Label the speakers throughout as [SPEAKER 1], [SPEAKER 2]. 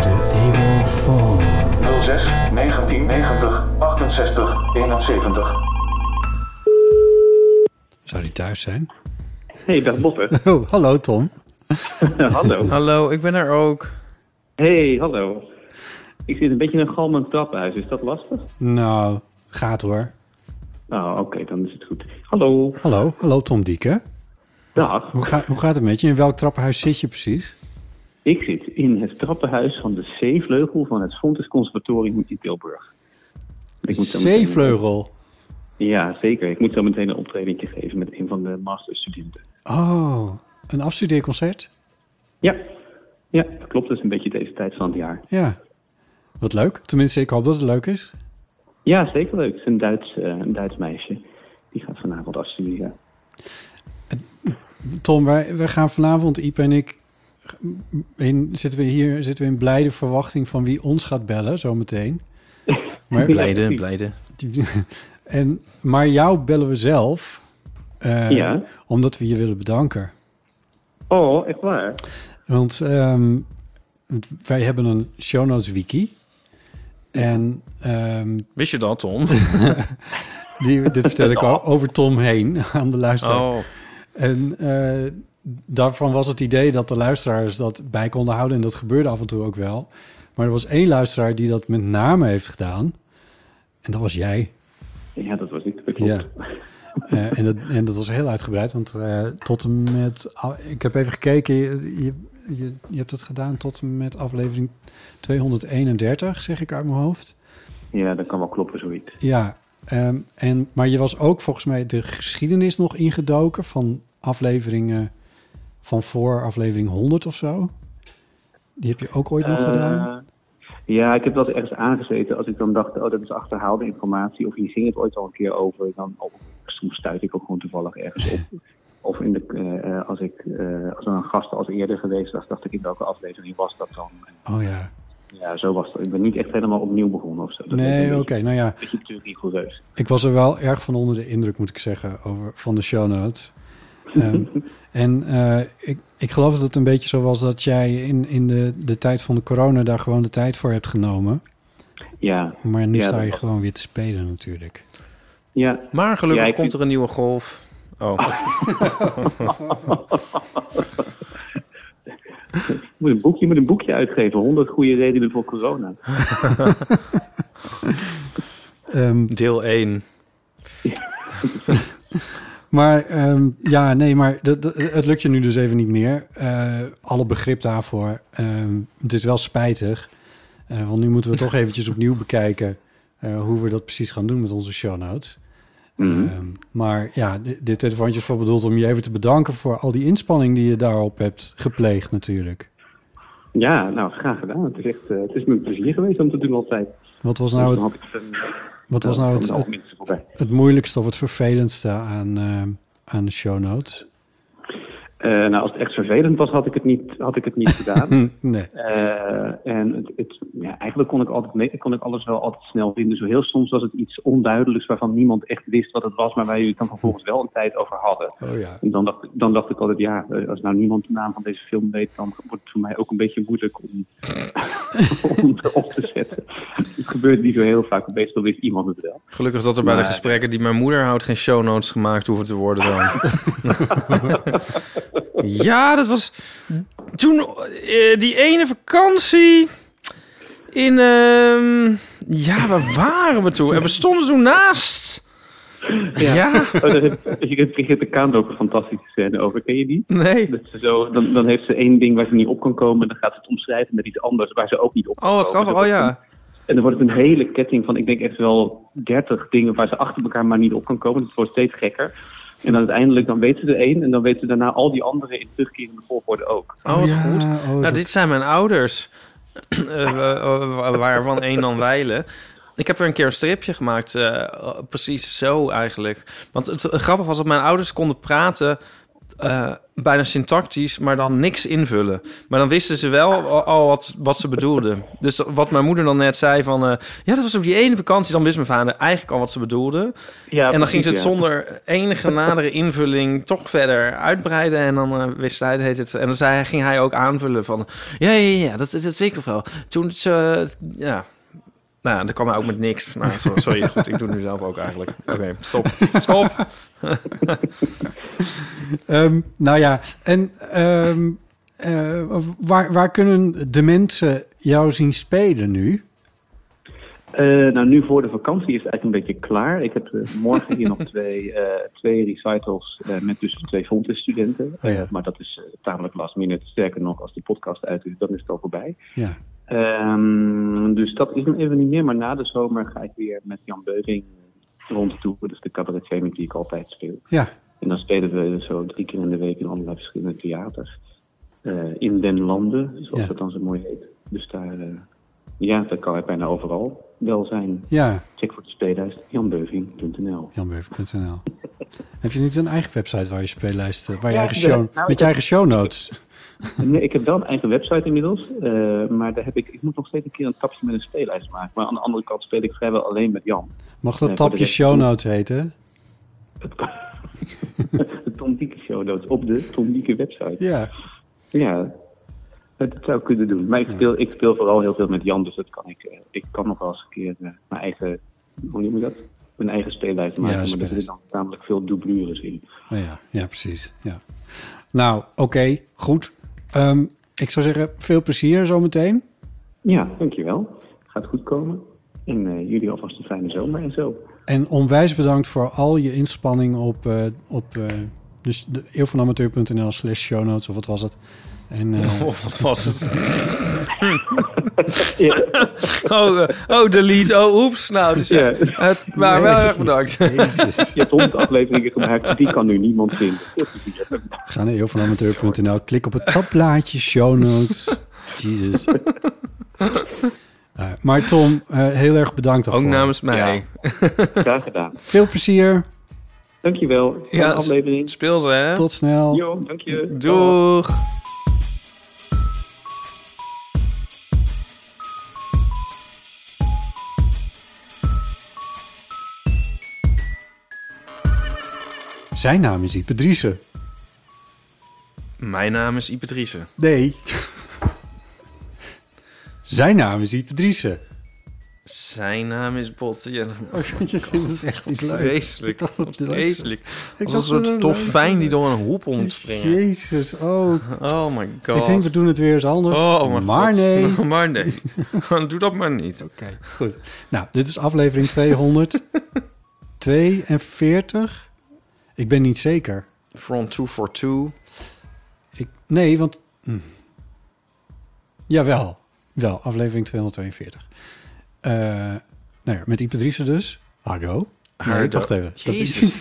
[SPEAKER 1] De Evil Phone.
[SPEAKER 2] 06 1990 68 71.
[SPEAKER 3] Zou die thuis zijn?
[SPEAKER 2] Hey, dag Botte.
[SPEAKER 3] Oh, hallo Tom.
[SPEAKER 2] hallo.
[SPEAKER 3] Hallo, ik ben er ook.
[SPEAKER 2] Hey, hallo. Ik zit een beetje in een galmend trappenhuis. Is dat lastig?
[SPEAKER 3] Nou, gaat hoor.
[SPEAKER 2] Nou, oké, dan is het goed. Hallo.
[SPEAKER 3] Hallo, hallo Tom Dieke.
[SPEAKER 2] Dag.
[SPEAKER 3] Hoe, ga- hoe gaat het met je? In welk trappenhuis zit je precies?
[SPEAKER 2] Ik zit in het trappenhuis van de C-vleugel van het Fontes Conservatorium in Tilburg. Ik moet zo meteen-
[SPEAKER 3] Zeevleugel.
[SPEAKER 2] Ja, zeker. Ik moet zo meteen een optredentje geven met een van de masterstudenten.
[SPEAKER 3] Oh, een afstudeerconcert?
[SPEAKER 2] Ja. Ja, dat klopt. Dat is een beetje deze tijd van het jaar.
[SPEAKER 3] Ja. Wat leuk. Tenminste, ik hoop dat het leuk is.
[SPEAKER 2] Ja, zeker leuk. Het is een Duits, eh, een Duits meisje. Die gaat vanavond afstuderen.
[SPEAKER 3] Tom, wij, wij gaan vanavond, Iep en ik, in, zitten we hier zitten we in blijde verwachting van wie ons gaat bellen zometeen. Maar,
[SPEAKER 2] Blijde,
[SPEAKER 4] blijde.
[SPEAKER 3] en, maar jou bellen we zelf, eh,
[SPEAKER 2] Ja.
[SPEAKER 3] omdat we je willen bedanken.
[SPEAKER 2] Oh, echt waar?
[SPEAKER 3] Want ehm, wij hebben een show notes wiki. En ehm,
[SPEAKER 5] Wist je dat, Tom?
[SPEAKER 3] die, dit vertel ik al over Tom heen aan de luisteraar.
[SPEAKER 5] Oh,
[SPEAKER 3] En eh, daarvan was het idee dat de luisteraars dat bij konden houden. En dat gebeurde af en toe ook wel. Maar er was één luisteraar die dat met name heeft gedaan. En dat was jij.
[SPEAKER 2] Ja, dat was ik. Dat klopt.
[SPEAKER 3] Ja. Eh, en, dat, en dat was heel uitgebreid. Want eh, tot en met... ah, ik heb even gekeken. Je, je, je, je hebt dat gedaan tot en met aflevering 231, zeg ik uit mijn hoofd.
[SPEAKER 2] Ja, dat kan wel kloppen, zoiets.
[SPEAKER 3] Ja, ehm, en, maar je was ook volgens mij de geschiedenis nog ingedoken van afleveringen van voor aflevering 100 of zo. Die heb je ook ooit nog
[SPEAKER 2] Eh,
[SPEAKER 3] gedaan.
[SPEAKER 2] Ja, ik heb wel eens ergens aangezeten als ik dan dacht, oh, dat is achterhaalde informatie. Of hier ging het ooit al een keer over. Dan, oh, soms stuit ik ook gewoon toevallig ergens op. Of in de, eh, eh, als, ik, eh, als er een gast als eerder geweest was, dacht ik in welke aflevering was dat dan.
[SPEAKER 3] Oh ja.
[SPEAKER 2] Ja, zo was het. Ik ben niet echt helemaal opnieuw begonnen of zo. Dat is een
[SPEAKER 3] Nee, oké.
[SPEAKER 2] beetje-
[SPEAKER 3] nou ja,
[SPEAKER 2] Een beetje natuurlijk rigoureus.
[SPEAKER 3] ik was er wel erg van onder de indruk, moet ik zeggen, over, van de show notes. Ehm, en eh, ik, ik geloof dat het een beetje zo was dat jij in, in de, de tijd van de corona daar gewoon de tijd voor hebt genomen.
[SPEAKER 2] Ja.
[SPEAKER 3] Maar nu
[SPEAKER 2] Ja,
[SPEAKER 3] sta
[SPEAKER 2] dat
[SPEAKER 3] je
[SPEAKER 2] was-
[SPEAKER 3] gewoon weer te spelen natuurlijk.
[SPEAKER 2] Ja,
[SPEAKER 5] maar gelukkig
[SPEAKER 2] Ja, ik-
[SPEAKER 5] komt er een nieuwe golf. Oh,
[SPEAKER 2] Ah. je moet een boekje, je moet een boekje uitgeven. 100 goede redenen voor corona.
[SPEAKER 3] Ehm,
[SPEAKER 5] deel 1.
[SPEAKER 3] Maar ehm, ja, nee, maar dat, dat- het lukt je nu dus even niet meer. Eh, alle begrip daarvoor. Ehm, het is wel spijtig. Eh, want nu moeten we toch eventjes opnieuw bekijken eh, hoe we dat precies gaan doen met onze show notes. Ehm, maar ja, di- dit telefoontje is voor bedoeld om je even te bedanken voor al die inspanning die je daarop hebt gepleegd natuurlijk.
[SPEAKER 2] Ja, nou, graag gedaan. Het is echt, eh, het is me een plezier geweest om te doen altijd.
[SPEAKER 3] Wat was nou
[SPEAKER 2] Dan
[SPEAKER 3] het,
[SPEAKER 2] had ik het, eh,
[SPEAKER 3] wat was nou
[SPEAKER 2] dan
[SPEAKER 3] het,
[SPEAKER 2] de
[SPEAKER 3] het,
[SPEAKER 2] algemene voorbij.
[SPEAKER 3] het moeilijkste of het vervelendste aan, ehm, aan de show notes?
[SPEAKER 2] Eh, nou, als het echt vervelend was, had ik het niet, had ik het niet gedaan.
[SPEAKER 3] Nee.
[SPEAKER 2] Eh, en het, het- ja, eigenlijk kon ik, altijd mee, kon ik alles wel altijd snel vinden. Zo heel soms was het iets onduidelijks waarvan niemand echt wist wat het was, maar waar jullie het dan vervolgens wel een tijd over hadden.
[SPEAKER 3] Oh ja.
[SPEAKER 2] En dan dacht, dan dacht ik altijd, ja, eh, als nou niemand de naam van deze film weet, dan wordt het voor mij ook een beetje moeilijk om, om het op te zetten. Het gebeurt niet zo heel vaak, meestal wist iemand het wel.
[SPEAKER 5] Gelukkig dat er bij de
[SPEAKER 2] Maar-
[SPEAKER 5] gesprekken die mijn moeder houdt geen show notes gemaakt hoeven te worden dan. ja, dat was toen eh, die ene vakantie in... ehm, ja, waar waren we toen? En we stonden toen naast... Ja.
[SPEAKER 2] Oh, dat is- je kunt vergeten, de Kaan ook een fantastische scène over. Ken je die?
[SPEAKER 5] Nee.
[SPEAKER 2] Dat ze zo, dan, dan heeft ze één ding waar ze niet op kan komen. En dan gaat ze het omschrijven met iets anders waar ze ook niet op kan
[SPEAKER 5] Oh, wat
[SPEAKER 2] komen.
[SPEAKER 5] grappig. Oh ja.
[SPEAKER 2] En dan wordt het een hele ketting van, ik denk echt wel 30 dingen waar ze achter elkaar maar niet op kan komen. Het wordt steeds gekker. En dan uiteindelijk, dan weet ze er één. En dan weet ze daarna al die anderen in terugkerende volgorde ook.
[SPEAKER 5] Oh, wat goed. nou, dit zijn mijn ouders. Eh, wa- wa- wa- waarvan één dan wijlen. Ik heb er een keer een stripje gemaakt. eh, precies zo eigenlijk. Want het, grappig was dat mijn ouders konden praten... eh, bijna syntactisch, maar dan niks invullen. Maar dan wisten ze wel al, al wat, wat ze bedoelden. Dus wat mijn moeder dan net zei van... eh, ja, dat was op die ene vakantie. Dan wist mijn vader eigenlijk al wat ze bedoelden.
[SPEAKER 2] Ja,
[SPEAKER 5] en dan
[SPEAKER 2] precies,
[SPEAKER 5] ging ze het
[SPEAKER 2] ja.
[SPEAKER 5] zonder eh, enige nadere invulling toch verder uitbreiden. En dan eh, wist hij heet het. En dan zei, hij- ging hij ook aanvullen van... Ja, ja, ja, dat, dat weet ik nog wel. Toen ze... ja. Nou, dan kwam hij ook met niks. Nou, so- sorry, goed, ik doe het nu zelf ook eigenlijk. Oké, stop. Stop.
[SPEAKER 3] Ehm, nou ja, en ehm, eh, waar, waar kunnen de mensen jou zien spelen nu?
[SPEAKER 2] Eh, nou, nu voor de vakantie is het eigenlijk een beetje klaar. Ik heb eh, morgen hier nog twee, eh, twee recitals eh, met dus twee Fontes-studenten.
[SPEAKER 3] Oh ja.
[SPEAKER 2] Eh, maar dat is eh, tamelijk last minute. Sterker nog, als de podcast uit is, dan is het al voorbij.
[SPEAKER 3] Ja.
[SPEAKER 2] Ehm, dus dat is nog even niet meer. Maar na de zomer ga ik weer met Jan Beuving rondtoeren. Dus de cabaretier met die ik altijd speel.
[SPEAKER 3] Ja.
[SPEAKER 2] En dan spelen we zo drie keer in de week in allerlei verschillende theaters. Eh, in den landen, zoals dat dan zo mooi heet. Dus daar, eh, ja, dat kan ik bijna overal wel zijn.
[SPEAKER 3] Ja.
[SPEAKER 2] Check voor de speellijst janbeuving.nl.
[SPEAKER 3] Janbeuf.nl. Heb je niet een eigen website waar je speellijsten, waar je
[SPEAKER 2] Ja,
[SPEAKER 3] eigen
[SPEAKER 2] ik
[SPEAKER 3] show,
[SPEAKER 2] ben- nou,
[SPEAKER 3] met
[SPEAKER 2] ik
[SPEAKER 3] je
[SPEAKER 2] heb-
[SPEAKER 3] eigen show notes?
[SPEAKER 2] Nee, eh, ik heb wel een eigen website inmiddels. eh, maar daar heb ik, ik moet nog steeds een keer een tapje met een speellijst maken. Maar aan de andere kant speel ik vrijwel alleen met Jan.
[SPEAKER 3] Mag
[SPEAKER 2] Eh,
[SPEAKER 3] dat
[SPEAKER 2] voor de
[SPEAKER 3] tapje
[SPEAKER 2] rest-
[SPEAKER 3] show notes heten?
[SPEAKER 2] De Tom Dieke Show Notes op de Tom Dieke website.
[SPEAKER 3] Ja.
[SPEAKER 2] Ja, dat zou ik kunnen doen. Maar ik speel, ik speel vooral heel veel met Jan, dus dat kan ik. eh, Ik kan nog wel eens een keer eh, mijn eigen, hoe noem je dat? Mijn eigen speellijst maken. maar er
[SPEAKER 3] speellijst.
[SPEAKER 2] zitten dan namelijk veel dublures in.
[SPEAKER 3] Oh ja, ja, precies. Ja. Nou, oké, goed. Ehm, ik zou zeggen, veel plezier zometeen.
[SPEAKER 2] Ja, dankjewel. Gaat goed komen. En eh, jullie alvast een fijne zomer en zo.
[SPEAKER 3] En onwijs bedankt voor al je inspanning op, eh, op eh, dus de eeuwvanamateur.nl slash show notes, of wat was het? En, eh,
[SPEAKER 5] Oh, wat was het? oh, eh, oh, delete. Oh, oeps. Nou, dus ja. Eh, maar wel erg bedankt.
[SPEAKER 2] Je hebt honderd afleveringen gemaakt, die kan nu niemand vinden.
[SPEAKER 3] Ga naar eeuwvanamateur.nl, klik op het tabblaadje show notes. Jesus. Eh, maar Tom, eh, heel erg bedankt
[SPEAKER 5] Ook
[SPEAKER 3] daarvoor.
[SPEAKER 5] namens mij.
[SPEAKER 2] Graag gedaan.
[SPEAKER 3] Veel plezier.
[SPEAKER 2] Dankjewel.
[SPEAKER 5] Ja,
[SPEAKER 2] Fijne aflevering.
[SPEAKER 5] Speel ze, hè?
[SPEAKER 3] Tot snel.
[SPEAKER 2] Jo, dank je.
[SPEAKER 5] Doeg.
[SPEAKER 3] Zijn naam is Ipe Driessen.
[SPEAKER 5] Mijn naam is Ipatrice.
[SPEAKER 3] Nee. Zijn naam is Ipe Driessen.
[SPEAKER 5] Zijn naam is Bot. Ja, oh,
[SPEAKER 3] je vindt het echt niet leuk.
[SPEAKER 5] Vreselijk.
[SPEAKER 3] Ik dacht dat het leuk was.
[SPEAKER 5] vreselijk.
[SPEAKER 3] Ik
[SPEAKER 5] Als
[SPEAKER 3] dacht
[SPEAKER 5] een
[SPEAKER 3] dat
[SPEAKER 5] soort
[SPEAKER 3] het leuk
[SPEAKER 5] dolfijn
[SPEAKER 3] was.
[SPEAKER 5] die door een hoep ontspringt.
[SPEAKER 3] Jezus, oh.
[SPEAKER 5] Oh my god.
[SPEAKER 3] Ik denk, we doen het weer eens anders.
[SPEAKER 5] Oh, mijn
[SPEAKER 3] maar
[SPEAKER 5] god.
[SPEAKER 3] nee.
[SPEAKER 5] maar nee. Nou, Doe dat maar niet. Oké,
[SPEAKER 3] goed. Nou, dit is aflevering 242. Ik ben niet zeker.
[SPEAKER 5] From 242.
[SPEAKER 3] Ik, nee, want... hm. Jawel, wel, aflevering 242. Eh, nou ja, met Ipe Driessen dus. Hardo. Nee,
[SPEAKER 5] Hardo.
[SPEAKER 3] wacht even. Dat is-
[SPEAKER 5] Jezus.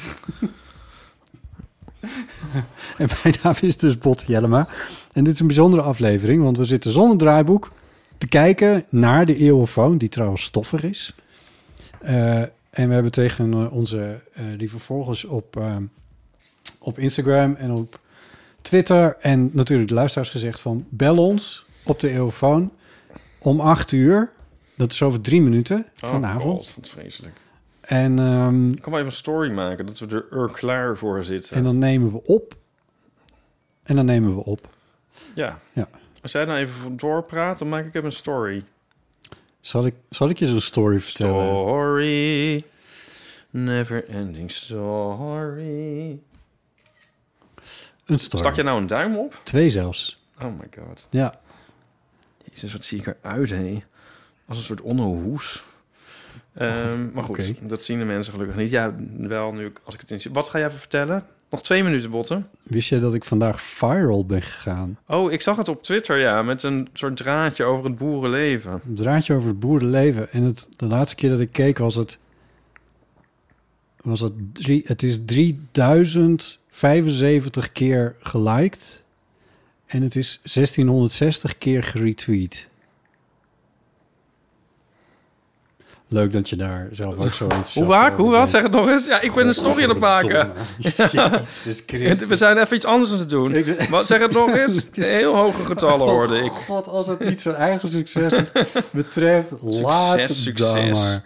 [SPEAKER 3] en mijn naam is dus Bot Jellema. En dit is een bijzondere aflevering, want we zitten zonder draaiboek... te kijken naar de eeuwenfoon, die trouwens stoffig is. Eh, en we hebben tegen eh, onze eh, lieve volgers op, eh, op Instagram en op Twitter... en natuurlijk de luisteraars gezegd van... bel ons op de eeuwenfoon om acht uur... Dat is over drie minuten
[SPEAKER 5] Oh
[SPEAKER 3] vanavond.
[SPEAKER 5] god, wat vreselijk.
[SPEAKER 3] En, ehm,
[SPEAKER 5] Ik kan maar even een story maken dat we er, er klaar voor zitten.
[SPEAKER 3] en dan nemen we op. En dan nemen we op.
[SPEAKER 5] Ja.
[SPEAKER 3] Ja.
[SPEAKER 5] Als jij nou even doorpraat, dan maak ik even een story.
[SPEAKER 3] Zal ik, zal ik je zo'n story vertellen?
[SPEAKER 5] Story. Never ending story.
[SPEAKER 3] Een story.
[SPEAKER 5] Stak je nou een duim op?
[SPEAKER 3] Twee zelfs.
[SPEAKER 5] Oh my god.
[SPEAKER 3] Ja.
[SPEAKER 5] Jezus, Dus wat zie ik eruit, hé. Als een soort onnohoes. Ehm maar goed,
[SPEAKER 3] Oké.
[SPEAKER 5] dat zien de mensen gelukkig niet. Ja, wel nu, ik- als ik het in... Wat ga jij even vertellen? Nog twee minuten, Botten.
[SPEAKER 3] Wist jij dat ik vandaag viral ben gegaan?
[SPEAKER 5] Oh, ik zag het op Twitter, ja. Met een soort draadje over het boerenleven.
[SPEAKER 3] Een draadje over het boerenleven. En het, de laatste keer dat ik keek was het... Was het, drie, het is 3075 keer geliked. En het is 1660 keer geretweet. Leuk dat je daar zelf ook zo enthousiast
[SPEAKER 5] Hoe vaak?
[SPEAKER 3] over
[SPEAKER 5] Hoe wat?
[SPEAKER 3] bent.
[SPEAKER 5] Zeg het nog eens. Ja, ik ben een story aan het maken.
[SPEAKER 3] Godverdomme. Jezus Christus.
[SPEAKER 5] We zijn even iets anders aan het doen. Wat, zeg het nog eens. Heel hoge getallen
[SPEAKER 3] Oh,
[SPEAKER 5] hoorde ik.
[SPEAKER 3] God, als het niet zijn eigen succes betreft, laat het dan
[SPEAKER 5] succes.
[SPEAKER 3] maar.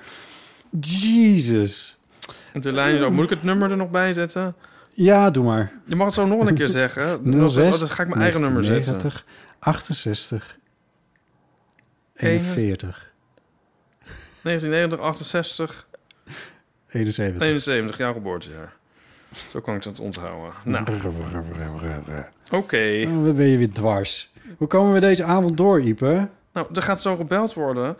[SPEAKER 3] Jezus.
[SPEAKER 5] De lijn is ook. Moet ik het nummer er nog bij zetten?
[SPEAKER 3] Ja, doe maar.
[SPEAKER 5] Je mag het zo nog een keer zeggen. Dat-
[SPEAKER 3] 06,
[SPEAKER 5] dat- dat ga ik mijn eigen nummer zetten.
[SPEAKER 3] 90, 68,
[SPEAKER 5] 41,
[SPEAKER 3] 41,
[SPEAKER 5] 1990, 68,
[SPEAKER 3] 71.
[SPEAKER 5] 71, jouw geboortejaar. Zo kan ik dat onthouden. Nou, oké.
[SPEAKER 3] Oh, wat ben je weer dwars. Hoe komen we deze avond door, Ipe?
[SPEAKER 5] Nou, er gaat zo gebeld worden.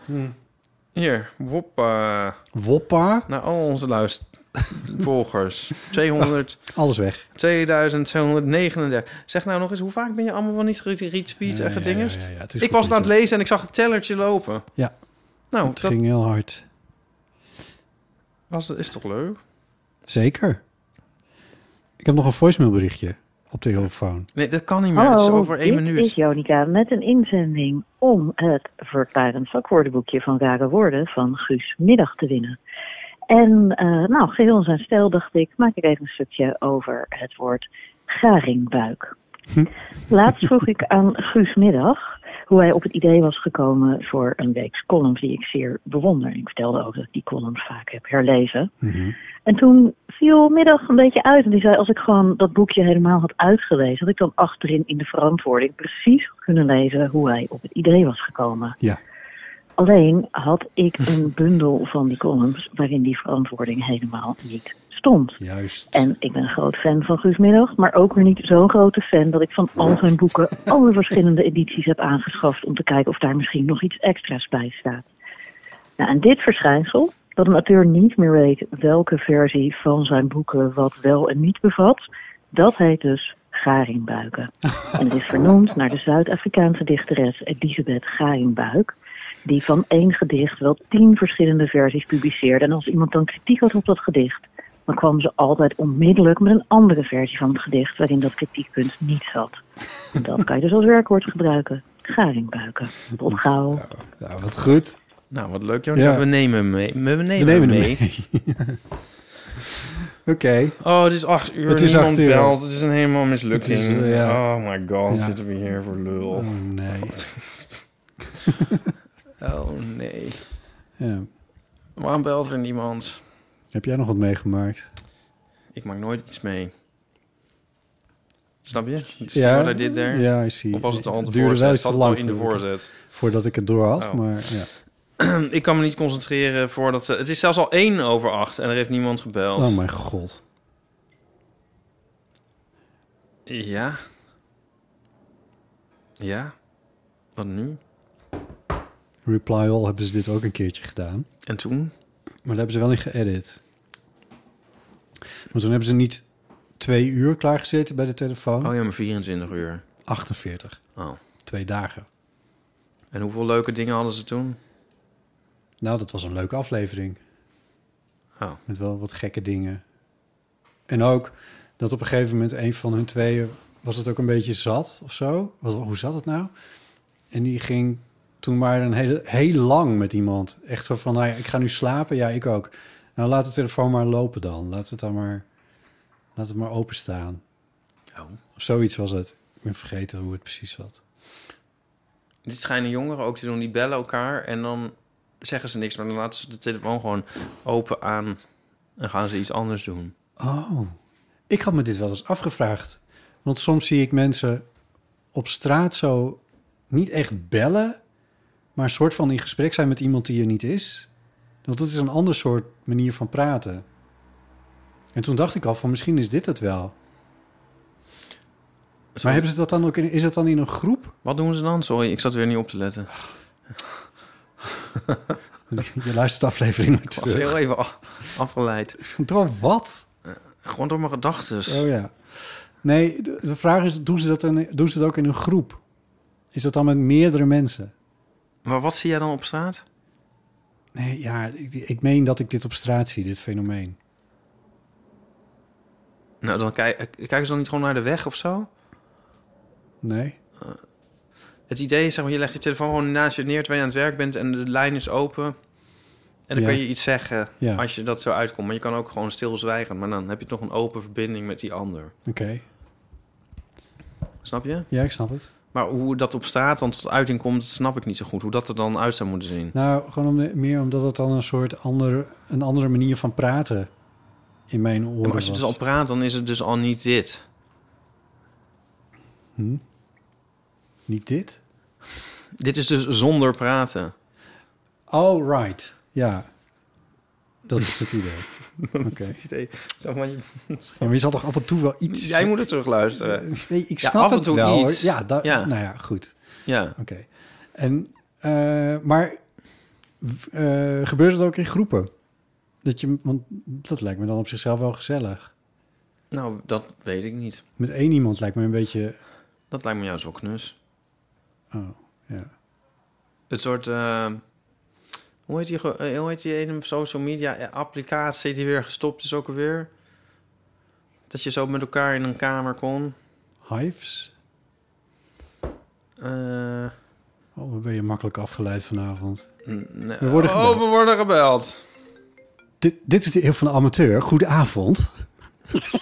[SPEAKER 5] Hier, woppa.
[SPEAKER 3] Hmm. Woppa?
[SPEAKER 5] Naar al onze luister volgers. 200...
[SPEAKER 3] Oh, Alles weg.
[SPEAKER 5] 2239. Zeg nou nog eens, hoe vaak ben je allemaal wel niet gere- geretweet
[SPEAKER 3] Ja,
[SPEAKER 5] en
[SPEAKER 3] ja,
[SPEAKER 5] gedingest?
[SPEAKER 3] ja, ja, ja, het is
[SPEAKER 5] ik
[SPEAKER 3] goed
[SPEAKER 5] was aan het lezen en ik zag het tellertje lopen.
[SPEAKER 3] Ja.
[SPEAKER 5] Nou,
[SPEAKER 3] het
[SPEAKER 5] dat
[SPEAKER 3] ging heel hard.
[SPEAKER 5] was, is toch leuk?
[SPEAKER 3] Zeker. Ik heb nog een voicemailberichtje op de telefoon.
[SPEAKER 5] Nee, dat kan niet meer. Het is over één
[SPEAKER 1] dit
[SPEAKER 5] minuut.
[SPEAKER 1] is Jonica met een inzending om het verklarend vakwoordenboekje van rare woorden van Guus Middag te winnen. En eh, nou, geheel in zijn stijl dacht ik, maak ik even een stukje over het woord garingbuik.
[SPEAKER 5] Hm.
[SPEAKER 1] Laatst vroeg ik aan Guus Middag hoe hij op het idee was gekomen voor een weeks column die ik zeer bewonder. Ik vertelde ook dat ik die columns vaak heb herlezen. En toen viel middag een beetje uit. En die zei, als ik gewoon dat boekje helemaal had uitgelezen... had ik dan achterin in de verantwoording precies had kunnen lezen... hoe hij op het idee was gekomen.
[SPEAKER 3] Ja.
[SPEAKER 1] Alleen had ik een bundel van die columns... waarin die verantwoording helemaal niet stond.
[SPEAKER 3] Juist.
[SPEAKER 1] En ik ben een groot fan van Guus Middag... maar ook weer niet zo'n grote fan... dat ik van al zijn boeken alle verschillende edities heb aangeschaft... om te kijken of daar misschien nog iets extra's bij staat. Nou, en dit verschijnsel, dat een auteur niet meer weet welke versie van zijn boeken wat wel en niet bevat, dat heet dus garingbuiken. En het is vernoemd naar de Zuid-Afrikaanse dichteres Elisabeth Garingbuik, die van één gedicht wel tien verschillende versies publiceerde. En als iemand dan kritiek had op dat gedicht, dan kwam ze altijd onmiddellijk met een andere versie van het gedicht waarin dat kritiekpunt niet zat. En dat kan je dus als werkwoord gebruiken. Garingbuiken. Tot gauw.
[SPEAKER 3] Nou, wat goed.
[SPEAKER 5] Nou, wat leuk.
[SPEAKER 3] Ja.
[SPEAKER 5] Ja. We nemen hem mee. We nemen,
[SPEAKER 3] nemen hem
[SPEAKER 5] hem mee.
[SPEAKER 3] Oké.
[SPEAKER 5] Oh, het is acht uur.
[SPEAKER 3] Het is
[SPEAKER 5] niemand
[SPEAKER 3] acht uur.
[SPEAKER 5] belt. Het is een helemaal mislukking.
[SPEAKER 3] Het is, eh, ja.
[SPEAKER 5] Oh my god,
[SPEAKER 3] Ja.
[SPEAKER 5] zitten we hier voor lul.
[SPEAKER 3] Oh, nee.
[SPEAKER 5] oh nee.
[SPEAKER 3] Ja.
[SPEAKER 5] Waarom belt er niemand?
[SPEAKER 3] Heb jij nog wat meegemaakt?
[SPEAKER 5] Ik maak nooit iets mee. Snap je?
[SPEAKER 3] Ja.
[SPEAKER 5] Ja. Wat I did there?
[SPEAKER 3] Ja, I see.
[SPEAKER 5] Of was het al in de
[SPEAKER 3] Het duurde wel
[SPEAKER 5] voorzet?
[SPEAKER 3] iets te
[SPEAKER 5] Zat het al
[SPEAKER 3] lang
[SPEAKER 5] in de
[SPEAKER 3] voordat ik-
[SPEAKER 5] voorzet?
[SPEAKER 3] Voordat ik het door had,
[SPEAKER 5] Oh.
[SPEAKER 3] maar ja.
[SPEAKER 5] ik kan me niet concentreren voordat ze... Het is zelfs al één over acht en er heeft niemand gebeld.
[SPEAKER 3] Oh mijn god.
[SPEAKER 5] Ja. Ja. Wat nu?
[SPEAKER 3] Reply All hebben ze dit ook een keertje gedaan.
[SPEAKER 5] En toen?
[SPEAKER 3] Maar daar hebben ze wel in geëdit. Maar toen hebben ze niet twee uur klaargezeten bij de telefoon.
[SPEAKER 5] Oh ja, maar 24 uur.
[SPEAKER 3] 48.
[SPEAKER 5] Oh.
[SPEAKER 3] Twee dagen.
[SPEAKER 5] En hoeveel leuke dingen hadden ze toen?
[SPEAKER 3] Nou, dat was een leuke aflevering.
[SPEAKER 5] Oh.
[SPEAKER 3] Met wel wat gekke dingen. En ook dat op een gegeven moment een van hun tweeën... was het ook een beetje zat of zo. Wat, hoe zat het nou? En die ging toen maar een hele, heel lang met iemand. Echt zo van, nou ja, ik ga nu slapen. Ja, ik ook. Nou, laat de telefoon maar lopen dan. Laat het dan maar, laat het maar openstaan.
[SPEAKER 5] Oh.
[SPEAKER 3] Of zoiets was het. Ik ben vergeten hoe het precies zat.
[SPEAKER 5] Dit schijnen jongeren ook te doen. Die bellen elkaar en dan zeggen ze niks. Maar dan laten ze de telefoon gewoon open aan en gaan ze iets anders doen.
[SPEAKER 3] Oh, ik had me dit wel eens afgevraagd. Want soms zie ik mensen op straat zo niet echt bellen, maar een soort van in gesprek zijn met iemand die er niet is. Want dat is een ander soort manier van praten. En toen dacht ik al van misschien is dit het wel. Maar hebben ze dat dan ook in, is het dan in een groep?
[SPEAKER 5] Wat doen ze dan? Sorry, ik zat weer niet op te letten.
[SPEAKER 3] Je luistert de aflevering maar
[SPEAKER 5] Ik was
[SPEAKER 3] terug.
[SPEAKER 5] heel even af- afgeleid. Eh,
[SPEAKER 3] Door wat?
[SPEAKER 5] Gewoon door mijn gedachtes.
[SPEAKER 3] Oh ja. Nee, de, de vraag is, doen ze, dat dan, doen ze dat ook in een groep? Is dat dan met meerdere mensen?
[SPEAKER 5] Maar wat zie jij dan op straat?
[SPEAKER 3] Nee, ja, ik, ik meen dat ik dit op straat zie, dit fenomeen.
[SPEAKER 5] Nou, dan kijk, kijken ze dan niet gewoon naar de weg of zo?
[SPEAKER 3] Nee?
[SPEAKER 5] Eh, Het idee is, zeg maar, je legt je telefoon gewoon naast je neer terwijl je aan het werk bent en de lijn is open. En dan
[SPEAKER 3] Ja.
[SPEAKER 5] kun je iets zeggen
[SPEAKER 3] Ja.
[SPEAKER 5] als je dat zo uitkomt. Maar je kan ook gewoon stilzwijgen, maar dan heb je toch een open verbinding met die ander.
[SPEAKER 3] Oké.
[SPEAKER 5] Snap je?
[SPEAKER 3] Ja, ik snap het.
[SPEAKER 5] Maar hoe dat op straat dan tot uiting komt, snap ik niet zo goed. Hoe dat er dan uit zou moeten zien.
[SPEAKER 3] Nou, gewoon om de- meer omdat het dan een soort ander, een andere manier van praten in mijn oren
[SPEAKER 5] Ja, maar als je
[SPEAKER 3] was.
[SPEAKER 5] dus al praat, dan is het dus al niet dit.
[SPEAKER 3] Hm? Niet dit?
[SPEAKER 5] Dit is dus zonder praten.
[SPEAKER 3] Oh, right. Ja. Dat is het idee.
[SPEAKER 5] Dat
[SPEAKER 3] Oké.
[SPEAKER 5] is het idee. Zeg maar, je...
[SPEAKER 3] Ja, maar je zal toch af en toe wel iets...
[SPEAKER 5] Jij moet het terugluisteren.
[SPEAKER 3] Nee, ik
[SPEAKER 5] Ja,
[SPEAKER 3] snap
[SPEAKER 5] af en
[SPEAKER 3] het
[SPEAKER 5] toe
[SPEAKER 3] wel. hoor.
[SPEAKER 5] iets.
[SPEAKER 3] Ja, da-
[SPEAKER 5] Ja.
[SPEAKER 3] nou ja, goed.
[SPEAKER 5] Ja.
[SPEAKER 3] Oké. En, eh, maar w- eh, gebeurt het ook in groepen? Dat je, want dat lijkt me dan op zichzelf wel gezellig.
[SPEAKER 5] Nou, dat weet ik niet.
[SPEAKER 3] Met e- één iemand lijkt me een beetje...
[SPEAKER 5] Dat lijkt me juist wel knus.
[SPEAKER 3] Oh, ja.
[SPEAKER 5] Het soort... eh, hoe, heet die, ge- eh, hoe heet die ene social media eh, applicatie die weer gestopt is ook alweer? Dat je zo met elkaar in een kamer kon.
[SPEAKER 3] Hives?
[SPEAKER 5] Eh,
[SPEAKER 3] Oh, wat ben je makkelijk afgeleid vanavond.
[SPEAKER 5] n- nee.
[SPEAKER 3] We worden
[SPEAKER 5] oh, we worden gebeld.
[SPEAKER 3] Dit, dit is de eeuw van de amateur. Goedenavond.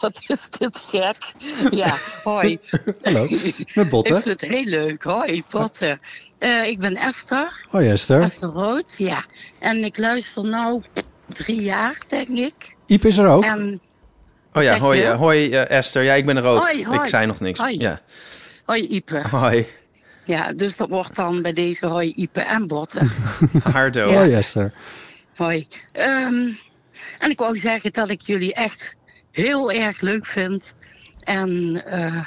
[SPEAKER 6] Wat is dit zeg? Ja, hoi.
[SPEAKER 3] Hallo, met
[SPEAKER 6] Ik vind
[SPEAKER 3] Botte.
[SPEAKER 6] het heel leuk. Hoi, Potter. Eh, ik ben Esther.
[SPEAKER 3] Hoi Oh, Esther.
[SPEAKER 6] Esther Rood, ja. En ik luister nu drie jaar, denk ik.
[SPEAKER 3] Iep is er ook.
[SPEAKER 6] En
[SPEAKER 5] Oh ja,
[SPEAKER 6] Zeg
[SPEAKER 5] hoi,
[SPEAKER 6] je?
[SPEAKER 5] eh, hoi eh, Esther. Ja, ik ben er ook.
[SPEAKER 6] Hoi, hoi.
[SPEAKER 5] Ik zei nog niks.
[SPEAKER 6] Hoi.
[SPEAKER 5] Ja.
[SPEAKER 6] hoi, Ipe.
[SPEAKER 5] Hoi,
[SPEAKER 6] Ja, dus dat wordt dan bij deze hoi, Ipe en Botten.
[SPEAKER 5] Hardo.
[SPEAKER 3] Hoi Oh, Esther.
[SPEAKER 6] Hoi. Ehm, en ik wou zeggen dat ik jullie echt heel erg leuk vind. En eh,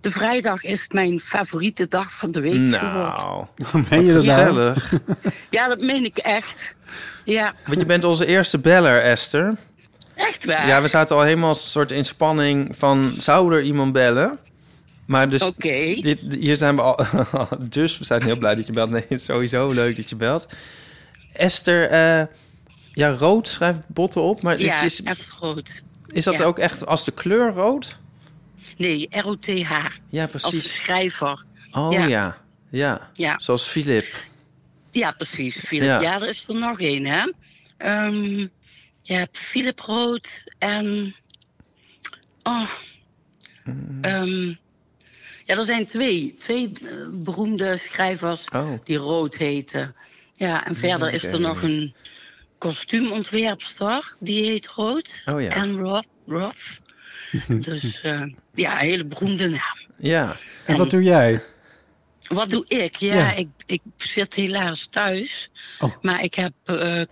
[SPEAKER 6] de vrijdag is mijn favoriete dag van de week geworden.
[SPEAKER 5] Nou,
[SPEAKER 3] meen je
[SPEAKER 5] wat
[SPEAKER 3] dat nou?
[SPEAKER 5] gezellig.
[SPEAKER 6] Ja, dat meen ik echt. Ja,
[SPEAKER 5] Want je bent onze eerste beller, Esther.
[SPEAKER 6] echt waar.
[SPEAKER 5] Ja, we zaten al helemaal als een soort in spanning van... zou er iemand bellen? Maar dus...
[SPEAKER 6] Oké.
[SPEAKER 5] Dit, hier zijn we al... dus we zijn heel blij dat je belt. Nee, het is sowieso leuk dat je belt. Esther, eh, ja, rood schrijft botten op. Maar
[SPEAKER 6] Ja,
[SPEAKER 5] dit is,
[SPEAKER 6] echt groot.
[SPEAKER 5] is dat
[SPEAKER 6] ja.
[SPEAKER 5] ook echt als de kleur rood?
[SPEAKER 6] Nee, ROTH.
[SPEAKER 5] Ja,
[SPEAKER 6] Als de
[SPEAKER 5] precies.
[SPEAKER 6] schrijver.
[SPEAKER 5] Oh ja.
[SPEAKER 6] Ja.
[SPEAKER 5] Ja.
[SPEAKER 6] Ja.
[SPEAKER 5] zoals Filip.
[SPEAKER 6] Ja, precies. Philip.
[SPEAKER 5] Ja.
[SPEAKER 6] Ja, er is er nog één, hè? Ehm, je hebt Philip Rood en. Oh.
[SPEAKER 5] Mm.
[SPEAKER 6] Ehm, ja, er zijn twee, twee eh, beroemde schrijvers die Rood heten. Ja, en verder
[SPEAKER 5] weet
[SPEAKER 6] is
[SPEAKER 5] Oh. ik
[SPEAKER 6] er nog
[SPEAKER 5] niet.
[SPEAKER 6] een kostuumontwerpster, die heet Rood.
[SPEAKER 5] Oh ja.
[SPEAKER 6] En Roth. Roth. dus eh, ja, een hele beroemde naam.
[SPEAKER 5] Ja.
[SPEAKER 3] En wat doe jij?
[SPEAKER 6] Wat doe ik? Ja,
[SPEAKER 3] Ja. Oh.
[SPEAKER 6] Ik, ik zit helaas thuis. Maar ik heb eh,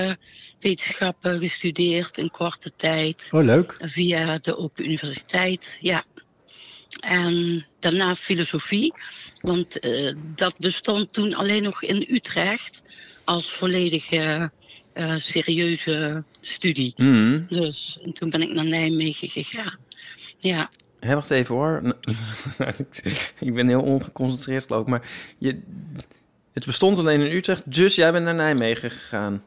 [SPEAKER 6] cultuurwetenschappen gestudeerd in korte tijd.
[SPEAKER 3] Oh, leuk.
[SPEAKER 6] Via de Open Universiteit, ja. En daarna filosofie. Want eh, dat bestond toen alleen nog in Utrecht als volledige eh, serieuze studie.
[SPEAKER 5] Mhm.
[SPEAKER 6] Dus en toen ben ik naar Nijmegen gegaan. Ja.
[SPEAKER 5] Hé, wacht even hoor. Nou, ik ben heel ongeconcentreerd geloof ik. Maar je, het bestond alleen in Utrecht, dus jij bent naar Nijmegen gegaan.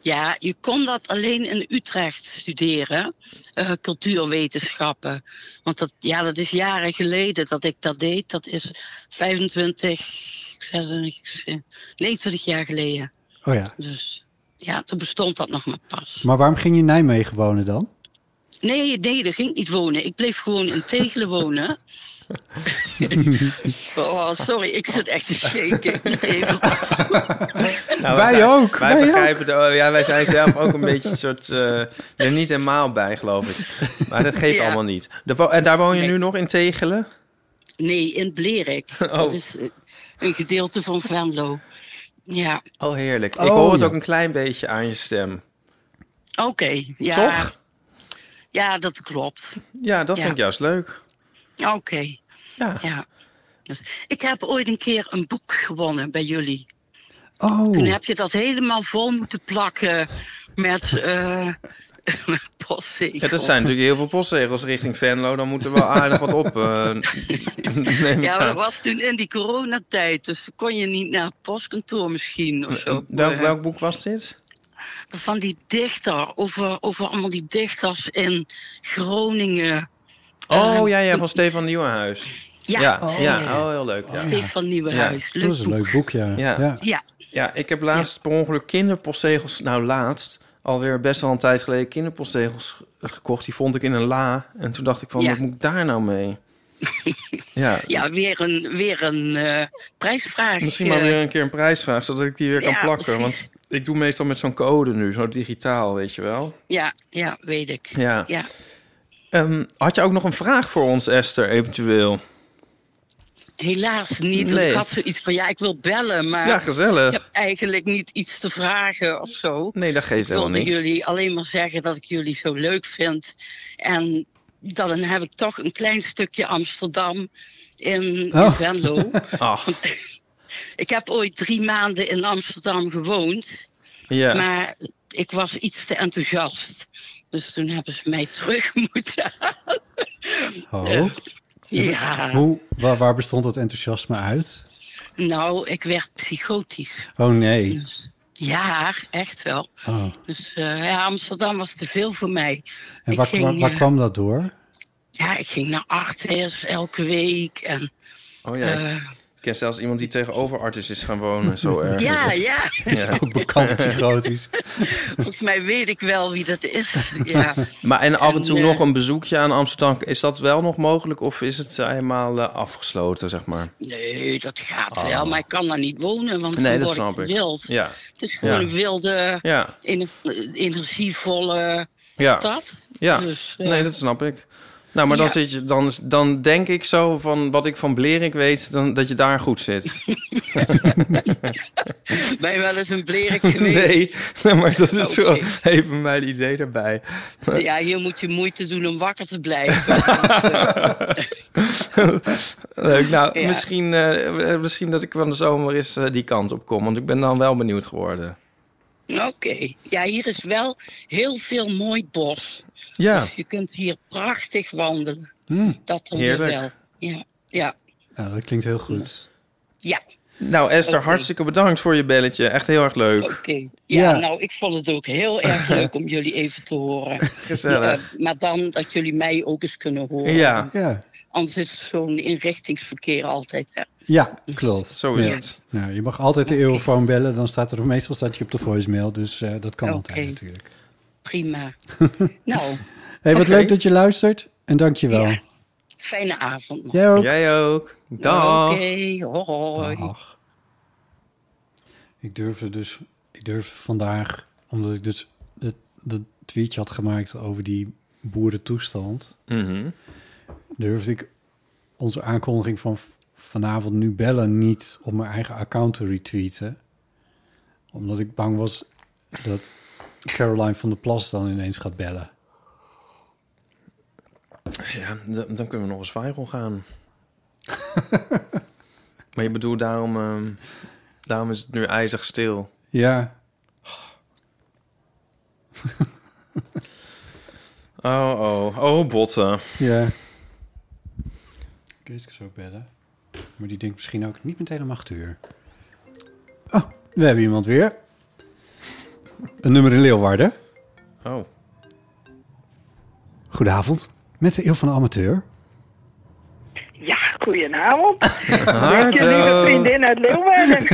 [SPEAKER 6] Ja, je kon dat alleen in Utrecht studeren, eh, cultuurwetenschappen. Want dat, ja, dat is jaren geleden dat ik dat deed. Dat is 25, 26, 29 jaar geleden.
[SPEAKER 3] Oh ja.
[SPEAKER 6] Dus ja, toen bestond dat nog maar pas.
[SPEAKER 3] Maar waarom ging je in Nijmegen wonen dan?
[SPEAKER 6] Nee, nee, daar ging ik niet wonen. Ik bleef gewoon in Tegelen wonen. oh, sorry, ik zit echt te shaken. Niet even
[SPEAKER 5] Nou,
[SPEAKER 3] Wij
[SPEAKER 5] zijn-
[SPEAKER 3] ook,
[SPEAKER 5] Wij,
[SPEAKER 3] wij
[SPEAKER 5] begrijpen het. ook. ja, wij zijn zelf ook een beetje een soort. eh, er niet helemaal bij, geloof ik. Maar dat geeft
[SPEAKER 6] Ja.
[SPEAKER 5] allemaal niet. De wo- en daar woon je nu nog in Tegelen?
[SPEAKER 6] Nee, in Blerik. Dat is eh, een gedeelte van Venlo. Ja,
[SPEAKER 5] Oh, heerlijk. Ik
[SPEAKER 6] Oh,
[SPEAKER 5] hoor het
[SPEAKER 6] ja.
[SPEAKER 5] ook een klein beetje aan je stem.
[SPEAKER 6] oké. ja.
[SPEAKER 5] Toch?
[SPEAKER 6] Ja, dat klopt.
[SPEAKER 5] Ja, dat
[SPEAKER 6] Ja.
[SPEAKER 5] vind ik juist leuk.
[SPEAKER 6] Oké.
[SPEAKER 5] Ja.
[SPEAKER 6] Dus, ik heb ooit een keer een boek gewonnen bij jullie.
[SPEAKER 3] Oh.
[SPEAKER 6] Toen heb je dat helemaal vol moeten plakken met eh postzegels.
[SPEAKER 5] Ja, dat zijn natuurlijk heel veel postzegels richting Venlo. Dan moet er wel aardig wat op. eh, neem ik
[SPEAKER 6] Ja, maar
[SPEAKER 5] aan.
[SPEAKER 6] dat was toen in die coronatijd, dus toen kon je niet naar het postkantoor misschien of zo.
[SPEAKER 5] Welk,
[SPEAKER 6] Eh,
[SPEAKER 5] welk boek was dit?
[SPEAKER 6] Van die dichter, over, over allemaal die dichters in Groningen.
[SPEAKER 5] Oh
[SPEAKER 6] Eh,
[SPEAKER 5] ja, ja, van Stefan Nieuwenhuis.
[SPEAKER 6] Ja.
[SPEAKER 5] ja,
[SPEAKER 6] Oh.
[SPEAKER 5] ja, oh, heel leuk. Ja.
[SPEAKER 6] Stefan Nieuwenhuis,
[SPEAKER 5] Ja.
[SPEAKER 6] leuk
[SPEAKER 3] Dat is een leuk boek, ja.
[SPEAKER 5] Ja.
[SPEAKER 3] Ja.
[SPEAKER 6] Ja.
[SPEAKER 5] Ja, ik heb laatst per ongeluk kinderpostzegels, nou laatst, alweer best wel een tijd geleden kinderpostzegels ge- gekocht. Die vond ik in een la. En toen dacht ik van,
[SPEAKER 6] Ja.
[SPEAKER 5] wat moet ik daar nou mee? ja,
[SPEAKER 6] Ja, weer een, weer een eh, prijsvraag.
[SPEAKER 5] misschien maar
[SPEAKER 6] eh,
[SPEAKER 5] weer een keer een prijsvraag, zodat ik die weer kan
[SPEAKER 6] Ja,
[SPEAKER 5] plakken.
[SPEAKER 6] precies.
[SPEAKER 5] Want ik doe meestal met zo'n code nu, zo digitaal, weet je wel.
[SPEAKER 6] Ja, ja, weet ik.
[SPEAKER 5] Ja.
[SPEAKER 6] ja.
[SPEAKER 5] Ehm, had je ook nog een vraag voor ons, Esther, eventueel?
[SPEAKER 6] Helaas niet. want
[SPEAKER 5] Nee.
[SPEAKER 6] Ik had zoiets van, ja, ik wil bellen, maar...
[SPEAKER 5] Ja, gezellig.
[SPEAKER 6] Ik heb eigenlijk niet iets te vragen of zo.
[SPEAKER 5] Nee, dat geeft
[SPEAKER 6] Ik
[SPEAKER 5] helemaal
[SPEAKER 6] wilde
[SPEAKER 5] niks.
[SPEAKER 6] jullie alleen maar zeggen dat ik jullie zo leuk vind. En dan heb ik toch een klein stukje Amsterdam in, in
[SPEAKER 5] Oh.
[SPEAKER 6] Venlo.
[SPEAKER 5] Ach,
[SPEAKER 6] ik heb ooit drie maanden in Amsterdam gewoond.
[SPEAKER 5] ja.
[SPEAKER 6] Maar ik was iets te enthousiast. Dus toen hebben ze mij terug moeten halen. Eh,
[SPEAKER 3] Oh.
[SPEAKER 6] Ja.
[SPEAKER 3] Hoe, waar, waar bestond dat enthousiasme uit?
[SPEAKER 6] Nou, ik werd psychotisch.
[SPEAKER 3] Oh nee.
[SPEAKER 6] Ja, echt wel.
[SPEAKER 5] Ah.
[SPEAKER 3] Oh.
[SPEAKER 6] Dus eh, ja, Amsterdam was te veel voor mij.
[SPEAKER 3] En
[SPEAKER 6] Ik
[SPEAKER 3] waar,
[SPEAKER 6] ging,
[SPEAKER 3] waar, waar
[SPEAKER 6] eh,
[SPEAKER 3] kwam dat door?
[SPEAKER 6] Ja, ik ging naar Artes elke week. En,
[SPEAKER 5] Oh ja,
[SPEAKER 6] eh,
[SPEAKER 5] ik ken zelfs iemand die tegenover artis is gaan wonen, zo erg.
[SPEAKER 6] ja, ja.
[SPEAKER 3] Ook bekend psychotisch.
[SPEAKER 6] Volgens mij weet ik wel wie dat is. Ja.
[SPEAKER 5] Maar en af en toe
[SPEAKER 6] eh,
[SPEAKER 5] nog een bezoekje aan Amsterdam, is dat wel nog mogelijk of is het helemaal eh, afgesloten, zeg maar?
[SPEAKER 6] Nee, dat gaat
[SPEAKER 5] Oh.
[SPEAKER 6] wel. Maar ik kan daar niet wonen, want
[SPEAKER 5] Nee,
[SPEAKER 6] dan word ik
[SPEAKER 5] dat snap
[SPEAKER 6] te
[SPEAKER 5] ik.
[SPEAKER 6] wild.
[SPEAKER 5] Ja.
[SPEAKER 6] Het is gewoon
[SPEAKER 5] Ja.
[SPEAKER 6] een wilde,
[SPEAKER 5] Ja.
[SPEAKER 6] ener- energievolle
[SPEAKER 5] Ja.
[SPEAKER 6] stad.
[SPEAKER 5] Ja,
[SPEAKER 6] Dus, eh,
[SPEAKER 5] nee, dat snap ik. Nou, maar dan,
[SPEAKER 6] ja.
[SPEAKER 5] zit je, dan, dan denk ik zo van wat ik van Blerik weet, dan, dat je daar goed zit.
[SPEAKER 6] Ben je wel eens een blerik
[SPEAKER 5] Nee,
[SPEAKER 6] geweest?
[SPEAKER 5] nee, maar dat is
[SPEAKER 6] Oké.
[SPEAKER 5] wel even mijn idee daarbij.
[SPEAKER 6] Ja, hier moet je moeite doen om wakker te blijven.
[SPEAKER 5] Leuk, nou,
[SPEAKER 6] Ja.
[SPEAKER 5] misschien, eh, eh, misschien dat ik van de zomer eens eh, die kant op kom, want ik ben dan wel benieuwd geworden.
[SPEAKER 6] Oké. Ja, hier is wel heel veel mooi bos.
[SPEAKER 5] Ja.
[SPEAKER 6] Dus je kunt hier prachtig wandelen.
[SPEAKER 3] Hmm.
[SPEAKER 6] Dat dan
[SPEAKER 5] Heerlijk.
[SPEAKER 6] weer wel. Ja, ja,
[SPEAKER 3] Nou, dat klinkt heel goed.
[SPEAKER 6] ja.
[SPEAKER 5] Nou, Esther,
[SPEAKER 6] Oké.
[SPEAKER 5] hartstikke bedankt voor je belletje. Echt heel erg leuk.
[SPEAKER 6] Oké. Ja,
[SPEAKER 5] Ja.
[SPEAKER 6] nou, ik vond het ook heel erg leuk om jullie even te horen.
[SPEAKER 5] Gezellig.
[SPEAKER 6] Ja, maar dan dat jullie mij ook eens kunnen horen.
[SPEAKER 5] Ja.
[SPEAKER 3] Ja.
[SPEAKER 6] Anders is zo'n inrichtingsverkeer altijd. hè.
[SPEAKER 3] Ja, klopt.
[SPEAKER 5] Zo is
[SPEAKER 3] Ja.
[SPEAKER 5] het.
[SPEAKER 3] Nou, je mag altijd de eeuwenfoon bellen. Dan staat er meestal staat je op de voicemail. Dus eh, dat kan altijd natuurlijk.
[SPEAKER 6] Prima. Oh. nou,
[SPEAKER 3] hey, wat
[SPEAKER 6] Oké.
[SPEAKER 3] leuk dat je luistert. En dank je wel.
[SPEAKER 6] Ja. fijne avond. nog.
[SPEAKER 3] Jij ook.
[SPEAKER 5] Jij ook.
[SPEAKER 3] Dag.
[SPEAKER 6] Oké, hoi.
[SPEAKER 3] Ik durfde dus... Ik durfde vandaag... Omdat ik dus dat, dat tweetje had gemaakt over die boerentoestand...
[SPEAKER 5] Mhm.
[SPEAKER 3] durfde ik onze aankondiging van v- vanavond nu bellen niet op mijn eigen account te retweeten. Omdat ik bang was dat Caroline van der Plas dan ineens gaat bellen.
[SPEAKER 5] Ja, dan, dan kunnen we nog eens viral gaan. maar je bedoelt, daarom, ehm, daarom is het nu ijzig stil.
[SPEAKER 3] Ja,
[SPEAKER 5] Oh, oh, oh, botten.
[SPEAKER 3] ja. Kees kan ook bellen. Maar die denkt misschien ook niet meteen om acht uur. Oh, we hebben iemand weer. Een nummer in Leeuwarden.
[SPEAKER 5] Oh.
[SPEAKER 3] Goedenavond, met de Eeuw van de Amateur.
[SPEAKER 7] Ja, goedenavond.
[SPEAKER 3] Hallo.
[SPEAKER 7] Met je lieve vriendin uit Leeuwarden.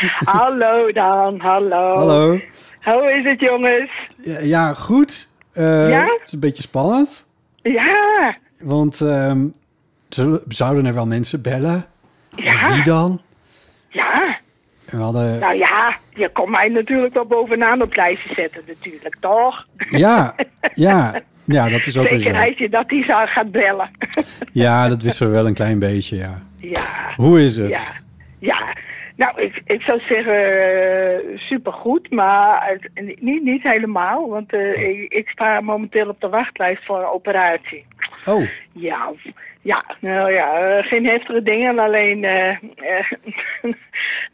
[SPEAKER 7] Hallo Daan, hallo.
[SPEAKER 3] Hallo.
[SPEAKER 7] Hoe is het jongens?
[SPEAKER 3] Ja, ja, goed. Eh,
[SPEAKER 7] Ja?
[SPEAKER 3] Het is een beetje spannend.
[SPEAKER 7] Ja,
[SPEAKER 3] Want ehm, zullen- zouden er wel mensen bellen? En wie dan?
[SPEAKER 7] ja.
[SPEAKER 3] En we hadden...
[SPEAKER 7] Nou ja, je kon mij natuurlijk wel bovenaan op het lijstje zetten natuurlijk, toch?
[SPEAKER 3] ja, ja, ja, dat is ook weer
[SPEAKER 7] Zeker
[SPEAKER 3] zo.
[SPEAKER 7] weet je dat hij zou gaan bellen.
[SPEAKER 3] Ja, dat wisten we wel een klein beetje, ja.
[SPEAKER 7] Ja,
[SPEAKER 3] Hoe is het?
[SPEAKER 7] ja, ja. Nou, ik, ik zou zeggen eh, supergoed, maar het- niet, niet helemaal. Want eh, ik, ik sta momenteel op de wachtlijst voor een operatie.
[SPEAKER 3] Oh,
[SPEAKER 7] Ja, ja, nou ja, eh, geen heftige dingen, alleen eh, eh,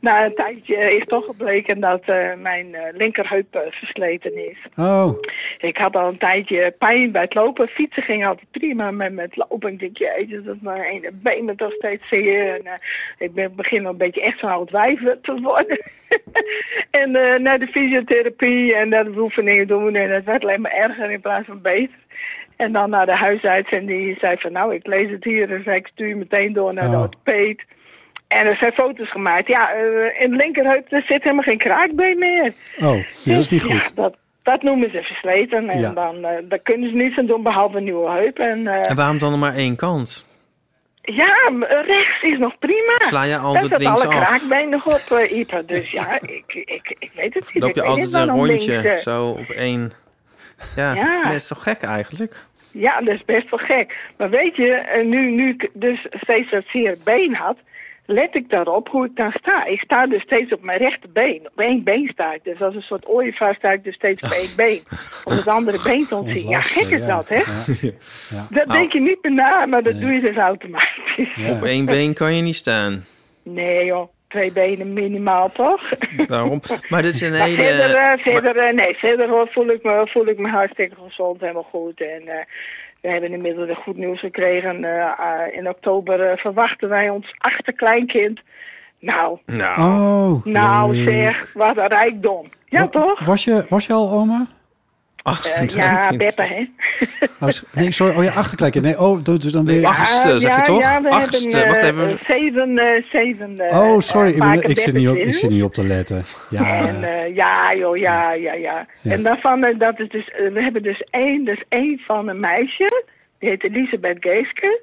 [SPEAKER 7] na een tijdje is toch gebleken dat eh, mijn eh, linkerheup eh, versleten is.
[SPEAKER 3] oh.
[SPEAKER 7] Ik had al een tijdje pijn bij het lopen. Fietsen ging altijd prima, maar met lopen ik denk jezus, dat mijn ene been me toch steeds zeer. En, eh, ik ben begin al een beetje echt zo'n oud wijf te worden. en eh, naar de fysiotherapie en naar de oefeningen doen. En het werd alleen maar erger in plaats van beter. En dan naar de huisarts en die zei van nou, ik lees het hier. En zei, ik stuur je meteen door naar de orthopeed. En er zijn foto's gemaakt. Ja, eh, in de linkerheup er zit helemaal geen kraakbeen meer.
[SPEAKER 3] Oh, ja, dat is niet
[SPEAKER 7] Ja,
[SPEAKER 3] goed.
[SPEAKER 7] dat, dat noemen ze versleten. En
[SPEAKER 5] Ja.
[SPEAKER 7] dan eh, daar kunnen ze niets aan doen behalve een nieuwe heup. En, eh,
[SPEAKER 5] En waarom dan nog maar één kant?
[SPEAKER 7] ja, m- rechts is nog prima.
[SPEAKER 5] Sla je altijd
[SPEAKER 7] Daar staat
[SPEAKER 5] links
[SPEAKER 7] alle
[SPEAKER 5] af?
[SPEAKER 7] kraakbeen nog op, eh, Ipa. Dus ja, ik, ik, ik weet het niet.
[SPEAKER 5] Loop
[SPEAKER 7] Ik
[SPEAKER 5] je
[SPEAKER 7] weet
[SPEAKER 5] altijd
[SPEAKER 7] niet waarom
[SPEAKER 5] een rondje,
[SPEAKER 7] links, eh,
[SPEAKER 5] zo op één. Ja,
[SPEAKER 7] Ja.
[SPEAKER 5] dat is toch gek eigenlijk?
[SPEAKER 7] Ja, dat is best wel gek. Maar weet je, eh, nu, nu ik dus steeds dat zeer been had, let ik daarop hoe ik dan sta. Ik sta dus steeds op mijn rechterbeen. Op één been sta ik. Dus als een soort ooievaar sta ik dus steeds op één been. Om het andere been te ontzien. Ja,
[SPEAKER 5] lastig,
[SPEAKER 7] gek is
[SPEAKER 5] ja.
[SPEAKER 7] dat, hè?
[SPEAKER 3] Ja.
[SPEAKER 7] Dat
[SPEAKER 5] Nou,
[SPEAKER 7] denk je niet meer na, maar dat doe je dus automatisch.
[SPEAKER 5] Op één been kan je niet staan.
[SPEAKER 7] Nee joh, twee benen minimaal toch?
[SPEAKER 5] Daarom. Maar dit is een
[SPEAKER 7] Maar verder,
[SPEAKER 5] hele...
[SPEAKER 7] eh, verder, eh, nee, verder hoor, voel, ik me, voel ik me hartstikke gezond, helemaal goed. En eh, we hebben inmiddels weer goed nieuws gekregen. Eh, eh, in oktober eh, verwachten wij ons achterkleinkind. Nou,
[SPEAKER 5] Nou,
[SPEAKER 3] Oh.
[SPEAKER 7] nou
[SPEAKER 3] leuk.
[SPEAKER 7] zeg, wat een rijkdom. Ja
[SPEAKER 3] Wa-
[SPEAKER 7] toch?
[SPEAKER 3] Was je, was je al oma?
[SPEAKER 7] Eh, ja, Beppe hè.
[SPEAKER 3] Oh, s- nee, sorry. Oh ja, achterkijken. Nee, oh, dus dan weer...
[SPEAKER 7] Ja, ja, Ja, we hebben, eh, eh, Zeven, eh, zeven. eh,
[SPEAKER 3] Oh, sorry. Ik,
[SPEAKER 7] eh,
[SPEAKER 3] ben-
[SPEAKER 7] paken
[SPEAKER 3] ik, zit
[SPEAKER 7] Beppes
[SPEAKER 3] niet op,
[SPEAKER 7] in.
[SPEAKER 3] ik zit niet op te letten. Ja.
[SPEAKER 7] En eh, ja, joh, ja, ja, ja.
[SPEAKER 3] Ja.
[SPEAKER 7] En daarvan, eh, dat is dus, eh, we hebben dus één, dus één van een meisje, die heet Elisabeth Geeske.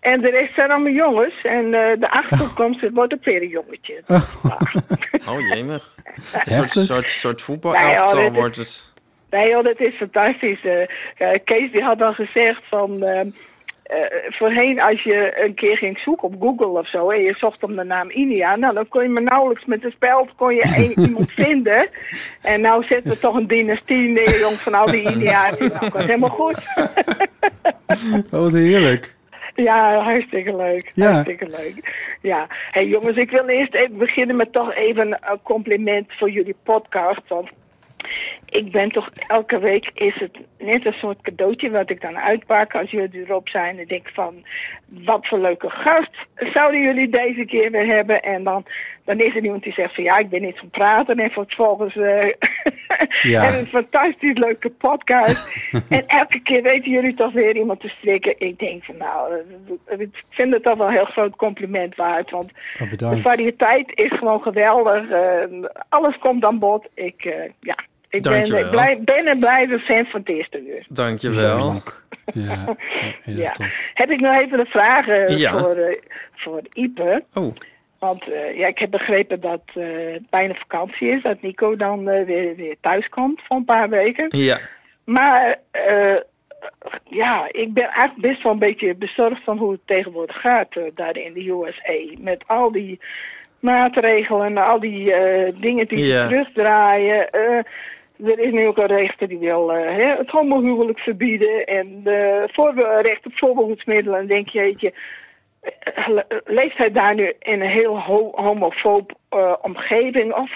[SPEAKER 7] En de rest zijn allemaal jongens. En eh, de achterkomst het wordt ook weer een jongetje.
[SPEAKER 5] Oh, jemig. Een soort,
[SPEAKER 3] Heftig.
[SPEAKER 5] soort, soort
[SPEAKER 7] Nee,
[SPEAKER 5] voetbalelftal
[SPEAKER 7] hoor, Nou dit
[SPEAKER 5] wordt het.
[SPEAKER 7] Nee joh, dat is fantastisch. Eh, eh, Kees die had al gezegd van... ehm, eh, voorheen als je een keer ging zoeken op Google of zo... en je zocht om de naam India... nou dan kon je maar nauwelijks met de speld kon je één iemand vinden. En nou zetten we toch een dynastie neer, jong, van al die India's. Nou, dat was helemaal goed.
[SPEAKER 3] Oh, wat heerlijk.
[SPEAKER 7] Ja, hartstikke leuk.
[SPEAKER 3] Ja.
[SPEAKER 7] Hartstikke leuk. Ja. hey, jongens, ik wil eerst even beginnen met toch even een compliment voor jullie podcast. Want ik ben toch elke week is het net een soort cadeautje wat ik dan uitpak als jullie erop zijn. En denk van, wat voor leuke gast zouden jullie deze keer weer hebben? En dan, dan is er iemand die zegt van ja, ik ben niet van praten. En vervolgens eh,
[SPEAKER 8] Ja.
[SPEAKER 7] en een fantastisch leuke podcast. en elke keer weten jullie toch weer iemand te strikken. Ik denk van nou, eh, ik vind het toch wel een heel groot compliment waard. Want
[SPEAKER 3] Oh,
[SPEAKER 7] de
[SPEAKER 3] bedankt.
[SPEAKER 7] variëteit is gewoon geweldig. Eh, alles komt aan bod. Ik, eh, ja, ik ben,
[SPEAKER 5] Dankjewel.
[SPEAKER 7] ik blij- ben en blijf een fan van het eerste uur.
[SPEAKER 5] Dankjewel.
[SPEAKER 3] Ja,
[SPEAKER 7] Ja. Heb ik nog even een vraag eh,
[SPEAKER 5] Ja.
[SPEAKER 7] voor, eh, voor Ipe?
[SPEAKER 5] Oh.
[SPEAKER 7] Want eh, ja, ik heb begrepen dat eh, het bijna vakantie is. Dat Nico dan eh, weer, weer thuis komt voor een paar weken.
[SPEAKER 5] Ja.
[SPEAKER 7] Maar eh, ja, ik ben eigenlijk best wel een beetje bezorgd van hoe het tegenwoordig gaat eh, daar in de USA. Met al die maatregelen, en al die eh, dingen die
[SPEAKER 8] Ja.
[SPEAKER 7] ze terugdraaien. Eh, er is nu ook een rechter die wil eh, hè, het homohuwelijk verbieden en eh voorbe- recht op voorbehoedsmiddelen. En denk je, jeetje, eh, le- leeft hij daar nu in een heel ho homofoob eh, omgeving of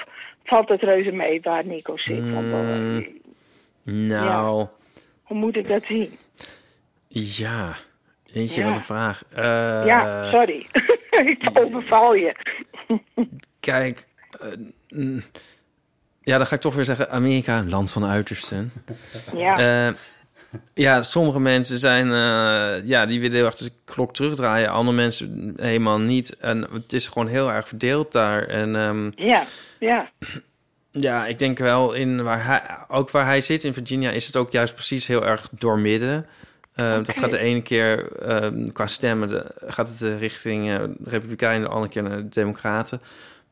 [SPEAKER 7] valt het reuze mee waar Nico zit? Want, eh,
[SPEAKER 5] Mm, nou,
[SPEAKER 7] hoe moet ik dat zien?
[SPEAKER 5] ja. Eentje,
[SPEAKER 7] Ja.
[SPEAKER 5] wat een vraag. Eh,
[SPEAKER 7] ja, sorry. ik overval je.
[SPEAKER 5] Kijk, eh, mm, ja, dan ga ik toch weer zeggen: Amerika, land van de uitersten.
[SPEAKER 7] Ja.
[SPEAKER 5] Eh, ja, sommige mensen zijn, eh, ja, die willen heel erg de klok terugdraaien. Andere mensen helemaal niet. En het is gewoon heel erg verdeeld daar. En ehm,
[SPEAKER 7] Ja, ja.
[SPEAKER 5] ja, ik denk wel in waar hij, ook waar hij zit in Virginia, is het ook juist precies heel erg doormidden. Eh, Dat gaat de ene keer ehm, qua stemmen de- gaat het eh, richting eh, de Republikeinen, de andere keer naar de Democraten.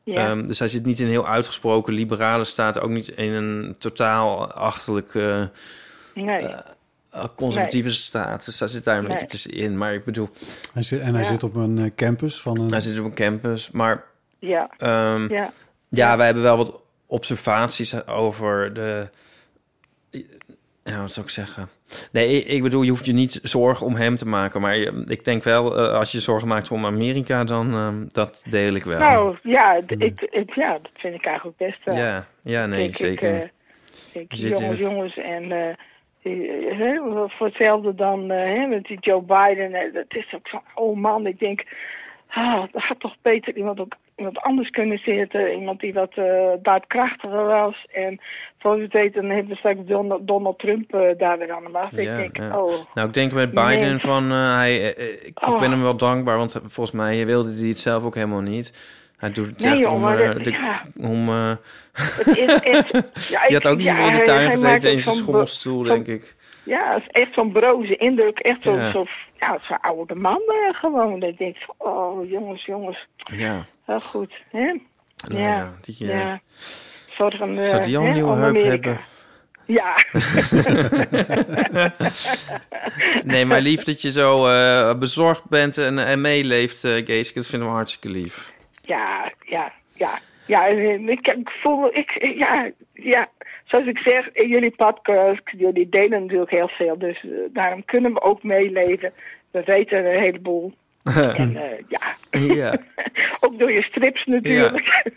[SPEAKER 9] Ja.
[SPEAKER 5] Ehm, dus hij zit niet in een heel uitgesproken liberale staat, ook niet in een totaal eh, achterlijke
[SPEAKER 7] Nee.
[SPEAKER 5] eh, conservatieve staat. Dus daar zit daar een beetje
[SPEAKER 7] Nee.
[SPEAKER 5] tussenin. Maar ik bedoel,
[SPEAKER 3] Hij zit, en hij
[SPEAKER 5] Ja.
[SPEAKER 3] zit op een eh, campus van een...
[SPEAKER 5] hij zit op een campus, maar
[SPEAKER 7] Ja.
[SPEAKER 5] Ehm,
[SPEAKER 7] Ja.
[SPEAKER 5] ja. wij hebben wel wat observaties over de. Ja, wat zou ik zeggen? Nee, ik, ik bedoel, je hoeft je niet zorgen om hem te maken. Maar je- ik denk wel, eh, als je zorgen maakt om Amerika, dan ehm, dat deel ik wel.
[SPEAKER 7] Nou, ja, d- ik, ik- ja, dat vind ik eigenlijk best wel.
[SPEAKER 5] Mm. ja, ja, nee,
[SPEAKER 7] Denk ik,
[SPEAKER 5] zeker.
[SPEAKER 7] eh, Ik,
[SPEAKER 5] Zit
[SPEAKER 7] jongens,
[SPEAKER 5] er-
[SPEAKER 7] jongens, en eh, eh, hè, voor hetzelfde dan eh, hè, met die Joe Biden. eh, dat is ook van, oh man, ik denk, ah, dat had toch beter iemand, ook, iemand anders kunnen zitten. Iemand die wat eh, daadkrachtiger was. En zoals het heet, dan hebben we straks Donald, Donald Trump eh, daar weer aan de macht.
[SPEAKER 5] Ja,
[SPEAKER 7] ik denk,
[SPEAKER 5] ja.
[SPEAKER 7] oh,
[SPEAKER 5] nou, ik denk met Biden
[SPEAKER 7] nee.
[SPEAKER 5] van eh, hij, eh, eh, ik,
[SPEAKER 7] Oh.
[SPEAKER 5] ik ben hem wel dankbaar, want volgens mij wilde hij het zelf ook helemaal niet. Hij doet het
[SPEAKER 7] Nee,
[SPEAKER 5] echt
[SPEAKER 7] joh,
[SPEAKER 5] om,
[SPEAKER 7] maar
[SPEAKER 5] eh,
[SPEAKER 7] dat-
[SPEAKER 5] de-
[SPEAKER 7] ja.
[SPEAKER 5] om eh,
[SPEAKER 7] het is echt... Ja,
[SPEAKER 5] je had
[SPEAKER 7] ik-
[SPEAKER 5] ook niet
[SPEAKER 7] ja,
[SPEAKER 5] meer in
[SPEAKER 7] hij-
[SPEAKER 5] de
[SPEAKER 7] hij
[SPEAKER 5] tuin
[SPEAKER 7] maakt
[SPEAKER 5] gezeten
[SPEAKER 7] ook
[SPEAKER 5] in zijn
[SPEAKER 7] zo'n be-
[SPEAKER 5] schommelstoel,
[SPEAKER 7] zo'n-
[SPEAKER 5] denk ik.
[SPEAKER 7] Ja, het is echt zo'n broze indruk. Echt zo'n
[SPEAKER 5] Ja.
[SPEAKER 7] zo, ja, zo'n oude man eh, gewoon. Dat ik denk van, oh jongens, jongens.
[SPEAKER 5] Ja.
[SPEAKER 7] Wel goed, hè?
[SPEAKER 5] Nou ja, die, eh,
[SPEAKER 7] Zorgen, eh,
[SPEAKER 5] Zou die al
[SPEAKER 7] hè,
[SPEAKER 5] een nieuwe
[SPEAKER 7] om
[SPEAKER 5] heup
[SPEAKER 7] Amerika.
[SPEAKER 5] hebben?
[SPEAKER 7] Ja.
[SPEAKER 5] nee, maar lief dat je zo eh, bezorgd bent en, en meeleeft, eh Geeske. Dat vinden we hartstikke lief.
[SPEAKER 7] Ja, ja, ja. Ja, en ik, ik voel, ik, ja, ja, zoals ik zeg, in jullie podcast, jullie delen natuurlijk heel veel. Dus eh, daarom kunnen we ook meeleven. We weten een heleboel. En eh, ja,
[SPEAKER 5] ja.
[SPEAKER 7] ook door je strips natuurlijk.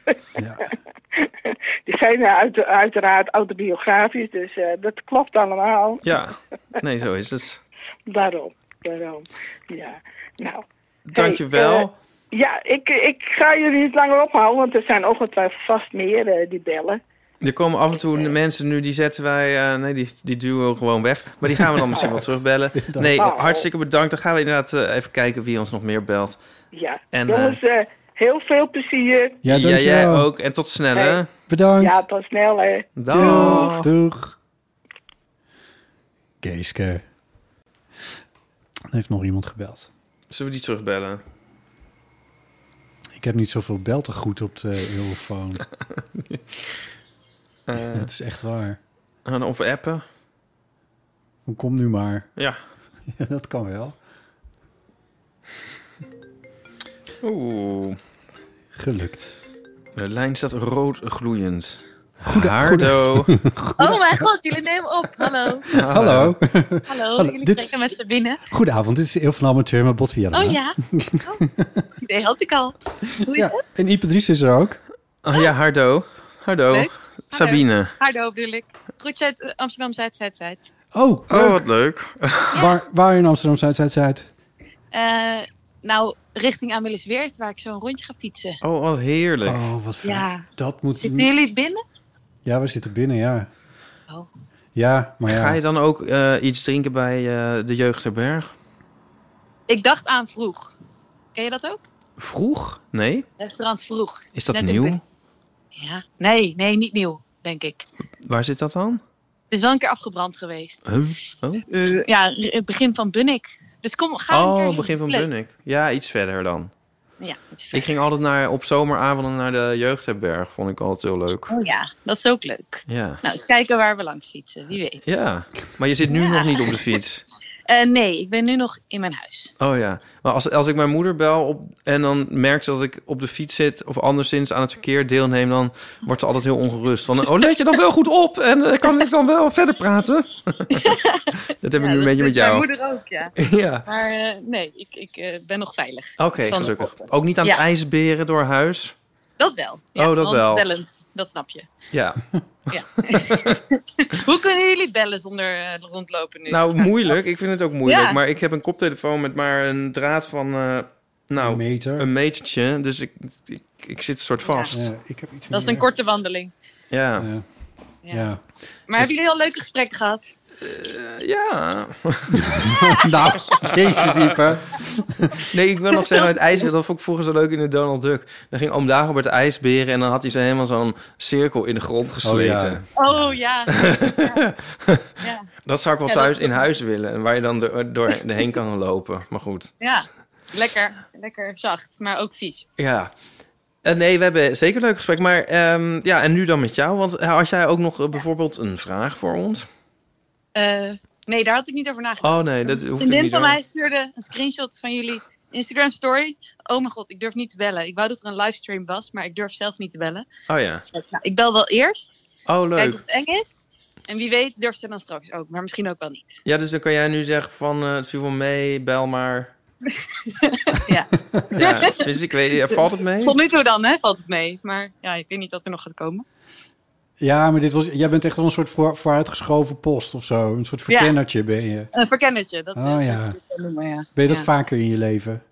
[SPEAKER 7] Die zijn eh, uit, uiteraard autobiografisch, dus eh, dat klopt allemaal.
[SPEAKER 5] Ja, nee, zo is het.
[SPEAKER 7] Daarom, daarom. Ja, nou.
[SPEAKER 5] Dankjewel.
[SPEAKER 7] Hey, eh, ja, ik, ik ga jullie niet langer ophouden, want er zijn ongetwijfeld vast meer eh, die bellen.
[SPEAKER 5] Er komen af en toe mensen nu, die zetten wij... eh, nee, die, die duwen we gewoon weg. Maar die gaan we dan misschien wel terugbellen. Nee,
[SPEAKER 3] Nou,
[SPEAKER 7] Oh.
[SPEAKER 5] hartstikke bedankt. Dan gaan we inderdaad eh, even kijken wie ons nog meer belt.
[SPEAKER 7] Ja,
[SPEAKER 5] En,
[SPEAKER 7] jongens, eh, heel veel plezier.
[SPEAKER 5] Ja, jij
[SPEAKER 3] dankjewel.
[SPEAKER 5] ook. En tot snel, hè?
[SPEAKER 3] Bedankt.
[SPEAKER 7] Ja, tot snel, hè.
[SPEAKER 5] Dag.
[SPEAKER 3] Doeg. Geeske. Er heeft nog iemand gebeld.
[SPEAKER 5] Zullen we die terugbellen?
[SPEAKER 3] Ik heb niet zoveel belten goed op de telefoon.
[SPEAKER 5] Eh,
[SPEAKER 3] Het is echt waar.
[SPEAKER 5] en of appen?
[SPEAKER 3] Kom nu maar.
[SPEAKER 5] Ja.
[SPEAKER 3] Ja, dat kan wel.
[SPEAKER 5] Oeh.
[SPEAKER 3] Gelukt.
[SPEAKER 5] De lijn staat rood gloeiend.
[SPEAKER 3] Goede-
[SPEAKER 5] Haardo.
[SPEAKER 10] Oh mijn god, jullie nemen op. Hallo.
[SPEAKER 3] Hallo.
[SPEAKER 10] Hallo, jullie
[SPEAKER 3] dit
[SPEAKER 10] spreken met Sabine.
[SPEAKER 3] Goedenavond, dit is Eel van Amateur met Botviella.
[SPEAKER 10] Oh ja. Oh, nee, had ik al. Hoe is het?
[SPEAKER 3] En Ipadries is er ook.
[SPEAKER 5] Oh ja, Hardo. Hardo.
[SPEAKER 10] Leuk.
[SPEAKER 5] Sabine.
[SPEAKER 10] Hallo bedoel ik. Groetje uit eh, Amsterdam Zuid-Zuid-Zuid.
[SPEAKER 3] Oh,
[SPEAKER 5] Oh, wat leuk.
[SPEAKER 3] Waar, waar in Amsterdam Zuid-Zuid-Zuid?
[SPEAKER 10] Eh, nou, richting Amelisweert, waar ik zo een rondje ga fietsen.
[SPEAKER 5] Oh, wat heerlijk.
[SPEAKER 3] Oh, wat fijn.
[SPEAKER 10] Ja.
[SPEAKER 3] Dat moet...
[SPEAKER 10] Zitten
[SPEAKER 5] Hm.
[SPEAKER 10] jullie binnen?
[SPEAKER 3] Ja, we zitten binnen, ja.
[SPEAKER 10] Oh.
[SPEAKER 3] Ja, maar ja.
[SPEAKER 5] Ga je dan ook eh, iets drinken bij eh, de Jeugdherberg?
[SPEAKER 10] Ik dacht aan vroeg. Ken je dat ook?
[SPEAKER 5] Vroeg? Nee.
[SPEAKER 10] Restaurant vroeg.
[SPEAKER 5] Is dat
[SPEAKER 10] Net in
[SPEAKER 5] nieuw?
[SPEAKER 10] Bun- Ja. Nee, nee, niet nieuw, denk ik.
[SPEAKER 5] Waar zit dat dan?
[SPEAKER 10] Het is wel een keer afgebrand geweest.
[SPEAKER 5] Huh? Oh,
[SPEAKER 10] Eh, ja, r- het begin van Bunnik. Dus kom, ga een keer
[SPEAKER 5] oh
[SPEAKER 10] heen.
[SPEAKER 5] begin van
[SPEAKER 10] Leuk.
[SPEAKER 5] Bunnik. Ja, iets verder dan.
[SPEAKER 10] Ja, het is
[SPEAKER 5] Ik ging altijd naar, op zomeravonden naar de Jeugdherberg. Vond ik altijd heel leuk.
[SPEAKER 10] Oh ja, dat is ook leuk.
[SPEAKER 5] Ja.
[SPEAKER 10] Nou, eens kijken waar we langs fietsen, wie weet.
[SPEAKER 5] Ja, maar je zit nu nog niet op de fiets.
[SPEAKER 10] Eh, nee, ik ben nu nog in mijn huis.
[SPEAKER 5] Oh ja, maar als, als ik mijn moeder bel op, en dan merkt ze dat ik op de fiets zit... of anderszins aan het verkeer deelneem, dan wordt ze altijd heel ongerust. Van, oh, let je dan wel goed op en eh, kan ik dan wel verder praten? dat heb ik nu een beetje met jou.
[SPEAKER 10] Mijn moeder ook, ja.
[SPEAKER 5] Ja.
[SPEAKER 10] Maar eh, nee, ik, ik eh, ben nog veilig.
[SPEAKER 5] Oké,
[SPEAKER 10] Ik zal nog
[SPEAKER 5] gelukkig.
[SPEAKER 10] op-
[SPEAKER 5] Ook niet aan het
[SPEAKER 10] Ja.
[SPEAKER 5] ijsberen door huis?
[SPEAKER 10] Dat wel. Ja,
[SPEAKER 5] Oh, dat
[SPEAKER 10] want
[SPEAKER 5] wel.
[SPEAKER 10] Bellen, dat snap je.
[SPEAKER 5] Ja.
[SPEAKER 10] Ja. Hoe kunnen jullie bellen zonder eh, rondlopen nu?
[SPEAKER 5] Nou, moeilijk. Ik vind het ook moeilijk.
[SPEAKER 10] Ja.
[SPEAKER 5] Maar ik heb een koptelefoon met maar een draad van... eh, nou, een, meter. een metertje. Dus ik, ik, ik zit een soort vast.
[SPEAKER 3] Ja, ik heb iets
[SPEAKER 10] Dat is een korte wandeling.
[SPEAKER 5] Ja.
[SPEAKER 10] Ja. Maar hebben jullie al leuke gesprekken gehad?
[SPEAKER 5] Eh, ja.
[SPEAKER 3] nou, jezus, Ieper.
[SPEAKER 5] Nee, ik wil nog zeggen, het ijsbeer, dat vond ik vroeger zo leuk in de Donald Duck. Dan ging oom Dagobert ijsberen en dan had hij zo helemaal zo'n cirkel in de grond gesleten.
[SPEAKER 10] Oh ja. Ja. Ja.
[SPEAKER 5] Dat zou ik wel
[SPEAKER 10] Ja, dat-
[SPEAKER 5] thuis in huis willen, en waar je dan door, door heen kan lopen. Maar goed.
[SPEAKER 10] Ja, lekker, lekker zacht, maar ook vies.
[SPEAKER 5] Ja. Eh, nee, we hebben zeker een leuk gesprek. Maar ehm, ja, en nu dan met jou. Want had jij ook nog eh, bijvoorbeeld een vraag voor ons?
[SPEAKER 10] Eh, nee, daar had ik niet over nagedacht.
[SPEAKER 5] Oh nee, dat hoeft
[SPEAKER 10] Een vriendin
[SPEAKER 5] niet.
[SPEAKER 10] van
[SPEAKER 5] hoor.
[SPEAKER 10] mij stuurde een screenshot van jullie Instagram story. Oh mijn god, ik durf niet te bellen. Ik wou dat er een livestream was, maar ik durf zelf niet te bellen.
[SPEAKER 5] Oh ja.
[SPEAKER 10] Dus ik, nou, ik bel wel eerst.
[SPEAKER 5] Oh,
[SPEAKER 10] Kijk of
[SPEAKER 5] leuk.
[SPEAKER 10] het eng is. En wie weet durft ze dan straks ook, maar misschien ook wel niet.
[SPEAKER 5] Ja, dus dan kan jij nu zeggen van eh, het viel wel mee, bel maar. ja. Ja, dus ik weet niet, valt het mee?
[SPEAKER 10] Tot nu toe dan, hè? Valt het mee. Maar ja, ik weet niet wat er nog gaat komen.
[SPEAKER 3] Ja, maar dit was, jij bent echt wel een soort voor, vooruitgeschoven post of zo. Een soort verkennertje ben je.
[SPEAKER 10] Een verkennetje, dat
[SPEAKER 3] Oh,
[SPEAKER 10] eh,
[SPEAKER 3] ja.
[SPEAKER 10] zou ik het wel noemen, ja.
[SPEAKER 3] Ben je dat
[SPEAKER 10] Ja.
[SPEAKER 3] vaker in je leven?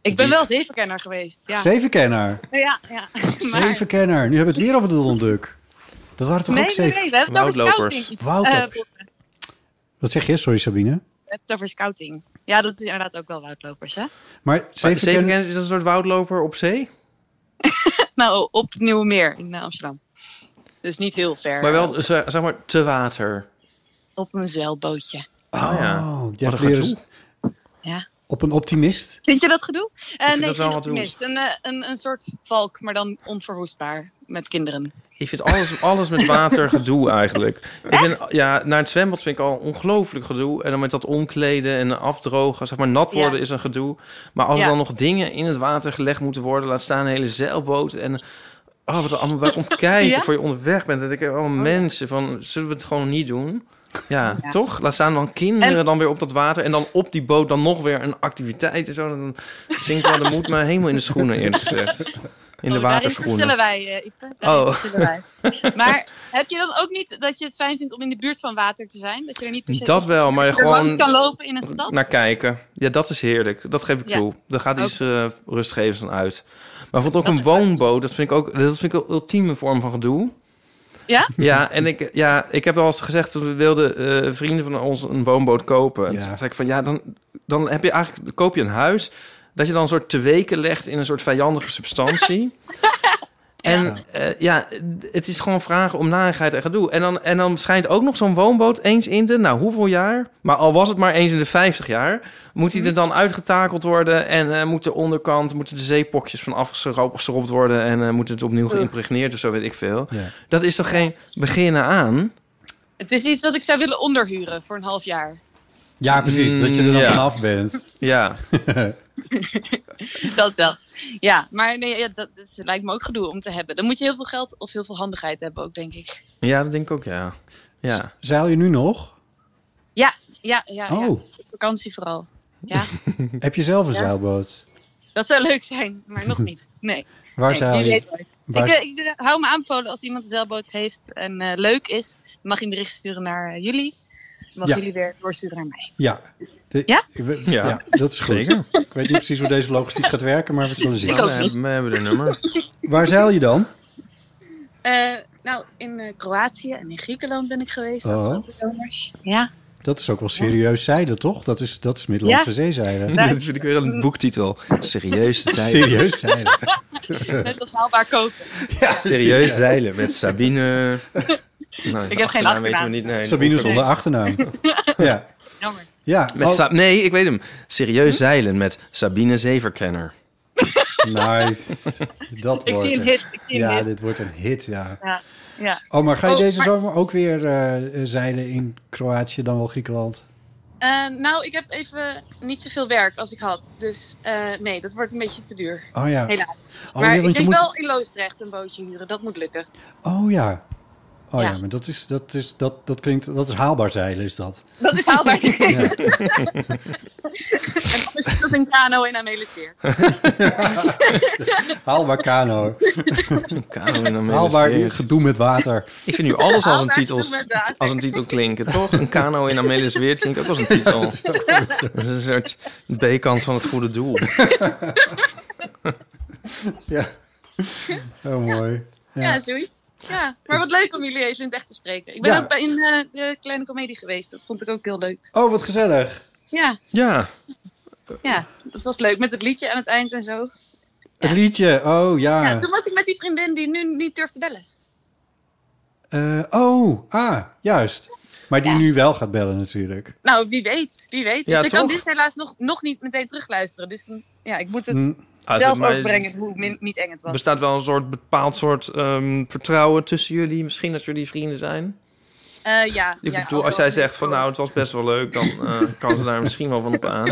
[SPEAKER 10] Ik ben wel zevenkenner geweest. Ja.
[SPEAKER 3] Zevenkenner.
[SPEAKER 10] Ja, ja.
[SPEAKER 3] Zevenkenner. Nu hebben we het weer over de donduk. Dat waren toch
[SPEAKER 10] nee,
[SPEAKER 3] ook
[SPEAKER 10] nee,
[SPEAKER 3] zeven?
[SPEAKER 10] nee, we hebben het over scouting.
[SPEAKER 3] Woudlopers.
[SPEAKER 10] Eh,
[SPEAKER 3] Wat zeg je? Sorry Sabine.
[SPEAKER 10] we hebben het over scouting. Ja, dat is inderdaad ook wel woudlopers, hè?
[SPEAKER 3] Maar
[SPEAKER 5] Zeven
[SPEAKER 3] zevenkenner...
[SPEAKER 5] Kennis is een soort woudloper op zee?
[SPEAKER 10] nou, op het Nieuwe Meer in eh, Amsterdam. Dus niet heel ver.
[SPEAKER 5] Maar wel,
[SPEAKER 10] eh,
[SPEAKER 5] eh, zeg maar, te water.
[SPEAKER 10] Op een zeilbootje.
[SPEAKER 5] Oh, ja.
[SPEAKER 3] Oh, jij
[SPEAKER 5] Wat een
[SPEAKER 3] hebt weer eens
[SPEAKER 5] gedoe.
[SPEAKER 10] Ja.
[SPEAKER 3] op een optimist.
[SPEAKER 10] Vind je dat gedoe? Eh,
[SPEAKER 5] vind
[SPEAKER 10] nee,
[SPEAKER 5] dat wel
[SPEAKER 10] geen
[SPEAKER 5] gedoe.
[SPEAKER 10] optimist. Een, eh, een, een soort valk, maar dan onverwoestbaar met kinderen.
[SPEAKER 5] Ik vind alles, alles met water gedoe eigenlijk. Ik vind, ja, naar het zwembad vind ik al ongelooflijk gedoe. En dan met dat omkleden en afdrogen. Zeg maar nat worden
[SPEAKER 10] Ja.
[SPEAKER 5] is een gedoe. Maar als
[SPEAKER 10] Ja.
[SPEAKER 5] er dan nog dingen in het water gelegd moeten worden... laat staan een hele zeilboot en... Oh, wat er allemaal bij komt kijken
[SPEAKER 10] Ja?
[SPEAKER 5] voor je onderweg bent. Dan denk ik, oh, mensen, van, zullen we het gewoon niet doen? Ja,
[SPEAKER 10] Ja.
[SPEAKER 5] toch? Laat staan dan kinderen
[SPEAKER 10] En-
[SPEAKER 5] dan weer op dat water... en dan op die boot dan nog weer een activiteit en zo. Dan zinkt wel de moed me helemaal in de schoenen, eerlijk gezegd. In de
[SPEAKER 10] Daarin
[SPEAKER 5] waterschoenen.
[SPEAKER 10] verschillen wij, eh Ipe. Daarin
[SPEAKER 5] Oh.
[SPEAKER 10] verschillen wij. Maar heb je dan ook niet dat je het fijn vindt om in de buurt van water te zijn? Dat je er niet per se
[SPEAKER 5] Dat wel, maar
[SPEAKER 10] er
[SPEAKER 5] gewoon-
[SPEAKER 10] langs kan lopen in een stad?
[SPEAKER 5] naar kijken. Ja, dat is heerlijk. Dat geef ik
[SPEAKER 10] Ja.
[SPEAKER 5] toe. Daar gaat iets eh rustgevends aan uit. Maar bijvoorbeeld ook een woonboot, dat vind ik ook dat vind ik een ultieme vorm van gedoe.
[SPEAKER 10] Ja?
[SPEAKER 5] Ja, en ik, ja, ik heb al eens gezegd, we wilden eh, vrienden van ons een woonboot kopen. En
[SPEAKER 3] Ja.
[SPEAKER 5] toen zei ik van, ja, dan, dan heb je eigenlijk, dan koop je een huis... dat je dan een soort te weken legt in een soort vijandige substantie. En eh, ja, het is gewoon vragen om narigheid en gedoe. En dan, en dan schijnt ook nog zo'n woonboot eens in de, nou hoeveel jaar, maar al was het maar eens in de 50 jaar, moet die er dan uitgetakeld worden en eh, moet de onderkant, moeten de zeepokjes van afgeschropt worden en eh, moet het opnieuw
[SPEAKER 10] Ugh.
[SPEAKER 5] geïmpregneerd of zo, weet ik veel. Dat is toch geen beginnen aan?
[SPEAKER 10] Het is iets wat ik zou willen onderhuren voor een half jaar.
[SPEAKER 3] Ja, precies. dat je er
[SPEAKER 5] Mm,
[SPEAKER 3] dan
[SPEAKER 5] ja.
[SPEAKER 3] vanaf bent.
[SPEAKER 5] Ja.
[SPEAKER 10] dat wel. Ja, maar nee, ja, dat, dat lijkt me ook gedoe om te hebben. Dan moet je heel veel geld of heel veel handigheid hebben ook, denk ik.
[SPEAKER 5] Ja, dat denk ik ook, ja. ja.
[SPEAKER 3] Zeil je nu nog?
[SPEAKER 10] Ja, ja, ja. ja.
[SPEAKER 3] Oh.
[SPEAKER 10] Op vakantie vooral. Ja,
[SPEAKER 3] Heb je zelf een
[SPEAKER 10] Ja.
[SPEAKER 3] zeilboot?
[SPEAKER 10] dat zou leuk zijn, maar nog niet. Nee.
[SPEAKER 3] Waar
[SPEAKER 10] nee,
[SPEAKER 3] zeil
[SPEAKER 10] wie
[SPEAKER 3] je?
[SPEAKER 10] weet nooit.
[SPEAKER 3] Waar-
[SPEAKER 10] Ik, eh, ik eh, hou me aanbevolen als iemand een zeilboot heeft en eh, leuk is. Mag je een bericht sturen naar eh, jullie. Mag
[SPEAKER 3] Ja.
[SPEAKER 10] jullie weer doorsturen naar mij.
[SPEAKER 3] Ja. De-
[SPEAKER 10] Ja?
[SPEAKER 3] Ik weet-
[SPEAKER 5] Ja.
[SPEAKER 3] ja? dat is goed.
[SPEAKER 5] Zeker.
[SPEAKER 3] Ik weet niet precies hoe deze logistiek gaat werken, maar we zullen zien.
[SPEAKER 5] Nou, we, hebben, we hebben de nummer.
[SPEAKER 3] Waar zeil je dan?
[SPEAKER 10] Eh, nou, in eh, Kroatië en in Griekenland ben ik geweest.
[SPEAKER 3] Oh.
[SPEAKER 10] afgelopen zomers. Ja.
[SPEAKER 3] Dat is ook wel serieus zeilen, toch? Dat is, dat is Middellandse
[SPEAKER 10] Ja.
[SPEAKER 3] zeezeilen.
[SPEAKER 10] Nou,
[SPEAKER 5] Dat vind ik weer een boektitel. Serieus zeilen.
[SPEAKER 3] Serieus zeilen.
[SPEAKER 10] Net als haalbaar koken.
[SPEAKER 5] Serieus zeilen met Sabine. Nou,
[SPEAKER 10] heb geen achternaam.
[SPEAKER 5] weten we niet. Nee,
[SPEAKER 3] Sabine zonder achternaam. ja.
[SPEAKER 10] Jammer.
[SPEAKER 3] Ja.
[SPEAKER 5] Met
[SPEAKER 3] oh,
[SPEAKER 5] Sa- nee, ik weet hem. Serieus zeilen met Sabine Zeverkenner.
[SPEAKER 3] Nice. Dat
[SPEAKER 10] Ik
[SPEAKER 3] wordt
[SPEAKER 10] zie een hit, ik zie een
[SPEAKER 3] ja,
[SPEAKER 10] hit.
[SPEAKER 3] dit wordt een hit, ja.
[SPEAKER 10] Ja. ja.
[SPEAKER 3] Oh, maar ga je
[SPEAKER 10] Oh,
[SPEAKER 3] deze
[SPEAKER 10] maar-
[SPEAKER 3] zomer ook weer eh, zeilen in Kroatië, dan wel Griekenland?
[SPEAKER 10] Eh, nou, ik heb even niet zoveel werk als ik had. Dus eh, nee, dat wordt een beetje te duur.
[SPEAKER 3] Oh ja.
[SPEAKER 10] Helaas.
[SPEAKER 3] Oh
[SPEAKER 10] maar
[SPEAKER 3] ja,
[SPEAKER 10] ik
[SPEAKER 3] want je
[SPEAKER 10] denk
[SPEAKER 3] moet-
[SPEAKER 10] wel in Loosdrecht een bootje huren. Dat moet lukken.
[SPEAKER 3] Oh ja. Oh ja,
[SPEAKER 10] Ja.
[SPEAKER 3] maar dat is, dat is, dat, dat klinkt, dat is haalbaar zeilen, is dat?
[SPEAKER 10] Dat is haalbaar.
[SPEAKER 3] Ja.
[SPEAKER 10] en anders is dat een kano in Amelisweer.
[SPEAKER 3] haalbaar kano.
[SPEAKER 5] Kano in Amelisweer.
[SPEAKER 3] Haalbaar gedoe met water.
[SPEAKER 5] Ik vind nu alles als een,
[SPEAKER 10] Haalbaar
[SPEAKER 5] titel,
[SPEAKER 10] gedoe met water.
[SPEAKER 5] als een titel klinken, toch? Een kano in Amelisweert klinkt ook als een titel.
[SPEAKER 3] Ja,
[SPEAKER 5] dat,
[SPEAKER 3] dat
[SPEAKER 5] is een soort B-kant van het goede doel.
[SPEAKER 3] Ja. Oh, mooi.
[SPEAKER 10] Ja,
[SPEAKER 3] Ja.
[SPEAKER 10] zoei. Ja, maar wat leuk om jullie even in het echt te spreken. Ik ben
[SPEAKER 3] Ja.
[SPEAKER 10] ook bij in eh, de kleine komedie geweest. Dat vond ik ook heel leuk.
[SPEAKER 3] Oh, wat gezellig.
[SPEAKER 10] Ja,
[SPEAKER 5] Ja,
[SPEAKER 10] ja, dat was leuk. Met het liedje aan het eind en zo.
[SPEAKER 3] Het liedje. Oh, ja.
[SPEAKER 10] Ja, toen was ik met die vriendin die nu niet durft te bellen.
[SPEAKER 3] Eh, oh, ah, juist. Maar die nu wel gaat bellen natuurlijk.
[SPEAKER 10] Nou, wie weet. Wie weet.
[SPEAKER 3] Ja,
[SPEAKER 10] dus ik kan
[SPEAKER 3] toch?
[SPEAKER 10] dit helaas nog, nog niet meteen terugluisteren. Dus dan- ja, ik moet het
[SPEAKER 3] Mm.
[SPEAKER 5] Hm. Ah, zeg
[SPEAKER 10] zelf
[SPEAKER 5] maar-
[SPEAKER 10] overbrengen hoe min- niet eng het was.
[SPEAKER 5] Er bestaat wel een soort bepaald soort ehm, vertrouwen tussen jullie. Misschien dat jullie vrienden zijn.
[SPEAKER 10] Eh, ja,
[SPEAKER 5] Ik
[SPEAKER 10] ja,
[SPEAKER 5] bedoel, als jij zegt van nou, het was best wel leuk, dan eh, kan ze daar misschien wel van op aan.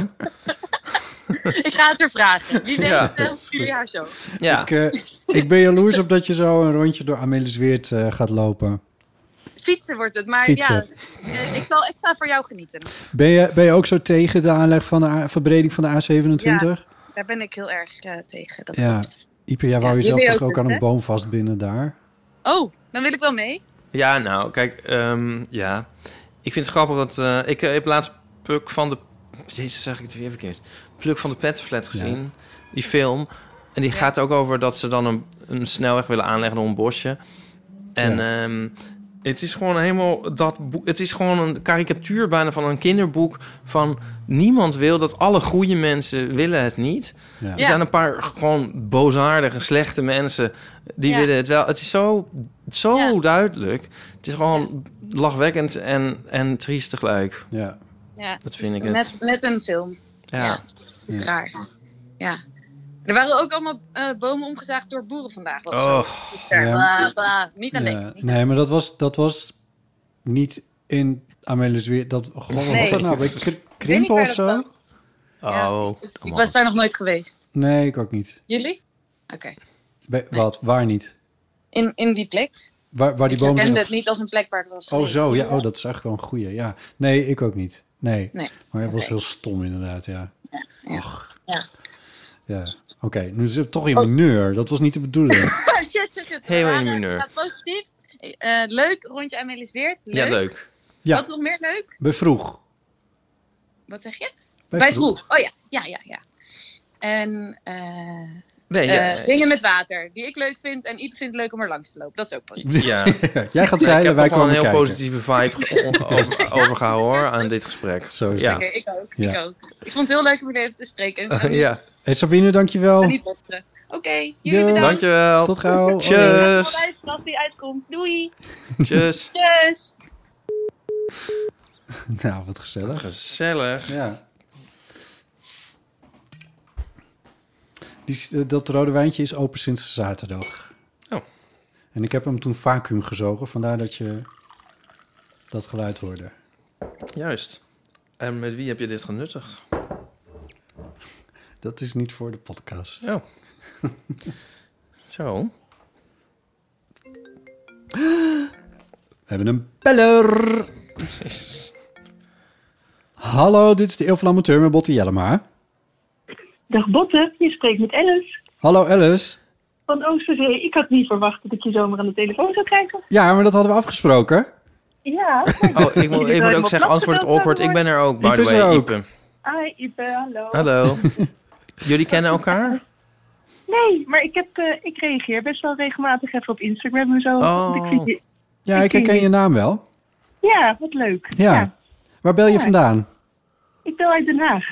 [SPEAKER 10] ik ga het er vragen. Wie weet
[SPEAKER 3] Ja,
[SPEAKER 10] eh,
[SPEAKER 3] dat
[SPEAKER 10] of jullie haar zo.
[SPEAKER 3] Ik, eh, ik ben jaloers op dat je zo een rondje door Amelis Weert eh, gaat lopen.
[SPEAKER 10] Fietsen wordt het, maar
[SPEAKER 3] Fietsen.
[SPEAKER 10] ja, eh, ik, zal, ik ga voor jou genieten.
[SPEAKER 3] Ben je, ben je ook zo tegen de aanleg van de A- verbreding van de A27?
[SPEAKER 10] Ja, daar ben ik heel erg eh, tegen. Dat
[SPEAKER 3] Ja.
[SPEAKER 10] klopt.
[SPEAKER 3] Ieper, jij wou
[SPEAKER 10] Ja,
[SPEAKER 3] jezelf
[SPEAKER 10] jullie
[SPEAKER 3] toch
[SPEAKER 10] ook
[SPEAKER 3] ook aan
[SPEAKER 10] dus,
[SPEAKER 3] een
[SPEAKER 10] hè?
[SPEAKER 3] boom vastbinden daar?
[SPEAKER 10] Oh, dan wil ik wel mee.
[SPEAKER 11] Ja, nou, kijk, ehm, ja. Ik vind het grappig dat... eh, ik eh, heb laatst Puk van de... Jezus, zeg ik het weer verkeerd. Pluk van de Petflat gezien, die film. En die gaat ook over dat ze dan een, een snelweg willen aanleggen door een bosje. En ehm, het is gewoon helemaal dat boek... Het is gewoon een karikatuur bijna van een kinderboek... van niemand wil dat, alle goede mensen willen het niet.
[SPEAKER 3] Ja.
[SPEAKER 11] Er zijn een paar gewoon boosaardige, slechte mensen... die
[SPEAKER 10] Ja.
[SPEAKER 11] willen het wel. Het is zo, zo duidelijk. Het is gewoon lachwekkend en, en triest tegelijk.
[SPEAKER 3] Ja.
[SPEAKER 10] Ja,
[SPEAKER 11] Dat vind ik
[SPEAKER 10] dus net,
[SPEAKER 11] het.
[SPEAKER 10] net een film.
[SPEAKER 11] Ja.
[SPEAKER 10] Dat is raar. Ja. Er waren ook allemaal eh, bomen omgezaagd door boeren vandaag. Dat is
[SPEAKER 3] Oh.
[SPEAKER 10] zo bizar.
[SPEAKER 3] Ja.
[SPEAKER 10] Bla, bla. Niet
[SPEAKER 3] Ja.
[SPEAKER 10] alleen.
[SPEAKER 3] Nee, maar dat was, dat was niet in Amelis Weert. Dat, God, wat
[SPEAKER 10] Nee.
[SPEAKER 3] was dat nou? Bij
[SPEAKER 10] Ik weet
[SPEAKER 3] Kr-
[SPEAKER 10] niet
[SPEAKER 3] Krimpen
[SPEAKER 10] waar
[SPEAKER 3] of
[SPEAKER 10] dat
[SPEAKER 3] zo?
[SPEAKER 10] was.
[SPEAKER 11] Oh,
[SPEAKER 10] Ik was daar nog nooit geweest.
[SPEAKER 3] Nee, ik ook niet.
[SPEAKER 10] Jullie? Oké.
[SPEAKER 3] Bij- Wat? Waar niet?
[SPEAKER 10] In, in die plek.
[SPEAKER 3] Waar, waar die
[SPEAKER 10] ik
[SPEAKER 3] bomen zijn
[SPEAKER 10] herkende het niet als een plek waar ik was
[SPEAKER 3] Oh,
[SPEAKER 10] geweest.
[SPEAKER 3] zo. Ja, oh, dat is echt wel een goeie. Ja. Nee, ik ook niet. Nee.
[SPEAKER 10] Nee.
[SPEAKER 3] Maar het was heel stom, inderdaad. Ja. Och.
[SPEAKER 10] Ja.
[SPEAKER 3] Ja. Oké, nu is het toch
[SPEAKER 10] Oh.
[SPEAKER 3] in mineur. Dat was niet de bedoeling.
[SPEAKER 10] shit, shit, shit.
[SPEAKER 3] Helemaal
[SPEAKER 10] Ja,
[SPEAKER 3] in de
[SPEAKER 10] dat
[SPEAKER 3] mineur.
[SPEAKER 10] gaat positief. Eh, leuk, rondje Amelie's Weert. Leuk.
[SPEAKER 3] Ja,
[SPEAKER 11] leuk.
[SPEAKER 3] Ja.
[SPEAKER 10] Wat nog meer leuk?
[SPEAKER 3] Bij vroeg.
[SPEAKER 10] Wat zeg je?
[SPEAKER 3] Bij
[SPEAKER 10] vroeg. Oh ja, ja, ja, ja. En eh,
[SPEAKER 11] Nee,
[SPEAKER 10] eh,
[SPEAKER 11] ja.
[SPEAKER 10] dingen met water, die ik leuk vind en Iep vindt leuk om er langs te lopen. Dat is ook positief.
[SPEAKER 11] Ja.
[SPEAKER 3] Jij gaat zeilen,
[SPEAKER 11] Ik heb
[SPEAKER 3] wij
[SPEAKER 11] toch wel
[SPEAKER 3] komen
[SPEAKER 11] een heel
[SPEAKER 3] kijken.
[SPEAKER 11] positieve vibe ge- o- over, overgehouden hoor, aan dit gesprek. Zo
[SPEAKER 3] is
[SPEAKER 11] ja.
[SPEAKER 10] Oké, ik ook. Ik
[SPEAKER 3] Ja.
[SPEAKER 10] ook. Ik vond het heel leuk om jullie even te spreken. En ik ga nu-
[SPEAKER 11] ja.
[SPEAKER 3] Hey, Sabine, dankjewel.
[SPEAKER 10] ga niet botsen. Oké, jullie
[SPEAKER 3] Jo.
[SPEAKER 10] bedankt.
[SPEAKER 11] Dankjewel.
[SPEAKER 3] Tot gauw.
[SPEAKER 11] Tjus.
[SPEAKER 10] Tot uit, Als die uitkomt. Doei.
[SPEAKER 11] Tjus.
[SPEAKER 10] Tjus.
[SPEAKER 3] Nou, wat gezellig.
[SPEAKER 11] Gezellig.
[SPEAKER 3] Ja. Die, eh, dat rode wijntje is open sinds zaterdag.
[SPEAKER 11] Oh.
[SPEAKER 3] En ik heb hem toen vacuüm gezogen, vandaar dat je dat geluid hoorde.
[SPEAKER 11] Juist. En met wie heb je dit genuttigd?
[SPEAKER 3] Dat is niet voor de podcast.
[SPEAKER 11] Oh. Zo.
[SPEAKER 3] We hebben een beller. Hallo, dit is de Eeuw van de Amateur met Botte Jellema.
[SPEAKER 9] Dag Botte, je spreekt met Alice
[SPEAKER 3] Hallo Alice.
[SPEAKER 9] van Oosterzee. Ik had niet verwacht dat ik je zomaar aan de telefoon zou krijgen.
[SPEAKER 3] Ja, maar dat hadden we afgesproken.
[SPEAKER 9] Ja.
[SPEAKER 11] Oh, ik moet, ik moet ook zeggen, anders wordt het awkward. Ik ben er ook, by
[SPEAKER 3] Iep
[SPEAKER 11] the
[SPEAKER 3] is
[SPEAKER 11] way.
[SPEAKER 3] er ook.
[SPEAKER 11] Iep.
[SPEAKER 9] Hi Ipe, hallo.
[SPEAKER 11] Hallo. Jullie kennen elkaar?
[SPEAKER 9] Nee, maar ik, heb, eh, ik reageer best wel regelmatig even op Instagram en zo.
[SPEAKER 11] Oh.
[SPEAKER 9] want Ik vind je,
[SPEAKER 3] Ja, ik herken je naam wel.
[SPEAKER 9] ja, wat leuk.
[SPEAKER 3] Ja. Waar bel je
[SPEAKER 9] Ja.
[SPEAKER 3] vandaan?
[SPEAKER 9] Ik bel uit Den Haag.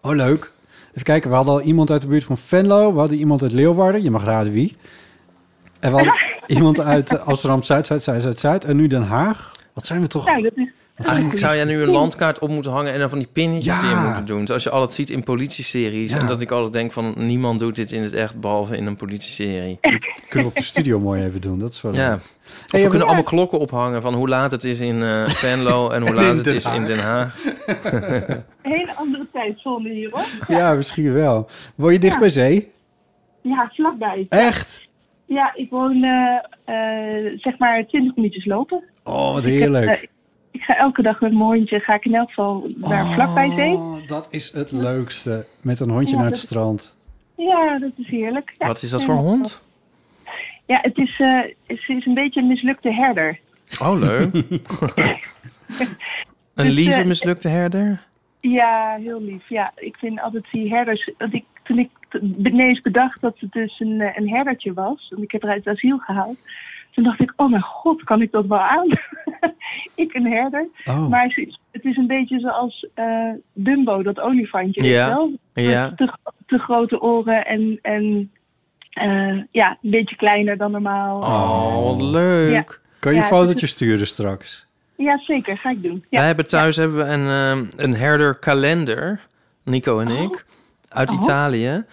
[SPEAKER 3] Oh, leuk. Even kijken, we hadden al iemand uit de buurt van Venlo. We hadden iemand uit Leeuwarden. Je mag raden wie. En we hadden iemand uit eh, Amsterdam Zuid, Zuid, Zuid, Zuid, Zuid. En nu Den Haag. Wat zijn we toch?
[SPEAKER 9] Nou, dat is...
[SPEAKER 11] Eigenlijk zou jij nu een landkaart op moeten hangen en dan van die pinnetjes
[SPEAKER 3] Ja.
[SPEAKER 11] die in moeten doen. Zoals je altijd ziet in politieseries.
[SPEAKER 3] Ja.
[SPEAKER 11] En dat ik altijd denk van niemand doet dit in het echt behalve in een politieserie.
[SPEAKER 3] Kunnen we op de studio mooi even doen. Dat is wel
[SPEAKER 11] Ja.
[SPEAKER 3] leuk.
[SPEAKER 11] Of we
[SPEAKER 3] Hey,
[SPEAKER 11] kunnen
[SPEAKER 3] ja.
[SPEAKER 11] allemaal klokken ophangen van hoe laat het is in eh, Venlo en hoe
[SPEAKER 3] En
[SPEAKER 11] laat
[SPEAKER 3] in
[SPEAKER 11] het
[SPEAKER 3] Den
[SPEAKER 11] is in
[SPEAKER 3] Haag.
[SPEAKER 11] Den Haag.
[SPEAKER 9] Een hele andere tijdzone hier hoor.
[SPEAKER 3] Ja, misschien wel. Woon je dicht
[SPEAKER 9] Ja.
[SPEAKER 3] bij zee?
[SPEAKER 9] Ja, vlakbij.
[SPEAKER 3] Echt?
[SPEAKER 9] Ja, ik woon eh, eh, zeg maar 20 minuutjes lopen.
[SPEAKER 3] Oh, wat
[SPEAKER 9] Dus ik heb,
[SPEAKER 3] heerlijk.
[SPEAKER 9] eh, ik ga elke dag met mijn hondje, ga ik in elk geval eh, daar
[SPEAKER 11] Oh.
[SPEAKER 9] vlakbij zee.
[SPEAKER 3] Oh, dat is het leukste. Met een hondje
[SPEAKER 9] Ja,
[SPEAKER 3] naar het
[SPEAKER 9] dat-
[SPEAKER 3] strand.
[SPEAKER 9] Ja, dat is heerlijk. Ja. eh,
[SPEAKER 11] Wat is dat voor hond?
[SPEAKER 9] Ja, het is, eh, ze is een beetje een mislukte herder.
[SPEAKER 11] Oh, leuk. een
[SPEAKER 9] Dus,
[SPEAKER 11] lieve
[SPEAKER 9] eh,
[SPEAKER 11] mislukte herder?
[SPEAKER 9] Ja, heel lief. Ja, ik vind altijd die herders... Want ik, toen ik t- ineens bedacht dat het dus een, eh, een herdertje was... want ik heb haar uit het asiel gehaald... toen dacht ik, oh mijn god, kan ik dat wel aan? ik een herder.
[SPEAKER 3] Oh.
[SPEAKER 9] Maar ze is- het is een beetje zoals eh Dumbo, dat olifantje. weet je
[SPEAKER 11] Ja.
[SPEAKER 9] wel?
[SPEAKER 11] ja.
[SPEAKER 9] Te, gro- te grote oren en... en eh, ja, een beetje kleiner dan normaal.
[SPEAKER 11] Oh, wat leuk.
[SPEAKER 3] Kan je
[SPEAKER 9] Ja,
[SPEAKER 3] een
[SPEAKER 9] het is-
[SPEAKER 3] fotootje sturen straks?
[SPEAKER 9] Ja, zeker. Ga ik doen. Ja.
[SPEAKER 11] Wij hebben thuis hebben we een, ehm, een herderkalender, Nico en ik, uit
[SPEAKER 9] Oh.
[SPEAKER 11] Italië.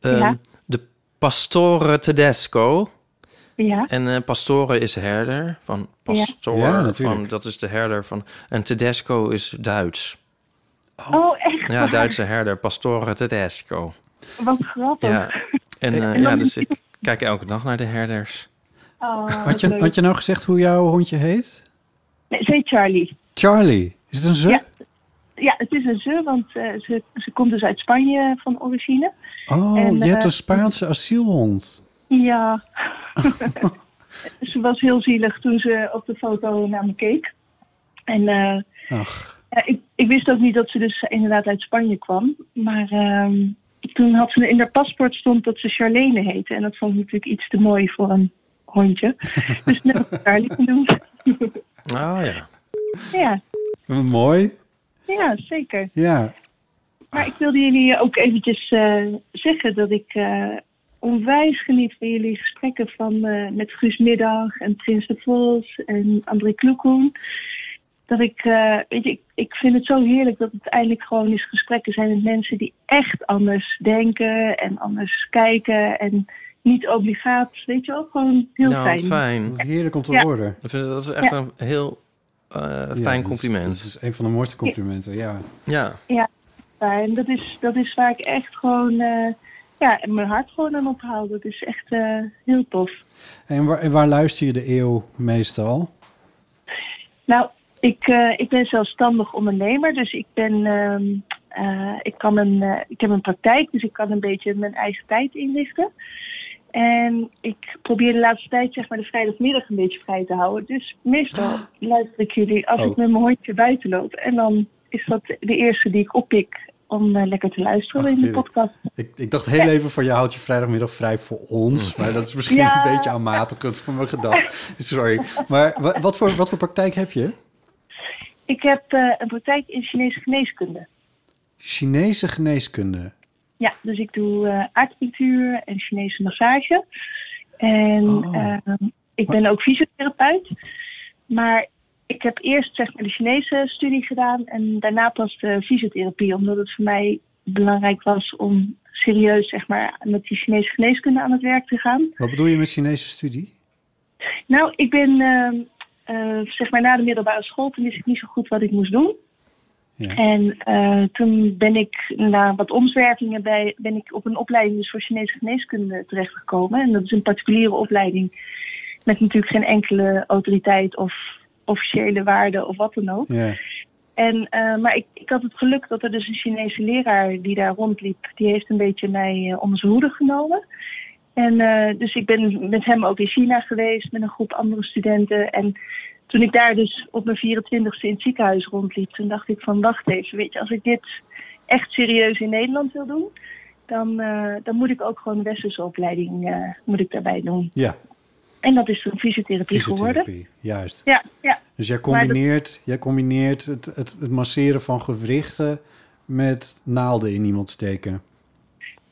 [SPEAKER 11] Ehm,
[SPEAKER 9] Ja.
[SPEAKER 11] De Pastore Tedesco.
[SPEAKER 9] Ja.
[SPEAKER 11] En eh, Pastore is herder, van Pastore,
[SPEAKER 3] Ja, natuurlijk.
[SPEAKER 11] van, dat is de herder van... En Tedesco is Duits.
[SPEAKER 9] Oh, echt?
[SPEAKER 5] Ja, Duitse herder, Pastore Tedesco.
[SPEAKER 9] Wat grappig.
[SPEAKER 5] Ja. En eh, ja, dus ik kijk elke dag naar de herders.
[SPEAKER 9] Oh,
[SPEAKER 3] Had je,
[SPEAKER 9] wat
[SPEAKER 3] had je nou gezegd hoe jouw hondje heet?
[SPEAKER 9] Nee, zei Charlie.
[SPEAKER 3] Charlie. Is het een ze?
[SPEAKER 9] Ja. Ja, het is een ze, want eh, ze, ze komt dus uit Spanje van origine.
[SPEAKER 3] Oh,
[SPEAKER 9] En,
[SPEAKER 3] je hebt
[SPEAKER 9] eh,
[SPEAKER 3] een Spaanse asielhond.
[SPEAKER 9] Ja. ze was heel zielig toen ze op de foto naar me keek. En eh,
[SPEAKER 3] Ach,
[SPEAKER 9] ja, ik, ik wist ook niet dat ze dus inderdaad uit Spanje kwam. Maar ehm, toen had ze in haar paspoort stond dat ze Charlene heette. En dat vond ik natuurlijk iets te mooi voor een hondje. dus net heb ik Charlie genoemd.
[SPEAKER 5] Ah ja.
[SPEAKER 9] ja,
[SPEAKER 3] mooi.
[SPEAKER 9] ja, zeker.
[SPEAKER 3] Ja.
[SPEAKER 9] Maar ik wilde jullie ook eventjes eh, zeggen dat ik eh, onwijs geniet van jullie gesprekken van, eh, met Guus Middag en Prins de Vos en André Kloekoen. Dat ik, eh, weet je, ik, ik vind het zo heerlijk dat het eindelijk gewoon eens gesprekken zijn met mensen die echt anders denken en anders kijken en niet obligaat, weet je wel, gewoon heel
[SPEAKER 5] nou,
[SPEAKER 9] fijn.
[SPEAKER 5] wat fijn.
[SPEAKER 3] Heerlijk om te
[SPEAKER 9] Ja.
[SPEAKER 3] horen.
[SPEAKER 5] Ik vind- Dat is echt
[SPEAKER 9] Ja.
[SPEAKER 5] een heel eh,
[SPEAKER 3] Ja,
[SPEAKER 5] fijn
[SPEAKER 3] dat
[SPEAKER 5] compliment.
[SPEAKER 3] Is, dat is een van de mooiste complimenten, ja.
[SPEAKER 5] Ja.
[SPEAKER 9] Ja, en dat is, dat is waar ik echt gewoon eh, ja, mijn hart gewoon aan ophaal. Dat is echt eh, heel tof.
[SPEAKER 3] En waar, en waar luister je de eeuw meestal?
[SPEAKER 9] Nou, ik, eh, ik ben zelfstandig ondernemer, dus ik ben. ehm, eh, ik, kan een, eh, ik heb een praktijk, dus ik kan een beetje mijn eigen tijd inrichten. En ik probeer de laatste tijd zeg maar, de vrijdagmiddag een beetje vrij te houden. Dus meestal luister ik jullie als
[SPEAKER 5] Oh.
[SPEAKER 9] ik met mijn hondje buiten loop. En dan is dat de eerste die ik oppik om eh, lekker te luisteren in de
[SPEAKER 3] heerlijk.
[SPEAKER 9] podcast.
[SPEAKER 3] Ik, ik dacht heel even van, je houdt je vrijdagmiddag vrij voor ons.
[SPEAKER 5] Mm.
[SPEAKER 3] Maar dat is misschien
[SPEAKER 9] Ja.
[SPEAKER 3] een beetje aanmatigend voor mijn gedacht. Sorry. Maar wa- wat voor, wat voor praktijk heb je?
[SPEAKER 9] Ik heb eh, een praktijk in Chinese geneeskunde.
[SPEAKER 3] Chinese geneeskunde.
[SPEAKER 9] Ja, dus ik doe eh acupunctuur en Chinese massage. En ehm, ik ben ook fysiotherapeut. Maar ik heb eerst zeg maar, de Chinese studie gedaan en daarna pas de fysiotherapie. Omdat het voor mij belangrijk was om serieus zeg maar, met die Chinese geneeskunde aan het werk te gaan.
[SPEAKER 3] Wat bedoel je met Chinese studie?
[SPEAKER 9] Nou, ik ben ehm, eh, zeg maar na de middelbare school, toen wist ik niet zo goed wat ik moest doen. En eh, toen ben ik na wat omzwervingen bij, ben ik op een opleiding dus voor Chinese geneeskunde terechtgekomen. En dat is een particuliere opleiding met natuurlijk geen enkele autoriteit of officiële waarde of wat dan ook.
[SPEAKER 3] Ja.
[SPEAKER 9] En, eh, maar ik, ik had het geluk dat er dus een Chinese leraar die daar rondliep, die heeft een beetje mij eh, onder zijn hoede genomen. En eh, dus ik ben met hem ook in China geweest met een groep andere studenten. En toen ik daar dus op mijn 24ste in het ziekenhuis rondliep, toen dacht ik van wacht even, weet je, als ik dit echt serieus in Nederland wil doen, dan, eh, dan moet ik ook gewoon een westerse opleiding eh, moet ik daarbij doen.
[SPEAKER 3] Ja,
[SPEAKER 9] En dat is toen fysiotherapie, geworden.
[SPEAKER 3] fysiotherapie. Juist.
[SPEAKER 9] Ja, ja.
[SPEAKER 3] Dus jij
[SPEAKER 9] Maar dat-
[SPEAKER 3] combineert, jij combineert het, het, het masseren van gewrichten met naalden in iemand steken.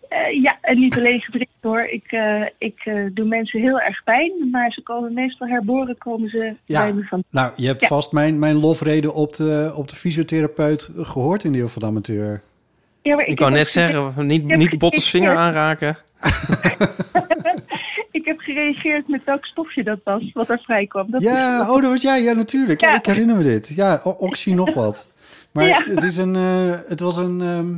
[SPEAKER 9] Eh, ja, en niet alleen gedrikt hoor. Ik, eh, ik eh, doe mensen heel erg pijn, maar ze komen meestal herboren komen ze bij me van.
[SPEAKER 3] Nou, je hebt
[SPEAKER 9] Ja.
[SPEAKER 3] vast mijn, mijn lofrede op de, op de fysiotherapeut gehoord in de Eeuw van de Amateur.
[SPEAKER 9] Ja, maar
[SPEAKER 5] Ik wou
[SPEAKER 9] heb
[SPEAKER 5] net
[SPEAKER 9] ook
[SPEAKER 5] zeggen, niet,
[SPEAKER 9] Ik heb
[SPEAKER 5] niet Bottes vinger
[SPEAKER 9] gereageerd-
[SPEAKER 5] aanraken.
[SPEAKER 9] Ik heb gereageerd met welk stofje dat was, wat er vrij kwam. Dat
[SPEAKER 3] ja,
[SPEAKER 9] is-
[SPEAKER 3] oh, dat was jij. Ja, natuurlijk. Ja, ik herinner me dit. Ja, o- Oxy nog wat. Maar
[SPEAKER 9] Ja.
[SPEAKER 3] het, is een, eh, het was een, ehm,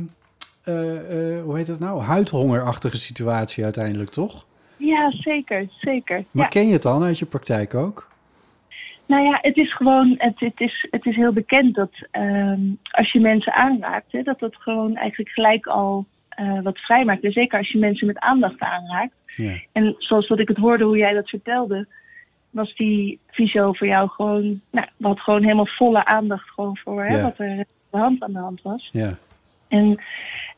[SPEAKER 3] eh, eh, hoe heet dat nou? Huidhongerachtige situatie uiteindelijk, toch?
[SPEAKER 9] ja, zeker, zeker.
[SPEAKER 3] Maar
[SPEAKER 9] Ja.
[SPEAKER 3] ken je het dan uit je praktijk ook?
[SPEAKER 9] Nou ja, het is gewoon, het, het, is, het is heel bekend dat ehm, als je mensen aanraakt, hè, dat dat gewoon eigenlijk gelijk al eh, wat vrijmaakt. En zeker als je mensen met aandacht aanraakt.
[SPEAKER 3] Ja.
[SPEAKER 9] En zoals dat ik het hoorde hoe jij dat vertelde, was die visio voor jou gewoon, nou, wat gewoon helemaal volle aandacht gewoon voor hè,
[SPEAKER 3] Ja.
[SPEAKER 9] wat er aan de hand aan de hand was.
[SPEAKER 3] Ja.
[SPEAKER 9] En,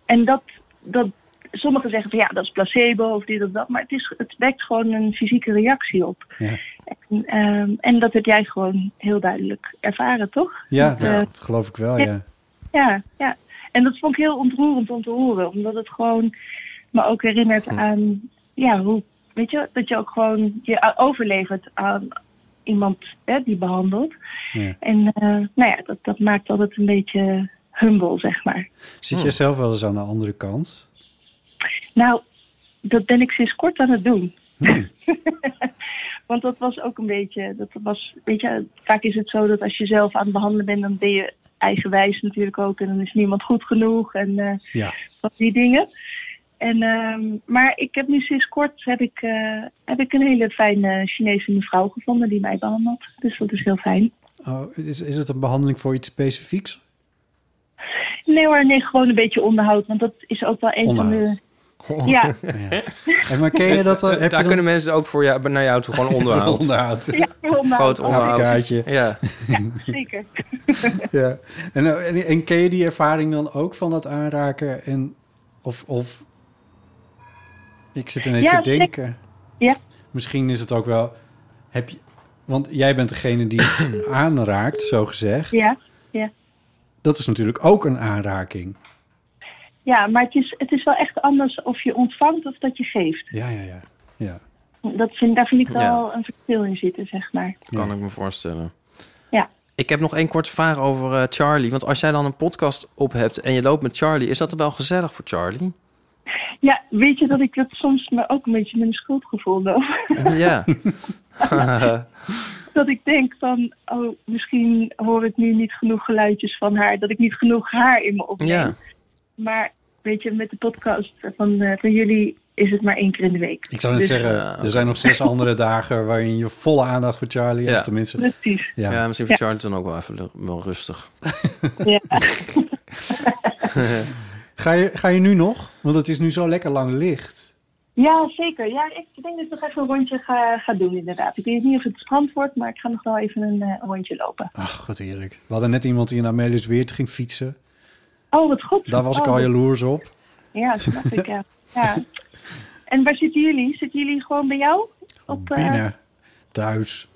[SPEAKER 9] en dat, dat, sommigen zeggen van ja, dat is placebo of dit of dat, maar het, is, het wekt gewoon een fysieke reactie op.
[SPEAKER 3] Ja.
[SPEAKER 9] En, ehm, en dat heb jij gewoon heel duidelijk ervaren, toch?
[SPEAKER 3] Ja,
[SPEAKER 9] Dat,
[SPEAKER 3] dat,
[SPEAKER 9] eh,
[SPEAKER 3] dat geloof ik wel,
[SPEAKER 9] ja.
[SPEAKER 3] ja.
[SPEAKER 9] ja, ja. En dat vond ik heel ontroerend om te horen, omdat het gewoon me ook herinnert aan, ja, hoe, weet je, dat je ook gewoon je overlevert aan iemand hè, die behandelt.
[SPEAKER 3] Ja.
[SPEAKER 9] En eh, nou ja, dat, dat maakt altijd een beetje humble, zeg maar.
[SPEAKER 3] Zit
[SPEAKER 5] Hmm.
[SPEAKER 3] jij zelf wel eens aan de andere kant?
[SPEAKER 9] Nou, dat ben ik sinds kort aan het doen. Want dat was ook een beetje, dat was, weet je, vaak is het zo dat als je zelf aan het behandelen bent, dan ben je eigenwijs natuurlijk ook. En dan is niemand goed genoeg en eh,
[SPEAKER 3] Ja.
[SPEAKER 9] van die dingen. En, ehm, maar ik heb nu sinds kort heb ik, eh, heb ik een hele fijne Chinese mevrouw gevonden die mij behandelt. Dus dat is heel fijn.
[SPEAKER 3] Oh, is, is het een behandeling voor iets specifieks?
[SPEAKER 9] Nee hoor, nee, gewoon een beetje onderhoud. Want dat is ook wel een van
[SPEAKER 3] Onderhoud.
[SPEAKER 9] de... Ja,
[SPEAKER 3] En maar ken je dat dan? Heb je
[SPEAKER 5] eh, Daar
[SPEAKER 3] dan-
[SPEAKER 5] kunnen mensen ook voor jou, naar jou toe gewoon onderhoud.
[SPEAKER 3] Onderhoud.
[SPEAKER 9] Ja, onderhoud.
[SPEAKER 5] Groot onderhoud.
[SPEAKER 3] Kaartje.
[SPEAKER 5] Ja.
[SPEAKER 9] zeker.
[SPEAKER 3] ja. En, eh, en, en ken je die ervaring dan ook van dat aanraken? En, of, of ik zit ineens
[SPEAKER 9] Ja,
[SPEAKER 3] te
[SPEAKER 9] zeker.
[SPEAKER 3] denken.
[SPEAKER 9] Ja.
[SPEAKER 3] Misschien is het ook wel. Heb je, want jij bent degene die aanraakt, zo gezegd.
[SPEAKER 9] ja, ja.
[SPEAKER 3] Dat is natuurlijk ook een aanraking.
[SPEAKER 9] Ja, maar het is, het is wel echt anders of je ontvangt of dat je geeft.
[SPEAKER 3] Ja, ja, ja. ja.
[SPEAKER 9] Dat vind, daar vind ik
[SPEAKER 5] Ja.
[SPEAKER 9] wel een verschil in zitten, zeg maar.
[SPEAKER 5] Kan ik me voorstellen.
[SPEAKER 9] Ja.
[SPEAKER 5] Ik heb nog één korte vraag over eh, Charlie. Want als jij dan een podcast op hebt en je loopt met Charlie, is dat dan wel gezellig voor Charlie?
[SPEAKER 9] ja, weet je dat ik dat soms me ook een beetje met een schuldgevoel loop?
[SPEAKER 5] ja.
[SPEAKER 9] dat ik denk van, oh, misschien hoor ik nu niet genoeg geluidjes van haar. Dat ik niet genoeg haar in me opneem.
[SPEAKER 5] ja.
[SPEAKER 9] Maar weet je, met de podcast van, eh, van jullie is het maar één keer in de week.
[SPEAKER 3] Ik zou net
[SPEAKER 9] Dus-
[SPEAKER 3] zeggen, er zijn nog zes andere dagen waarin je volle aandacht voor Charlie hebt. Tenminste.
[SPEAKER 9] Precies.
[SPEAKER 5] Ja.
[SPEAKER 3] Ja.
[SPEAKER 5] misschien voor Charlie dan ook wel even lu- wel rustig.
[SPEAKER 9] Ja.
[SPEAKER 3] Ga je, ga je nu nog? Want het is nu zo lekker lang licht.
[SPEAKER 9] ja, zeker. Ja, ik denk dat ik nog even een rondje ga, ga doen inderdaad. Ik weet niet of het strand wordt, maar ik ga nog wel even een eh, een rondje lopen.
[SPEAKER 3] Ach, wat eerlijk. We hadden net iemand die in Amelius Weert ging fietsen.
[SPEAKER 9] Oh, wat goed.
[SPEAKER 3] Daar was ik
[SPEAKER 9] Oh,
[SPEAKER 3] al
[SPEAKER 9] wat-
[SPEAKER 3] jaloers op.
[SPEAKER 9] Ja, snap ik. Ja. ja. En waar zitten jullie? Zitten jullie gewoon bij jou?
[SPEAKER 3] Oh,
[SPEAKER 9] Op, eh,
[SPEAKER 3] Binnen. Thuis.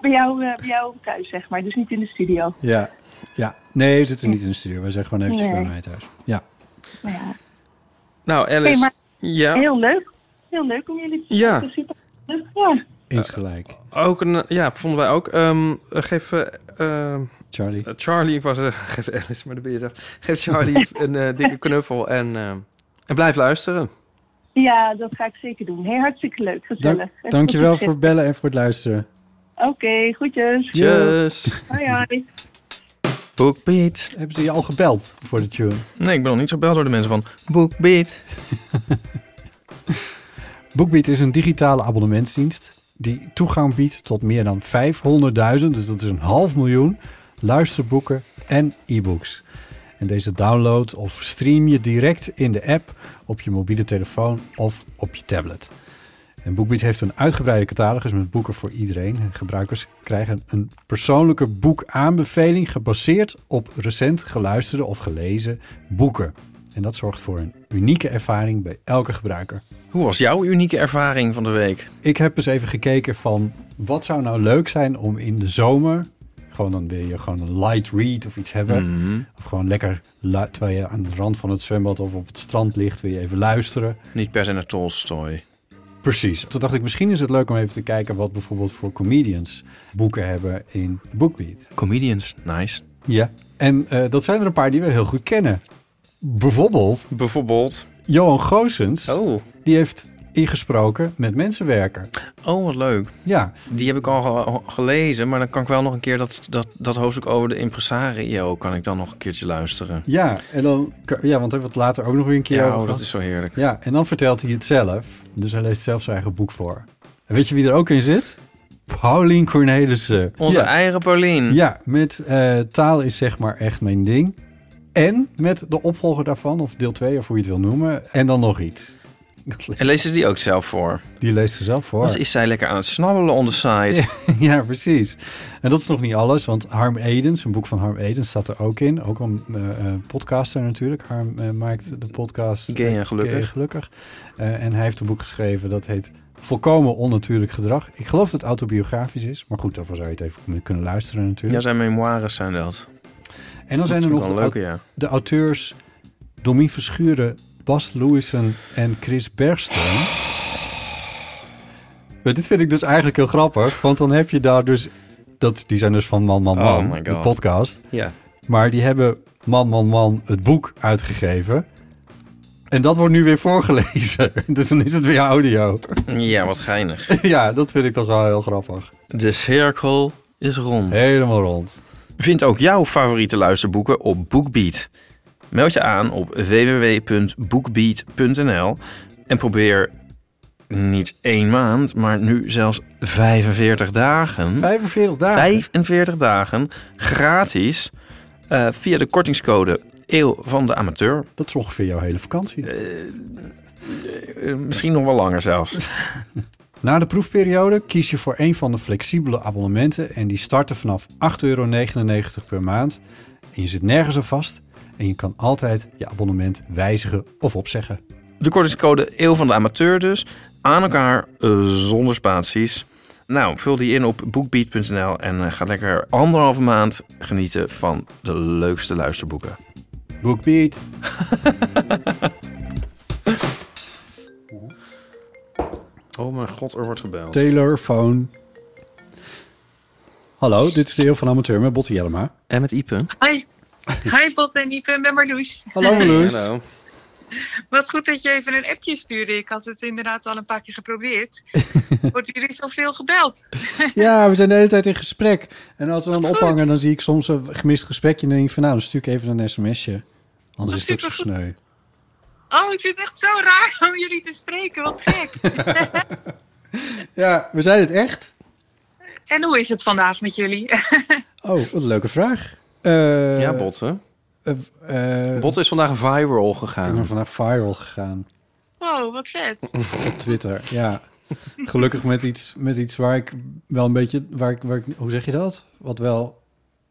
[SPEAKER 9] bij, jou eh, bij jou thuis, zeg maar. Dus niet in de studio.
[SPEAKER 3] Ja. ja. Nee, we zitten niet in de studio. Wij zijn gewoon eventjes
[SPEAKER 9] Nee.
[SPEAKER 3] bij mij thuis. Ja.
[SPEAKER 9] Maar ja.
[SPEAKER 5] Nou, Alice.
[SPEAKER 9] Hey, maar
[SPEAKER 5] ja.
[SPEAKER 9] Heel leuk. Heel leuk om jullie te
[SPEAKER 5] Ja.
[SPEAKER 9] te zien. Ja.
[SPEAKER 3] Eens gelijk.
[SPEAKER 5] Ook een, ja, vonden wij ook. Ehm, eh, geef eh, eh,
[SPEAKER 3] Charlie.
[SPEAKER 5] eh, Charlie, ik was eh, geef Alice, maar dat ben je zelf. Geef Charlie een eh, dikke knuffel en, eh, en blijf luisteren.
[SPEAKER 9] ja, dat ga ik zeker doen. Hey, hartstikke leuk. Gezellig.
[SPEAKER 3] Dank,
[SPEAKER 9] En
[SPEAKER 3] dankjewel
[SPEAKER 9] goed
[SPEAKER 3] voor het bellen en voor het luisteren.
[SPEAKER 9] Oké, goedjes.
[SPEAKER 5] Tjus.
[SPEAKER 9] Hoi, hoi.
[SPEAKER 5] Bookbeat.
[SPEAKER 3] Hebben ze je al gebeld voor de tune?
[SPEAKER 5] Nee, ik ben nog niet zo gebeld door de mensen van Bookbeat.
[SPEAKER 3] BookBeat is een digitale abonnementsdienst die toegang biedt tot meer dan 500.000, dus dat is een half miljoen, luisterboeken en e-books. En deze download of stream je direct in de app op je mobiele telefoon of op je tablet. En BookBeat heeft een uitgebreide catalogus met boeken voor iedereen. En gebruikers krijgen een persoonlijke boekaanbeveling gebaseerd op recent geluisterde of gelezen boeken. En dat zorgt voor een unieke ervaring bij elke gebruiker.
[SPEAKER 5] Hoe was jouw unieke ervaring van de week?
[SPEAKER 3] Ik heb eens even gekeken van wat zou nou leuk zijn om in de zomer. Gewoon dan wil je gewoon een light read of iets hebben.
[SPEAKER 5] Mhm.
[SPEAKER 3] Of gewoon lekker lu- terwijl je aan de rand van het zwembad of op het strand ligt, wil je even luisteren.
[SPEAKER 5] Niet per se naar Tolstoy.
[SPEAKER 3] Precies. Toen dacht ik, misschien is het leuk om even te kijken wat bijvoorbeeld voor comedians boeken hebben in BookBeat.
[SPEAKER 5] Comedians, nice.
[SPEAKER 3] Ja. En eh, dat zijn er een paar die we heel goed kennen. Bijvoorbeeld
[SPEAKER 5] Bijvoorbeeld.
[SPEAKER 3] Johan Goossens.
[SPEAKER 5] Oh.
[SPEAKER 3] Die heeft ingesproken met mensenwerken.
[SPEAKER 5] Oh, wat leuk.
[SPEAKER 3] Ja.
[SPEAKER 5] Die heb ik al ge- gelezen, maar dan kan ik wel nog een keer dat, dat, dat hoofdstuk over de impresario... kan ik dan nog een keertje luisteren.
[SPEAKER 3] Ja, en dan, ja, want daar hebben we het later ook nog weer een keer
[SPEAKER 5] Ja,
[SPEAKER 3] over
[SPEAKER 5] oh, dat
[SPEAKER 3] gehad.
[SPEAKER 5] is zo heerlijk.
[SPEAKER 3] Ja, en dan vertelt hij het zelf. Dus hij leest zelf zijn eigen boek voor. En weet je wie er ook in zit? Paulien Cornelissen.
[SPEAKER 5] Onze
[SPEAKER 3] ja.
[SPEAKER 5] eigen Paulien.
[SPEAKER 3] Ja, met eh, taal is zeg maar echt mijn ding. En met de opvolger daarvan, of deel 2, of hoe je het wil noemen. En dan nog iets.
[SPEAKER 5] En lezen ze die ook zelf voor?
[SPEAKER 3] Die leest ze zelf voor.
[SPEAKER 5] Wat is zij lekker aan het snabbelen on the side?
[SPEAKER 3] ja, precies. En dat is nog niet alles, want Harm Edens, een boek van Harm Edens, staat er ook in. Ook een eh, eh, podcaster natuurlijk. Harm eh, maakt de podcast
[SPEAKER 5] Gay en
[SPEAKER 3] eh,
[SPEAKER 5] Gelukkig.
[SPEAKER 3] Gelukkig. Eh, en hij heeft een boek geschreven dat heet Volkomen Onnatuurlijk Gedrag. Ik geloof dat het autobiografisch is, maar goed, daarvoor zou je het even kunnen luisteren natuurlijk.
[SPEAKER 5] Ja, zijn memoires zijn dat.
[SPEAKER 3] En dan zijn er
[SPEAKER 5] vind
[SPEAKER 3] nog
[SPEAKER 5] ik
[SPEAKER 3] de,
[SPEAKER 5] wel een
[SPEAKER 3] au-
[SPEAKER 5] leuke, ja.
[SPEAKER 3] de auteurs Domien Verschuren, Bas Lewison en Chris Bergström. Maar dit vind ik dus eigenlijk heel grappig, want dan heb je daar dus... Dat, die zijn dus van Man, Man,
[SPEAKER 5] Oh
[SPEAKER 3] Man,
[SPEAKER 5] my
[SPEAKER 3] de
[SPEAKER 5] God.
[SPEAKER 3] podcast.
[SPEAKER 5] Ja.
[SPEAKER 3] Maar die hebben Man, Man, Man het boek uitgegeven. En dat wordt nu weer voorgelezen. Dus dan is het weer audio.
[SPEAKER 5] Ja, wat geinig.
[SPEAKER 3] ja, dat vind ik toch wel heel grappig.
[SPEAKER 5] De cirkel is rond.
[SPEAKER 3] Helemaal rond.
[SPEAKER 5] Vind ook jouw favoriete luisterboeken op BookBeat. Meld je aan op www.bookbeat.nl en probeer niet één maand, maar nu zelfs 45 dagen.
[SPEAKER 3] 45 dagen.
[SPEAKER 5] 45 dagen gratis eh, via de kortingscode Eeuw van de Amateur. Eh,
[SPEAKER 3] Dat is ongeveer jouw hele vakantie.
[SPEAKER 5] misschien nog wel langer zelfs.
[SPEAKER 3] Na de proefperiode kies je voor een van de flexibele abonnementen en die starten vanaf 8,99 euro per maand. En je zit nergens aan vast en je kan altijd je abonnement wijzigen of opzeggen.
[SPEAKER 5] De kortingscode Eeuw van de Amateur dus. Aan elkaar eh, zonder spaties. Nou, vul die in op bookbeat.nl en eh, ga lekker anderhalve maand genieten van de leukste luisterboeken.
[SPEAKER 3] Bookbeat.
[SPEAKER 5] Oh mijn god, er wordt gebeld.
[SPEAKER 3] Telefoon. Hallo, dit is de heel van Amateur met Botte Jellema.
[SPEAKER 5] En met Ipe.
[SPEAKER 12] Hoi. Hi Bob en Ipe, ik ben Marloes.
[SPEAKER 3] Hallo Marloes.
[SPEAKER 12] Wat goed dat je even een appje stuurde. Ik had het inderdaad al een paar keer geprobeerd. Wordt jullie zoveel gebeld?
[SPEAKER 3] Ja, we zijn de hele tijd in gesprek. En als we dan ophangen, dan zie ik soms een gemist gesprekje. En dan denk ik van, nou, dan stuur ik even een sms'je. Anders is het ook zo sneu.
[SPEAKER 12] Oh, ik vind het echt zo raar om jullie te spreken. Wat gek.
[SPEAKER 3] Ja, we zijn het echt.
[SPEAKER 12] en hoe is het vandaag met jullie?
[SPEAKER 3] Oh, wat een leuke vraag. Eh,
[SPEAKER 5] Ja, Botte.
[SPEAKER 3] eh, eh,
[SPEAKER 5] Botte is vandaag viral
[SPEAKER 3] Ik ben
[SPEAKER 5] gegaan.
[SPEAKER 3] vandaag viral gegaan
[SPEAKER 12] wow, Oh, wat vet.
[SPEAKER 3] op Twitter. Ja, gelukkig met iets, met iets waar ik wel een beetje... Waar ik, waar ik, hoe zeg je dat? Wat wel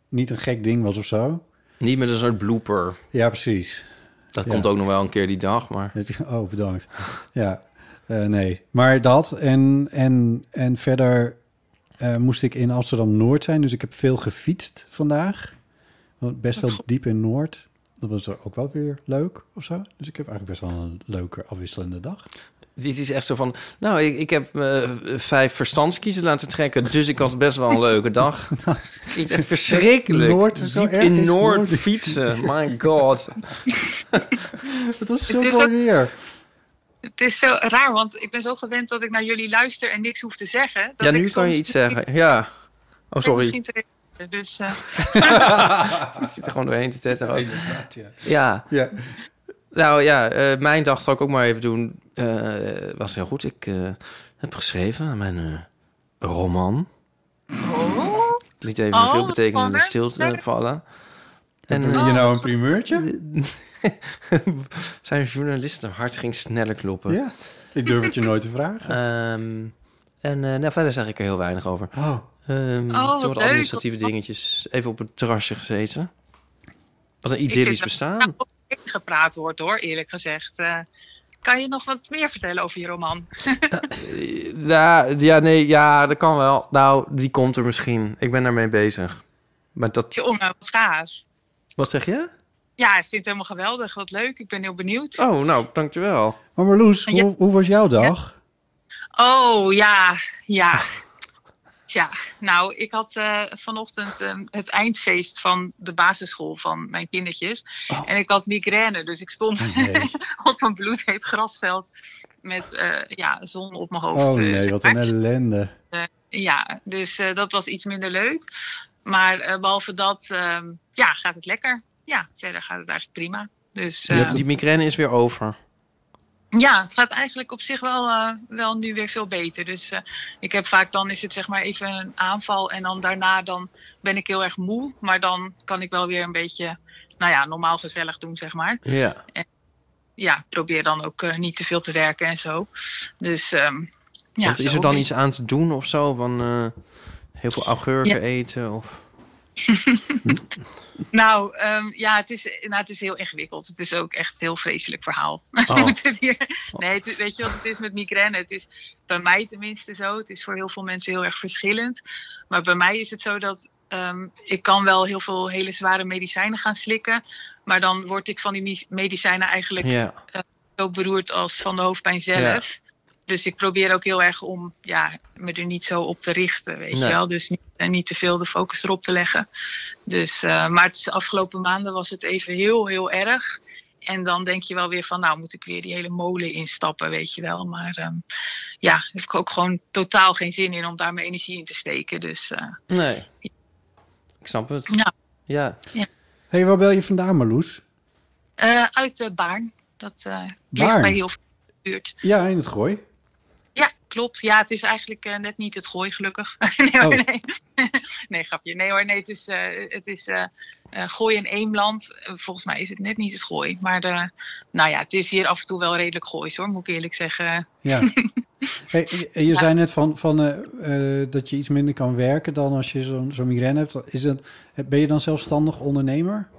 [SPEAKER 3] niet een gek ding was of zo.
[SPEAKER 11] Niet met een soort blooper.
[SPEAKER 3] Ja, precies.
[SPEAKER 11] Dat
[SPEAKER 3] Ja.
[SPEAKER 11] komt ook nog wel een keer die dag, maar...
[SPEAKER 3] Het- Oh, bedankt. Ja, eh, nee. Maar dat en, en, en verder eh, moest ik in Amsterdam-Noord zijn. Dus ik heb veel gefietst vandaag. Best wel diep in Noord. Dat was er ook wel weer leuk of zo. Dus ik heb eigenlijk best wel een leuke afwisselende dag.
[SPEAKER 11] Dit is echt zo van, nou, ik, ik heb eh, vijf verstandskiezen laten trekken, dus ik had best wel een leuke dag. Klinkt echt verschrikkelijk.
[SPEAKER 3] Nou, Noord is zo
[SPEAKER 11] Diep
[SPEAKER 3] erg,
[SPEAKER 11] in
[SPEAKER 3] is
[SPEAKER 11] Noord,
[SPEAKER 3] Noord.
[SPEAKER 11] fietsen, my god.
[SPEAKER 3] Het was
[SPEAKER 12] zo Het is
[SPEAKER 3] mooi
[SPEAKER 12] mooi
[SPEAKER 3] weer.
[SPEAKER 12] Het is zo raar, want ik ben zo gewend dat ik naar jullie luister en niks hoef te zeggen. Dat
[SPEAKER 11] Ja, nu
[SPEAKER 12] ik
[SPEAKER 11] kan je
[SPEAKER 12] soms-
[SPEAKER 11] iets zeggen. Ja. Oh, sorry.
[SPEAKER 12] Misschien te dus, eh,
[SPEAKER 11] Ik zit er gewoon doorheen te tetten. ook. Ja. Nou ja, eh, mijn dag zal ik ook maar even doen. Eh, was heel goed. Ik eh, heb geschreven aan mijn eh, roman. Ik liet even een
[SPEAKER 12] Oh,
[SPEAKER 11] veelbetekenende
[SPEAKER 12] wat
[SPEAKER 11] stilte vallen. eh,
[SPEAKER 3] En wil je nou een primeurtje?
[SPEAKER 11] Zijn journalistenhart ging sneller kloppen.
[SPEAKER 3] Ja, ik durf het je nooit te vragen.
[SPEAKER 11] Ehm, en eh, nou, verder zeg ik er heel weinig over.
[SPEAKER 3] Oh.
[SPEAKER 11] Ehm,
[SPEAKER 12] Oh, wat
[SPEAKER 11] soort
[SPEAKER 12] leuk.
[SPEAKER 11] administratieve dingetjes. Even op het terrasje gezeten. Wat een
[SPEAKER 12] Ik
[SPEAKER 11] idyllisch
[SPEAKER 12] vind dat-
[SPEAKER 11] bestaan.
[SPEAKER 12] Nou, over dingen gepraat wordt hoor, eerlijk gezegd. Eh, kan je nog wat meer vertellen over je roman?
[SPEAKER 11] Eh, Ja, ja, nee, ja, dat kan wel. Nou, die komt er misschien. Ik ben daarmee bezig. Maar dat...
[SPEAKER 12] Jongen, wat gaaf.
[SPEAKER 11] Wat zeg je?
[SPEAKER 12] Ja, ik vind het helemaal geweldig. Wat leuk. Ik ben heel benieuwd.
[SPEAKER 11] Oh, nou, dankjewel.
[SPEAKER 3] Maar Marloes,
[SPEAKER 12] Ja.
[SPEAKER 3] hoe, hoe was jouw dag?
[SPEAKER 12] Oh, ja, ja. Tja, nou, ik had eh, vanochtend eh, het eindfeest van de basisschool van mijn kindertjes. En ik had migraine, dus ik stond op een bloedheet grasveld met eh, ja, zon op mijn hoofd.
[SPEAKER 3] Oh
[SPEAKER 12] eh,
[SPEAKER 3] nee,
[SPEAKER 12] zeg
[SPEAKER 3] wat
[SPEAKER 12] maar.
[SPEAKER 3] een ellende.
[SPEAKER 12] Eh, ja, dus eh, dat was iets minder leuk. Maar eh, behalve dat, ehm, ja, gaat het lekker. Ja, verder gaat het eigenlijk prima. Dus
[SPEAKER 11] Je
[SPEAKER 12] eh,
[SPEAKER 11] hebt- Die migraine is weer over.
[SPEAKER 12] ja, het gaat eigenlijk op zich wel, eh, wel nu weer veel beter. Dus eh, ik heb vaak dan is het zeg maar even een aanval en dan daarna dan ben ik heel erg moe. Maar dan kan ik wel weer een beetje, nou ja, normaal gezellig doen zeg maar.
[SPEAKER 11] Ja.
[SPEAKER 12] Ja, ik probeer dan ook eh, niet te veel te werken en zo. Dus ehm, ja.
[SPEAKER 11] Want is
[SPEAKER 12] zo
[SPEAKER 11] er dan
[SPEAKER 12] ben-
[SPEAKER 11] iets aan te doen of zo? Van eh, heel veel augurken
[SPEAKER 12] Ja.
[SPEAKER 11] eten of...
[SPEAKER 12] Nou, ehm, ja, het is, nou, het is heel ingewikkeld. Het is ook echt een heel vreselijk verhaal.
[SPEAKER 11] Oh.
[SPEAKER 12] We moeten het hier- nee, het, weet je wat het is met migraine? Het is bij mij tenminste zo. Het is voor heel veel mensen heel erg verschillend. Maar bij mij is het zo dat ehm, ik kan wel heel veel hele zware medicijnen gaan slikken. Maar dan word ik van die mi- medicijnen eigenlijk
[SPEAKER 11] Ja.
[SPEAKER 12] eh, zo beroerd als van de hoofdpijn zelf. Dus ik probeer ook heel erg om ja, me er niet zo op te richten, weet
[SPEAKER 11] Nee.
[SPEAKER 12] je wel. Dus niet, en niet te veel de focus erop te leggen. Dus, eh, maar het is- afgelopen maanden was het even heel, heel erg. En dan denk je wel weer van, nou moet ik weer die hele molen instappen, weet je wel. Maar ehm, ja, daar heb ik ook gewoon totaal geen zin in om daar mijn energie in te steken. Dus eh,
[SPEAKER 11] Nee. Ik snap het.
[SPEAKER 12] Ja.
[SPEAKER 11] Ja.
[SPEAKER 12] Ja.
[SPEAKER 3] Hé, hey, waar bel je vandaan, Marloes?
[SPEAKER 12] Eh, uit de Baarn. Dat eh, ligt
[SPEAKER 3] Baarn?
[SPEAKER 12] bij heel veel in de buurt.
[SPEAKER 3] Ja, in het gooi.
[SPEAKER 12] Ja, klopt. Ja, het is eigenlijk eh, net niet het gooi, gelukkig. nee, hoor,
[SPEAKER 3] Oh.
[SPEAKER 12] nee. nee, grapje. Nee hoor, nee, het is, eh, het is eh, eh, gooi en Eemland. Eh, volgens mij is het net niet het gooi. Maar de, nou ja, het is hier af en toe wel redelijk goois hoor, moet ik eerlijk zeggen.
[SPEAKER 3] Ja. Hey, je je zei net van, van, eh, eh, dat je iets minder kan werken dan als je zo'n zo'n migraine hebt. Is dat, ben je dan zelfstandig ondernemer?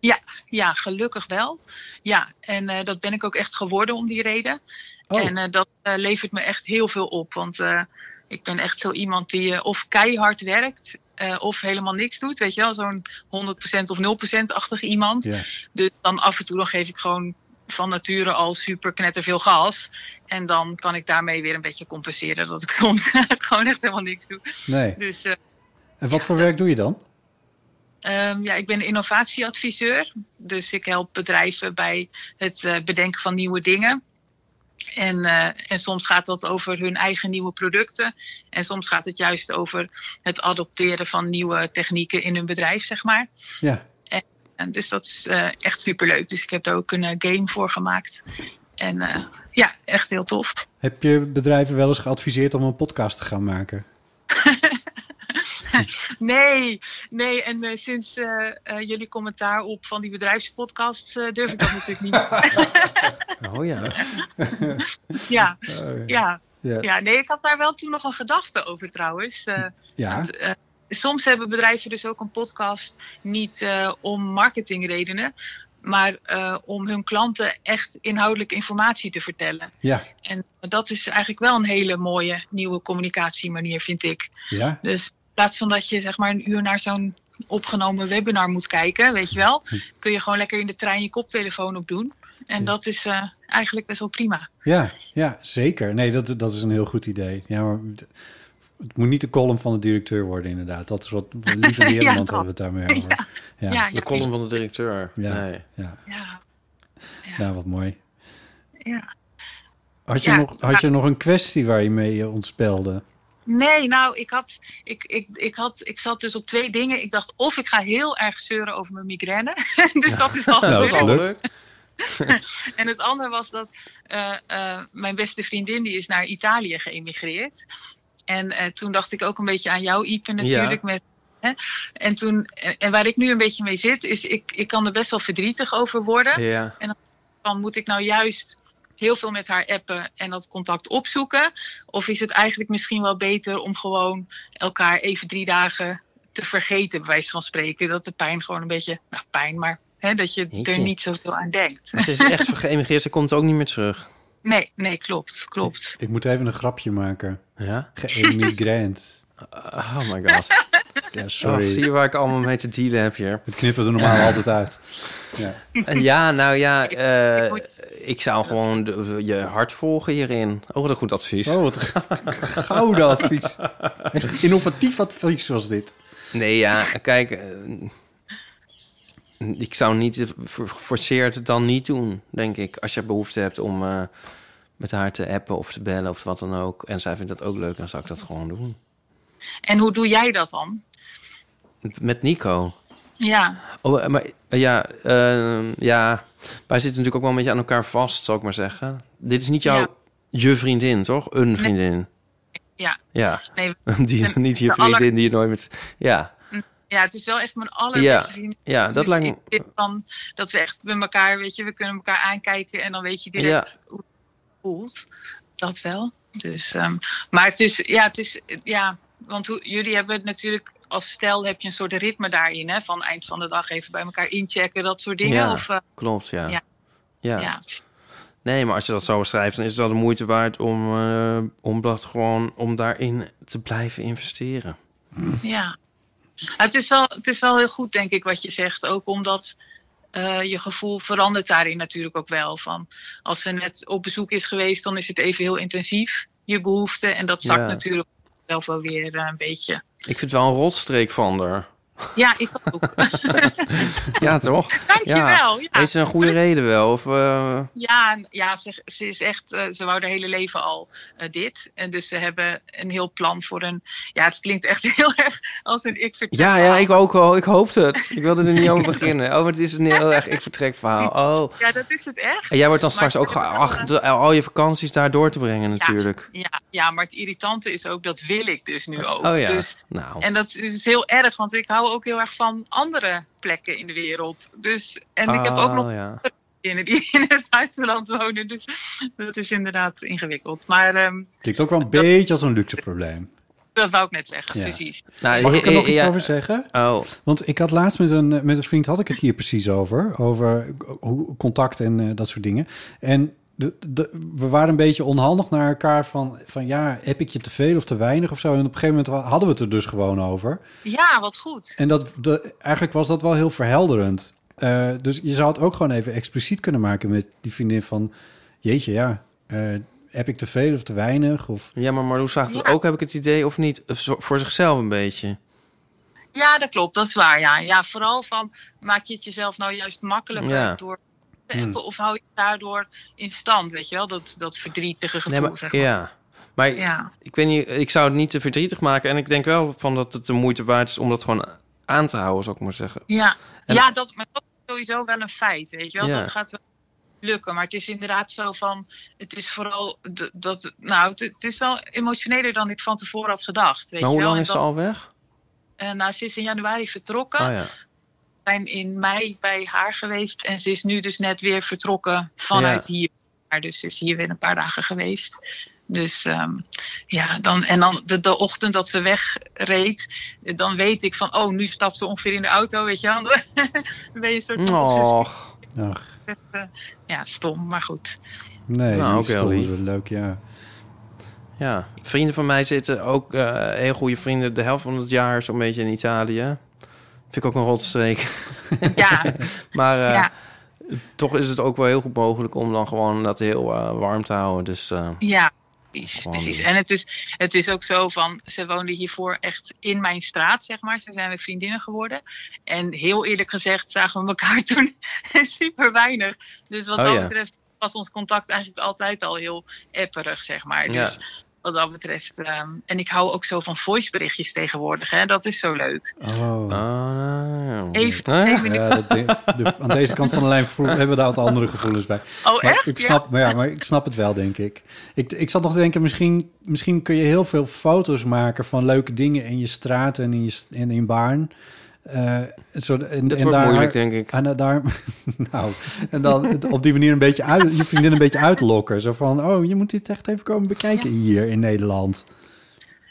[SPEAKER 12] Ja, ja, gelukkig wel. Ja, en eh, dat ben ik ook echt geworden om die reden.
[SPEAKER 3] Oh.
[SPEAKER 12] En eh, dat eh, levert me echt heel veel op. Want eh, ik ben echt zo iemand die eh, of keihard werkt eh, of helemaal niks doet. Weet je wel, zo'n 100% of 0%-achtig iemand.
[SPEAKER 13] Ja.
[SPEAKER 12] Dus dan af en toe dan geef ik gewoon van nature al super knetterveel gas. En dan kan ik daarmee weer een beetje compenseren dat ik soms gewoon echt helemaal niks doe.
[SPEAKER 3] Nee.
[SPEAKER 12] Dus eh,
[SPEAKER 3] En wat voor werk doe je dan?
[SPEAKER 12] Ehm, ja, ik ben innovatieadviseur. Dus ik help bedrijven bij het eh, bedenken van nieuwe dingen. En, eh, en soms gaat dat over hun eigen nieuwe producten. En soms gaat het juist over het adopteren van nieuwe technieken in hun bedrijf, zeg maar.
[SPEAKER 3] Ja.
[SPEAKER 12] En, en dus dat is eh, echt superleuk. Dus ik heb er ook een eh, game voor gemaakt. En eh, ja, echt heel tof.
[SPEAKER 3] Heb je bedrijven wel eens geadviseerd om een podcast te gaan maken?
[SPEAKER 12] Nee, nee. En eh, sinds eh, eh, jullie commentaar op van die bedrijfspodcast eh, durf ik dat natuurlijk niet
[SPEAKER 3] Oh ja.
[SPEAKER 12] Ja,
[SPEAKER 3] Oh, ja.
[SPEAKER 12] ja.
[SPEAKER 3] Ja.
[SPEAKER 12] Ja. nee, ik had daar wel toen nog een gedachte over trouwens. Eh,
[SPEAKER 3] Ja.
[SPEAKER 12] eh, soms hebben bedrijven dus ook een podcast niet eh, om marketingredenen, maar eh, om hun klanten echt inhoudelijk informatie te vertellen.
[SPEAKER 3] Ja.
[SPEAKER 12] En dat is eigenlijk wel een hele mooie nieuwe communicatiemanier, vind ik.
[SPEAKER 3] Ja.
[SPEAKER 12] Dus in plaats van dat je zeg maar een uur naar zo'n opgenomen webinar moet kijken, weet je wel, kun je gewoon lekker in de trein je koptelefoon op doen. En dat is eh, eigenlijk best wel prima.
[SPEAKER 3] Ja, ja, zeker. Nee, dat, dat is een heel goed idee. Ja, maar d- het moet niet de column van de directeur worden, inderdaad. Dat is wat lieve
[SPEAKER 12] Ja, dat.
[SPEAKER 3] Nederland hebben we het daarmee over.
[SPEAKER 12] Ja. Ja, ja.
[SPEAKER 11] De column van de directeur.
[SPEAKER 3] Ja,
[SPEAKER 11] Nee.
[SPEAKER 3] ja.
[SPEAKER 12] Ja,
[SPEAKER 3] Nou, wat mooi.
[SPEAKER 12] ja.
[SPEAKER 3] Had je,
[SPEAKER 12] Ja,
[SPEAKER 3] nog, had je
[SPEAKER 12] ja.
[SPEAKER 3] nog een kwestie waar je mee eh, ontspelde?
[SPEAKER 12] Nee, nou, ik, had, ik, ik, ik, had, ik zat dus op twee dingen. Ik dacht, of ik ga heel erg zeuren over mijn migraine. dus dat is al
[SPEAKER 11] Nou, dat is al
[SPEAKER 12] gelukt.
[SPEAKER 11] gelukt.
[SPEAKER 12] En het andere was dat eh, eh, mijn beste vriendin die is naar Italië geëmigreerd. En eh, toen dacht ik ook een beetje aan jou, Ipe, natuurlijk. Met, hè? En, toen, eh, en waar ik nu een beetje mee zit, is ik, ik kan er best wel verdrietig over worden.
[SPEAKER 11] Ja.
[SPEAKER 12] En dan van, moet ik nou juist heel veel met haar appen en dat contact opzoeken? Of is het eigenlijk misschien wel beter om gewoon elkaar even drie dagen te vergeten, bij wijze van spreken? Dat de pijn gewoon een beetje, nou pijn, maar hè, dat je er
[SPEAKER 11] Jeetje.
[SPEAKER 12] niet zoveel aan denkt.
[SPEAKER 11] Maar ze is echt geëmigreerd. Ze komt ook niet meer terug.
[SPEAKER 12] Nee, nee, klopt, klopt.
[SPEAKER 3] Ik moet even een grapje maken.
[SPEAKER 11] Ja?
[SPEAKER 3] Geëmigrant.
[SPEAKER 11] Oh my god.
[SPEAKER 3] Ja,
[SPEAKER 11] Oh,
[SPEAKER 3] sorry.
[SPEAKER 11] zie je waar ik allemaal mee te dealen heb hier.
[SPEAKER 3] Het knippen we er normaal altijd uit. Ja.
[SPEAKER 11] En ja, nou ja, eh, ik zou gewoon de- je hart volgen hierin. Oh, wat een goed advies.
[SPEAKER 3] Oh, wat een gouden advies. Echt innovatief advies was dit.
[SPEAKER 11] Nee, ja, kijk, eh, ik zou niet eh, ver- geforceerd het dan niet doen, denk ik. Als je behoefte hebt om eh, met haar te appen of te bellen of wat dan ook. En zij vindt dat ook leuk, dan zou ik dat gewoon doen.
[SPEAKER 12] En hoe doe jij dat dan?
[SPEAKER 11] Met Nico.
[SPEAKER 12] Ja,
[SPEAKER 11] Oh, eh, maar eh, ja, ehm, ja, wij zitten natuurlijk ook wel een beetje aan elkaar vast, zal ik maar zeggen. Dit is niet jouw
[SPEAKER 12] Ja.
[SPEAKER 11] je vriendin, toch? Een vriendin.
[SPEAKER 12] ja.
[SPEAKER 11] Ja.
[SPEAKER 12] Nee,
[SPEAKER 11] die,
[SPEAKER 12] en
[SPEAKER 11] niet je
[SPEAKER 12] de aller-
[SPEAKER 11] vriendin die je nooit met. Ja.
[SPEAKER 12] Ja, het is wel echt mijn
[SPEAKER 11] Ja.
[SPEAKER 12] allerbeste vriendin.
[SPEAKER 11] Ja, dat lijkt me-
[SPEAKER 12] Dit van, dat we echt met elkaar, weet je, we kunnen elkaar aankijken en dan weet je direct
[SPEAKER 11] Ja.
[SPEAKER 12] hoe het voelt. Dat wel. Dus, ehm, maar het is, ja, het is, ja, want hoe, jullie hebben het natuurlijk als stel heb je een soort ritme daarin, hè, van eind van de dag even bij elkaar inchecken, dat soort dingen.
[SPEAKER 11] Ja,
[SPEAKER 12] of, eh,
[SPEAKER 11] klopt, ja.
[SPEAKER 12] ja.
[SPEAKER 11] ja.
[SPEAKER 12] Ja.
[SPEAKER 11] Nee, maar als je dat zo beschrijft, dan is het wel de moeite waard om, eh, om dat gewoon om daarin te blijven investeren.
[SPEAKER 12] Ja. Maar Het is, wel, het is wel heel goed, denk ik, wat je zegt. Ook omdat eh, je gevoel verandert daarin natuurlijk ook wel. Van als ze net op bezoek is geweest, dan is het even heel intensief, je behoefte. En dat zakt
[SPEAKER 11] Ja.
[SPEAKER 12] natuurlijk zelf wel weer eh, een beetje.
[SPEAKER 11] Ik vind het wel een rotstreek van haar.
[SPEAKER 12] Ja, ik ook.
[SPEAKER 11] Ja, toch?
[SPEAKER 12] Dankjewel, ja.
[SPEAKER 11] Heeft ze een goede reden wel? Of, eh,
[SPEAKER 12] Ja, n- ja ze, ze is echt, eh, ze wou haar hele leven al eh, dit. En dus ze hebben een heel plan voor een. Ja, het klinkt echt heel erg als een ik vertrek.
[SPEAKER 11] Ja, ja, ik ook al. Ik hoopte het. Ik wilde er niet over beginnen. Oh, maar het is een heel erg ik vertrek verhaal. Oh.
[SPEAKER 12] Ja, dat is het echt.
[SPEAKER 11] En jij wordt dan
[SPEAKER 12] Maar-
[SPEAKER 11] straks ook geacht eh, al je vakanties daar door te brengen natuurlijk.
[SPEAKER 12] Ja, ja, maar het irritante is ook, dat wil ik dus nu ook.
[SPEAKER 11] Oh ja,
[SPEAKER 12] Dus,
[SPEAKER 11] nou.
[SPEAKER 12] En dat is heel erg, want ik hou ook heel erg van andere plekken in de wereld. Dus, en ik heb ook
[SPEAKER 11] Oh,
[SPEAKER 12] nog
[SPEAKER 11] ja.
[SPEAKER 12] andere vriendinnen die in het buitenland wonen. Dus dat is inderdaad ingewikkeld. Maar ehm,
[SPEAKER 3] Klinkt ook wel een beetje als een luxe probleem.
[SPEAKER 12] dat wou ik net zeggen,
[SPEAKER 3] Ja.
[SPEAKER 12] precies.
[SPEAKER 3] Mag ik er nog iets
[SPEAKER 11] Nou, ja.
[SPEAKER 3] over zeggen?
[SPEAKER 11] Oh.
[SPEAKER 3] Want ik had laatst met een, met een vriend had ik het hier precies over. Over hoe- contact en eh, dat soort dingen. En de, de, we waren een beetje onhandig naar elkaar van, van ja, heb ik je te veel of te weinig of zo. En op een gegeven moment hadden we het er dus gewoon over.
[SPEAKER 12] Ja, wat goed.
[SPEAKER 3] En dat, de, eigenlijk was dat wel heel verhelderend. Eh, dus je zou het ook gewoon even expliciet kunnen maken met die vriendin van... Jeetje, ja, eh, heb ik te veel of te weinig? Of...
[SPEAKER 11] Ja, maar Marloes zag het ook, heb ik het idee, of niet? Of zo- Voor zichzelf een beetje.
[SPEAKER 12] Ja, dat klopt, dat is waar. Ja, ja vooral van, maak je het jezelf nou juist makkelijker
[SPEAKER 11] Ja. Hmm.
[SPEAKER 12] door te appen, of hou je het daardoor in stand, weet je wel? Dat, dat verdrietige gevoel,
[SPEAKER 11] Nee, maar,
[SPEAKER 12] zeg maar.
[SPEAKER 11] ja. Maar
[SPEAKER 12] Ja.
[SPEAKER 11] ik weet niet, ik zou het niet te verdrietig maken. En ik denk wel van dat het de moeite waard is om dat gewoon aan te houden, zou ik maar zeggen.
[SPEAKER 12] Ja,
[SPEAKER 11] En-
[SPEAKER 12] ja dat, maar dat is sowieso wel een feit, weet je wel.
[SPEAKER 11] Ja.
[SPEAKER 12] Dat gaat wel lukken, maar het is inderdaad zo van... Het is vooral, d- dat, nou, het, het is wel emotioneler dan ik van tevoren had gedacht, weet
[SPEAKER 11] Maar
[SPEAKER 12] je
[SPEAKER 11] hoe
[SPEAKER 12] wel.
[SPEAKER 11] lang
[SPEAKER 12] En
[SPEAKER 11] is ze
[SPEAKER 12] dat-
[SPEAKER 11] al weg?
[SPEAKER 12] eh, nou, ze is in januari vertrokken.
[SPEAKER 11] Oh ja.
[SPEAKER 12] We zijn in mei bij haar geweest en ze is nu dus net weer vertrokken vanuit
[SPEAKER 11] Ja.
[SPEAKER 12] hier. Maar dus ze is hier weer een paar dagen geweest. Dus ehm, ja, dan, en dan de, de ochtend dat ze wegreed, eh, dan weet ik van, oh, nu stapt ze ongeveer in de auto, weet je wel. Dan ben je een soort...
[SPEAKER 11] Och.
[SPEAKER 12] Eh, Ja, stom, maar goed.
[SPEAKER 3] Nee,
[SPEAKER 11] Nou,
[SPEAKER 3] dat
[SPEAKER 11] ook
[SPEAKER 3] is
[SPEAKER 11] heel
[SPEAKER 3] toch
[SPEAKER 11] lief.
[SPEAKER 3] wel leuk, ja.
[SPEAKER 11] Ja, vrienden van mij zitten ook, eh, heel goede vrienden, de helft van het jaar zo'n beetje in Italië. Vind ik ook een rotstreek.
[SPEAKER 12] Ja.
[SPEAKER 11] maar eh,
[SPEAKER 12] Ja.
[SPEAKER 11] toch is het ook wel heel goed mogelijk om dan gewoon dat heel eh, warm te houden. Dus eh,
[SPEAKER 12] Ja, precies.
[SPEAKER 11] Gewoon
[SPEAKER 12] precies.
[SPEAKER 11] doen.
[SPEAKER 12] En het is, het is ook zo van, ze woonde hiervoor echt in mijn straat, zeg maar. Ze zijn weer vriendinnen geworden. En heel eerlijk gezegd zagen we elkaar toen super weinig. Dus wat
[SPEAKER 11] Oh
[SPEAKER 12] dat
[SPEAKER 11] ja.
[SPEAKER 12] betreft was ons contact eigenlijk altijd al heel epperig, zeg maar. Dus
[SPEAKER 11] Ja.
[SPEAKER 12] wat dat betreft. ehm, en ik hou ook zo van voiceberichtjes tegenwoordig, hè. Dat is zo leuk.
[SPEAKER 3] Oh.
[SPEAKER 11] nou.
[SPEAKER 12] Even- even nu.
[SPEAKER 3] ja, dat ding- de- aan deze kant van de lijn voel- hebben we daar wat andere gevoelens bij.
[SPEAKER 12] Oh,
[SPEAKER 3] maar
[SPEAKER 12] echt?
[SPEAKER 3] Ik snap,
[SPEAKER 12] Ja.
[SPEAKER 3] Maar ja, maar ik snap het wel, denk ik. ik. Ik zat nog te denken, misschien, misschien kun je heel veel foto's maken van leuke dingen in je straat en in, je, st- en in Baarn. Eh, zo, en, en
[SPEAKER 11] wordt
[SPEAKER 3] daar,
[SPEAKER 11] moeilijk, denk ik.
[SPEAKER 3] En daar, nou, en dan het op die manier een beetje uit, je vriendin een beetje uitlokken. Zo van, oh, je moet dit echt even komen bekijken hier in Nederland.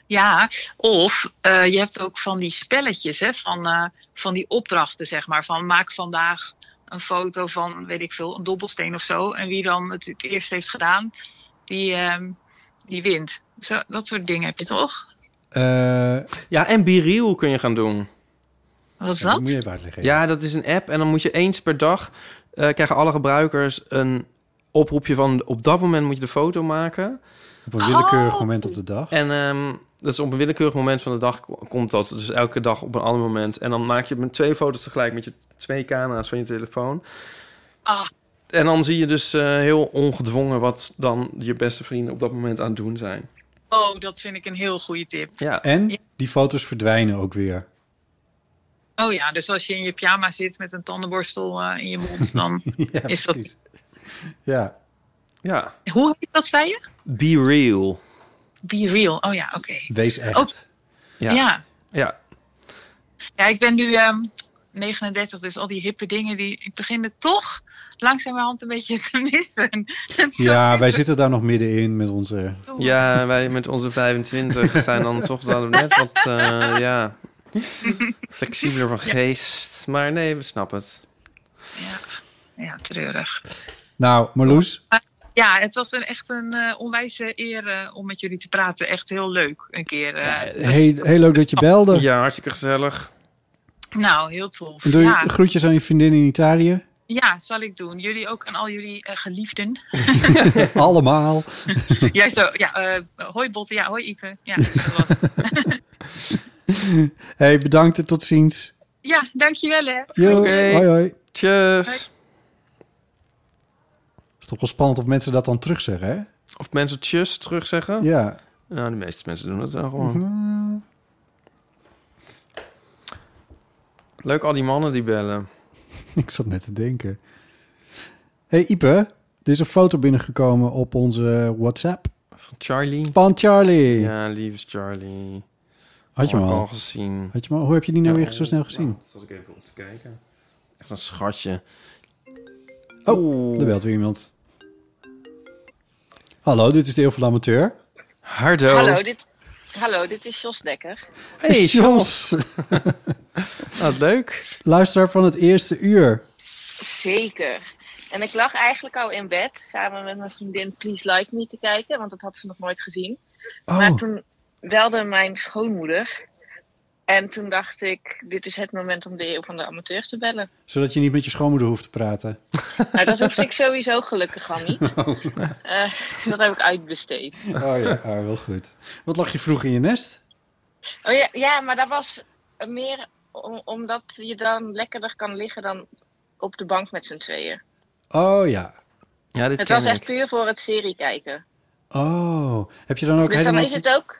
[SPEAKER 12] Ja, of eh, je hebt ook van die spelletjes, hè, van, eh, van die opdrachten, zeg maar. Van maak vandaag een foto van, weet ik veel, een dobbelsteen of zo. En wie dan het, het eerst heeft gedaan, die, ehm, die wint. Zo, dat soort dingen heb je toch?
[SPEAKER 3] Eh,
[SPEAKER 11] ja, en Biriel kun je gaan doen.
[SPEAKER 12] Wat is dat?
[SPEAKER 3] even uitleggen.
[SPEAKER 11] Ja, dat is een app en dan moet je eens per dag... eh, krijgen alle gebruikers een oproepje van... op dat moment moet je de foto maken.
[SPEAKER 3] Op een willekeurig
[SPEAKER 12] Oh.
[SPEAKER 3] moment op de dag.
[SPEAKER 11] En ehm, dus op een willekeurig moment van de dag ko- komt dat. Dus elke dag op een ander moment. En dan maak je met twee foto's tegelijk met je twee camera's van je telefoon.
[SPEAKER 12] Ah.
[SPEAKER 11] En dan zie je dus eh, heel ongedwongen wat dan je beste vrienden op dat moment aan het doen zijn.
[SPEAKER 12] Oh, dat vind ik een heel goede tip.
[SPEAKER 11] Ja.
[SPEAKER 3] En die foto's verdwijnen ook weer.
[SPEAKER 12] Oh ja, dus als je in je pyjama zit met een tandenborstel eh, in je mond, dan
[SPEAKER 3] Ja,
[SPEAKER 12] is dat...
[SPEAKER 3] Ja.
[SPEAKER 11] Ja.
[SPEAKER 12] Hoe heet dat, zei je?
[SPEAKER 11] Be real.
[SPEAKER 12] Be real. Oh ja, oké.
[SPEAKER 3] Wees echt.
[SPEAKER 11] Ja.
[SPEAKER 12] Oh. ja.
[SPEAKER 11] Ja.
[SPEAKER 12] Ja, ik ben nu ehm 39, dus al die hippe dingen, die, ik begin het toch langzamerhand een beetje te missen.
[SPEAKER 3] Ja, wij zitten daar nog middenin met onze...
[SPEAKER 11] Ja, wij met onze 25 zijn dan toch dan net wat eh, ja, flexibeler van geest. Maar nee, we snappen het.
[SPEAKER 12] Ja, treurig.
[SPEAKER 3] Nou, Marloes,
[SPEAKER 12] Ja, het was een, echt een eh, onwijze eer eh, om met jullie te praten. Echt heel leuk een keer. eh.
[SPEAKER 3] heel, heel leuk dat je belde.
[SPEAKER 11] Ja, hartstikke gezellig.
[SPEAKER 12] Nou, heel tof.
[SPEAKER 3] En doe je
[SPEAKER 12] ja.
[SPEAKER 3] groetjes aan je vriendin in Italië?
[SPEAKER 12] ja, zal ik doen. Jullie ook en al jullie eh, geliefden.
[SPEAKER 3] Allemaal.
[SPEAKER 12] Jij zo, ja, eh, hoi Botte, ja, hoi Ipe. Ja, dat was-
[SPEAKER 3] hey, bedankt en tot ziens.
[SPEAKER 12] Ja, dankjewel hè.
[SPEAKER 3] Jo, hoi, hoi.
[SPEAKER 11] Tjus.
[SPEAKER 3] is toch wel spannend of mensen dat dan terugzeggen, hè?
[SPEAKER 11] Of mensen tjus terugzeggen?
[SPEAKER 3] Ja. Mhm.
[SPEAKER 11] Nou, de meeste mensen doen dat wel gewoon. Leuk al die mannen die bellen.
[SPEAKER 3] Ik zat net te denken. hey, Ipe, er is een foto binnengekomen op onze WhatsApp.
[SPEAKER 11] Van Charlie.
[SPEAKER 3] Van Charlie.
[SPEAKER 11] Ja, lieve Charlie.
[SPEAKER 3] Had je hem
[SPEAKER 11] Had ik
[SPEAKER 3] al?
[SPEAKER 11] al gezien.
[SPEAKER 3] Had je hem al? Hoe heb je die nou
[SPEAKER 11] Ja,
[SPEAKER 3] weer zo snel gezien?
[SPEAKER 11] Nou, dat zat ik even op te kijken. Echt een schatje.
[SPEAKER 3] Oh, er belt weer iemand. Hallo, dit is de Eeuw van de Amateur.
[SPEAKER 11] Hardo.
[SPEAKER 8] Hallo, dit, hallo, dit is Jos Dekker.
[SPEAKER 3] Hey, Jos.
[SPEAKER 11] Wat leuk.
[SPEAKER 3] Luisteraar van het eerste uur.
[SPEAKER 8] Zeker. En ik lag eigenlijk al in bed samen met mijn vriendin Please Like Me te kijken, want dat had ze nog nooit gezien.
[SPEAKER 3] Oh.
[SPEAKER 8] Maar toen belde mijn schoonmoeder. En toen dacht ik, dit is het moment om de eeuw van de amateur te bellen.
[SPEAKER 3] Zodat je niet met je schoonmoeder hoeft te praten.
[SPEAKER 8] Nou, dat hoefde ik sowieso gelukkig al niet.
[SPEAKER 3] Oh,
[SPEAKER 8] Eh, dat heb ik uitbesteed.
[SPEAKER 3] ja, ah, wel goed. Wat lag je vroeg in je nest?
[SPEAKER 8] Oh ja, ja, maar dat was meer om- omdat je dan lekkerder kan liggen dan op de bank met z'n tweeën.
[SPEAKER 3] Oh ja.
[SPEAKER 11] Ja,
[SPEAKER 8] het was echt puur voor het serie kijken.
[SPEAKER 3] Oh, heb je dan ook
[SPEAKER 8] dus dan
[SPEAKER 3] helemaal...
[SPEAKER 8] is het ook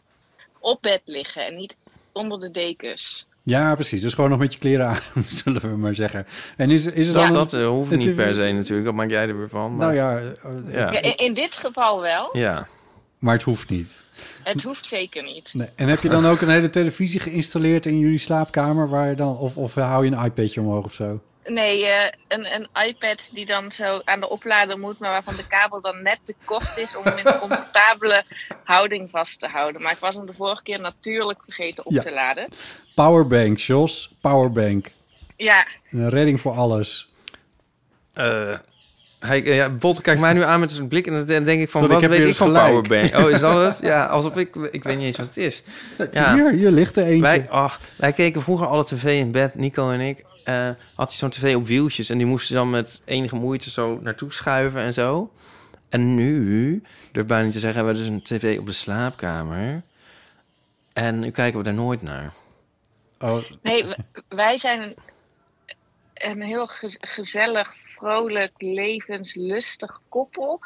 [SPEAKER 8] op bed liggen en niet onder de dekens.
[SPEAKER 3] Ja, precies. Dus gewoon nog met je kleren aan, zullen we maar zeggen. En is, is er
[SPEAKER 11] dat,
[SPEAKER 3] dan...
[SPEAKER 11] dat eh, hoeft niet per
[SPEAKER 3] se.
[SPEAKER 11] se natuurlijk. Dat maak jij er weer van. maar-
[SPEAKER 3] Nou ja, eh,
[SPEAKER 11] Ja.
[SPEAKER 8] Ja, in, in dit geval wel.
[SPEAKER 11] Ja.
[SPEAKER 3] Maar het hoeft niet.
[SPEAKER 8] Het hoeft zeker niet.
[SPEAKER 3] Nee. En heb je dan ook een hele televisie geïnstalleerd in jullie slaapkamer? Waar je dan, of, of hou je een iPadje omhoog of zo?
[SPEAKER 8] Nee, eh, een, een iPad die dan zo aan de oplader moet, maar waarvan de kabel dan net te kort is om hem in een comfortabele houding vast te houden. Maar ik was hem de vorige keer natuurlijk vergeten op
[SPEAKER 3] Ja.
[SPEAKER 8] te laden.
[SPEAKER 3] Powerbank, Jos. Powerbank.
[SPEAKER 8] Ja,
[SPEAKER 3] Een redding voor alles.
[SPEAKER 11] Eh, hij, eh, ja, Bolt kijkt mij nu aan met zijn blik en dan denk ik van,
[SPEAKER 3] Sorry,
[SPEAKER 11] wat
[SPEAKER 3] ik heb
[SPEAKER 11] weet
[SPEAKER 3] hier
[SPEAKER 11] ik van
[SPEAKER 3] dus gelijk.
[SPEAKER 11] Powerbank? Oh, is dat het? Ja, alsof ik, ik weet niet eens wat het is. Ja.
[SPEAKER 3] Hier, hier ligt er eentje.
[SPEAKER 11] Wij, ach, wij keken vroeger alle tv in bed, Nico en ik. eh, had hij zo'n tv op wieltjes en die moesten dan met enige moeite zo naartoe schuiven en zo. En nu, durf bijna niet te zeggen, hebben we dus een tv op de slaapkamer. En nu kijken we daar nooit naar.
[SPEAKER 3] Oh,
[SPEAKER 8] nee, w- wij zijn een, een heel gez- gezellig, vrolijk, levenslustig koppel.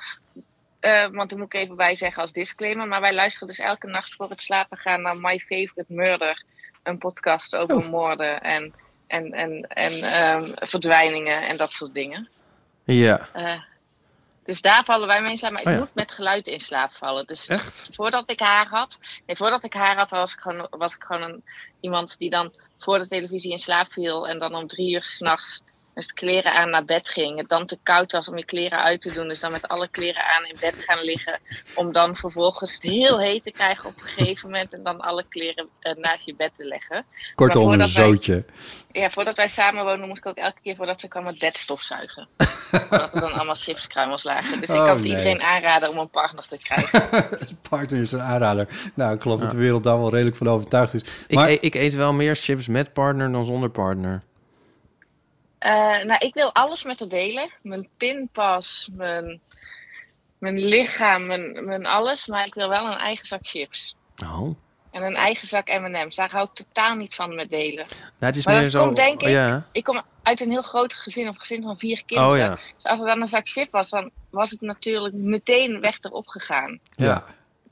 [SPEAKER 8] Eh, want daar moet ik even bij zeggen als disclaimer. Maar wij luisteren dus elke nacht voor het slapen gaan naar My Favorite Murder. Een podcast over moorden en, en, en, en ehm, verdwijningen en dat soort dingen.
[SPEAKER 11] Ja.
[SPEAKER 8] Eh, dus daar vallen wij mee in slaap. Maar ik
[SPEAKER 11] Oh ja.
[SPEAKER 8] moet met geluid in slaap vallen. Dus
[SPEAKER 11] Echt?
[SPEAKER 8] voordat ik haar had. Nee, voordat ik haar had, was ik gewoon, was ik gewoon een, iemand die dan voor de televisie in slaap viel. En dan om drie uur s'nachts met de kleren aan naar bed ging. Het dan te koud was om je kleren uit te doen. Dus dan met alle kleren aan in bed gaan liggen. Om dan vervolgens het heel heet te krijgen op een gegeven moment. En dan alle kleren eh, naast je bed te leggen. Maar
[SPEAKER 3] Kortom, een
[SPEAKER 8] voordat wij-
[SPEAKER 3] zootje.
[SPEAKER 8] ja, voordat wij samen woonden, moest ik ook elke keer voordat ze kwam het bed stofzuigen. Omdat er dan allemaal chipskruimels lagen. Dus
[SPEAKER 3] Oh,
[SPEAKER 8] ik kan het
[SPEAKER 3] nee.
[SPEAKER 8] iedereen aanraden om een partner te krijgen.
[SPEAKER 3] Partner is een aanrader. Nou, ik geloof dat de wereld daar wel redelijk van overtuigd is.
[SPEAKER 11] Ik, e- ik eet wel meer chips met partner dan zonder partner.
[SPEAKER 8] Eh, nou, ik wil alles met haar delen. Mijn pinpas, mijn, mijn lichaam, mijn, mijn alles. Maar ik wil wel een eigen zak chips.
[SPEAKER 3] Oh.
[SPEAKER 11] Nou,
[SPEAKER 8] En een eigen zak M&M's. Daar hou ik totaal niet van met delen.
[SPEAKER 11] Nou, het is
[SPEAKER 8] maar
[SPEAKER 11] meer
[SPEAKER 8] dat
[SPEAKER 11] zo...
[SPEAKER 8] komt denk ik...
[SPEAKER 11] Ja.
[SPEAKER 8] Ik kom uit een heel groot gezin, of gezin van vier kinderen.
[SPEAKER 11] Oh, ja.
[SPEAKER 8] Dus als er dan een zak chip was, dan was het natuurlijk meteen weg erop gegaan.
[SPEAKER 11] ja.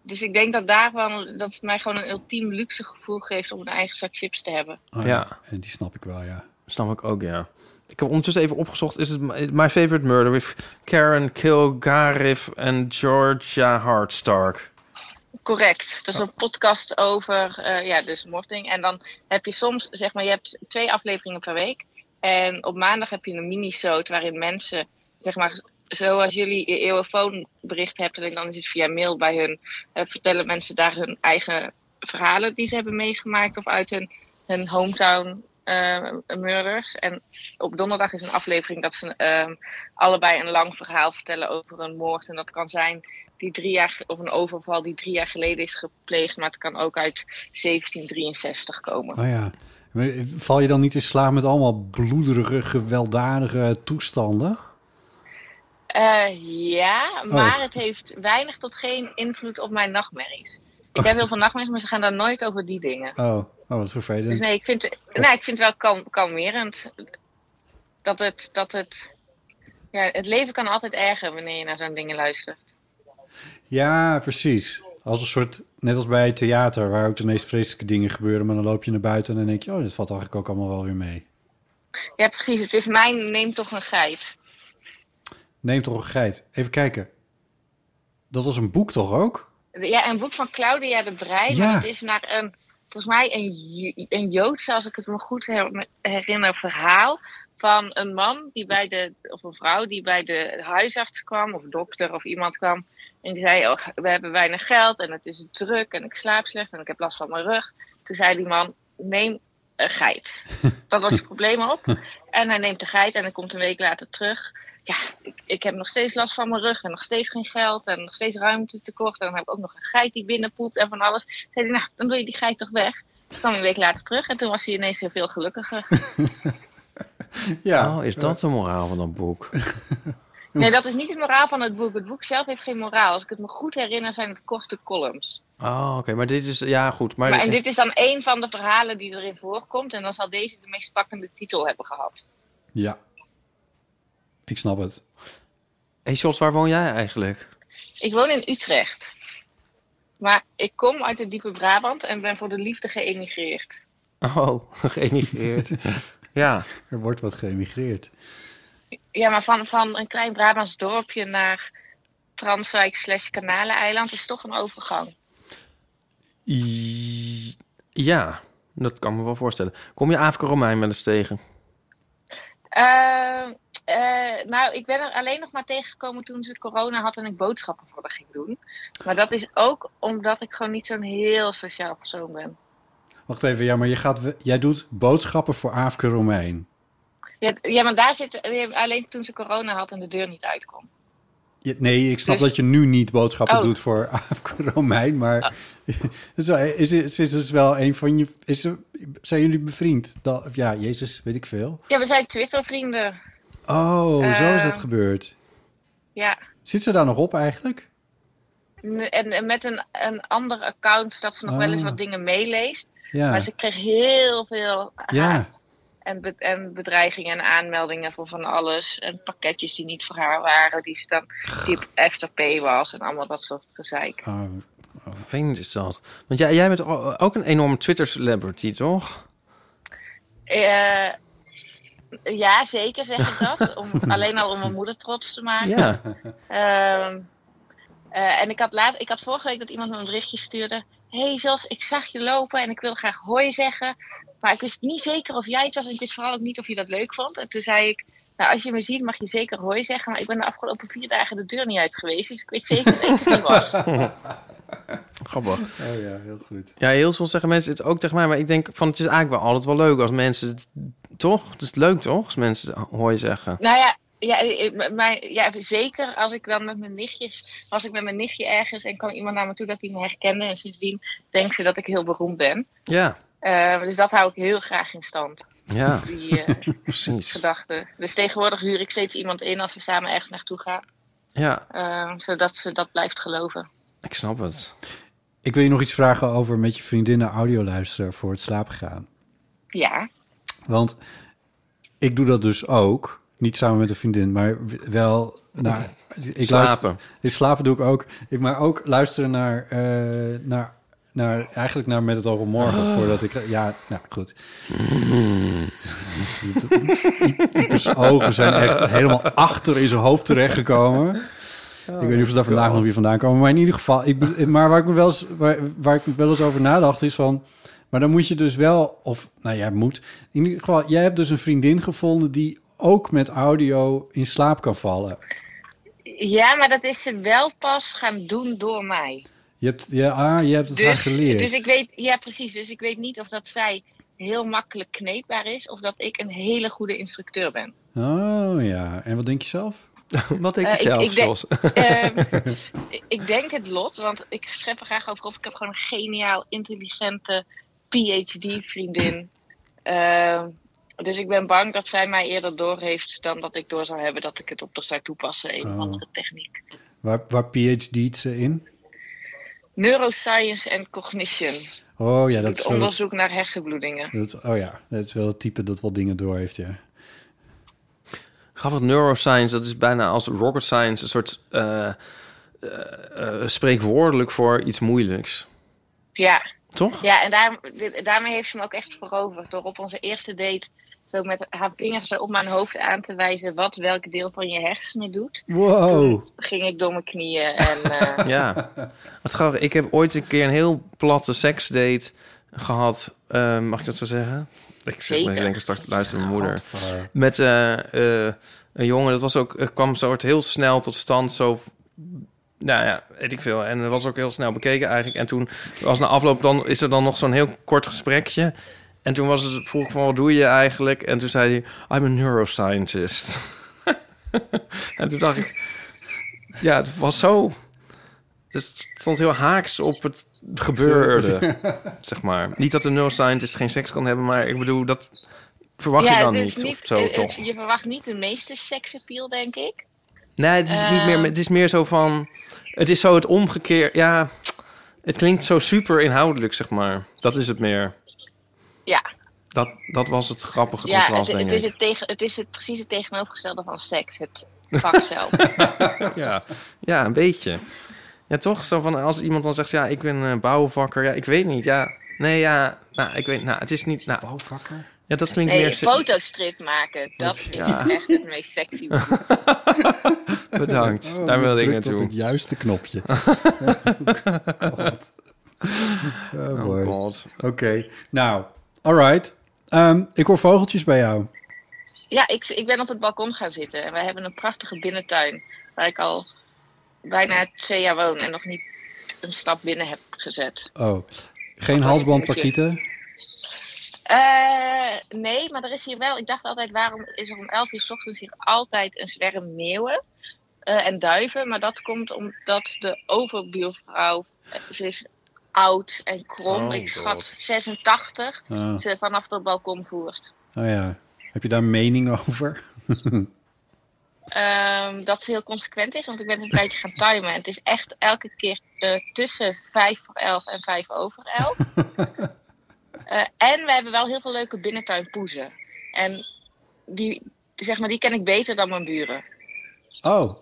[SPEAKER 8] Dus ik denk dat daarvan dat het mij gewoon een ultiem luxe gevoel geeft om een eigen zak chips te hebben.
[SPEAKER 3] Oh,
[SPEAKER 11] ja.
[SPEAKER 3] En die snap ik wel, ja.
[SPEAKER 11] Snap ik ook, ja. Ik heb ondertussen even opgezocht. Is het My- My Favorite Murder with Karen Kilgariff en Georgia Hardstark?
[SPEAKER 8] Correct. Dat is een podcast over eh, ja, dus moording. En dan heb je soms, zeg maar, je hebt twee afleveringen per week. En op maandag heb je een mini-show waarin mensen, zeg maar, zoals jullie je eeuwenfoonbericht hebben, en dan is het via mail bij hun, eh, vertellen mensen daar hun eigen verhalen die ze hebben meegemaakt of uit hun, hun hometown eh, murders. En op donderdag is een aflevering dat ze eh, allebei een lang verhaal vertellen over een moord. En dat kan zijn die drie jaar, ge- of een overval die drie jaar geleden is gepleegd, maar het kan ook uit 1763 komen.
[SPEAKER 3] Oh ja. Maar Val je dan niet in slaap met allemaal bloederige, gewelddadige toestanden?
[SPEAKER 8] Eh, ja,
[SPEAKER 3] Oh.
[SPEAKER 8] maar het heeft weinig tot geen invloed op mijn nachtmerries. Ik heb heel veel nachtmerries, maar ze gaan daar nooit over die dingen.
[SPEAKER 3] Oh, oké. Oh, wat vervelend.
[SPEAKER 8] Dus nee, ik vind, nee, ik vind het wel kalm, kalmerend. Dat het, dat het, ja, het leven kan altijd erger wanneer je naar zo'n dingen luistert.
[SPEAKER 3] Ja, precies. Als een soort, net als bij theater, waar ook de meest vreselijke dingen gebeuren. Maar dan loop je naar buiten en dan denk je, oh, dit valt eigenlijk ook allemaal wel weer mee.
[SPEAKER 8] Ja, precies. Het is mijn neem toch een geit.
[SPEAKER 3] Neem toch een geit. Even kijken. Dat was een boek toch ook?
[SPEAKER 8] Ja, een boek van Claudia de Breij.
[SPEAKER 3] Ja.
[SPEAKER 8] maar Het is naar een, volgens mij een, Ju- een Joodse, als ik het me goed her- herinner, verhaal. Van een man die bij de, of een vrouw die bij de huisarts kwam, of dokter of iemand kwam. En die zei: oh, We hebben weinig geld en het is druk en ik slaap slecht en ik heb last van mijn rug. Toen zei die man: Neem een geit. Dat was het probleem op. En hij neemt de geit en hij komt een week later terug. Ja, ik, ik heb nog steeds last van mijn rug en nog steeds geen geld en nog steeds ruimte tekort. En dan heb ik ook nog een geit die binnenpoept en van alles. Toen zei hij, nou, dan wil je die geit toch weg. Toen kwam hij een week later terug en toen was hij ineens heel veel gelukkiger.
[SPEAKER 3] Ja.
[SPEAKER 11] Oh, is dat de moraal van dat boek?
[SPEAKER 8] Nee, dat is niet het moraal van het boek. Het boek zelf heeft geen moraal. Als ik het me goed herinner zijn het korte columns.
[SPEAKER 11] Oh, oké. Maar dit is... Ja, goed. Maar,
[SPEAKER 8] Maar, en dit is dan één van de verhalen die erin voorkomt. En dan zal deze de meest pakkende titel hebben gehad.
[SPEAKER 3] Ja. Ik snap het.
[SPEAKER 11] Hey, Sjors, waar woon jij eigenlijk?
[SPEAKER 8] Ik woon in Utrecht. Maar ik kom uit het diepe Brabant en ben voor de liefde geëmigreerd.
[SPEAKER 11] Oh, geëmigreerd. ja.
[SPEAKER 3] Er wordt wat geëmigreerd.
[SPEAKER 8] Ja, maar van, van een klein Brabants dorpje naar Transwijk slash Kanaleneiland is toch een overgang.
[SPEAKER 11] I- Ja, dat kan me wel voorstellen. Kom je Afrika Romein wel eens tegen?
[SPEAKER 8] Eh, eh, nou, ik ben er alleen nog maar tegengekomen toen ze corona had en ik boodschappen voor haar ging doen. Maar dat is ook omdat ik gewoon niet zo'n heel sociaal persoon ben.
[SPEAKER 3] Wacht even, ja, maar je gaat, we- jij doet boodschappen voor Aafke Romein.
[SPEAKER 8] Ja, d- ja maar daar zit alleen toen ze corona had en de deur niet uit kon.
[SPEAKER 3] Je- nee, ik snap
[SPEAKER 8] Dus-
[SPEAKER 3] dat je nu niet boodschappen
[SPEAKER 8] Oh.
[SPEAKER 3] doet voor Aafke Romein, maar is, is, is, is dus wel een van je... Is, er- zijn jullie bevriend? Dat, of ja, Jezus, weet ik veel.
[SPEAKER 8] Ja, we zijn Twitter-vrienden.
[SPEAKER 3] Oh, zo is dat
[SPEAKER 8] Eh.
[SPEAKER 3] gebeurd.
[SPEAKER 8] Ja.
[SPEAKER 3] Zit ze daar nog op eigenlijk?
[SPEAKER 8] En, en met een, een ander account dat ze nog wel eens
[SPEAKER 3] Ah.
[SPEAKER 8] wat dingen meeleest.
[SPEAKER 3] Ja.
[SPEAKER 8] Maar ze kreeg heel veel
[SPEAKER 3] Ja.
[SPEAKER 8] en, be- en bedreigingen en aanmeldingen voor van alles. En pakketjes die niet voor haar waren, die ze dan die op FTP was en allemaal dat soort gezeik.
[SPEAKER 11] Oh, Vervelend is dat. Want jij, jij bent o- ook een enorme Twitter-celebrity, toch?
[SPEAKER 8] Eh, ja, zeker zeg ik dat. Om, alleen al om mijn moeder trots te maken.
[SPEAKER 11] Ja.
[SPEAKER 8] Ehm, eh, en ik had, laat, ik had vorige week dat iemand me een berichtje stuurde. Hé hey Jos, ik zag je lopen en ik wil graag hoi zeggen. Maar ik wist niet zeker of jij het was en ik wist vooral ook niet of je dat leuk vond. En toen zei ik, nou als je me ziet mag je zeker hoi zeggen. Maar ik ben de afgelopen vier dagen de deur niet uit geweest. Dus ik weet zeker dat ik het niet was.
[SPEAKER 11] Grappig.
[SPEAKER 3] Oh ja, heel goed.
[SPEAKER 11] Ja, heel soms zeggen mensen het ook tegen mij, maar ik denk van het is eigenlijk wel altijd wel leuk als mensen, het- toch? Het is leuk toch? Als mensen het hooi zeggen.
[SPEAKER 8] Nou ja, ja, ik- m- mijn, ja, zeker als ik dan met mijn nichtjes, was ik met mijn nichtje ergens en kwam iemand naar me toe dat hij me herkende. En sindsdien denkt ze dat ik heel beroemd ben.
[SPEAKER 11] Ja,
[SPEAKER 8] Eh, dus dat hou ik heel graag in stand.
[SPEAKER 11] ja.
[SPEAKER 8] Die eh
[SPEAKER 11] Precies.
[SPEAKER 8] gedachte. Dus tegenwoordig huur ik steeds iemand in als we samen ergens naartoe gaan.
[SPEAKER 11] Ja,
[SPEAKER 8] eh, zodat ze dat blijft geloven.
[SPEAKER 11] ik snap het.
[SPEAKER 3] Ik wil je nog iets vragen over met je vriendinnen audio luisteren voor het slapen gaan.
[SPEAKER 8] Ja.
[SPEAKER 3] Want ik doe dat dus ook. Niet samen met een vriendin, maar w- wel... Nou, ik
[SPEAKER 11] Slapen.
[SPEAKER 3] Luister, ik slapen doe ik ook. Ik, maar ook luisteren naar, eh, naar, naar... Eigenlijk naar Met het Oog op Morgen.
[SPEAKER 11] Ah.
[SPEAKER 3] Voordat ik... Ja, nou goed. Iepers Dus ogen zijn echt helemaal achter in zijn hoofd terechtgekomen. ik weet niet of ze daar
[SPEAKER 8] Oh,
[SPEAKER 3] vandaag nog weer vandaan komen. Maar in ieder geval... Ik, be- maar waar ik, me wel eens, waar, waar ik me wel eens over nadacht is van... Maar dan moet je dus wel... Of, nou ja, moet... In ieder geval, jij hebt dus een vriendin gevonden... die ook met audio in slaap kan vallen.
[SPEAKER 8] Ja, maar dat is ze wel pas gaan doen door mij.
[SPEAKER 3] Je hebt, ja, ah, je hebt het haar
[SPEAKER 8] Dus,
[SPEAKER 3] geleerd.
[SPEAKER 8] dus ik weet, ja precies, dus ik weet niet of dat zij heel makkelijk kneedbaar is of dat ik een hele goede instructeur ben.
[SPEAKER 3] Oh ja, en wat denk je zelf?
[SPEAKER 11] wat
[SPEAKER 8] Eh, denk- Ehm, ik- ik denk het lot, want ik schep er graag over op. Ik heb gewoon een geniaal, intelligente PhD-vriendin. Ehm, dus ik ben bang dat zij mij eerder doorheeft dan dat ik door zou hebben dat ik het op de zou toepassen, een of
[SPEAKER 3] Oh.
[SPEAKER 8] andere techniek.
[SPEAKER 3] Waar, waar PhD't ze in?
[SPEAKER 8] Neuroscience en cognition.
[SPEAKER 3] Oh ja,
[SPEAKER 8] doet
[SPEAKER 3] dat is wel...
[SPEAKER 8] onderzoek naar hersenbloedingen.
[SPEAKER 3] Dat, oh ja, dat is wel het type dat wel dingen door heeft, ja.
[SPEAKER 11] Grappig, neuroscience, dat is bijna als rocket science... een soort eh, eh, eh, spreekwoordelijk voor iets moeilijks.
[SPEAKER 8] Ja.
[SPEAKER 11] Toch?
[SPEAKER 8] Ja, en daar, daarmee heeft ze me ook echt veroverd. Door op onze eerste date zo met haar vingers op mijn hoofd aan te wijzen wat welk deel van je hersenen doet.
[SPEAKER 3] Wow.
[SPEAKER 8] Ging ik door mijn knieën en eh,
[SPEAKER 11] Ja. Wat grappig. Ik heb ooit een keer een heel platte seksdate gehad. Eh, mag ik dat zo zeggen? Ik zeg
[SPEAKER 8] Zeker.
[SPEAKER 11] mensen denken straks luister mijn moeder. Met eh, eh, een jongen. Dat was ook eh, kwam soort heel snel tot stand. Zo. Nou ja, weet ik veel. En dat was ook heel snel bekeken eigenlijk. En toen was na afloop dan is er dan nog zo'n heel kort gesprekje. En toen was het vroeg ik van wat doe je eigenlijk? En toen zei hij I'm a neuroscientist. en toen dacht ik ja, het was zo dus het stond heel haaks op het gebeurde, zeg maar. Niet dat een neuroscientist geen seks kan hebben, maar ik bedoel, dat verwacht
[SPEAKER 8] ja,
[SPEAKER 11] je dan
[SPEAKER 8] het is
[SPEAKER 11] niet, of zo,
[SPEAKER 8] eh, eh,
[SPEAKER 11] toch?
[SPEAKER 8] Je verwacht niet de meeste seksappeal, denk ik.
[SPEAKER 11] Nee, het is niet meer,
[SPEAKER 8] Ehm.
[SPEAKER 11] het is meer zo van, het is zo het omgekeerd, ja, het klinkt zo super inhoudelijk, zeg maar. Dat is het meer.
[SPEAKER 8] Ja,
[SPEAKER 11] Dat, dat was het grappige
[SPEAKER 8] ja het,
[SPEAKER 11] contrast,
[SPEAKER 8] het,
[SPEAKER 11] denk
[SPEAKER 8] is
[SPEAKER 11] ik.
[SPEAKER 8] het, tegen, het is het precies het tegenovergestelde van seks. Het vak zelf.
[SPEAKER 11] ja. ja, een beetje. Ja, toch? Zo van, als iemand dan zegt, ja, ik ben eh, bouwvakker, ja, ik weet niet, ja. Nee, ja, nou, ik weet, nou, het is niet, nou. Bouwvakker? Ja, dat klinkt
[SPEAKER 8] Nee,
[SPEAKER 11] meer...
[SPEAKER 8] een
[SPEAKER 11] se-
[SPEAKER 8] fotostrip maken, dat is
[SPEAKER 11] Ja.
[SPEAKER 8] echt het meest sexy.
[SPEAKER 11] Bedankt.
[SPEAKER 3] Oh,
[SPEAKER 11] Daar
[SPEAKER 3] je
[SPEAKER 11] wilde ik
[SPEAKER 3] drukt
[SPEAKER 11] naartoe.
[SPEAKER 3] op het juiste knopje. God. Oh,
[SPEAKER 11] Oh,
[SPEAKER 3] boy.
[SPEAKER 11] God.
[SPEAKER 3] Oké, nou, all right. Ehm, ik hoor vogeltjes bij jou.
[SPEAKER 8] Ja, ik, ik ben op het balkon gaan zitten en wij hebben een prachtige binnentuin waar ik al bijna twee jaar woon en nog niet een stap binnen heb gezet.
[SPEAKER 3] Oh, geen halsband parkieten?
[SPEAKER 8] Eh, nee, maar er is hier wel. Ik dacht altijd, waarom is er om 11 uur 's ochtends hier altijd een zwerm meeuwen eh, en duiven? Maar dat komt omdat de overbuurvrouw, eh, ze is oud en krom,
[SPEAKER 3] Oh,
[SPEAKER 8] ik
[SPEAKER 3] God.
[SPEAKER 8] schat 86,
[SPEAKER 3] Ah.
[SPEAKER 8] ze vanaf het balkon voert.
[SPEAKER 3] Oh ja, heb je daar mening over?
[SPEAKER 8] Ehm, dat ze heel consequent is, want ik ben een tijdje gaan timen. En het is echt elke keer eh, tussen vijf voor elf en vijf over elf. Eh, en we hebben wel heel veel leuke binnentuinpoezen. En die, zeg maar, die ken ik beter dan mijn buren.
[SPEAKER 3] oh,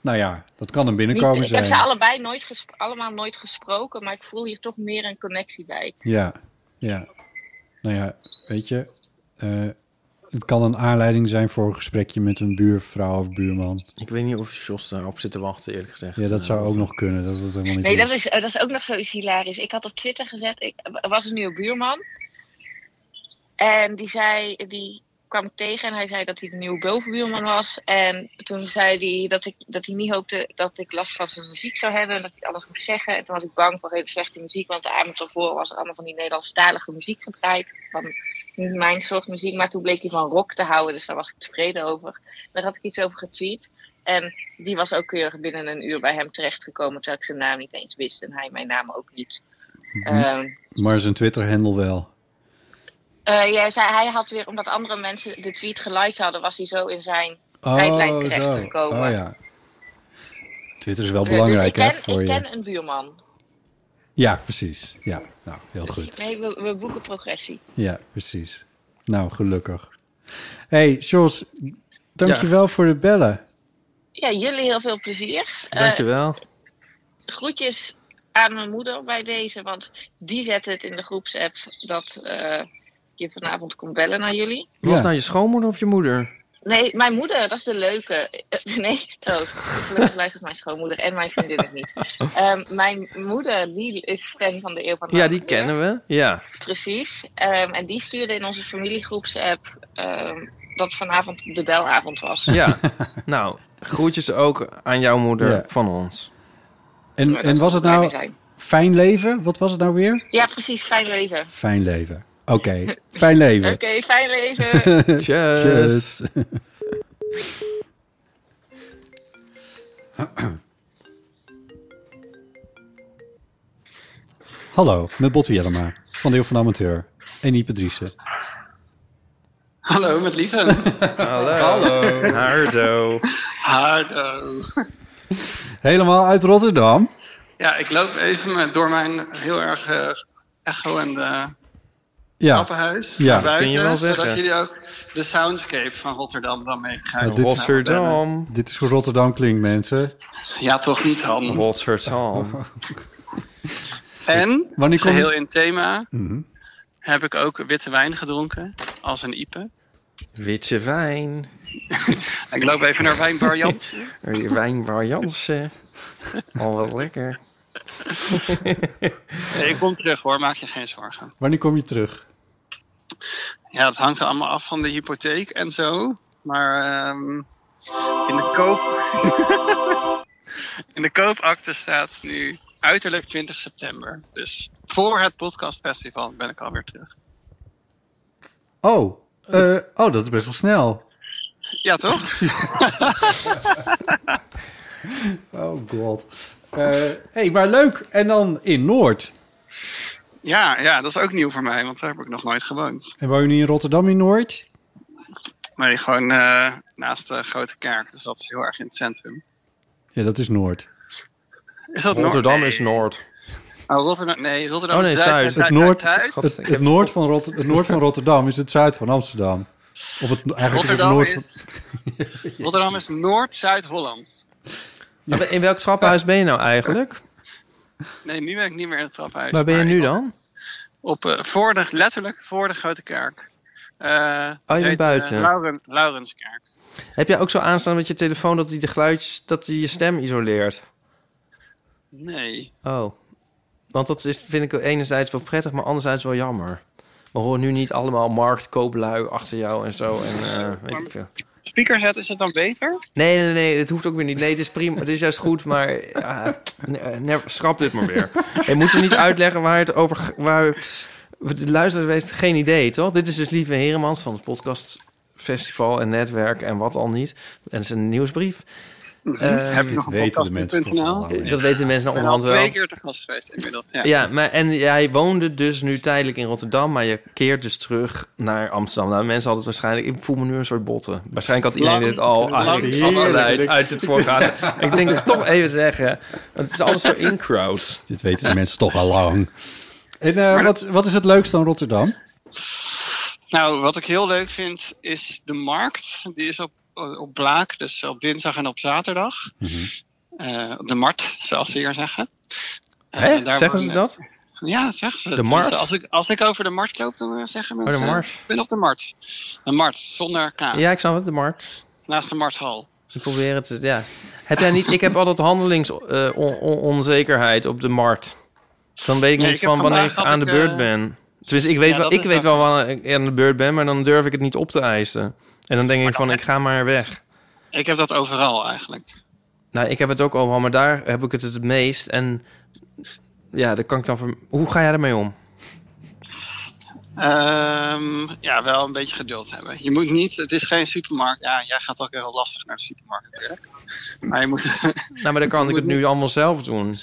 [SPEAKER 3] nou ja, dat kan een
[SPEAKER 8] Niet-
[SPEAKER 3] binnenkomen
[SPEAKER 8] ik
[SPEAKER 3] zijn.
[SPEAKER 8] heb ze allebei nooit gespro- allemaal nooit gesproken, maar ik voel hier toch meer een connectie bij.
[SPEAKER 3] Ja, ja. Nou ja, weet je, eh, het kan een aanleiding zijn voor een gesprekje met een buurvrouw of buurman.
[SPEAKER 11] Ik weet niet of Jos daarop zit te wachten, eerlijk gezegd.
[SPEAKER 3] Ja, dat zou
[SPEAKER 11] Eh,
[SPEAKER 3] ook nog kunnen. Dat het helemaal niet
[SPEAKER 8] Nee, dat is, eh, dat is ook nog zoiets hilarisch. Ik had op Twitter gezet, ik, er was een nieuwe buurman. En die zei, die kwam ik tegen en hij zei dat hij de nieuwe bovenbuurman was. En toen zei hij dat, ik, dat hij niet hoopte dat ik last van zijn muziek zou hebben en dat hij alles moest zeggen. En toen was ik bang voor hele slechte muziek, want de avond ervoor was er allemaal van die Nederlandstalige muziek gedraaid. Van niet mijn soort muziek, maar toen bleek hij van rock te houden, dus daar was ik tevreden over. Daar had ik iets over getweet. En die was ook keurig binnen een uur bij hem terechtgekomen, terwijl ik zijn naam niet eens wist en hij mijn naam ook niet. Ehm,
[SPEAKER 3] Hm. Maar zijn Twitter-handle wel.
[SPEAKER 8] eh, ja, zei, hij had weer, omdat andere mensen de tweet geliked hadden, was hij zo in zijn tijdlijn
[SPEAKER 3] Oh, zo.
[SPEAKER 8] terechtgekomen.
[SPEAKER 3] Oh ja. Twitter is wel
[SPEAKER 8] Eh,
[SPEAKER 3] belangrijk,
[SPEAKER 8] dus ik
[SPEAKER 3] hè?
[SPEAKER 8] ken,
[SPEAKER 3] Voor
[SPEAKER 8] ik
[SPEAKER 3] je.
[SPEAKER 8] ken een buurman.
[SPEAKER 3] Ja, precies. Ja, nou, heel goed.
[SPEAKER 8] Nee, we, we boeken progressie.
[SPEAKER 3] Ja, precies. Nou, gelukkig. hey, Jos, dankjewel voor het bellen.
[SPEAKER 8] Ja, jullie heel veel plezier. Eh,
[SPEAKER 11] Dankjewel.
[SPEAKER 8] groetjes aan mijn moeder bij deze, want die zette het in de groepsapp dat eh, je vanavond komt bellen naar jullie.
[SPEAKER 11] Was het nou je schoonmoeder of je moeder?
[SPEAKER 8] Nee, mijn moeder, dat is de leuke. Eh, nee, oh, gelukkig luistert mijn schoonmoeder en mijn vriendin het niet. Ehm, mijn moeder, die is fan van de Eeuw van de
[SPEAKER 11] Ja, die
[SPEAKER 8] Amateur.
[SPEAKER 11] kennen we. Ja.
[SPEAKER 8] Precies. Ehm, en die stuurde in onze familiegroepsapp ehm, dat vanavond de belavond was.
[SPEAKER 11] Ja. nou, groetjes ook aan jouw moeder
[SPEAKER 3] Ja.
[SPEAKER 11] van ons.
[SPEAKER 3] En,
[SPEAKER 8] dat
[SPEAKER 3] en was het
[SPEAKER 8] moet blij
[SPEAKER 3] nou
[SPEAKER 8] mee zijn.
[SPEAKER 3] fijn leven? Wat was het nou weer?
[SPEAKER 8] Ja, precies. Fijn leven.
[SPEAKER 3] Fijn leven. Oké, fijn
[SPEAKER 8] Oké,
[SPEAKER 3] leven.
[SPEAKER 8] fijn leven.
[SPEAKER 11] Tjus.
[SPEAKER 3] Tjus. Hallo, met Botte Jellema van Deel van de Amateur en Ipe Driessen.
[SPEAKER 13] Hallo, met Lieve.
[SPEAKER 11] Hallo. Hardo.
[SPEAKER 13] Hardo.
[SPEAKER 3] Helemaal uit Rotterdam.
[SPEAKER 13] Ja, ik loop even met- door mijn heel erg eh, echo en de
[SPEAKER 3] Ja.
[SPEAKER 13] trappenhuis.
[SPEAKER 3] Ja,
[SPEAKER 13] naar
[SPEAKER 3] dat kun je
[SPEAKER 13] buiten,
[SPEAKER 3] wel
[SPEAKER 13] Zodat
[SPEAKER 3] zeggen.
[SPEAKER 13] jullie ook de soundscape van Rotterdam dan mee
[SPEAKER 3] Ja,
[SPEAKER 13] krijgen.
[SPEAKER 3] dit is- Dit is hoe Nou, Rotterdam klinkt, mensen.
[SPEAKER 13] Ja, toch niet, Han?
[SPEAKER 11] Rotterdam.
[SPEAKER 13] En,
[SPEAKER 3] Wanneer kom-
[SPEAKER 13] geheel in thema,
[SPEAKER 3] Mhm.
[SPEAKER 13] heb ik ook witte wijn gedronken. Als een Ipe.
[SPEAKER 11] Witje wijn.
[SPEAKER 13] Ik loop even naar Wijnbar Jansen.
[SPEAKER 11] Wijnbar Jansen. Al wat lekker.
[SPEAKER 13] Nee, ik kom terug hoor, maak je geen zorgen.
[SPEAKER 3] Wanneer kom je terug?
[SPEAKER 13] Ja, het hangt er allemaal af van de hypotheek en zo. Maar ehm, in de koop... in de koopakte staat nu uiterlijk 20 september. Dus voor het podcastfestival ben ik alweer terug.
[SPEAKER 3] Oh, eh, oh, dat is best wel snel.
[SPEAKER 13] Ja, toch?
[SPEAKER 3] Oh god. Hé, hey, maar leuk. En dan in Noord.
[SPEAKER 13] ja, ja, dat is ook nieuw voor mij, want daar heb ik nog nooit gewoond.
[SPEAKER 3] En woon je nu in Rotterdam in Noord?
[SPEAKER 13] Maar die gewoon eh, naast de Grote Kerk, dus dat is heel erg in het centrum.
[SPEAKER 3] Ja, dat is Noord.
[SPEAKER 13] Is dat
[SPEAKER 11] Rotterdam
[SPEAKER 13] Noord?
[SPEAKER 11] is Noord.
[SPEAKER 13] Nee. Oh, Rotterdam, nee, Rotterdam
[SPEAKER 11] Oh, nee,
[SPEAKER 13] is Zuid.
[SPEAKER 11] Zuid.
[SPEAKER 13] Zuid,
[SPEAKER 3] Het
[SPEAKER 13] Zuid,
[SPEAKER 3] noord,
[SPEAKER 13] Zuid,
[SPEAKER 3] het,
[SPEAKER 13] Zuid.
[SPEAKER 3] het noord van Rot- het noord van Rotterdam is het zuid van Amsterdam. Of het, eigenlijk
[SPEAKER 13] Rotterdam
[SPEAKER 3] het noord
[SPEAKER 13] is- Rotterdam is Noord-Zuid-Holland.
[SPEAKER 11] Maar In welk trappenhuis ben je nou eigenlijk?
[SPEAKER 13] Nee, nu ben ik niet meer in het traphuis.
[SPEAKER 11] Waar ben je nu dan?
[SPEAKER 13] Op, eh, voor de, letterlijk voor de Grote Kerk. Eh,
[SPEAKER 11] Oh, je bent
[SPEAKER 13] heet, eh,
[SPEAKER 11] buiten.
[SPEAKER 13] Lauren, Laurenskerk.
[SPEAKER 11] Heb jij ook zo aanstaan met je telefoon dat hij de geluidjes, dat hij je stem isoleert?
[SPEAKER 13] Nee.
[SPEAKER 11] Oh. Want dat is, vind ik enerzijds wel prettig, maar anderzijds wel jammer. We horen nu niet allemaal marktkooplui achter jou en zo. En, eh, weet ik veel.
[SPEAKER 13] Speaker zet, is het dan beter?
[SPEAKER 11] Nee, nee, nee, het hoeft ook weer niet. Nee, het is prima. Het is juist goed, maar ja, nee, eh, nee, schrap dit maar weer. Je moet er niet uitleggen waar het over... g- Waar, de luisteraar heeft geen idee, toch? Dit is dus Lieve Heremans van het podcastfestival en netwerk en wat al niet. En zijn nieuwsbrief.
[SPEAKER 3] Hm?
[SPEAKER 11] Eh,
[SPEAKER 13] Heb je nog een podcast.nl?
[SPEAKER 11] Dat weten de
[SPEAKER 13] Ik
[SPEAKER 11] mensen
[SPEAKER 13] ben al
[SPEAKER 11] onderhand wel.
[SPEAKER 13] twee keer te gast geweest inmiddels. Ja.
[SPEAKER 11] Ja, maar, en jij woonde dus nu tijdelijk in Rotterdam, maar je keert dus terug naar Amsterdam. Nou, mensen hadden het waarschijnlijk... Ik voel me nu een soort botten. Waarschijnlijk had iedereen
[SPEAKER 13] Lang-
[SPEAKER 11] dit al
[SPEAKER 13] lang-
[SPEAKER 11] uit,
[SPEAKER 13] heerlijk.
[SPEAKER 11] uit, uit het voorgaande. ik denk dat ik het toch even zeggen, want het is alles zo in-crowd.
[SPEAKER 3] Dit weten de mensen toch al lang. En eh, wat, wat is het leukste aan Rotterdam?
[SPEAKER 13] Nou, wat ik heel leuk vind is de markt. Die is op, op Blaak, dus op dinsdag en op zaterdag.
[SPEAKER 3] Mhm.
[SPEAKER 13] Eh, op de Mart, zoals ze hier zeggen. Eh,
[SPEAKER 11] Hè?
[SPEAKER 13] daar
[SPEAKER 11] Zeggen ze
[SPEAKER 13] wonen-
[SPEAKER 11] dat?
[SPEAKER 13] Ja, dat zeggen ze.
[SPEAKER 11] De
[SPEAKER 13] Tenminste,
[SPEAKER 11] Mart?
[SPEAKER 13] Als ik, als ik over de Mart loop, dan zeggen
[SPEAKER 11] de
[SPEAKER 13] mensen...
[SPEAKER 11] Mars.
[SPEAKER 13] Ik ben op de Mart. De Mart, zonder K.
[SPEAKER 11] Ja, ik snap het, de markt.
[SPEAKER 13] Naast de Marthal.
[SPEAKER 11] Ik probeer het, te- ja. Heb jij niet... Ik heb altijd eh, handelingsonzekerheid op de markt. Dan weet ik
[SPEAKER 13] Nee,
[SPEAKER 11] niet
[SPEAKER 13] ik heb
[SPEAKER 11] van wanneer
[SPEAKER 13] vandaag
[SPEAKER 11] ik
[SPEAKER 13] had
[SPEAKER 11] aan de
[SPEAKER 13] ik,
[SPEAKER 11] beurt
[SPEAKER 13] eh,
[SPEAKER 11] ben. Tenminste, ik weet,
[SPEAKER 13] Ja,
[SPEAKER 11] wel,
[SPEAKER 13] dat
[SPEAKER 11] ik
[SPEAKER 13] is
[SPEAKER 11] weet
[SPEAKER 13] wel-
[SPEAKER 11] wel wanneer ik aan de beurt ben, maar dan durf ik het niet op te eisen. En dan denk ik van, ik ga maar weg.
[SPEAKER 13] Ik heb dat overal eigenlijk.
[SPEAKER 11] Nou, ik heb het ook overal, maar daar heb ik het het meest. En ja, daar kan ik dan van. Hoe ga jij ermee om?
[SPEAKER 13] Ehm, ja, wel een beetje geduld hebben. Je moet niet... Het is geen supermarkt. Ja, jij gaat ook heel lastig naar de supermarkt natuurlijk. Maar je moet...
[SPEAKER 11] Nou, maar dan kan ik het nu allemaal zelf doen.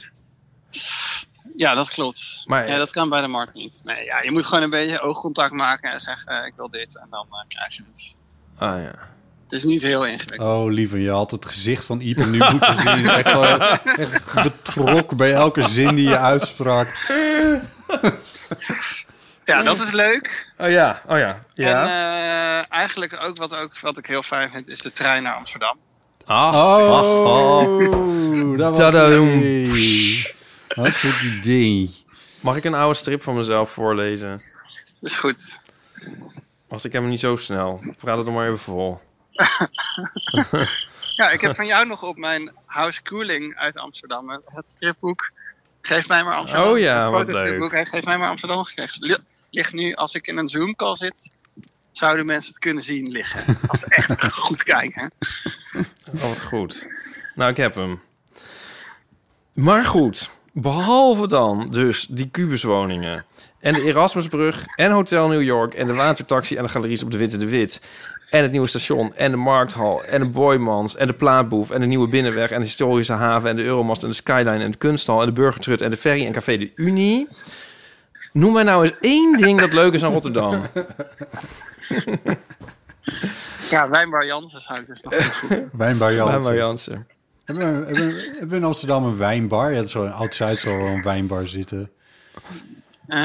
[SPEAKER 13] Ja, dat klopt.
[SPEAKER 11] Maar-
[SPEAKER 13] ja, dat kan bij de markt niet. Nee, ja, je moet gewoon een beetje oogcontact maken en zeggen: eh, Ik wil dit. En dan eh, krijg je het.
[SPEAKER 11] Ah ja.
[SPEAKER 13] Het is niet heel ingewikkeld.
[SPEAKER 3] Oh, lieve, je had het gezicht van Ieper nu moeten zien. Echt, gewoon echt betrokken bij elke zin die je uitsprak.
[SPEAKER 13] Ja, dat is leuk.
[SPEAKER 11] Oh ja, oh ja.
[SPEAKER 13] En eh, eigenlijk ook wat, ook wat ik heel fijn vind, is de trein naar Amsterdam.
[SPEAKER 11] Ach,
[SPEAKER 3] oh,
[SPEAKER 11] ach,
[SPEAKER 3] dat was
[SPEAKER 11] Tadadoem.
[SPEAKER 3] het. Wat een idee.
[SPEAKER 11] Mag ik een oude strip van mezelf voorlezen?
[SPEAKER 13] Is goed.
[SPEAKER 11] Wacht, ik heb hem niet zo snel. Ik Praat het nog maar even vol.
[SPEAKER 13] Ja, ik heb van jou nog op mijn House Cooling uit Amsterdam eh, het stripboek Geef mij maar Amsterdam.
[SPEAKER 11] Oh ja,
[SPEAKER 13] het
[SPEAKER 11] wat
[SPEAKER 13] fotostripboek heeft Geef mij maar Amsterdam gekregen. Li- Ligt nu, als ik in een Zoom call zit, zouden mensen het kunnen zien liggen. Als ze echt goed kijken.
[SPEAKER 11] Oh, wat goed. Nou, ik heb hem. Maar goed, behalve dan dus die kubuswoningen... en de Erasmusbrug en Hotel New York... en de watertaxi en de galeries op de Witte de Wit... en het nieuwe station en de Markthal en de Boymans... en de Plaatboef en de Nieuwe Binnenweg... en de Historische Haven en de Euromast en de Skyline... en de Kunsthal en de Burgertrut en de Ferry en Café de Unie... Noem mij nou eens één ding dat leuk is aan Rotterdam.
[SPEAKER 13] Ja, Wijnbar Jansen zou ik dus nog niet goed.
[SPEAKER 3] Wijnbar Jansen.
[SPEAKER 11] Wijnbar Jansen.
[SPEAKER 3] Hebben we, hebben we- hebben we in Amsterdam een wijnbar? Ja, dat is wel een oud-Zuid zal wel een wijnbar zitten.
[SPEAKER 13] Eh,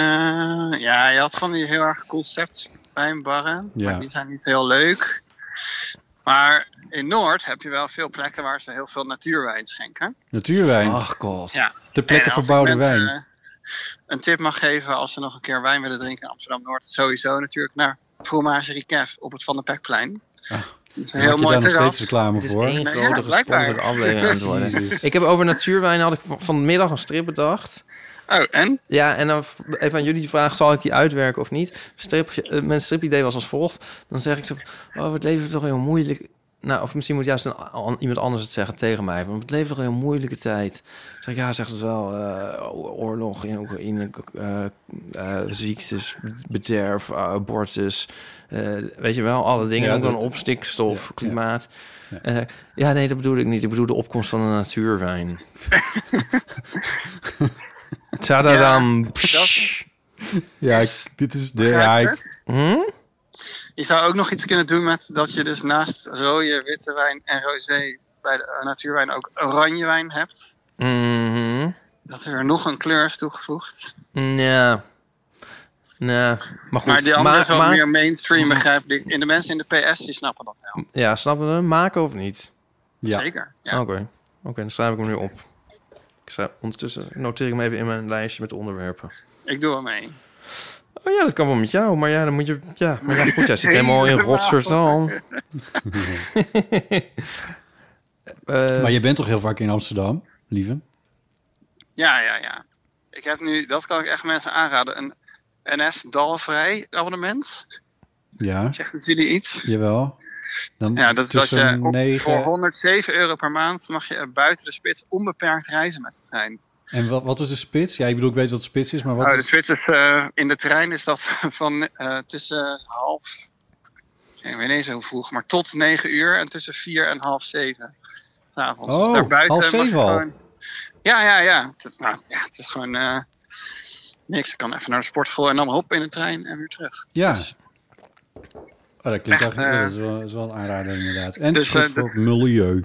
[SPEAKER 13] ja, je had van die heel erg conceptwijnbarren.
[SPEAKER 3] Ja.
[SPEAKER 13] Maar die zijn niet heel leuk. Maar in Noord heb je wel veel plekken waar ze heel veel natuurwijn schenken.
[SPEAKER 3] Natuurwijn.
[SPEAKER 13] Ach,
[SPEAKER 3] god.
[SPEAKER 13] Ja.
[SPEAKER 3] De plekken
[SPEAKER 13] En als ik
[SPEAKER 3] verbouwde
[SPEAKER 13] mensen,
[SPEAKER 3] wijn.
[SPEAKER 13] eh, Een tip mag geven als ze nog een keer wijn willen drinken in Amsterdam-Noord. Sowieso natuurlijk naar Fromage Riquef op het Van der Pekplein. Dat is een
[SPEAKER 3] maak
[SPEAKER 13] heel
[SPEAKER 3] je
[SPEAKER 13] mooi
[SPEAKER 3] Ah, daar nog
[SPEAKER 13] terras.
[SPEAKER 3] steeds reclame
[SPEAKER 13] Het is
[SPEAKER 3] voor?
[SPEAKER 13] één
[SPEAKER 3] Nou
[SPEAKER 13] grote
[SPEAKER 3] ja,
[SPEAKER 13] gesponsorde
[SPEAKER 3] blijkbaar.
[SPEAKER 13] aflevering aan het worden.
[SPEAKER 3] Jezus.
[SPEAKER 11] Ik heb over natuurwijn had ik van- vanmiddag een strip bedacht.
[SPEAKER 13] Oh, en?
[SPEAKER 11] Ja, en dan v- even aan jullie de vraag, zal ik die uitwerken of niet? Strip, eh, mijn stripidee was als volgt. Dan zeg ik zo, van, oh, het leven is toch heel moeilijk. Nou, of misschien moet juist een, an- iemand anders het zeggen tegen mij. Want het leven is toch een heel moeilijke tijd. Dan Zeg ik, ja, zegt het wel. eh, oorlog in Oekraïne, eh, eh, ziektes, bederf, eh, abortus. eh, weet je wel, alle dingen.
[SPEAKER 5] Ja,
[SPEAKER 11] ook dan
[SPEAKER 5] dat-
[SPEAKER 11] op stikstof, klimaat. Eh, Ja. nee, dat bedoel ik niet. Ik bedoel de opkomst van de natuurwijn. Tadadam.
[SPEAKER 3] Ja, ik- dit is de...
[SPEAKER 13] Begrijp je?
[SPEAKER 3] Ja, ik-
[SPEAKER 11] Hm?
[SPEAKER 13] Je zou ook nog iets kunnen doen met dat je dus naast rode, witte wijn en rosé bij de eh, natuurwijn ook oranje wijn hebt.
[SPEAKER 11] Mhm.
[SPEAKER 13] Dat er nog een kleur is toegevoegd.
[SPEAKER 11] Ja. Nee, maar goed.
[SPEAKER 13] maar die andere is wel
[SPEAKER 11] maar- Mhm.
[SPEAKER 13] meer mainstream, begrijp ik. En de mensen in de PS die snappen dat wel.
[SPEAKER 11] Ja, snappen we hem? Maken of niet?
[SPEAKER 13] Ja. Zeker, ja.
[SPEAKER 11] Oké, Oké, dan schrijf ik hem nu op. Ik schrijf, ondertussen noteer ik hem even in mijn lijstje met de onderwerpen.
[SPEAKER 13] Ik doe wel mee.
[SPEAKER 11] Oh ja, dat kan wel met jou, maar ja, dan moet je... Ja, maar ja, goed, jij zit helemaal in Rotterdam. Eh,
[SPEAKER 3] maar je bent toch heel vaak in Amsterdam, lieve?
[SPEAKER 13] Ja, ja, ja. Ik heb nu, dat kan ik echt mensen aanraden, een NS-dalvrij abonnement.
[SPEAKER 3] Ja.
[SPEAKER 13] Zegt het jullie iets?
[SPEAKER 3] Jawel. Dan
[SPEAKER 13] Ja, dat is dat
[SPEAKER 3] tussen
[SPEAKER 13] je op-
[SPEAKER 3] negen-
[SPEAKER 13] voor 107 euro per maand mag je eh, buiten de spits onbeperkt reizen met de trein.
[SPEAKER 3] En wat, wat is de spits? Ja, ik bedoel, ik weet wat de spits is, maar wat
[SPEAKER 13] Oh, de
[SPEAKER 3] is...
[SPEAKER 13] spits is, eh, in de trein is dat van eh, tussen half, ik weet niet eens hoe vroeg, maar tot negen uur en tussen vier en half zeven. 's avonds.
[SPEAKER 3] Oh,
[SPEAKER 13] Daarbuiten
[SPEAKER 3] half
[SPEAKER 13] mag je
[SPEAKER 3] zeven al?
[SPEAKER 13] gewoon- Ja, ja, ja. Het, is- nou, ja, het is gewoon eh, niks. Ik kan even naar de sportschool en dan hop in de trein en weer terug.
[SPEAKER 3] Ja. Oh, dat klinkt
[SPEAKER 13] Dus- Echt,
[SPEAKER 3] eigenlijk... ja,
[SPEAKER 13] eh,
[SPEAKER 3] dat is wel, dat is wel een aanrader inderdaad. En
[SPEAKER 13] dus,
[SPEAKER 3] dus,
[SPEAKER 13] eh,
[SPEAKER 3] voor het milieu.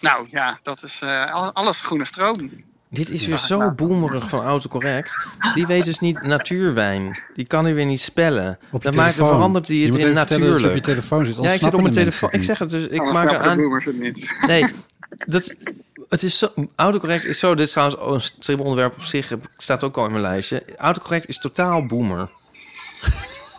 [SPEAKER 13] Nou ja, dat is eh, al- alles groene stroom.
[SPEAKER 11] Dit is weer zo boemerig van autocorrect. Die weet dus niet natuurwijn. Die kan hij weer niet spellen.
[SPEAKER 3] Op je
[SPEAKER 11] Dan maakt
[SPEAKER 3] telefoon.
[SPEAKER 11] verandert hij
[SPEAKER 3] Je
[SPEAKER 11] het
[SPEAKER 3] moet
[SPEAKER 11] in
[SPEAKER 3] even vertellen dat je
[SPEAKER 11] natuurlijk.
[SPEAKER 3] op je telefoon zit,
[SPEAKER 11] Ja,
[SPEAKER 3] anders
[SPEAKER 11] ik zit op
[SPEAKER 3] snappen
[SPEAKER 11] mijn
[SPEAKER 3] de mensen
[SPEAKER 11] telefoon.
[SPEAKER 3] het
[SPEAKER 11] Ik
[SPEAKER 3] niet.
[SPEAKER 11] zeg het dus. Ik
[SPEAKER 3] Anders
[SPEAKER 11] maak er
[SPEAKER 3] snappen de
[SPEAKER 11] aan.
[SPEAKER 13] boomers het niet.
[SPEAKER 11] Nee, dat, het is zo, autocorrect is zo. Dit is trouwens ook een stribonderwerp op zich. heb- Staat ook al in mijn lijstje. Autocorrect is totaal boomer.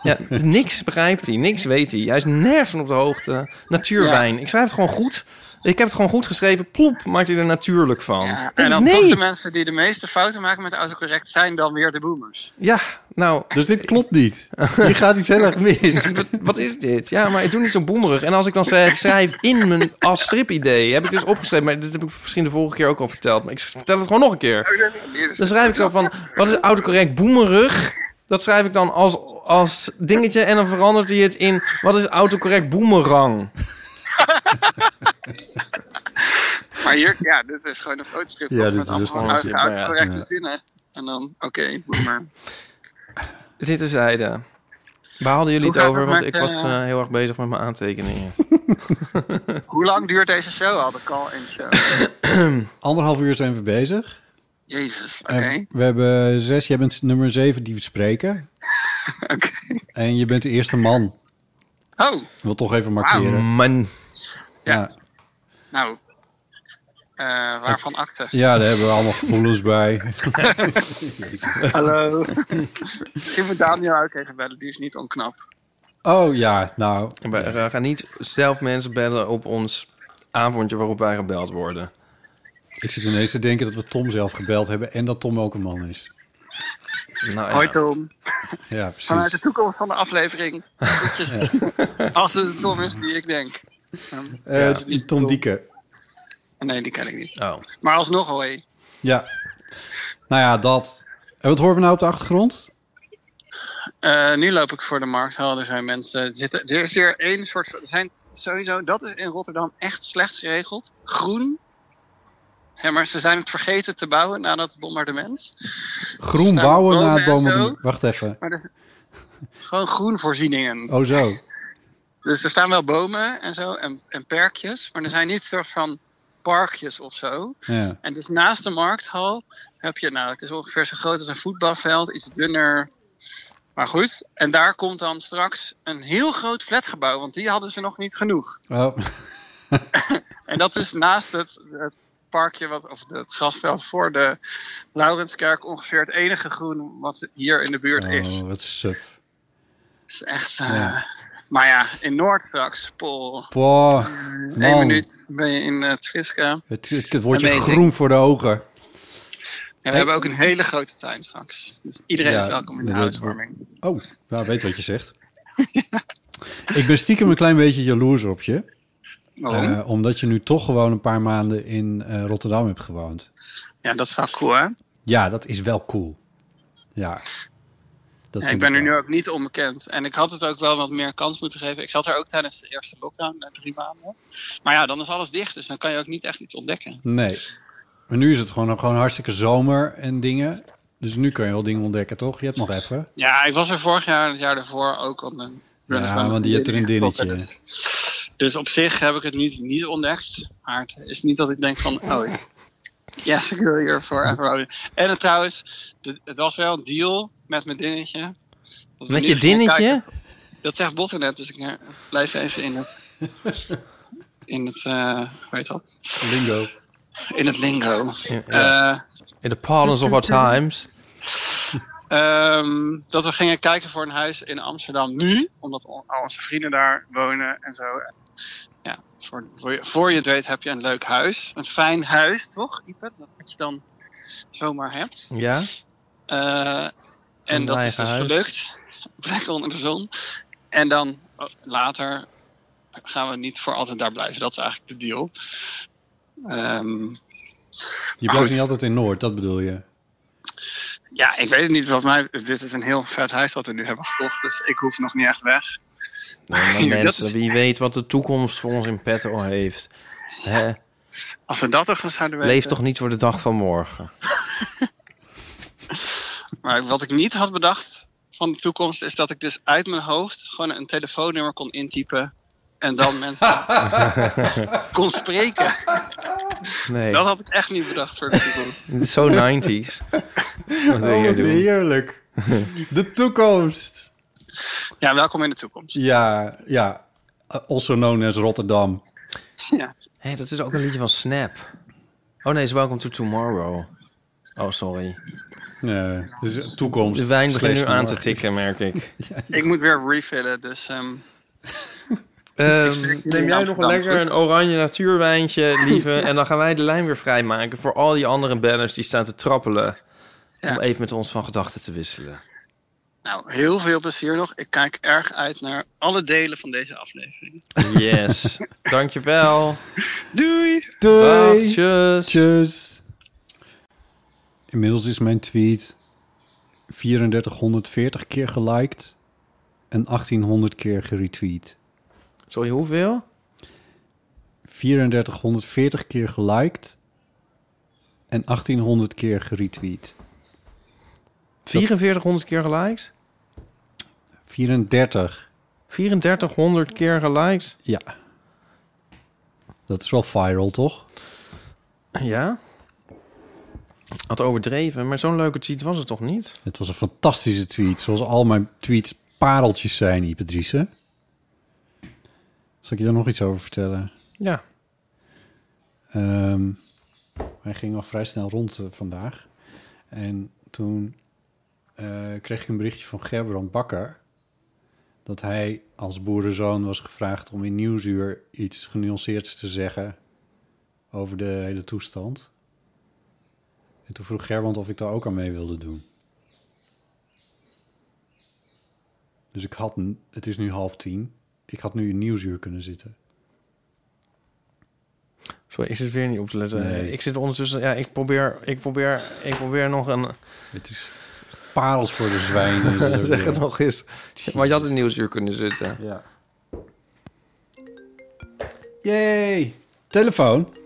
[SPEAKER 11] Ja, niks begrijpt hij, niks weet hij. Hij is nergens van op de hoogte. Natuurwijn. Ik schrijf het gewoon goed. Ik heb het gewoon goed geschreven. Ploep, maakt hij er natuurlijk van.
[SPEAKER 13] En dan toch
[SPEAKER 11] nee.
[SPEAKER 13] de mensen die de meeste fouten maken met autocorrect zijn dan weer de boomers.
[SPEAKER 11] Ja, nou...
[SPEAKER 3] Dus dit klopt niet. Hier gaat iets heel erg mis.
[SPEAKER 11] Wat is dit? Ja, maar ik doe niet zo boemerig. En als ik dan schrijf, schrijf in mijn als stripidee, heb ik dus opgeschreven. Maar dit heb ik misschien de vorige keer ook al verteld. Maar ik vertel het gewoon nog een
[SPEAKER 13] Oh,
[SPEAKER 11] keer.
[SPEAKER 13] dus-
[SPEAKER 11] Dan schrijf ik zo van, wat is autocorrect boemerig? Dat schrijf ik dan als, als dingetje. En dan verandert hij het in, wat is autocorrect boemerang?
[SPEAKER 13] Maar hier, ja, dit is gewoon een fotostrip.
[SPEAKER 11] Ja,
[SPEAKER 13] toch?
[SPEAKER 11] dit
[SPEAKER 13] met
[SPEAKER 11] is dus een
[SPEAKER 13] allemaal
[SPEAKER 11] fotostrip,
[SPEAKER 13] uit-
[SPEAKER 11] maar ja.
[SPEAKER 13] Uitgewerkte
[SPEAKER 11] Ja.
[SPEAKER 13] zinnen. En dan, oké, boomer.
[SPEAKER 11] Dit is zijde. Waar hadden jullie
[SPEAKER 13] Hoe
[SPEAKER 11] het
[SPEAKER 13] gaat
[SPEAKER 11] over?
[SPEAKER 13] het
[SPEAKER 11] Want
[SPEAKER 13] met,
[SPEAKER 11] ik was
[SPEAKER 13] eh,
[SPEAKER 11] eh, heel erg bezig met mijn aantekeningen.
[SPEAKER 13] Hoe lang duurt deze show al? De call-in show.
[SPEAKER 3] Anderhalf uur zijn we bezig.
[SPEAKER 13] Jezus,
[SPEAKER 11] Eh.
[SPEAKER 13] oké.
[SPEAKER 3] En we hebben zes, jij bent nummer zeven die we spreken.
[SPEAKER 13] Oké.
[SPEAKER 3] En je bent de eerste man.
[SPEAKER 13] Oh,
[SPEAKER 3] Ik wil toch even markeren.
[SPEAKER 11] Ah, man.
[SPEAKER 3] Ja.
[SPEAKER 13] nou. Eh, waarvan akte?
[SPEAKER 3] ja, daar hebben we allemaal gevoelens bij.
[SPEAKER 13] Hallo. Misschien moet Daniel ook even bellen, die is niet onknap.
[SPEAKER 3] Oh ja, nou.
[SPEAKER 11] We eh, gaan niet zelf mensen bellen op ons avondje waarop wij gebeld worden.
[SPEAKER 3] Ik zit ineens te denken dat we Tom zelf gebeld hebben en dat Tom ook een man is.
[SPEAKER 11] Nou,
[SPEAKER 13] Hoi Tom.
[SPEAKER 3] Ja,
[SPEAKER 13] Vanuit
[SPEAKER 3] precies.
[SPEAKER 13] de toekomst van de aflevering. Groetjes. Als het de Tom is die ik denk. Um,
[SPEAKER 3] Eh, Tom Dieke.
[SPEAKER 13] Nee, die ken ik niet.
[SPEAKER 11] Oh.
[SPEAKER 13] Maar alsnog hoi.
[SPEAKER 3] Ja. Nou ja, dat. En wat horen we nou op de achtergrond?
[SPEAKER 13] Eh, nu loop ik voor de markthal. Er zijn mensen. Er, zitten, er is weer één soort. van- Er zijn sowieso. Dat is in Rotterdam echt slecht geregeld. Groen. Ja, maar ze zijn het vergeten te bouwen na dat bombardement.
[SPEAKER 3] Groen
[SPEAKER 13] Staan
[SPEAKER 3] bouwen
[SPEAKER 13] bomen
[SPEAKER 3] na het
[SPEAKER 13] en
[SPEAKER 3] bomen.
[SPEAKER 13] zo.
[SPEAKER 3] Wacht even.
[SPEAKER 13] Maar er- gewoon groenvoorzieningen.
[SPEAKER 3] Oh zo.
[SPEAKER 13] Dus er staan wel bomen en zo en, en perkjes. Maar er zijn niet soort van parkjes of zo.
[SPEAKER 3] Ja.
[SPEAKER 13] En dus naast de markthal heb je, nou, het is ongeveer zo groot als een voetbalveld, iets dunner. Maar goed, en daar komt dan straks een heel groot flatgebouw, want die hadden ze nog niet genoeg.
[SPEAKER 3] Oh.
[SPEAKER 13] En dat is naast het, het parkje, wat, of het grasveld voor de Laurenskerk, ongeveer het enige groen wat hier in de buurt is.
[SPEAKER 3] Oh, wat suf.
[SPEAKER 13] is echt, eh,
[SPEAKER 3] Ja.
[SPEAKER 13] Maar ja, in Noord straks, Paul.
[SPEAKER 3] Boah,
[SPEAKER 13] Eén
[SPEAKER 3] man.
[SPEAKER 13] minuut ben je in eh Triska.
[SPEAKER 3] Het, het wordt je
[SPEAKER 13] Amazing.
[SPEAKER 3] groen voor de ogen.
[SPEAKER 13] En we hebben ook een hele grote tuin straks. Dus iedereen is welkom in de
[SPEAKER 3] dat-
[SPEAKER 13] huiswarming.
[SPEAKER 3] Oh, nou, weet wat je zegt. ik ben stiekem een klein beetje jaloers op je.
[SPEAKER 13] Waarom?
[SPEAKER 3] Eh, omdat je nu toch gewoon een paar maanden in eh, Rotterdam hebt gewoond.
[SPEAKER 13] Ja, dat is wel cool, hè?
[SPEAKER 3] Ja, dat is wel cool. Ja. Dat
[SPEAKER 13] Ja,
[SPEAKER 3] vind
[SPEAKER 13] ik ben er nu ook niet onbekend. En ik had het ook wel wat meer kans moeten geven. Ik zat er ook tijdens de eerste lockdown, na drie maanden. Maar ja, dan is alles dicht, dus dan kan je ook niet echt iets ontdekken.
[SPEAKER 3] Nee. Maar nu is het gewoon, gewoon hartstikke zomer en dingen. Dus nu kan je wel dingen ontdekken, toch? Je hebt nog even.
[SPEAKER 13] Ja, ik was er vorig jaar en het jaar daarvoor ook al een...
[SPEAKER 3] Ja, want je hebt er een
[SPEAKER 13] Dus,
[SPEAKER 3] dinnetje.
[SPEAKER 13] dus op zich heb ik het niet, niet ontdekt. Maar het is niet dat ik denk van, oh, yes, ik wil hier forever. En het, trouwens, de- het was wel een deal met mijn dinnetje. Dat we
[SPEAKER 11] Met
[SPEAKER 13] nu
[SPEAKER 11] je
[SPEAKER 13] eens gaan
[SPEAKER 11] dinnetje?
[SPEAKER 13] kijken- Dat zegt Botten net, dus ik eh, blijf even in het... In het, eh hoe heet dat?
[SPEAKER 3] Lingo.
[SPEAKER 13] In het lingo.
[SPEAKER 11] ja.
[SPEAKER 13] Eh,
[SPEAKER 11] In the parlance of our times.
[SPEAKER 13] Ehm, dat we gingen kijken voor een huis in Amsterdam nu, omdat al al onze vrienden daar wonen en zo. En Ja, voor, voor, je, voor je het weet heb je een leuk huis. Een fijn huis, toch, Ipe? Dat wat je dan zomaar hebt.
[SPEAKER 11] Ja?
[SPEAKER 13] Eh, en
[SPEAKER 11] Een
[SPEAKER 13] dat is
[SPEAKER 11] eigen
[SPEAKER 13] dus
[SPEAKER 11] huis.
[SPEAKER 13] gelukt. Plek onder de zon. En dan oh, later gaan we niet voor altijd daar blijven. Dat is eigenlijk de deal. Ehm,
[SPEAKER 3] Je
[SPEAKER 13] Oh.
[SPEAKER 3] blijft niet altijd in Noord, dat bedoel je.
[SPEAKER 13] Ja, ik weet het niet. Wat mij, dit is een heel vet huis wat we nu hebben gekocht. Dus ik hoef nog niet echt weg.
[SPEAKER 11] Nee, maar
[SPEAKER 13] Dat is-
[SPEAKER 11] mensen, wie weet wat de toekomst voor ons in petto heeft. Hè?
[SPEAKER 13] Als we dat toch eens zouden weten.
[SPEAKER 11] Leef toch niet voor de dag van morgen.
[SPEAKER 13] Maar wat ik niet had bedacht van de toekomst... is dat ik dus uit mijn hoofd gewoon een telefoonnummer kon intypen... en dan mensen kon spreken.
[SPEAKER 11] nee,
[SPEAKER 13] Dat had ik echt niet bedacht voor de toekomst.
[SPEAKER 11] het is zo 90s. Wat wil
[SPEAKER 3] Oh,
[SPEAKER 11] je
[SPEAKER 3] wat
[SPEAKER 11] doen?
[SPEAKER 3] heerlijk. De toekomst.
[SPEAKER 13] Ja, welkom in de toekomst.
[SPEAKER 3] Ja, ja. Uh, Also known as Rotterdam.
[SPEAKER 11] Hé, dat is ook een liedje van Snap. Oh nee, is Welcome to Tomorrow. Oh, sorry.
[SPEAKER 3] Nee, dus toekomst.
[SPEAKER 11] De wijn begint nu
[SPEAKER 3] slash
[SPEAKER 11] aan te
[SPEAKER 3] morgen.
[SPEAKER 11] tikken, merk ik.
[SPEAKER 13] Ik moet weer refillen, dus... ehm,
[SPEAKER 11] Ehm,
[SPEAKER 13] spreek jullie
[SPEAKER 11] neem
[SPEAKER 13] in
[SPEAKER 11] jij nog
[SPEAKER 13] Amsterdam,
[SPEAKER 11] lekker
[SPEAKER 13] goed?
[SPEAKER 11] een oranje natuurwijntje, lieve. en dan gaan wij de lijn weer vrijmaken voor al die andere banners die staan te trappelen. Om even met ons van gedachten te wisselen.
[SPEAKER 13] Nou, heel veel plezier nog. Ik kijk erg uit naar alle delen van deze aflevering.
[SPEAKER 11] Yes. Dankjewel.
[SPEAKER 13] Doei!
[SPEAKER 3] Doei.
[SPEAKER 11] Dag, Ah, tjus.
[SPEAKER 3] Inmiddels is mijn tweet 3440 keer geliked en 1800 keer geretweet.
[SPEAKER 11] Sorry, hoeveel?
[SPEAKER 3] 3440 keer geliked en 1800 keer geretweet.
[SPEAKER 11] 4400 keer geliked?
[SPEAKER 3] 34.
[SPEAKER 11] 3400 keer geliked?
[SPEAKER 3] Ja. Dat is wel viral, toch?
[SPEAKER 11] Ja. Had overdreven, maar zo'n leuke cheat was het toch niet?
[SPEAKER 3] Het was een fantastische tweet. Zoals al mijn tweets pareltjes zijn, Ipe Driessen. Zal ik je daar nog iets over vertellen?
[SPEAKER 11] Ja.
[SPEAKER 3] Ehm, hij ging al vrij snel rond eh, vandaag. En toen eh, kreeg ik een berichtje van Gerbrand Bakker... dat hij als boerenzoon was gevraagd om in Nieuwsuur iets genuanceerds te zeggen... over de hele toestand. En toen vroeg Gerbrand of ik daar ook aan mee wilde doen. Dus ik had, n- het is nu half tien, ik had nu in Nieuwsuur kunnen zitten.
[SPEAKER 11] Sorry, ik zit weer niet op te letten.
[SPEAKER 3] Nee.
[SPEAKER 11] eh, Ik zit ondertussen... Ja, ik probeer, ik probeer, ik probeer nog een...
[SPEAKER 3] Het is parels voor de zwijnen. is het ook
[SPEAKER 11] zeg het
[SPEAKER 3] weer.
[SPEAKER 11] nog eens. Maar je had in nieuwsuur kunnen zitten.
[SPEAKER 3] Ja. Yay! Telefoon.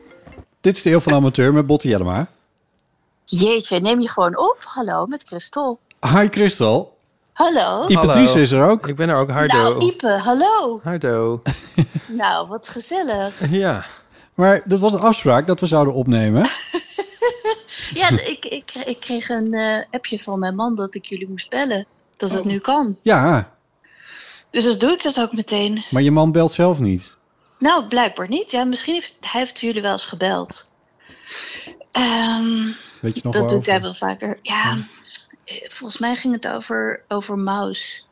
[SPEAKER 3] Dit is de heel van de Amateur met Botte Jellema.
[SPEAKER 14] Jeetje, neem je gewoon op. Hallo, met Christel.
[SPEAKER 3] Hi Christel.
[SPEAKER 14] Hallo.
[SPEAKER 3] Ipe Dries is er ook.
[SPEAKER 11] Ik ben er ook.
[SPEAKER 14] Nou, Ipe, hallo.
[SPEAKER 11] Hardo.
[SPEAKER 14] Nou, wat gezellig.
[SPEAKER 11] ja.
[SPEAKER 3] Maar dat was de afspraak dat we zouden opnemen.
[SPEAKER 14] Ja, ik, ik, ik kreeg een eh, appje van mijn man dat ik jullie moest bellen. Dat het nu kan.
[SPEAKER 3] Ja,
[SPEAKER 14] Dus dat doe ik dat ook meteen.
[SPEAKER 3] maar je man belt zelf niet.
[SPEAKER 14] Nou, blijkbaar niet. Ja, misschien heeft hij heeft jullie wel eens gebeld. Ehm,
[SPEAKER 3] Weet je nog
[SPEAKER 14] dat
[SPEAKER 3] wel
[SPEAKER 14] doet
[SPEAKER 3] over?
[SPEAKER 14] hij wel vaker. Ja, eh, volgens mij ging het over, over Maus.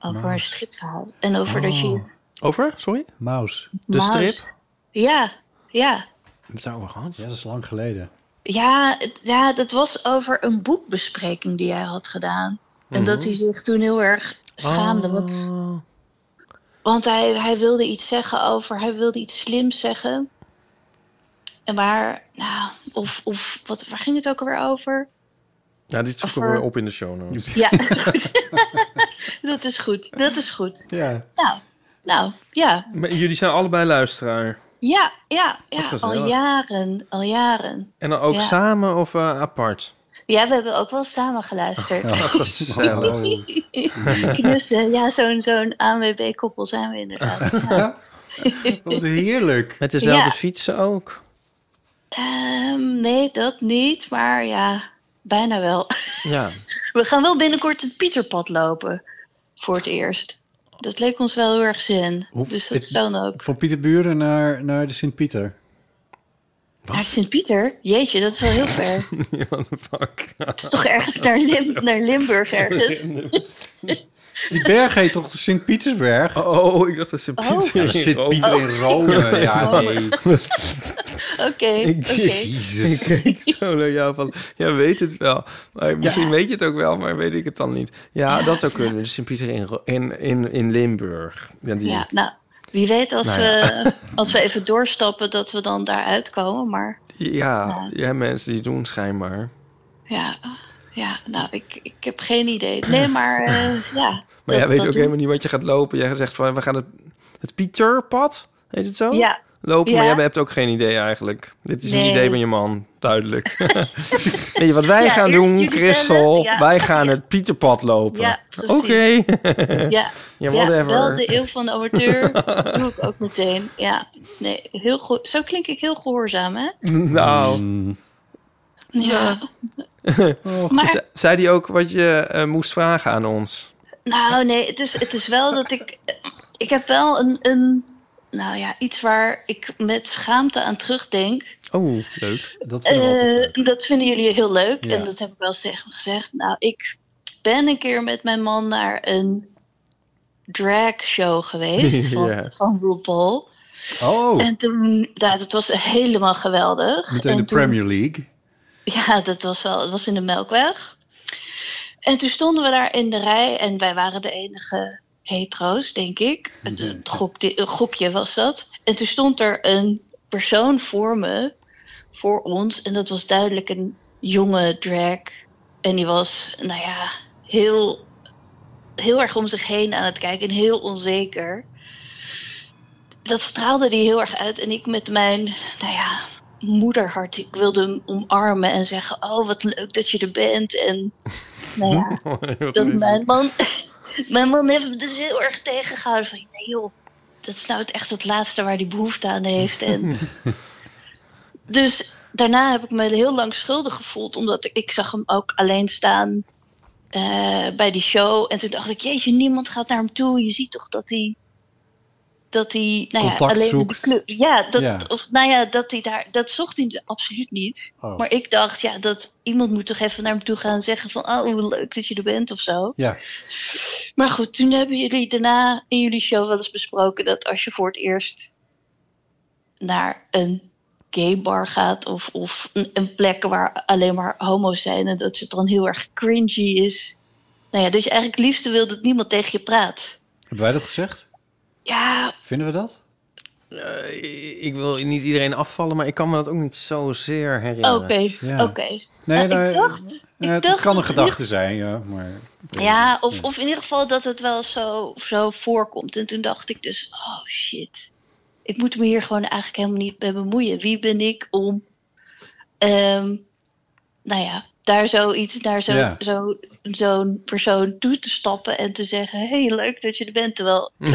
[SPEAKER 14] Over een
[SPEAKER 11] Maus.
[SPEAKER 14] stripverhaal. En over
[SPEAKER 3] Oh.
[SPEAKER 14] dat je...
[SPEAKER 5] Oh.
[SPEAKER 11] Over? Sorry?
[SPEAKER 3] Maus.
[SPEAKER 11] De
[SPEAKER 14] Maus.
[SPEAKER 11] strip?
[SPEAKER 14] Ja, ja.
[SPEAKER 11] Hebben we het over gehad?
[SPEAKER 3] Ja, dat is lang geleden.
[SPEAKER 14] Ja, het- ja, dat was over een boekbespreking die hij had gedaan. En dat
[SPEAKER 11] Mhm. Oh.
[SPEAKER 14] hij zich toen heel erg schaamde. Want, want hij, hij wilde iets zeggen over, hij wilde iets slims zeggen. En waar, nou, of, of wat, waar ging het ook alweer over?
[SPEAKER 11] Ja, dit zoeken
[SPEAKER 14] Over-
[SPEAKER 11] we op in de show notes.
[SPEAKER 14] Ja, dat is goed. dat is goed, dat is goed.
[SPEAKER 3] Ja.
[SPEAKER 14] Nou, nou, ja,
[SPEAKER 5] Maar jullie zijn allebei luisteraar.
[SPEAKER 14] ja, ja,
[SPEAKER 5] Wat
[SPEAKER 14] ja al
[SPEAKER 5] gezellig.
[SPEAKER 14] jaren, al jaren.
[SPEAKER 5] En dan ook
[SPEAKER 14] Ja.
[SPEAKER 5] samen of eh, apart?
[SPEAKER 14] Ja, we hebben ook wel samen geluisterd.
[SPEAKER 5] Wat gezellig.
[SPEAKER 14] Knussen, ja, zo'n zo'n ANWB-koppel zijn we inderdaad. Ja.
[SPEAKER 3] Wat heerlijk.
[SPEAKER 11] Met dezelfde
[SPEAKER 14] Ja.
[SPEAKER 11] fietsen ook.
[SPEAKER 14] Ehm, nee, dat niet, maar ja, bijna wel.
[SPEAKER 11] Ja.
[SPEAKER 14] We gaan wel binnenkort het Pieterpad lopen, voor het eerst. Dat leek ons wel heel erg zin,
[SPEAKER 3] Hoe-
[SPEAKER 14] dus dat
[SPEAKER 3] dit-
[SPEAKER 14] dan ook.
[SPEAKER 3] Van Pieterburen naar, naar de Sint-Pieter.
[SPEAKER 14] Maar Sint-Pieter, jeetje, dat is wel heel ver. Het
[SPEAKER 5] What the fuck? Het
[SPEAKER 14] is toch ergens naar, Lim- naar Limburg ergens?
[SPEAKER 3] Die berg heet toch Sint-Pietersberg?
[SPEAKER 5] Oh, ik dacht dat Sint-Pieter
[SPEAKER 3] Ja,
[SPEAKER 5] in
[SPEAKER 3] Sint-Pieter
[SPEAKER 5] Rome.
[SPEAKER 3] in Rome. Ja,
[SPEAKER 5] Oh.
[SPEAKER 3] nee.
[SPEAKER 14] Oké, oké.
[SPEAKER 5] Jezus. Ik keek zo naar jou van, jij weet het wel. Maar misschien weet je het ook wel, maar weet ik het dan niet. Ja, dat zou kunnen. Dus Sint-Pieter in, Ro- in, in, in Limburg. Ja, die,
[SPEAKER 14] Ja, nou, wie weet als,
[SPEAKER 5] Nou ja.
[SPEAKER 14] we, als we even doorstappen dat we dan daar uitkomen, maar...
[SPEAKER 5] ja, ja, mensen die doen schijnbaar.
[SPEAKER 14] Ja, ja nou, ik, ik heb geen idee. Nee, maar eh, ja.
[SPEAKER 5] Maar jij
[SPEAKER 14] dat-
[SPEAKER 5] weet
[SPEAKER 14] dat
[SPEAKER 5] ook
[SPEAKER 14] doen-
[SPEAKER 5] helemaal niet wat je gaat lopen. Jij zegt van, we gaan het, het Pieterpad, heet het zo?
[SPEAKER 14] Ja.
[SPEAKER 5] Lopen,
[SPEAKER 14] Ja.
[SPEAKER 5] maar jij hebt ook geen idee eigenlijk. Dit is
[SPEAKER 14] Nee.
[SPEAKER 5] een idee van je man, duidelijk. Weet je wat wij
[SPEAKER 14] Ja,
[SPEAKER 5] gaan
[SPEAKER 14] eerst
[SPEAKER 5] doen,
[SPEAKER 14] jullie
[SPEAKER 5] Christel?
[SPEAKER 14] bellen, ja.
[SPEAKER 5] Wij gaan het Pieterpad lopen.
[SPEAKER 14] Ja,
[SPEAKER 5] Oké.
[SPEAKER 14] precies. Ja,
[SPEAKER 5] Ja,
[SPEAKER 14] ja,
[SPEAKER 5] whatever.
[SPEAKER 14] wel de eeuw van de amateur doe ik ook meteen. Ja, nee, heel goed. Zo klink ik heel gehoorzaam, hè?
[SPEAKER 5] Nou.
[SPEAKER 14] Ja. Maar-
[SPEAKER 11] Dus
[SPEAKER 5] Ze- Zei die ook wat je eh, moest vragen aan ons?
[SPEAKER 14] Nou, nee, het is, het is wel dat ik... eh, Ik heb wel een, een... Nou ja, iets waar ik met schaamte aan terugdenk.
[SPEAKER 5] Oh, leuk.
[SPEAKER 3] Dat
[SPEAKER 14] Eh, dat vinden jullie heel leuk.
[SPEAKER 3] Ja.
[SPEAKER 14] En dat heb ik wel eens tegen hem gezegd. Nou, ik ben een keer met mijn man naar een drag show geweest van,
[SPEAKER 3] Ja.
[SPEAKER 14] van RuPaul.
[SPEAKER 3] Oh,
[SPEAKER 14] En toen, nou, dat was helemaal geweldig.
[SPEAKER 3] meteen
[SPEAKER 14] en
[SPEAKER 3] de
[SPEAKER 14] toen-
[SPEAKER 3] Premier League.
[SPEAKER 14] ja, dat was wel, het was in de Melkweg. En toen stonden we daar in de rij en wij waren de enige hetero's, denk ik. Het- het groepje- Een groepje was dat. En toen stond er een persoon voor me, voor ons, en dat was duidelijk een jonge drag. En die was, nou ja, heel, heel erg om zich heen aan het kijken en heel onzeker. Dat straalde die heel erg uit en ik met mijn, nou ja, moederhart. Ik wilde hem omarmen en zeggen: Oh, wat leuk dat je er bent. En nou ja,
[SPEAKER 5] Wat
[SPEAKER 14] dat
[SPEAKER 5] lief.
[SPEAKER 14] mijn man, mijn man heeft me dus heel erg tegengehouden. Van nee, joh, dat is nou het echt het laatste waar hij behoefte aan heeft. En dus daarna heb ik me heel lang schuldig gevoeld, omdat ik zag hem ook alleen staan eh, bij die show. En toen dacht ik: Jeetje, niemand gaat naar hem toe. Je ziet toch dat hij. Dat hij, nou ja,
[SPEAKER 15] Contact
[SPEAKER 14] alleen in
[SPEAKER 15] zoekt.
[SPEAKER 14] de club. Ja, dat,
[SPEAKER 15] Ja.
[SPEAKER 14] Of, nou ja, dat hij daar. Dat zocht hij dus absoluut niet.
[SPEAKER 15] Oh.
[SPEAKER 14] Maar ik dacht, ja, dat iemand moet toch even naar hem toe gaan en zeggen: van, Oh, hoe leuk dat je er bent of zo.
[SPEAKER 3] Ja.
[SPEAKER 14] Maar goed, toen hebben jullie daarna in jullie show wel eens besproken dat als je voor het eerst naar een gay bar gaat of, of een, een plek waar alleen maar homo's zijn en dat het dan heel erg cringy is. Nou ja, dus je eigenlijk het liefste wil dat niemand tegen je praat.
[SPEAKER 3] Hebben wij dat gezegd?
[SPEAKER 14] Ja,
[SPEAKER 3] Vinden we dat?
[SPEAKER 11] Eh, ik wil niet iedereen afvallen, maar ik kan me dat ook niet zozeer
[SPEAKER 14] oké,
[SPEAKER 11] herinneren.
[SPEAKER 14] oké.
[SPEAKER 3] Nee,
[SPEAKER 14] Nou,
[SPEAKER 3] nou,
[SPEAKER 14] ik dacht,
[SPEAKER 3] eh,
[SPEAKER 14] ik
[SPEAKER 3] het
[SPEAKER 14] dacht
[SPEAKER 3] kan een
[SPEAKER 14] dat-
[SPEAKER 3] gedachte zijn, ja. Maar,
[SPEAKER 14] Ja, of, of in ieder geval dat het wel zo, zo voorkomt. En toen dacht ik dus, oh shit. Ik moet me hier gewoon eigenlijk helemaal niet mee bemoeien. Wie ben ik om, ehm, nou ja, daar zoiets naar zo'n
[SPEAKER 15] Ja.
[SPEAKER 14] zo, zo'n persoon toe te stappen en te zeggen: Hé, hey, leuk dat je er bent. Terwijl,
[SPEAKER 3] Ja,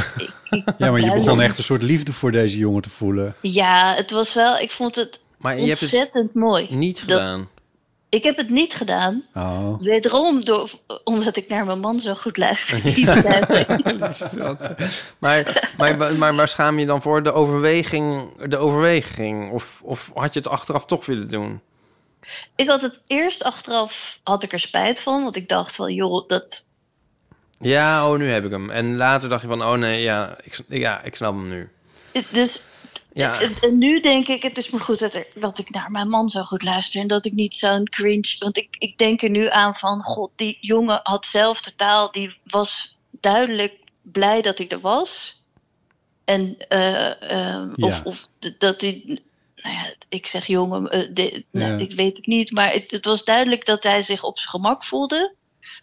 [SPEAKER 3] maar je
[SPEAKER 14] Ja,
[SPEAKER 3] begon
[SPEAKER 14] dan-
[SPEAKER 3] echt een soort liefde voor deze jongen te voelen.
[SPEAKER 14] ja, het was wel, ik vond het
[SPEAKER 11] Maar je hebt het
[SPEAKER 14] ontzettend mooi.
[SPEAKER 11] Niet
[SPEAKER 14] Dat-
[SPEAKER 11] gedaan.
[SPEAKER 14] ik heb het niet gedaan,
[SPEAKER 3] Oh.
[SPEAKER 14] wederom door, omdat ik naar mijn man zo goed luister.
[SPEAKER 11] Maar, maar, maar waar schaam je dan voor? De overweging, de overweging? Of, of had je het achteraf toch willen doen?
[SPEAKER 14] ik had het eerst achteraf, had ik er spijt van, want ik dacht van, joh, dat,
[SPEAKER 11] Ja, oh, nu heb ik hem. En later dacht je van, oh nee, ja, ik, ja, ik snap hem nu.
[SPEAKER 14] dus
[SPEAKER 15] Ah.
[SPEAKER 11] Ja,
[SPEAKER 14] En, en nu denk ik, het is maar goed dat, er- dat ik naar mijn man zo goed luister. En dat ik niet zo'n cringe. Want ik, ik denk er nu aan van: God, die jongen had zelf de taal. Die was duidelijk blij dat hij er was. En eh, ehm,
[SPEAKER 15] Ja.
[SPEAKER 14] of, of d- dat hij. Nou ja, ik zeg jongen, eh, de- nou,
[SPEAKER 15] Ja.
[SPEAKER 14] ik weet het niet. Maar het, het was duidelijk dat hij zich op zijn gemak voelde.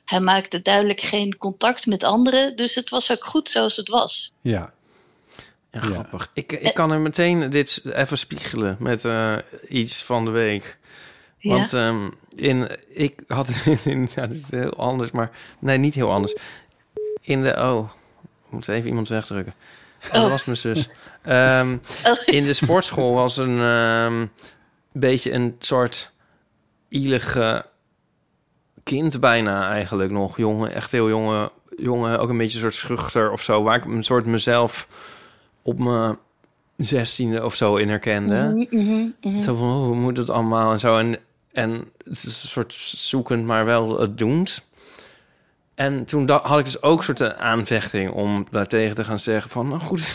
[SPEAKER 14] Hij maakte duidelijk geen contact met anderen. Dus het was ook goed zoals het was.
[SPEAKER 3] Ja.
[SPEAKER 11] Ja, grappig. Ik, ik kan er meteen dit even spiegelen met eh, iets van de week.
[SPEAKER 15] Ja.
[SPEAKER 11] Want ehm, in, ik had in, ja, dit is heel anders, maar nee, niet heel anders. In de, oh, ik moet even iemand wegdrukken. Oh, Dat
[SPEAKER 15] Oh.
[SPEAKER 11] was mijn zus. Ehm, In de sportschool was een ehm, beetje een soort ielige kind bijna eigenlijk nog. Jongen, echt heel jonge jongen. Ook een beetje een soort schuchter of zo. Waar ik een soort mezelf op mijn zestiende of zo in herkende. Zo van, oh, hoe moet het allemaal en zo. En, en het is een soort zoekend, maar wel het doend. En toen da- had ik dus ook een soort eh, aanvechting om daartegen te gaan zeggen van... Nou goed,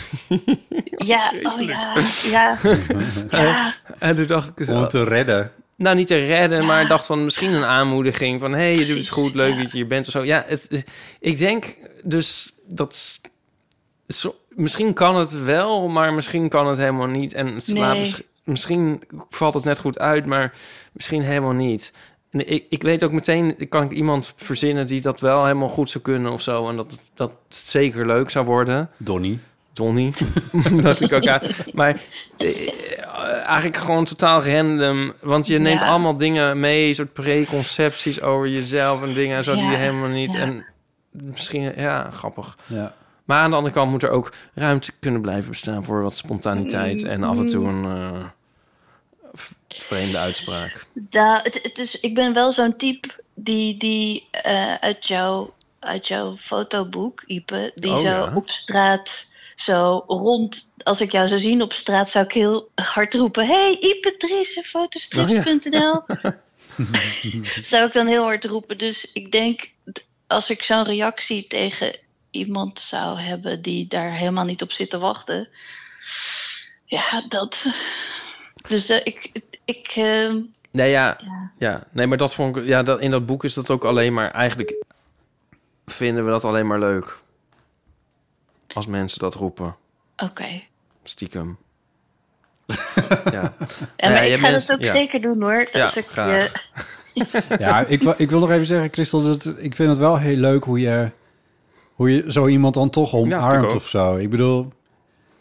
[SPEAKER 14] Ja, oh ja, ja. ja.
[SPEAKER 11] en toen dacht ik... dus,
[SPEAKER 15] Om het te
[SPEAKER 11] redden. Nou, niet te redden, maar ik dacht van misschien een aanmoediging van... hé, hey, je doet het goed, leuk dat je hier bent of zo. Ja, het, eh, ik denk dus dat... s- zo- misschien kan het wel, maar misschien kan het helemaal niet. En het slaat
[SPEAKER 15] Nee.
[SPEAKER 11] misschien, misschien valt het net goed uit, maar misschien helemaal niet. En ik, ik weet ook meteen, kan ik iemand verzinnen die dat wel helemaal goed zou kunnen of zo. En dat, het- dat het zeker leuk zou worden.
[SPEAKER 3] Donnie.
[SPEAKER 11] Donnie. dat ik ook aan. Maar eh, eigenlijk gewoon totaal random. Want je neemt
[SPEAKER 15] Ja.
[SPEAKER 11] allemaal dingen mee, soort preconcepties over jezelf en dingen en zo die
[SPEAKER 15] Ja,
[SPEAKER 11] je helemaal niet.
[SPEAKER 15] ja.
[SPEAKER 11] En misschien, ja, grappig.
[SPEAKER 3] Ja.
[SPEAKER 11] Maar aan de andere kant moet er ook ruimte kunnen blijven bestaan voor wat spontaniteit
[SPEAKER 14] Mm.
[SPEAKER 11] en af en toe een eh, v- vreemde uitspraak.
[SPEAKER 14] Nou, het, het is, ik ben wel zo'n type die, die eh, uit, jouw, uit jouw fotoboek, Ipe, die
[SPEAKER 15] Oh,
[SPEAKER 14] zo
[SPEAKER 15] ja.
[SPEAKER 14] op straat zo rond, als ik jou zou zien op straat, zou ik heel hard roepen: Hey, Ipe Driessen, fotostrips.nl.
[SPEAKER 15] Oh,
[SPEAKER 14] zou ik dan heel hard roepen. Dus ik denk, d- als ik zo'n reactie tegen iemand zou hebben die daar helemaal niet op zit te wachten. Ja, dat. Dus eh, ik. ik ehm,
[SPEAKER 15] Nou
[SPEAKER 11] Nee, ja, ja. Nee, maar dat vond ik, ja, dat, in dat boek is dat ook alleen maar, eigenlijk vinden we dat alleen maar leuk. Als mensen dat roepen.
[SPEAKER 14] Oké.
[SPEAKER 11] Stiekem. ja.
[SPEAKER 14] Ja,
[SPEAKER 11] Ja,
[SPEAKER 14] maar
[SPEAKER 11] je
[SPEAKER 14] ik ga
[SPEAKER 11] mensen-
[SPEAKER 14] dat ook
[SPEAKER 11] ja.
[SPEAKER 14] zeker doen hoor.
[SPEAKER 11] Ja,
[SPEAKER 14] Als ik, eh,
[SPEAKER 11] graag.
[SPEAKER 14] je-
[SPEAKER 3] Ja, ik, wil- ik wil nog even zeggen, Christel, dat, ik vind het wel heel leuk hoe je, hoe je zo iemand dan toch
[SPEAKER 11] vind ik
[SPEAKER 3] omarmt
[SPEAKER 11] ook.
[SPEAKER 3] of zo. Ik bedoel,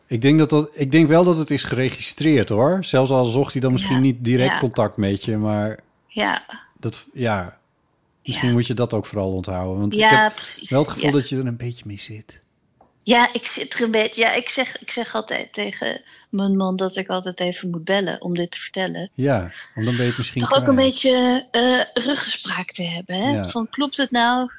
[SPEAKER 3] ik denk, dat dat, ik denk wel dat het is geregistreerd hoor. Zelfs al zocht hij dan misschien niet direct
[SPEAKER 14] ja.
[SPEAKER 3] contact met je, maar
[SPEAKER 14] ja,
[SPEAKER 3] dat, ja, misschien moet je dat ook vooral onthouden. Want ik
[SPEAKER 14] Ja,
[SPEAKER 3] heb
[SPEAKER 14] precies,
[SPEAKER 3] wel het gevoel
[SPEAKER 14] ja.
[SPEAKER 3] dat je er een beetje mee zit.
[SPEAKER 14] ja, ik zit er een beetje. Ja, ik zeg, ik zeg altijd tegen mijn man dat ik altijd even moet bellen om dit te vertellen.
[SPEAKER 3] Ja, want dan ben je het misschien
[SPEAKER 14] Toch ook een
[SPEAKER 3] kwijt.
[SPEAKER 14] beetje eh ruggespraak te hebben. Hè?
[SPEAKER 3] Ja.
[SPEAKER 14] Van klopt het nou?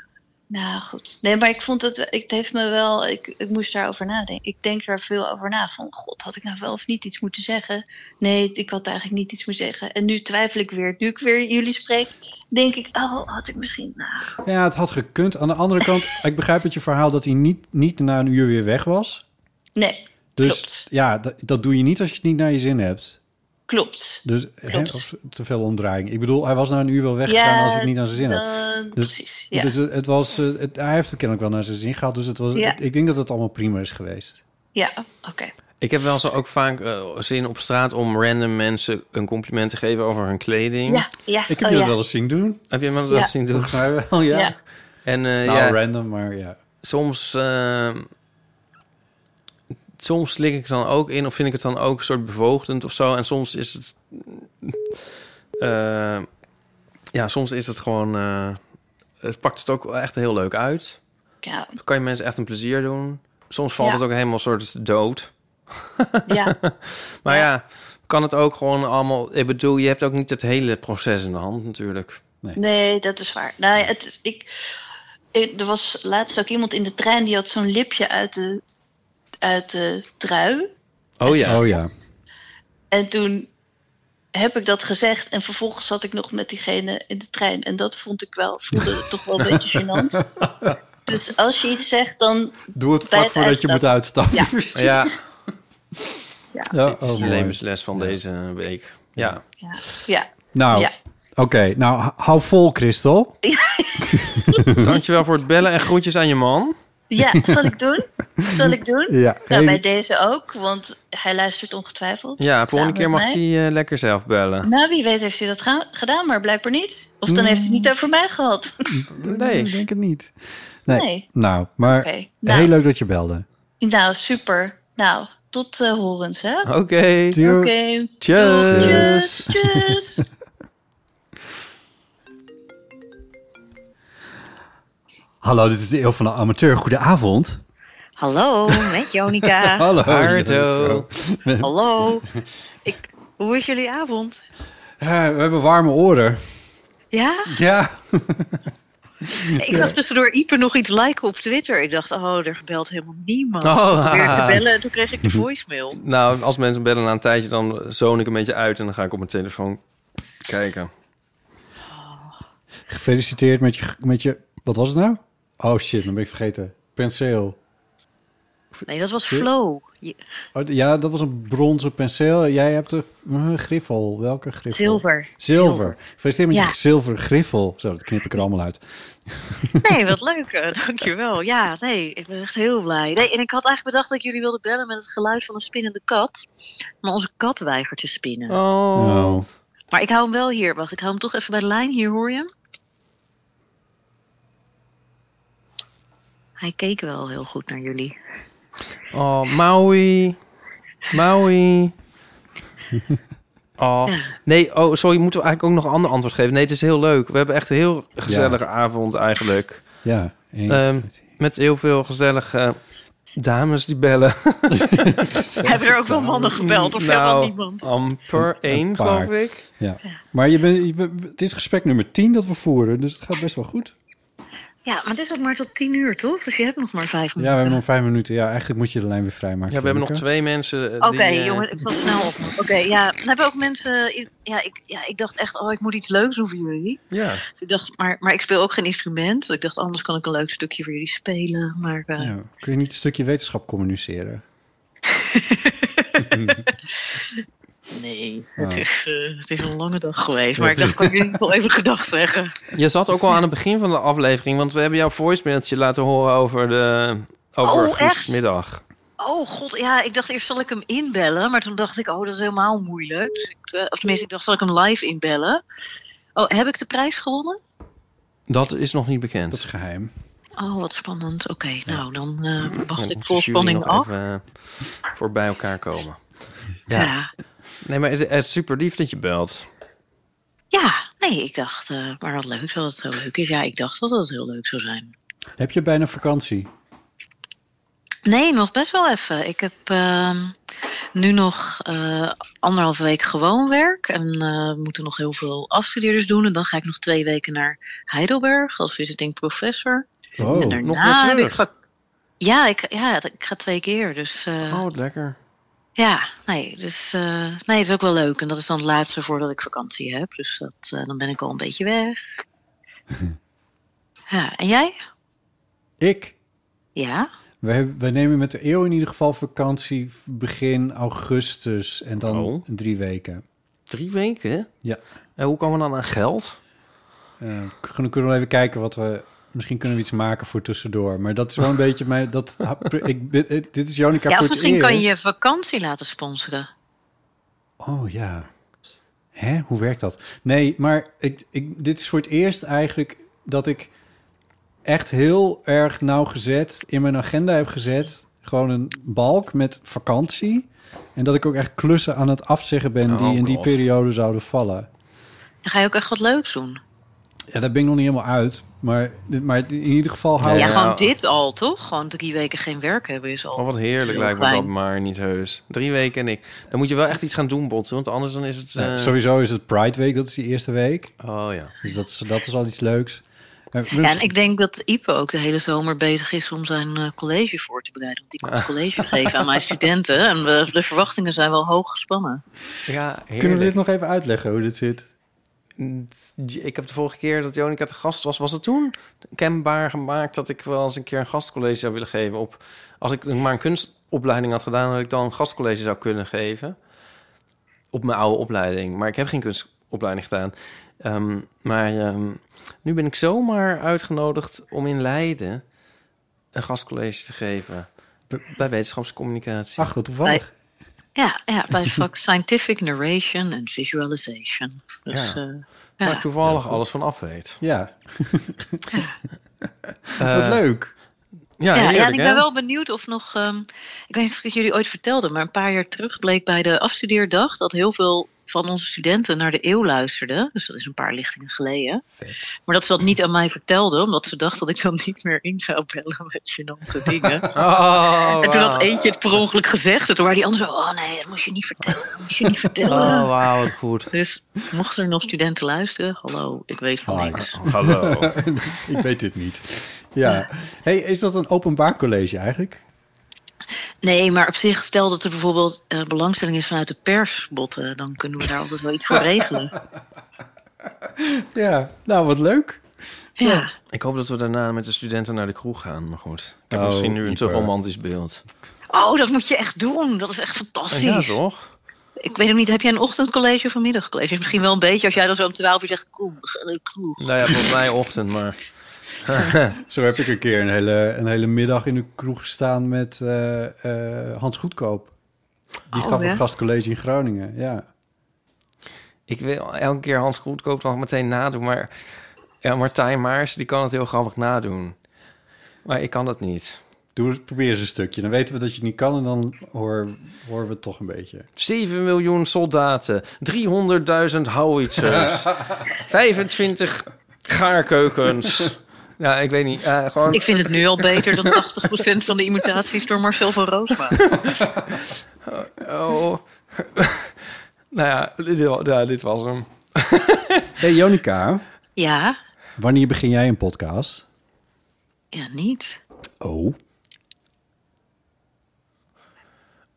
[SPEAKER 14] Nou goed. Nee, maar ik vond het, wel- ik- het heeft me wel, ik, ik moest daarover nadenken. Ik denk daar veel over na. Van god, had ik nou wel of niet iets moeten zeggen? Nee, ik had eigenlijk niet iets moeten zeggen. En nu twijfel ik weer. Nu ik weer jullie spreek, denk ik, oh, had ik misschien. Nou,
[SPEAKER 3] Ja, het had gekund. Aan de andere kant, ik begrijp het je verhaal dat hij niet, niet na een uur weer weg was.
[SPEAKER 14] nee,
[SPEAKER 3] Dus ja, dat, dat doe je niet als je het niet naar je zin hebt.
[SPEAKER 14] Klopt.
[SPEAKER 3] Dus hè,
[SPEAKER 14] Klopt.
[SPEAKER 3] of te veel omdraaiing. Ik bedoel, hij was na een uur wel weggegaan
[SPEAKER 14] Ja,
[SPEAKER 3] als hij het niet aan zijn zin
[SPEAKER 14] dan-
[SPEAKER 3] had. Dus,
[SPEAKER 14] precies, ja.
[SPEAKER 3] dus het, het was, eh, het, hij heeft het kennelijk wel naar zijn zin gehad. Dus het was,
[SPEAKER 14] Ja.
[SPEAKER 3] ik- ik denk dat het allemaal prima is geweest.
[SPEAKER 14] Ja, oké.
[SPEAKER 11] Ik heb wel zo ook vaak eh, zin op straat om random mensen een compliment te geven over hun kleding.
[SPEAKER 14] Ja, ja.
[SPEAKER 3] Ik heb
[SPEAKER 15] Oh,
[SPEAKER 3] je dat wel eens zien doen.
[SPEAKER 11] Heb je me dat
[SPEAKER 3] Ja.
[SPEAKER 11] wel eens zien doen?
[SPEAKER 3] Volgens mij wel, ja. Ja.
[SPEAKER 11] En, eh,
[SPEAKER 3] Nou,
[SPEAKER 11] ja,
[SPEAKER 3] random, maar ja.
[SPEAKER 11] Soms, eh, soms slik ik dan ook in of vind ik het dan ook een soort bevoogdend of zo. En soms is het... eh, ja, soms is het gewoon... eh, het pakt het ook wel echt heel leuk uit.
[SPEAKER 14] Ja.
[SPEAKER 11] Dan kan je mensen echt een plezier doen. Soms valt
[SPEAKER 14] Ja.
[SPEAKER 11] het ook helemaal soort dood.
[SPEAKER 14] Ja.
[SPEAKER 11] Maar ja. kan het ook gewoon allemaal... Ik bedoel, je hebt ook niet het hele proces in de hand natuurlijk.
[SPEAKER 14] Nee, dat is waar. Nou, ja, het is, ik, ik- er was laatst ook iemand in de trein die had zo'n lipje uit de, uit de trui.
[SPEAKER 11] Oh ja. Oh ja.
[SPEAKER 14] En toen heb ik dat gezegd en vervolgens zat ik nog met diegene in de trein. En dat vond ik wel, voelde toch wel een beetje gênant. Dus als je iets zegt, dan...
[SPEAKER 3] Doe het
[SPEAKER 14] bij
[SPEAKER 3] vlak voordat je moet uitstappen.
[SPEAKER 14] Ja,
[SPEAKER 3] Precies.
[SPEAKER 11] Ja.
[SPEAKER 14] Ja.
[SPEAKER 3] Ja,
[SPEAKER 11] Dit is
[SPEAKER 3] oh,
[SPEAKER 11] de
[SPEAKER 3] mooi.
[SPEAKER 11] levensles van deze week. Ja.
[SPEAKER 14] ja.
[SPEAKER 3] Nou,
[SPEAKER 14] Ja.
[SPEAKER 3] oké. nou, h- hou vol, Christel.
[SPEAKER 11] Dankjewel voor het bellen en groetjes aan je man.
[SPEAKER 14] Ja, zal ik doen? Zal ik doen?
[SPEAKER 11] Ja,
[SPEAKER 14] nou,
[SPEAKER 11] heel-
[SPEAKER 14] bij deze ook, want hij luistert ongetwijfeld.
[SPEAKER 11] Ja, volgende
[SPEAKER 14] Samen
[SPEAKER 11] keer
[SPEAKER 14] met
[SPEAKER 11] mag
[SPEAKER 14] mij.
[SPEAKER 11] hij eh, lekker zelf bellen.
[SPEAKER 14] Nou, wie weet heeft hij dat ga- gedaan, maar blijkbaar niet. Of dan heeft hij het niet over mij gehad.
[SPEAKER 11] Nee.
[SPEAKER 3] Ik denk het niet. Nee.
[SPEAKER 14] Nee.
[SPEAKER 3] Nou, maar
[SPEAKER 14] Oké, nou.
[SPEAKER 3] heel leuk dat je belde.
[SPEAKER 14] Nou, super. Nou, tot eh, horens, hè?
[SPEAKER 3] Oké.
[SPEAKER 14] Oké.
[SPEAKER 3] Doei.
[SPEAKER 14] Doeg,
[SPEAKER 3] Tjus.
[SPEAKER 14] tjus, tjus.
[SPEAKER 3] Hallo, dit is de Eeuw van de Amateur. Goedenavond.
[SPEAKER 15] Hallo, met Jonica.
[SPEAKER 3] Hallo.
[SPEAKER 15] Hardo.
[SPEAKER 3] Jonica.
[SPEAKER 15] Hallo. Ik, hoe is jullie avond?
[SPEAKER 3] Eh, we hebben warme oren.
[SPEAKER 15] Ja?
[SPEAKER 3] Ja.
[SPEAKER 15] Ik zag tussendoor Ieper nog iets liken op Twitter. Ik dacht, oh, er gebeld helemaal niemand.
[SPEAKER 11] Oh,
[SPEAKER 15] ik probeerde te
[SPEAKER 11] ah.
[SPEAKER 15] bellen en toen kreeg ik de voicemail.
[SPEAKER 11] Nou, als mensen bellen na een tijdje, dan zoon ik een beetje uit en dan ga ik op mijn telefoon kijken.
[SPEAKER 3] Gefeliciteerd met je, met je... Wat was het nou? Oh shit, dan ben ik vergeten. Penseel.
[SPEAKER 15] Nee, dat was
[SPEAKER 3] Zit-
[SPEAKER 15] Flow. Je-
[SPEAKER 3] Oh, d- ja, dat was een bronzen penseel. Jij hebt een eh, griffel. Welke griffel?
[SPEAKER 15] Zilver.
[SPEAKER 3] Zilver. Gefeliciteerd met
[SPEAKER 15] Ja.
[SPEAKER 3] je zilver griffel. Zo, dat knip ik er allemaal uit.
[SPEAKER 15] Nee, wat leuk. eh, Dankjewel. Ja, nee, ik ben echt heel blij. Nee, en ik had eigenlijk bedacht dat ik jullie wilden bellen met het geluid van een spinnende kat. Maar onze kat weigert te spinnen.
[SPEAKER 3] Oh.
[SPEAKER 15] Maar ik hou hem wel hier. Wacht, ik hou hem toch even bij de lijn. Hier hoor je hem. Hij keek wel heel goed naar jullie.
[SPEAKER 11] Oh, Maui. Maui. Oh, nee, oh, sorry, moeten we eigenlijk ook nog een ander antwoord geven? Nee, het is heel leuk. We hebben echt een heel gezellige avond eigenlijk.
[SPEAKER 3] Ja. eens.
[SPEAKER 11] Ehm, met heel veel gezellige dames die bellen.
[SPEAKER 15] Hebben er ook wel mannen gebeld of helemaal
[SPEAKER 11] nou,
[SPEAKER 15] niemand?
[SPEAKER 11] amper één,
[SPEAKER 3] Een
[SPEAKER 11] geloof
[SPEAKER 3] paar.
[SPEAKER 11] ik.
[SPEAKER 3] Ja. Maar je bent, je- het is gesprek nummer 10 dat we voeren, dus het gaat best wel goed.
[SPEAKER 15] Ja, maar het is ook maar tot tien uur, toch? Dus je hebt nog maar vijf
[SPEAKER 3] Ja, we
[SPEAKER 15] minuten.
[SPEAKER 3] hebben nog vijf minuten. Ja, eigenlijk moet je de lijn weer vrijmaken.
[SPEAKER 11] Ja, we hebben nog
[SPEAKER 3] Janneke.
[SPEAKER 11] twee mensen. eh,
[SPEAKER 15] Oké,
[SPEAKER 11] die, eh,
[SPEAKER 15] jongens, ik zal snel op. Oké, ja. Dan hebben ook mensen... i- Ja ik, ja, ik dacht echt, oh, ik moet iets leuks doen voor jullie.
[SPEAKER 11] Ja.
[SPEAKER 15] Dus ik dacht, maar, maar ik speel ook geen instrument. Dus ik dacht, anders kan ik een leuk stukje voor jullie spelen. Maar eh,
[SPEAKER 3] Ja. Kun je niet een stukje wetenschap communiceren?
[SPEAKER 15] nee,
[SPEAKER 3] Ah.
[SPEAKER 15] het, is, eh, het is een lange dag geweest. Maar ik dacht, kan ik jullie wel even gedacht zeggen?
[SPEAKER 11] Je zat ook al aan het begin van de aflevering, want we hebben jouw voicemailtje laten horen over de over
[SPEAKER 15] Oh, echt?
[SPEAKER 11] Goesmiddag.
[SPEAKER 15] Oh god, ja, ik dacht eerst zal ik hem inbellen, maar toen dacht ik, oh, dat is helemaal moeilijk. Dus ik, eh, of tenminste, ik dacht zal ik hem live inbellen. Oh, heb ik de prijs gewonnen?
[SPEAKER 11] Dat is nog niet bekend. Dat
[SPEAKER 3] is geheim.
[SPEAKER 15] Oh, wat spannend. Oké, nou dan eh, wacht
[SPEAKER 11] Moeten
[SPEAKER 15] ik vol
[SPEAKER 11] de jury
[SPEAKER 15] spanning
[SPEAKER 11] nog
[SPEAKER 15] af.
[SPEAKER 11] Even, eh, voor bij elkaar komen. Ja.
[SPEAKER 15] Ja.
[SPEAKER 11] Nee, maar het, het is super lief dat je belt.
[SPEAKER 15] Ja, nee, ik dacht, eh, maar wat leuk dat het zo leuk is. Ja, ik dacht dat het heel leuk zou zijn.
[SPEAKER 3] Heb je bijna vakantie?
[SPEAKER 15] Nee, nog best wel even. Ik heb ehm, nu nog eh, anderhalve week gewoon werk. En eh, we moeten nog heel veel afstudeerders doen. En dan ga ik nog twee weken naar Heidelberg als visiting professor.
[SPEAKER 11] Oh,
[SPEAKER 15] en
[SPEAKER 11] nog weer
[SPEAKER 15] heb ik
[SPEAKER 11] terug.
[SPEAKER 15] vak- ja, ik, ja, ik ga twee keer. Dus, eh,
[SPEAKER 11] Oh, wat lekker.
[SPEAKER 15] Ja, nee, dus, eh, nee, het is ook wel leuk. En dat is dan het laatste voordat ik vakantie heb. Dus dat, eh, dan ben ik al een beetje weg. ja, en jij?
[SPEAKER 3] Ik?
[SPEAKER 15] Ja?
[SPEAKER 3] We, hebben, we nemen met de eeuw in ieder geval vakantie begin augustus en dan
[SPEAKER 11] Oh.
[SPEAKER 3] drie weken.
[SPEAKER 11] Drie weken?
[SPEAKER 3] Ja.
[SPEAKER 11] En hoe komen we dan aan geld?
[SPEAKER 3] Eh, kunnen, kunnen we even kijken wat we... Misschien kunnen we iets maken voor tussendoor. Maar dat is wel een beetje mijn... Dat, ik, ben- eh, dit is Jonica
[SPEAKER 15] Ja,
[SPEAKER 3] voor
[SPEAKER 15] of
[SPEAKER 3] het
[SPEAKER 15] misschien kan je je
[SPEAKER 3] eerst.
[SPEAKER 15] vakantie laten sponsoren.
[SPEAKER 3] Oh ja. Hè? Hoe werkt dat? Nee, maar ik, ik, dit is voor het eerst eigenlijk dat ik echt heel erg nauwgezet in mijn agenda heb gezet. Gewoon een balk met vakantie. En dat ik ook echt klussen aan het afzeggen ben die
[SPEAKER 15] Oh,
[SPEAKER 3] in die
[SPEAKER 15] God.
[SPEAKER 3] periode zouden vallen.
[SPEAKER 15] Dan ga je ook echt wat leuks doen.
[SPEAKER 3] Ja, daar ben ik nog niet helemaal uit. Maar, maar in ieder geval
[SPEAKER 15] Ja,
[SPEAKER 3] hou ik-
[SPEAKER 15] gewoon dit al, toch? Gewoon drie weken geen werk hebben is al...
[SPEAKER 11] Oh, wat heerlijk
[SPEAKER 15] heel
[SPEAKER 11] lijkt me
[SPEAKER 15] fijn.
[SPEAKER 11] dat, maar niet heus. Drie weken en ik. Dan moet je wel echt iets gaan doen, Bot. Want anders dan is het...
[SPEAKER 3] Nee,
[SPEAKER 11] eh,
[SPEAKER 3] sowieso is het Pride Week, dat is die eerste week.
[SPEAKER 11] Oh ja.
[SPEAKER 3] Dus dat is, dat is al iets leuks. Eh,
[SPEAKER 15] Ja, en
[SPEAKER 3] misschien-
[SPEAKER 15] ik denk dat Ipe ook de hele zomer bezig is om zijn eh, college voor te bereiden. Want die komt college geven aan mijn studenten. En we- de verwachtingen zijn wel hoog gespannen.
[SPEAKER 11] Ja,
[SPEAKER 3] Kunnen
[SPEAKER 11] heerlijk.
[SPEAKER 3] we dit nog even uitleggen hoe dit zit?
[SPEAKER 11] Ik heb de vorige keer dat Jonica te gast was, was het toen kenbaar gemaakt dat ik wel eens een keer een gastcollege zou willen geven. Op, als ik maar een kunstopleiding had gedaan, dat ik dan een gastcollege zou kunnen geven. Op mijn oude opleiding. Maar ik heb geen kunstopleiding gedaan. Ehm, maar ehm, nu ben ik zomaar uitgenodigd om in Leiden een gastcollege te geven. B- Bij wetenschapscommunicatie.
[SPEAKER 3] Ach, wat
[SPEAKER 15] Bij- ja, ja, bij het vak Scientific Narration and Visualization. Dus,
[SPEAKER 11] Ja.
[SPEAKER 15] eh,
[SPEAKER 11] Waar
[SPEAKER 15] ja.
[SPEAKER 11] ik toevallig alles van af weet.
[SPEAKER 3] Ja.
[SPEAKER 11] Eh,
[SPEAKER 3] Wat leuk.
[SPEAKER 11] Ja,
[SPEAKER 15] ja,
[SPEAKER 11] heerlijk,
[SPEAKER 15] en ik
[SPEAKER 11] hè?
[SPEAKER 15] ben wel benieuwd of nog. ehm, ik weet niet of ik het jullie ooit vertelde, maar een paar jaar terug bleek bij de afstudeerdag dat heel veel van onze studenten naar de eeuw luisterden. Dus dat is een paar lichtingen geleden. Maar dat ze dat niet aan mij vertelden, omdat ze dachten dat ik dan niet meer in zou bellen met gênante dingen.
[SPEAKER 11] Oh,
[SPEAKER 15] en toen
[SPEAKER 11] wauw.
[SPEAKER 15] had eentje het per ongeluk gezegd. En toen waren die anderen zo, oh nee, dat moest je niet vertellen. Dat moest je niet vertellen.
[SPEAKER 11] Oh, wauw, wat goed.
[SPEAKER 15] Dus mochten er nog studenten luisteren, hallo, ik weet
[SPEAKER 11] Oh,
[SPEAKER 15] van niks.
[SPEAKER 3] ik weet dit niet. Ja. Hey, is dat een openbaar college eigenlijk?
[SPEAKER 15] Nee, maar op zich, stel dat er bijvoorbeeld eh, belangstelling is vanuit de pers, Botten, dan kunnen we daar altijd wel iets voor regelen.
[SPEAKER 3] Ja. Nou, wat leuk.
[SPEAKER 15] Ja.
[SPEAKER 11] Ik hoop dat we daarna met de studenten naar de kroeg gaan. Maar goed, ik heb
[SPEAKER 3] Oh,
[SPEAKER 11] misschien nu een te
[SPEAKER 3] Ieper.
[SPEAKER 11] romantisch beeld.
[SPEAKER 15] Oh, dat moet je echt doen. Dat is echt fantastisch.
[SPEAKER 11] Ja, toch?
[SPEAKER 15] Ik weet ook niet, heb jij een ochtendcollege of een middagcollege? Misschien wel een beetje, als jij dan zo om 12 uur zegt, koe, we gaan naar de kroeg.
[SPEAKER 11] Nou ja, volgens mij ochtend, maar...
[SPEAKER 3] Zo heb ik een keer een hele, een hele middag in de kroeg gestaan met eh, eh, Hans Goedkoop. Die
[SPEAKER 11] Oh,
[SPEAKER 3] gaf
[SPEAKER 11] ja?
[SPEAKER 3] een gastcollege in Groningen. Ja.
[SPEAKER 11] Ik wil elke keer Hans Goedkoop nog meteen nadoen, maar... Ja, Martijn Maars, die kan het heel grappig nadoen. Maar ik kan dat niet.
[SPEAKER 3] Doe, probeer eens een stukje. Dan weten we dat je het niet kan en dan hoor- horen we het toch een beetje.
[SPEAKER 11] 7 miljoen soldaten, 300.000 howitzers, 25 gaarkeukens. Ja, ik weet niet. eh, gewoon...
[SPEAKER 15] Ik vind het nu al beter dan 80% van de imitaties door Marcel van Roosma.
[SPEAKER 11] Oh. nou ja dit, wa- ja, dit was hem.
[SPEAKER 3] Hey Jonica,
[SPEAKER 15] Ja,
[SPEAKER 3] wanneer begin jij een podcast?
[SPEAKER 15] ja, niet.
[SPEAKER 3] Oh.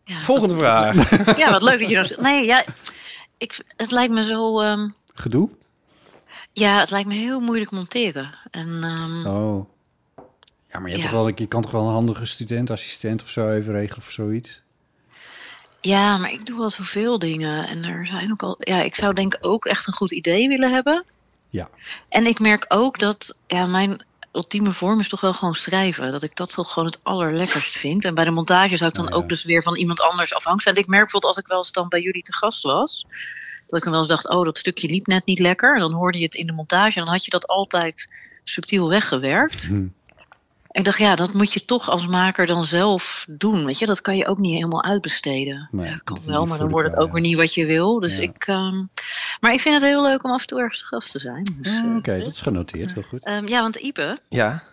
[SPEAKER 15] Ja,
[SPEAKER 11] Volgende
[SPEAKER 15] wat-
[SPEAKER 11] vraag.
[SPEAKER 15] Ja, wat leuk dat je dan... Nee, ja, ik, het lijkt me zo... ehm,
[SPEAKER 3] Gedoe?
[SPEAKER 15] ja, het lijkt me heel moeilijk monteren. En, ehm,
[SPEAKER 3] Oh. Ja, maar je, hebt
[SPEAKER 15] Ja.
[SPEAKER 3] toch wel, een- je kan toch wel een handige student, assistent of zo even regelen voor zoiets?
[SPEAKER 15] Ja, maar ik doe wel zoveel dingen. En er zijn ook al. Ja, ik zou denk ik ook echt een goed idee willen hebben.
[SPEAKER 3] Ja.
[SPEAKER 15] En ik merk ook dat. Ja, mijn ultieme vorm is toch wel gewoon schrijven. Dat ik dat toch gewoon het allerlekkerst vind. En bij de montage zou ik dan ook dus weer van iemand anders afhankelijk zijn. En ik merk bijvoorbeeld als ik wel eens dan bij jullie te gast was. Dat ik dan wel eens dacht, oh, dat stukje liep net niet lekker. En dan hoorde je het in de montage. En dan had je dat altijd subtiel weggewerkt. En ik dacht, ja, dat moet je toch als maker dan zelf doen. Weet je, dat kan je ook niet helemaal uitbesteden.
[SPEAKER 3] Nee,
[SPEAKER 15] dat kan
[SPEAKER 3] die
[SPEAKER 15] wel, maar
[SPEAKER 3] voel
[SPEAKER 15] dan
[SPEAKER 3] ik
[SPEAKER 15] wordt het
[SPEAKER 3] wel,
[SPEAKER 15] ook weer niet wat je wil. Dus
[SPEAKER 3] Ja.
[SPEAKER 15] ik, ehm, maar ik vind het heel leuk om af en toe ergens te gast te zijn. Dus, eh,
[SPEAKER 3] Oké, dat is genoteerd. Heel goed.
[SPEAKER 15] ehm, ja, want Ipe,
[SPEAKER 11] Ja.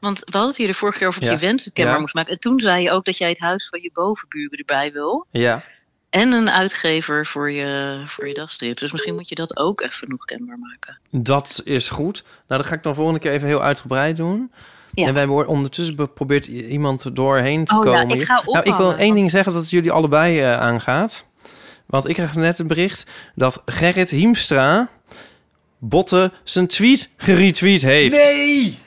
[SPEAKER 15] want we hadden het hier de vorige keer over dat
[SPEAKER 11] Ja.
[SPEAKER 15] je wensen kenbaar
[SPEAKER 11] Ja.
[SPEAKER 15] moest maken. En toen zei je ook dat jij het huis van je bovenburen erbij wil.
[SPEAKER 11] Ja.
[SPEAKER 15] En een uitgever voor je, voor je dagstrip. Dus misschien moet je dat ook even nog kenbaar maken.
[SPEAKER 11] Dat is goed. Nou, dat ga ik dan volgende keer even heel uitgebreid doen.
[SPEAKER 15] Ja.
[SPEAKER 11] En wij worden ondertussen geprobeerd i- iemand er doorheen te
[SPEAKER 15] Oh ja,
[SPEAKER 11] komen.
[SPEAKER 15] ik ga
[SPEAKER 11] nou, ik wil
[SPEAKER 15] ophangen,
[SPEAKER 11] één ding zeggen dat het jullie allebei eh, aangaat. Want ik kreeg net een bericht dat Gerrit Hiemstra Botte zijn tweet geretweet heeft.
[SPEAKER 3] Nee!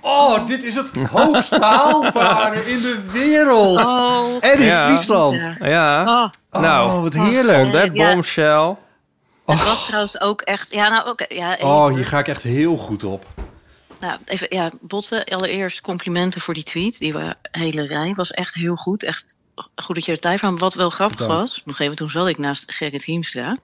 [SPEAKER 3] Oh, dit is het hoogst haalbare in de wereld.
[SPEAKER 15] Oh.
[SPEAKER 3] en in
[SPEAKER 11] Ja.
[SPEAKER 3] Friesland.
[SPEAKER 11] Ja.
[SPEAKER 3] Oh,
[SPEAKER 11] nou,
[SPEAKER 3] wat heerlijk.
[SPEAKER 11] That
[SPEAKER 15] Ja.
[SPEAKER 11] bombshell.
[SPEAKER 15] Het was trouwens ook echt... Ja, nou oké. ja,
[SPEAKER 3] Oh, hier ga ik echt heel goed op.
[SPEAKER 15] Nou, even, ja, Botte, allereerst complimenten voor die tweet. Die wa- hele rij was echt heel goed. Echt goed dat je er tijd van. Wat wel grappig
[SPEAKER 7] Bedankt.
[SPEAKER 15] was, nog even toen zat ik naast Gerrit Hiemstra.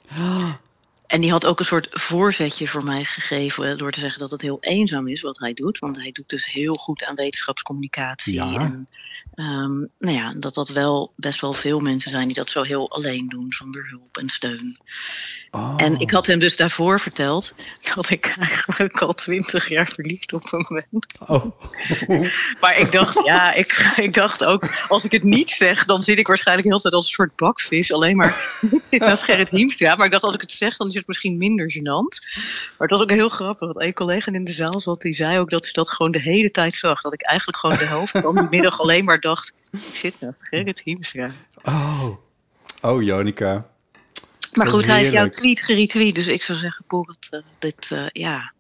[SPEAKER 15] En die had ook een soort voorzetje voor mij gegeven eh, door te zeggen dat het heel eenzaam is wat hij doet. Want hij doet dus heel goed aan wetenschapscommunicatie.
[SPEAKER 7] Ja.
[SPEAKER 15] En Ehm, nou ja, dat dat wel best wel veel mensen zijn die dat zo heel alleen doen, zonder hulp en steun. En ik had hem dus daarvoor verteld dat ik eigenlijk al twintig jaar verliefd op hem ben. maar ik dacht, ja, ik, ik dacht ook, als ik het niet zeg, dan zit ik waarschijnlijk heel de tijd als een soort bakvis. Alleen maar, dit is Gerrit Hiemstra. Maar ik dacht, als ik het zeg, dan is het misschien minder gênant. Maar het was ook heel grappig. Dat een collega in de zaal zat, die zei ook dat ze dat gewoon de hele tijd zag. Dat ik eigenlijk gewoon de helft van die middag alleen maar dacht, ik zit naast Gerrit Hiemstra.
[SPEAKER 3] Oh, oh Jonica.
[SPEAKER 15] Maar
[SPEAKER 3] Dat
[SPEAKER 15] goed,
[SPEAKER 3] is
[SPEAKER 15] hij heeft jouw
[SPEAKER 3] heerlijk.
[SPEAKER 15] tweet geretweet, dus ik zou zeggen, Borrelt, eh, dit, eh, ja.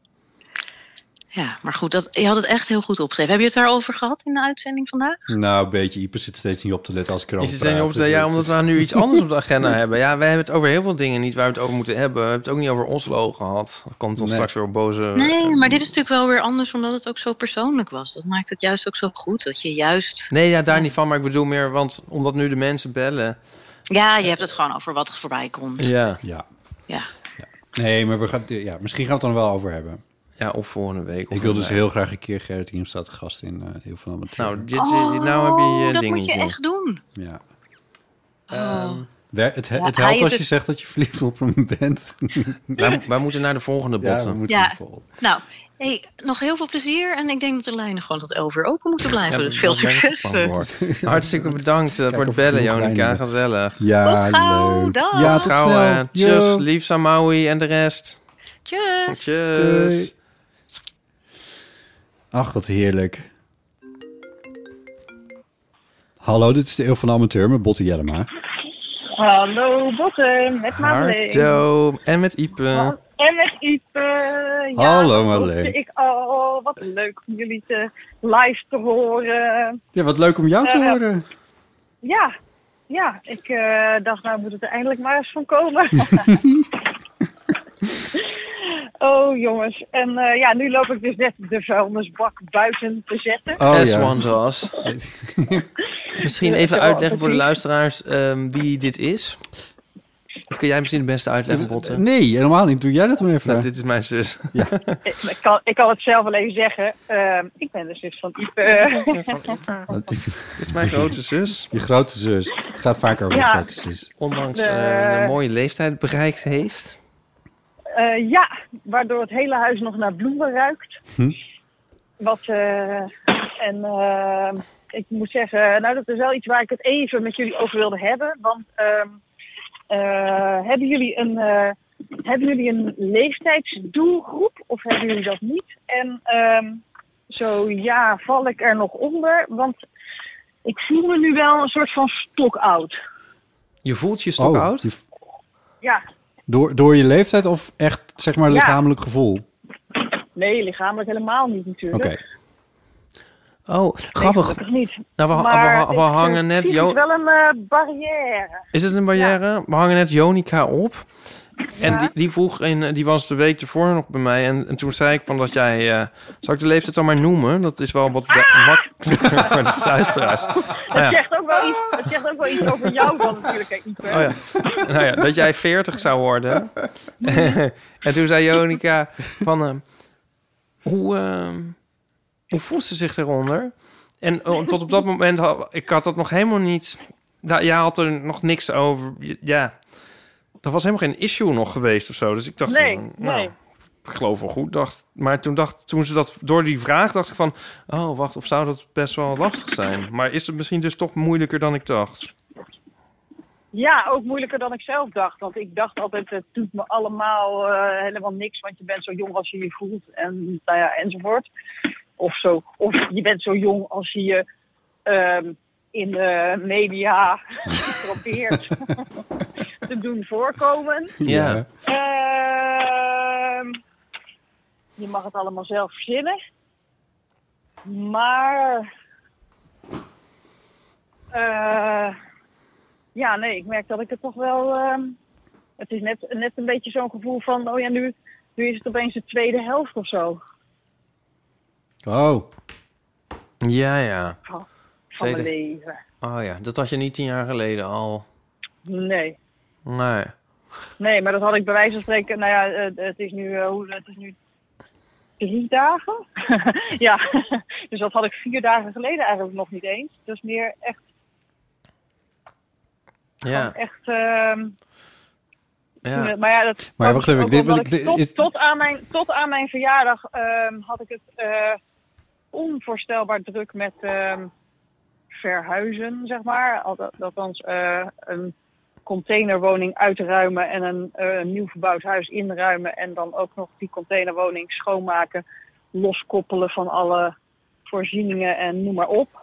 [SPEAKER 15] Ja, maar goed, dat, je had het echt heel goed opgeschreven. Heb je het daarover gehad in de uitzending vandaag?
[SPEAKER 3] Nou, een beetje. Ieper zit steeds niet op te letten als ik erover
[SPEAKER 11] Is het dan niet op
[SPEAKER 3] praat,
[SPEAKER 11] te-
[SPEAKER 3] dus
[SPEAKER 11] ja,
[SPEAKER 3] het
[SPEAKER 11] omdat
[SPEAKER 3] is-
[SPEAKER 11] we nu iets anders op de agenda hebben. Ja, we hebben het over heel veel dingen niet waar we het over moeten hebben. We hebben het ook niet over Oslo gehad. Dat komt ons
[SPEAKER 3] Nee.
[SPEAKER 11] straks weer op boze...
[SPEAKER 15] Nee, maar dit is natuurlijk wel weer anders, omdat het ook zo persoonlijk was. Dat maakt het juist ook zo goed, dat je juist...
[SPEAKER 11] Nee, ja, daar niet van. Maar ik bedoel meer, want omdat nu de mensen bellen.
[SPEAKER 15] Ja, je hebt het gewoon over wat voorbij komt.
[SPEAKER 11] Ja.
[SPEAKER 3] Ja.
[SPEAKER 15] Ja.
[SPEAKER 3] Nee, maar we gaan, ja, misschien gaan we het dan wel over hebben.
[SPEAKER 11] Ja, of volgende week.
[SPEAKER 3] ik wil dus heel graag een keer Gerrit Hiemstra te gast in eh Heel van Amateur.
[SPEAKER 11] Nou, dit, eh, nou heb je je
[SPEAKER 15] Oh, dat
[SPEAKER 11] dingetje.
[SPEAKER 15] moet je echt doen.
[SPEAKER 3] Ja.
[SPEAKER 11] ehm,
[SPEAKER 15] Oh.
[SPEAKER 3] Wer- Het, he-
[SPEAKER 15] Ja,
[SPEAKER 3] het
[SPEAKER 15] hij
[SPEAKER 3] helpt
[SPEAKER 15] is
[SPEAKER 3] als je
[SPEAKER 15] het-
[SPEAKER 3] zegt dat je verliefd op hem bent.
[SPEAKER 11] wij, wij moeten naar de volgende bot.
[SPEAKER 3] Ja, we moeten
[SPEAKER 15] Ja.
[SPEAKER 3] naar de volgende.
[SPEAKER 15] Nou, hey, nog heel veel plezier. En ik denk dat de lijnen gewoon tot 11 uur open moeten
[SPEAKER 11] Ja,
[SPEAKER 15] blijven.
[SPEAKER 11] dat-
[SPEAKER 15] dus veel
[SPEAKER 11] dat werkt
[SPEAKER 15] succes. eh.
[SPEAKER 11] ook wel voor. Hartstikke bedankt eh, voor het bellen, Jonica. Gezellig.
[SPEAKER 3] Ja, leuk. Ja, tot
[SPEAKER 11] Gauw,
[SPEAKER 3] snel.
[SPEAKER 11] eh,
[SPEAKER 3] Yo.
[SPEAKER 11] Tjus, liefs aan Maui en de rest.
[SPEAKER 15] Tjus.
[SPEAKER 11] Tjus.
[SPEAKER 3] Doei. Ach, wat heerlijk. Hallo, dit is de Eeuw van de Amateur met Botte Jellema.
[SPEAKER 16] Hallo Botten, met Madeleine.
[SPEAKER 11] Hardo. En met Ipe.
[SPEAKER 16] En met Ipe. Ja,
[SPEAKER 3] Hallo,
[SPEAKER 16] dat
[SPEAKER 3] Madeleine.
[SPEAKER 16] hoopte Ik al. Wat leuk om jullie te, live te horen.
[SPEAKER 3] Ja, wat leuk om jou te
[SPEAKER 16] Eh,
[SPEAKER 3] horen.
[SPEAKER 16] Ja, ja. Ik eh, dacht, nou moet het er eindelijk maar eens van komen. oh jongens. En eh, ja, nu loop ik dus net de vuilnisbak buiten te zetten.
[SPEAKER 11] As one does. misschien
[SPEAKER 16] Ja,
[SPEAKER 11] even
[SPEAKER 16] ja,
[SPEAKER 11] uitleggen voor de
[SPEAKER 16] precies.
[SPEAKER 11] luisteraars ehm, wie dit is. Dat kun jij misschien het beste uitleggen, Botte.
[SPEAKER 3] Nee, helemaal niet. Doe jij dat maar even.
[SPEAKER 11] Nou, dit is mijn zus.
[SPEAKER 16] Ik, ik kan, ik kan het zelf wel even zeggen. Ehm, ik ben de zus van Ipe.
[SPEAKER 11] Dit is mijn grote zus.
[SPEAKER 3] Je grote zus. Het gaat vaak over
[SPEAKER 16] Ja.
[SPEAKER 3] je grote zus.
[SPEAKER 11] Ondanks
[SPEAKER 16] De-
[SPEAKER 11] eh, een mooie leeftijd bereikt heeft.
[SPEAKER 16] Eh, ja, waardoor het hele huis nog naar bloemen ruikt.
[SPEAKER 11] Hm.
[SPEAKER 16] Wat, eh, en eh, ik moet zeggen, nou dat is wel iets waar ik het even met jullie over wilde hebben. Want ehm, eh, hebben, jullie een, eh, hebben jullie een leeftijdsdoelgroep of hebben jullie dat niet? En ehm, zo ja, val ik er nog onder? Want ik voel me nu wel een soort van stokoud.
[SPEAKER 11] Je voelt je
[SPEAKER 3] stokoud?
[SPEAKER 16] Ja,
[SPEAKER 3] Oh, door, door je leeftijd of echt, zeg maar,
[SPEAKER 16] Ja.
[SPEAKER 3] lichamelijk gevoel?
[SPEAKER 16] nee, lichamelijk helemaal niet natuurlijk.
[SPEAKER 3] Oké.
[SPEAKER 11] Oh, grappig.
[SPEAKER 16] Gelukkig niet.
[SPEAKER 11] Nou, we, we-
[SPEAKER 16] Maar
[SPEAKER 11] we,
[SPEAKER 16] ik,
[SPEAKER 11] we
[SPEAKER 16] eh,
[SPEAKER 11] hangen net...
[SPEAKER 16] zie
[SPEAKER 11] Jo-
[SPEAKER 16] het wel een eh, barrière.
[SPEAKER 11] Is het een barrière? We hangen net Jonica op. En die, die vroeg, in, die was de week ervoor nog bij mij. En, en toen zei ik van dat jij... eh, zal ik de leeftield dan maar noemen? Dat is wel wat
[SPEAKER 16] Ah!
[SPEAKER 11] wa- makkelijker voor de luisteraars. Nou
[SPEAKER 16] Het,
[SPEAKER 11] ja.
[SPEAKER 16] zegt ook wel iets, het zegt ook wel iets over jou dan natuurlijk, hè, Ipe.
[SPEAKER 11] Oh ja. Nou ja, dat jij 40 zou worden. en toen zei Jonica van... ehm, hoe, ehm, hoe voelt ze zich eronder? En eh, tot op dat moment, had, ik had dat nog helemaal niet... Nou, jij had er nog niks over. Je- Ja, dat was helemaal geen issue nog geweest of zo. Dus ik dacht,
[SPEAKER 16] Nee,
[SPEAKER 11] van, nou,
[SPEAKER 16] nee.
[SPEAKER 11] ik geloof wel goed. Dacht, maar toen, dacht, toen ze dat door die vraag dacht ik van... Oh, wacht, of zou dat best wel lastig zijn? Maar is het misschien dus toch moeilijker dan ik dacht?
[SPEAKER 16] Ja, ook moeilijker dan ik zelf dacht. Want ik dacht altijd, het doet me allemaal eh, helemaal niks. Want je bent zo jong als je je voelt. En nou ja, enzovoort. Of, zo, of je bent zo jong als je je ehm, in de media probeert te doen voorkomen.
[SPEAKER 11] Ja.
[SPEAKER 16] Ehm, je mag het allemaal zelf verzinnen. Maar. eh, ja, nee, ik merk dat ik het toch wel. ehm, het is net, net een beetje zo'n gevoel van. Oh ja, nu, nu is het opeens de tweede helft of zo.
[SPEAKER 3] Oh.
[SPEAKER 11] Ja, ja.
[SPEAKER 16] Oh, Van van
[SPEAKER 11] Tweede-
[SPEAKER 16] mijn leven.
[SPEAKER 11] Oh ja, dat had je niet tien jaar geleden al.
[SPEAKER 16] Nee.
[SPEAKER 11] Nee.
[SPEAKER 16] Nee, maar dat had ik bij wijze van spreken. Nou ja, eh, het is nu, eh, hoe, het is nu drie dagen. ja, Dus dat had ik vier dagen geleden eigenlijk nog niet eens. Dus meer echt,
[SPEAKER 11] Ja.
[SPEAKER 16] echt ehm,
[SPEAKER 11] ja.
[SPEAKER 16] Maar ja, dat
[SPEAKER 3] Maar wacht even,
[SPEAKER 16] ook
[SPEAKER 3] dit-
[SPEAKER 16] omdat
[SPEAKER 3] ik-
[SPEAKER 16] ik
[SPEAKER 3] dit-
[SPEAKER 16] tot,
[SPEAKER 3] is-
[SPEAKER 16] tot, aan mijn, tot aan mijn verjaardag ehm, had ik het eh, onvoorstelbaar druk met ehm, verhuizen, zeg maar. Al- dat- Althans, eh een containerwoning uitruimen en een eh, een nieuw verbouwd huis inruimen. En dan ook nog die containerwoning schoonmaken, loskoppelen van alle voorzieningen en noem maar op.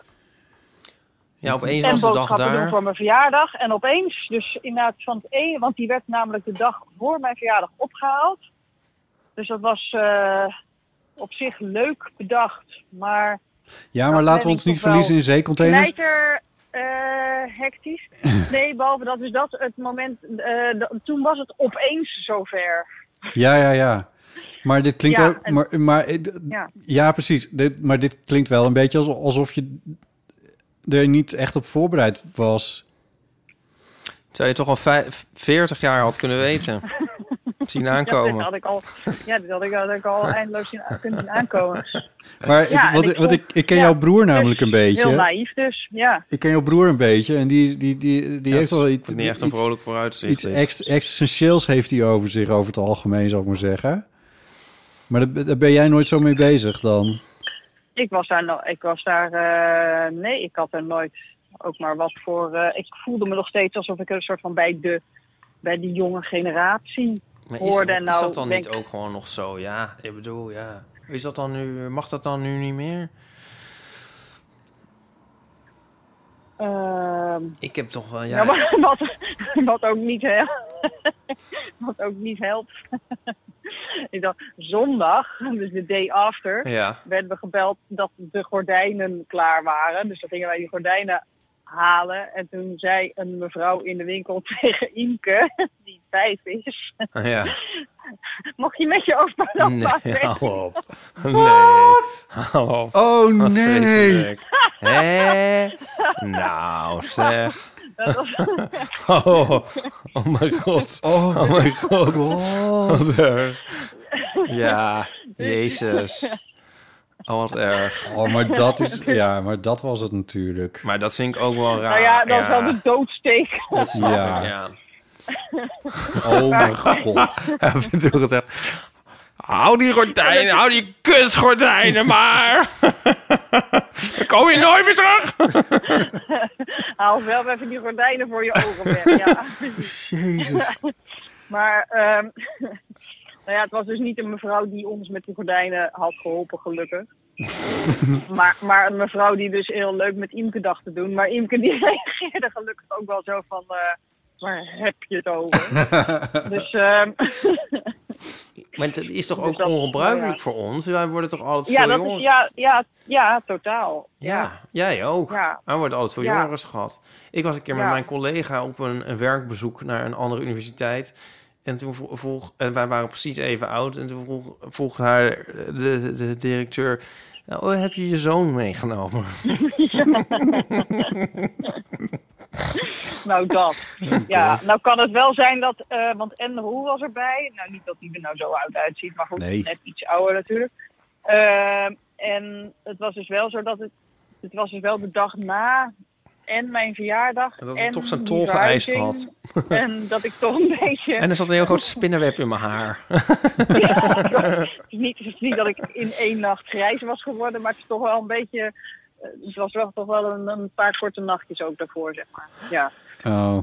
[SPEAKER 17] Ja, opeens
[SPEAKER 16] en
[SPEAKER 17] was de dag
[SPEAKER 16] boodschappen doen
[SPEAKER 17] daar.
[SPEAKER 16] voor mijn verjaardag. En opeens, dus inderdaad van het een, want die werd namelijk de dag voor mijn verjaardag opgehaald. Dus dat was eh, op zich leuk bedacht, maar...
[SPEAKER 3] Ja, maar laten we ons niet
[SPEAKER 16] toch wel
[SPEAKER 3] verliezen in zeecontainers.
[SPEAKER 16] Knijter eh, hectisch. Nee, behalve dat is dat het moment... eh, dat- toen was het opeens zover.
[SPEAKER 3] Ja, ja, ja. Maar dit klinkt
[SPEAKER 16] Ja,
[SPEAKER 3] ook.
[SPEAKER 16] en-
[SPEAKER 3] maar, maar, eh, d-
[SPEAKER 16] Ja.
[SPEAKER 3] ja, precies. Dit, maar dit klinkt wel een beetje alsof, alsof je er niet echt op voorbereid was.
[SPEAKER 11] Zou je toch al vijf- 40 jaar had kunnen weten. Zien
[SPEAKER 16] Ja, dit
[SPEAKER 11] aankomen.
[SPEAKER 16] had ik al, ja, dit had ik, had ik al eindeloos zien, kunnen zien aankomen.
[SPEAKER 3] Maar
[SPEAKER 16] Ja,
[SPEAKER 3] ik, want,
[SPEAKER 16] en
[SPEAKER 3] ik, want
[SPEAKER 16] vond-
[SPEAKER 3] ik, ik ken
[SPEAKER 16] ja,
[SPEAKER 3] jouw broer namelijk een
[SPEAKER 16] Heel
[SPEAKER 3] beetje.
[SPEAKER 16] naïef dus, ja.
[SPEAKER 3] Ik ken jouw broer een beetje en die, die, die, die
[SPEAKER 11] Ja,
[SPEAKER 3] heeft
[SPEAKER 11] het is
[SPEAKER 3] wel iets,
[SPEAKER 11] niet echt een
[SPEAKER 3] iets-
[SPEAKER 11] vrolijk vooruitzicht,
[SPEAKER 3] iets
[SPEAKER 11] dit.
[SPEAKER 3] ex- essentieels heeft hij over zich over het algemeen, zou ik maar zeggen. Maar daar, daar ben jij nooit zo mee bezig dan.
[SPEAKER 16] Ik was daar, no- ik was daar eh, nee, ik had er nooit ook maar wat voor. eh, ik voelde me nog steeds alsof ik er een soort van bij de, bij die jonge generatie
[SPEAKER 11] Maar is,
[SPEAKER 16] hoorde.
[SPEAKER 11] dat-
[SPEAKER 16] en nou
[SPEAKER 11] is dat dan
[SPEAKER 16] ben
[SPEAKER 11] niet
[SPEAKER 16] ik-
[SPEAKER 11] ook gewoon nog zo? Ja, ik bedoel, ja. Is dat dan nu, mag dat dan nu niet meer?
[SPEAKER 16] Ehm,
[SPEAKER 11] Ik heb toch wel, ja.
[SPEAKER 16] ja, maar wat, wat ook niet helpt. wat ook niet helpt. ik dacht, zondag, dus de day after,
[SPEAKER 13] Ja.
[SPEAKER 16] werden we gebeld dat de gordijnen klaar waren. Dus dan gingen wij die gordijnen halen. En toen zei een mevrouw in de winkel tegen Imke, die vijf is.
[SPEAKER 11] Ja.
[SPEAKER 16] Mocht je met je overpad
[SPEAKER 11] Nee, oh, hou op. Nee. Hou op.
[SPEAKER 3] Oh,
[SPEAKER 11] Wat
[SPEAKER 3] nee.
[SPEAKER 11] vreselijk. Hé? Nou, zeg.
[SPEAKER 16] Dat was-
[SPEAKER 11] Oh, oh mijn god. Oh, mijn god. Wat erg. Ja, jezus. Oh, wat erg.
[SPEAKER 3] Oh, maar dat is. Ja, maar dat was het natuurlijk.
[SPEAKER 11] Maar dat vind ik ook wel raar.
[SPEAKER 16] Nou ja, dat was wel de doodsteek.
[SPEAKER 11] Dat snap ik,
[SPEAKER 3] Ja.
[SPEAKER 11] ja.
[SPEAKER 3] Oh, mijn god.
[SPEAKER 11] Hij heeft toen gezegd... Hou die gordijnen, hou die kutgordijnen maar. Dan kom je nooit meer terug.
[SPEAKER 16] Haal wel even die gordijnen voor je ogen weg. Ja.
[SPEAKER 3] Jezus.
[SPEAKER 16] maar ehm, nou ja, het was dus niet een mevrouw die ons met die gordijnen had geholpen, gelukkig. maar, maar een mevrouw die dus heel leuk met Imke dacht te doen. Maar Imke die reageerde gelukkig ook wel zo van... eh, waar heb je het over? dus ehm, Dus
[SPEAKER 11] Maar het is toch ook ongebruikelijk voor ons? Wij worden toch altijd
[SPEAKER 16] ja,
[SPEAKER 11] veel
[SPEAKER 16] dat is,
[SPEAKER 11] jongeren?
[SPEAKER 16] ja, ja, ja, totaal.
[SPEAKER 11] Ja, jij ook.
[SPEAKER 16] Ja.
[SPEAKER 11] Hij wordt altijd veel
[SPEAKER 16] Ja.
[SPEAKER 11] jongeren schat. Ik was een keer met
[SPEAKER 16] Ja.
[SPEAKER 11] mijn collega op een, een werkbezoek naar een andere universiteit. En toen vro- vroeg, en wij waren precies even oud. En toen vroeg, vroeg haar de, de, de directeur: "Nou, Heb je je zoon meegenomen?
[SPEAKER 16] Nou, dat. Ja, nou kan het wel zijn dat, eh, want en de Roel was erbij. Nou, niet dat die er nou zo oud uitziet, maar goed,
[SPEAKER 18] Nee.
[SPEAKER 16] net iets ouder natuurlijk. Ehm, en het was dus wel zo dat het, het was dus wel de dag na en mijn verjaardag.
[SPEAKER 11] Dat hij
[SPEAKER 16] en
[SPEAKER 11] toch zijn
[SPEAKER 16] die
[SPEAKER 11] tol geëist
[SPEAKER 16] verhuizing.
[SPEAKER 11] had.
[SPEAKER 16] En dat ik toch een beetje...
[SPEAKER 11] En er zat een heel groot spinnenweb in mijn haar.
[SPEAKER 16] Het is, niet, het is niet dat ik in één nacht grijs was geworden, maar het is toch wel een beetje... eh, Het was wel, toch wel een, een paar korte nachtjes ook daarvoor, zeg maar. Ja.
[SPEAKER 3] Oh.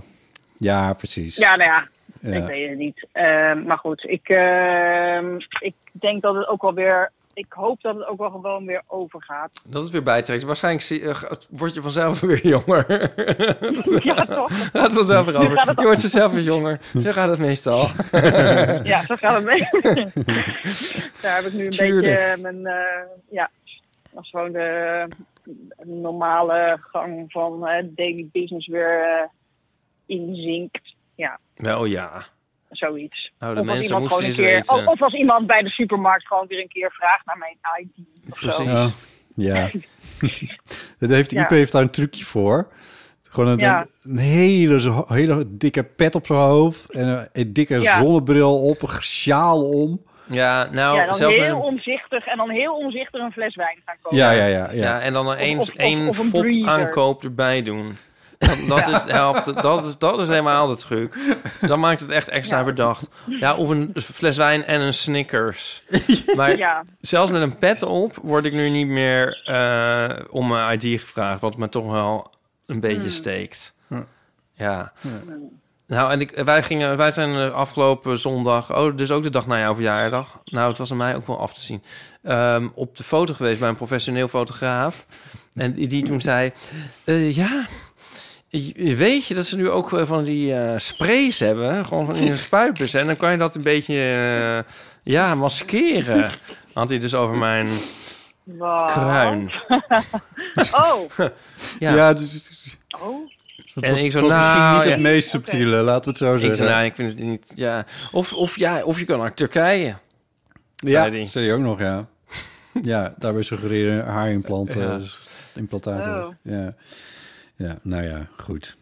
[SPEAKER 3] Ja, precies.
[SPEAKER 16] Ja, nou ja,
[SPEAKER 3] Ja.
[SPEAKER 16] ik weet het niet. Ehm, maar goed, ik, ehm, ik denk dat het ook wel weer. Ik hoop dat het ook wel gewoon weer overgaat.
[SPEAKER 11] Dat het weer bijtrekt. Waarschijnlijk zie- eh, word je vanzelf weer jonger.
[SPEAKER 16] ja, toch?
[SPEAKER 11] Gaat vanzelf weer
[SPEAKER 16] Nu
[SPEAKER 11] over.
[SPEAKER 16] gaat het-
[SPEAKER 11] Je wordt vanzelf weer jonger. Zo gaat het meestal.
[SPEAKER 16] Ja, zo gaat het mee. Daar heb ik nu een
[SPEAKER 11] Tuurlijk.
[SPEAKER 16] beetje eh, mijn. eh, ja, dat is gewoon de eh, normale gang van eh, daily business weer eh, inzinkt. Ja,
[SPEAKER 11] Wel Nou, ja.
[SPEAKER 16] zoiets.
[SPEAKER 11] Nou, de
[SPEAKER 16] of, als
[SPEAKER 11] mensen
[SPEAKER 16] iemand
[SPEAKER 11] moesten
[SPEAKER 16] gewoon een
[SPEAKER 11] eens weten.
[SPEAKER 16] keer, of, of als iemand bij de supermarkt gewoon weer een keer vraagt naar mijn ID. Of zo.
[SPEAKER 3] Ja. ja. dat heeft,
[SPEAKER 16] Ja.
[SPEAKER 3] Ipe heeft daar een trucje voor. Gewoon een,
[SPEAKER 16] Ja.
[SPEAKER 3] een hele, zo- hele dikke pet op zijn hoofd. En een, een dikke
[SPEAKER 16] Ja.
[SPEAKER 3] zonnebril op, een sjaal om.
[SPEAKER 11] Ja, nou,
[SPEAKER 16] ja, dan
[SPEAKER 11] zelfs met
[SPEAKER 16] heel
[SPEAKER 11] een-
[SPEAKER 16] omzichtig en dan heel omzichtig een fles wijn gaan kopen.
[SPEAKER 5] Ja, ja, ja, ja.
[SPEAKER 11] en dan een, één
[SPEAKER 16] of- of-
[SPEAKER 11] één
[SPEAKER 16] of een
[SPEAKER 11] fop
[SPEAKER 16] breeder.
[SPEAKER 11] aankoop erbij doen. Dat, dat,
[SPEAKER 16] Ja.
[SPEAKER 11] is, helpt, dat, is, dat is helemaal de truc. Dan maakt het echt extra verdacht. Ja, of een fles wijn en een Snickers. Maar
[SPEAKER 16] Ja.
[SPEAKER 11] zelfs met een pet op word ik nu niet meer eh, om mijn ID gevraagd. Wat me toch wel een beetje
[SPEAKER 5] Hmm.
[SPEAKER 11] steekt.
[SPEAKER 5] Hm.
[SPEAKER 11] Ja.
[SPEAKER 5] Ja.
[SPEAKER 11] Nou, en ik, wij, gingen, wij zijn eh, afgelopen zondag, oh, dus ook de dag na jouw verjaardag. Nou, het was aan mij ook wel af te zien. ehm, op de foto geweest bij een professioneel fotograaf. En die, die toen zei: eh, Ja, je- weet je dat ze nu ook eh, van die eh, sprays hebben? Gewoon van die spuiters. En dan kan je dat een beetje, eh, ja, maskeren. Had hij dus over mijn
[SPEAKER 16] Wat?
[SPEAKER 11] kruin.
[SPEAKER 16] oh.
[SPEAKER 11] Ja.
[SPEAKER 16] dus... Oh.
[SPEAKER 3] was- het was misschien niet het meest subtiele,
[SPEAKER 11] laten
[SPEAKER 3] we het zo
[SPEAKER 11] nou, Ik,
[SPEAKER 3] zeggen.
[SPEAKER 11] zei, nou, ik vind het niet, ja. Of, of, ja, of je kan naar Turkije.
[SPEAKER 3] Ja, zei je ook nog, ja. ja, daarbij suggereren haarimplanten, dus
[SPEAKER 11] Ja.
[SPEAKER 3] implantaten.
[SPEAKER 16] Oh.
[SPEAKER 3] Ja. ja, nou ja, goed.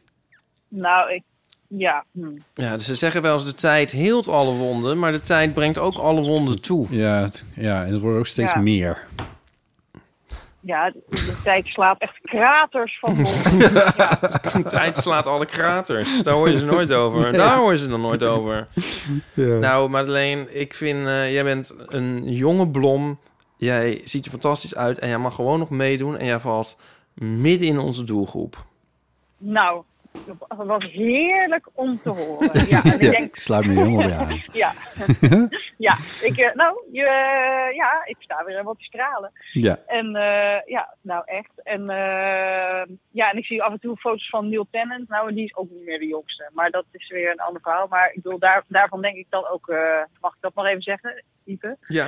[SPEAKER 16] Nou, ik... Ja. Hm.
[SPEAKER 11] Ja, dus ze zeggen wel eens de tijd heelt alle wonden, maar de tijd brengt ook alle wonden toe.
[SPEAKER 3] Ja, het- ja en het wordt ook steeds
[SPEAKER 16] Ja.
[SPEAKER 3] meer.
[SPEAKER 16] Ja, de- de tijd slaat echt kraters van
[SPEAKER 11] De
[SPEAKER 16] ons. Ja.
[SPEAKER 11] tijd slaat alle kraters. Daar hoor je ze nooit over.
[SPEAKER 5] Nee.
[SPEAKER 11] Daar hoor je ze dan nooit over.
[SPEAKER 3] Ja.
[SPEAKER 11] Nou, Madeleine, ik vind... eh, jij bent een jonge blom. Jij ziet er fantastisch uit. En jij mag gewoon nog meedoen. En jij valt midden in onze doelgroep.
[SPEAKER 16] Nou, dat was heerlijk om te horen. Ja, en ik denk...
[SPEAKER 3] ik sluit me helemaal bij aan.
[SPEAKER 16] Ja, ja, ik, eh, nou, je, ja, ik sta weer wat te stralen.
[SPEAKER 3] Ja.
[SPEAKER 16] En eh, ja, nou echt. En, eh, ja, en ik zie af en toe foto's van Neil Tennant. Nou, en die is ook niet meer de jongste. Maar dat is weer een ander verhaal. Maar ik bedoel, daar, daarvan denk ik dan ook... eh, mag ik dat maar even zeggen, Ipe?
[SPEAKER 11] Ja.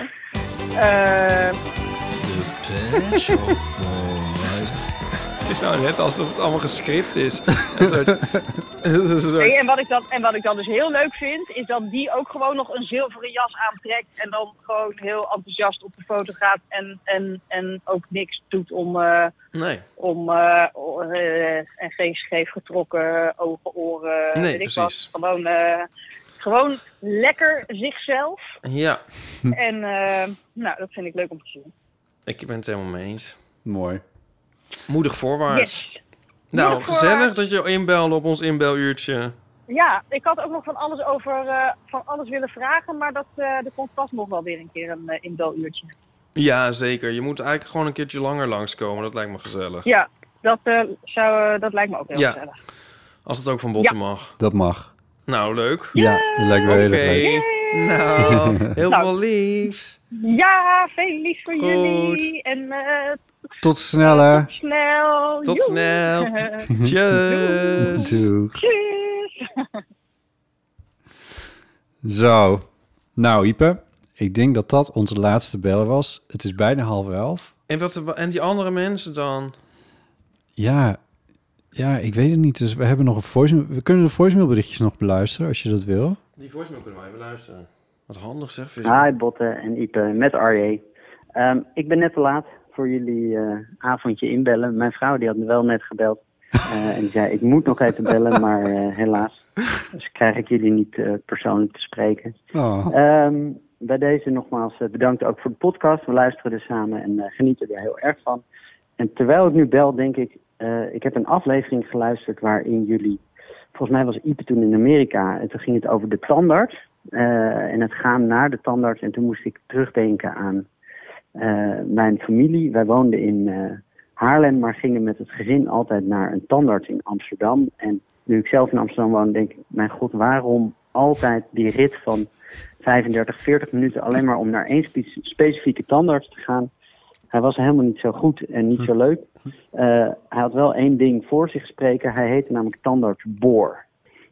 [SPEAKER 16] Eh,
[SPEAKER 11] Het is nou net alsof het allemaal gescript is. Een soort... een soort-
[SPEAKER 16] nee, en, wat ik dan, en wat ik dan dus heel leuk vind... is dat die ook gewoon nog een zilveren jas aantrekt... en dan gewoon heel enthousiast op de foto gaat... en, en, en ook niks doet om... eh,
[SPEAKER 11] Nee.
[SPEAKER 16] om eh, o- eh, en geen scheef getrokken ogen, oren,
[SPEAKER 11] Nee,
[SPEAKER 16] weet ik wat.
[SPEAKER 11] precies.
[SPEAKER 16] Gewoon, eh, gewoon lekker zichzelf.
[SPEAKER 11] Ja,
[SPEAKER 16] En eh, nou, dat vind ik leuk om te zien.
[SPEAKER 11] ik ben het helemaal mee eens.
[SPEAKER 3] Mooi.
[SPEAKER 11] Moedig voorwaarts.
[SPEAKER 16] Yes.
[SPEAKER 11] Nou,
[SPEAKER 16] Moedig
[SPEAKER 11] gezellig
[SPEAKER 16] voorwaarts.
[SPEAKER 11] dat je inbelde op ons inbeluurtje.
[SPEAKER 16] Ja, ik had ook nog van alles over eh, van alles willen vragen, maar dat, eh er komt vast nog wel weer een keer een uh, inbeluurtje.
[SPEAKER 11] Ja, zeker. Je moet eigenlijk gewoon een keertje langer langskomen. Dat lijkt me gezellig.
[SPEAKER 16] Ja, dat, eh, zou, eh, dat lijkt me ook heel
[SPEAKER 11] Ja.
[SPEAKER 16] gezellig.
[SPEAKER 11] Als het ook van botten
[SPEAKER 16] Ja.
[SPEAKER 11] mag.
[SPEAKER 3] Dat mag.
[SPEAKER 11] Nou, leuk.
[SPEAKER 3] Ja, dat lijkt me heel erg
[SPEAKER 11] Oké.
[SPEAKER 3] leuk.
[SPEAKER 11] Nou, heel
[SPEAKER 16] Nou.
[SPEAKER 11] veel liefs.
[SPEAKER 16] Ja, veel lief voor
[SPEAKER 11] Goed.
[SPEAKER 16] jullie en eh,
[SPEAKER 3] Tot sneller.
[SPEAKER 16] snel.
[SPEAKER 11] Tot
[SPEAKER 16] Joe.
[SPEAKER 11] snel. Nou, Tjus.
[SPEAKER 3] Doeg.
[SPEAKER 16] Tjus.
[SPEAKER 3] Zo. Nou, Ipe, ik denk dat dat onze laatste bellen was. Het is bijna half elf.
[SPEAKER 11] En, wat, en die andere mensen dan?
[SPEAKER 3] Ja, ja, ik weet het niet. Dus we hebben nog een voicemail. We kunnen de voicemailberichtjes nog beluisteren als je dat wil.
[SPEAKER 11] Die voicemail kunnen wij even luisteren. Wat handig zeg. Vind je?
[SPEAKER 3] Ah,
[SPEAKER 19] Hi Botte en Ipe, met Arje. Ehm, ik ben net te laat voor jullie eh, avondje inbellen. Mijn vrouw die had wel net gebeld. eh, en die zei, ik moet nog even bellen, maar eh, helaas. Dus krijg ik jullie niet eh, persoonlijk te spreken.
[SPEAKER 3] Oh.
[SPEAKER 5] Ah.
[SPEAKER 19] Ehm, bij deze nogmaals eh, bedankt ook voor de podcast. We luisteren er samen en eh, genieten er heel erg van. En terwijl ik nu bel, denk ik, eh, ik heb een aflevering geluisterd waarin jullie, volgens mij was Ipe toen in Amerika, en toen ging het over de tandarts eh, en het gaan naar de tandarts. En toen moest ik terugdenken aan eh, mijn familie. Wij woonden in eh, Haarlem, maar gingen met het gezin altijd naar een tandarts in Amsterdam. En nu ik zelf in Amsterdam woon, denk ik, mijn god, waarom altijd die rit van 35, 40 minuten alleen maar om naar één spe- specifieke tandarts te gaan? Hij was helemaal niet zo goed en niet zo leuk. Eh, hij had wel één ding voor zich spreken. Hij heette namelijk tandarts Boor.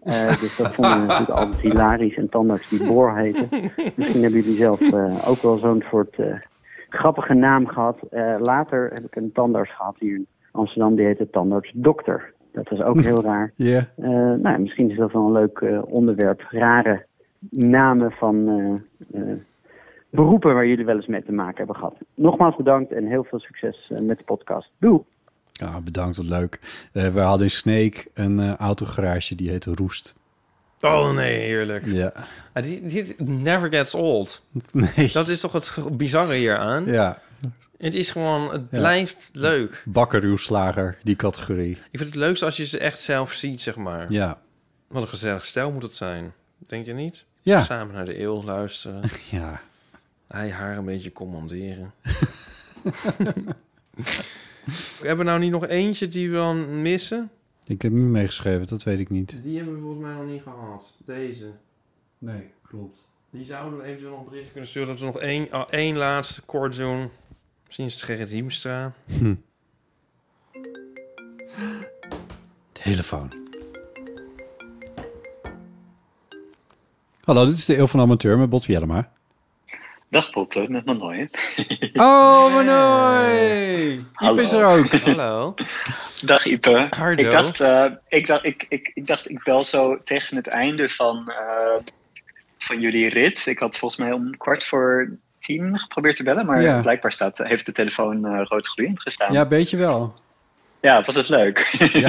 [SPEAKER 19] Eh, dus dat vonden we natuurlijk altijd hilarisch. En tandarts die Boor heette. Misschien hebben jullie zelf eh, ook wel zo'n soort eh, grappige naam gehad. Eh, later heb ik een tandarts gehad hier in Amsterdam. Die heette tandarts Dokter. Dat was ook heel raar.
[SPEAKER 3] Ja.
[SPEAKER 19] Eh, nou, ja, misschien is dat wel een leuk eh, onderwerp. Rare namen van eh, eh, beroepen waar jullie wel eens mee te maken hebben gehad. Nogmaals bedankt en heel veel succes eh, met de podcast. Doei!
[SPEAKER 3] Ja, bedankt, wat leuk. Eh, we hadden in Sneek een eh, autogarage die heette Roest.
[SPEAKER 11] Oh nee, heerlijk.
[SPEAKER 3] Ja.
[SPEAKER 11] Ah, die, die- never gets old.
[SPEAKER 3] Nee.
[SPEAKER 11] Dat is toch het ge- bizarre hieraan?
[SPEAKER 3] Ja.
[SPEAKER 11] Het is gewoon, het
[SPEAKER 3] Ja.
[SPEAKER 11] blijft leuk.
[SPEAKER 3] Bakker, uw slager, die categorie.
[SPEAKER 11] Ik vind het leukst als je ze echt zelf ziet, zeg maar.
[SPEAKER 3] Ja.
[SPEAKER 11] Wat een gezellig stel moet het zijn. Denk je niet?
[SPEAKER 3] Ja.
[SPEAKER 11] Samen naar de eeuw luisteren.
[SPEAKER 3] Ja.
[SPEAKER 11] Hij haar een beetje commanderen. We hebben nou niet nog eentje die we dan missen?
[SPEAKER 3] Ik heb niet meegeschreven, dat weet ik niet.
[SPEAKER 11] Die hebben we volgens mij nog niet gehad. Deze.
[SPEAKER 3] Nee, klopt.
[SPEAKER 11] Die zouden we eventueel nog een berichtje kunnen sturen. Dat we nog één, ah, één laatste kort doen. Misschien is het Gerrit Hiemstra.
[SPEAKER 3] Hm.
[SPEAKER 20] Telefoon.
[SPEAKER 3] Hallo, dit is de Eeuw van de Amateur met Bot Jellema.
[SPEAKER 18] Dag Potter, met Manoy.
[SPEAKER 3] Oh, Manoy! Iep
[SPEAKER 18] Hallo.
[SPEAKER 3] is er ook.
[SPEAKER 11] Hallo.
[SPEAKER 18] Dag Ipe.
[SPEAKER 11] Hardo.
[SPEAKER 18] Ik dacht, eh, ik, dacht, ik, ik, ik dacht, ik bel zo tegen het einde van, eh, van jullie rit. Ik had volgens mij om kwart voor tien geprobeerd te bellen, maar
[SPEAKER 3] Ja.
[SPEAKER 18] blijkbaar staat, heeft de telefoon eh, rood gloeiend gestaan.
[SPEAKER 3] Ja,
[SPEAKER 18] Ja.
[SPEAKER 3] beetje wel.
[SPEAKER 18] was het leuk.
[SPEAKER 3] Ja,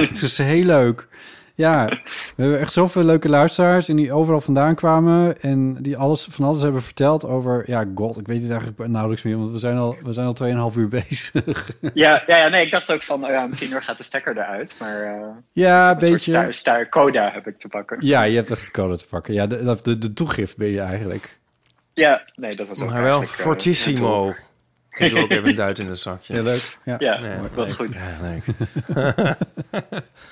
[SPEAKER 3] het is heel leuk. Ja, we hebben echt zoveel leuke luisteraars... en die overal vandaan kwamen... en die alles, van alles hebben verteld over... Ja, god, ik weet het eigenlijk nauwelijks meer... want we zijn al, we zijn al 2,5 uur bezig.
[SPEAKER 18] ja, ja, ja, nee, ik dacht ook van, oh ja, om tien uur gaat de stekker eruit, maar eh, een
[SPEAKER 3] Ja,
[SPEAKER 18] soort
[SPEAKER 3] beetje.
[SPEAKER 18] staar, staar coda heb ik te pakken.
[SPEAKER 3] Ja, je hebt echt de code te pakken. Ja, de, de, de toegift ben je eigenlijk.
[SPEAKER 18] Ja, nee, dat was ook
[SPEAKER 11] Maar wel
[SPEAKER 18] eigenlijk, eh,
[SPEAKER 11] fortissimo. Ik doe ook even een duit in het zakje.
[SPEAKER 3] Heel leuk. Ja,
[SPEAKER 18] Ja,
[SPEAKER 11] Nee,
[SPEAKER 18] dat is
[SPEAKER 11] leuk.
[SPEAKER 18] goed.
[SPEAKER 11] Ja, leuk.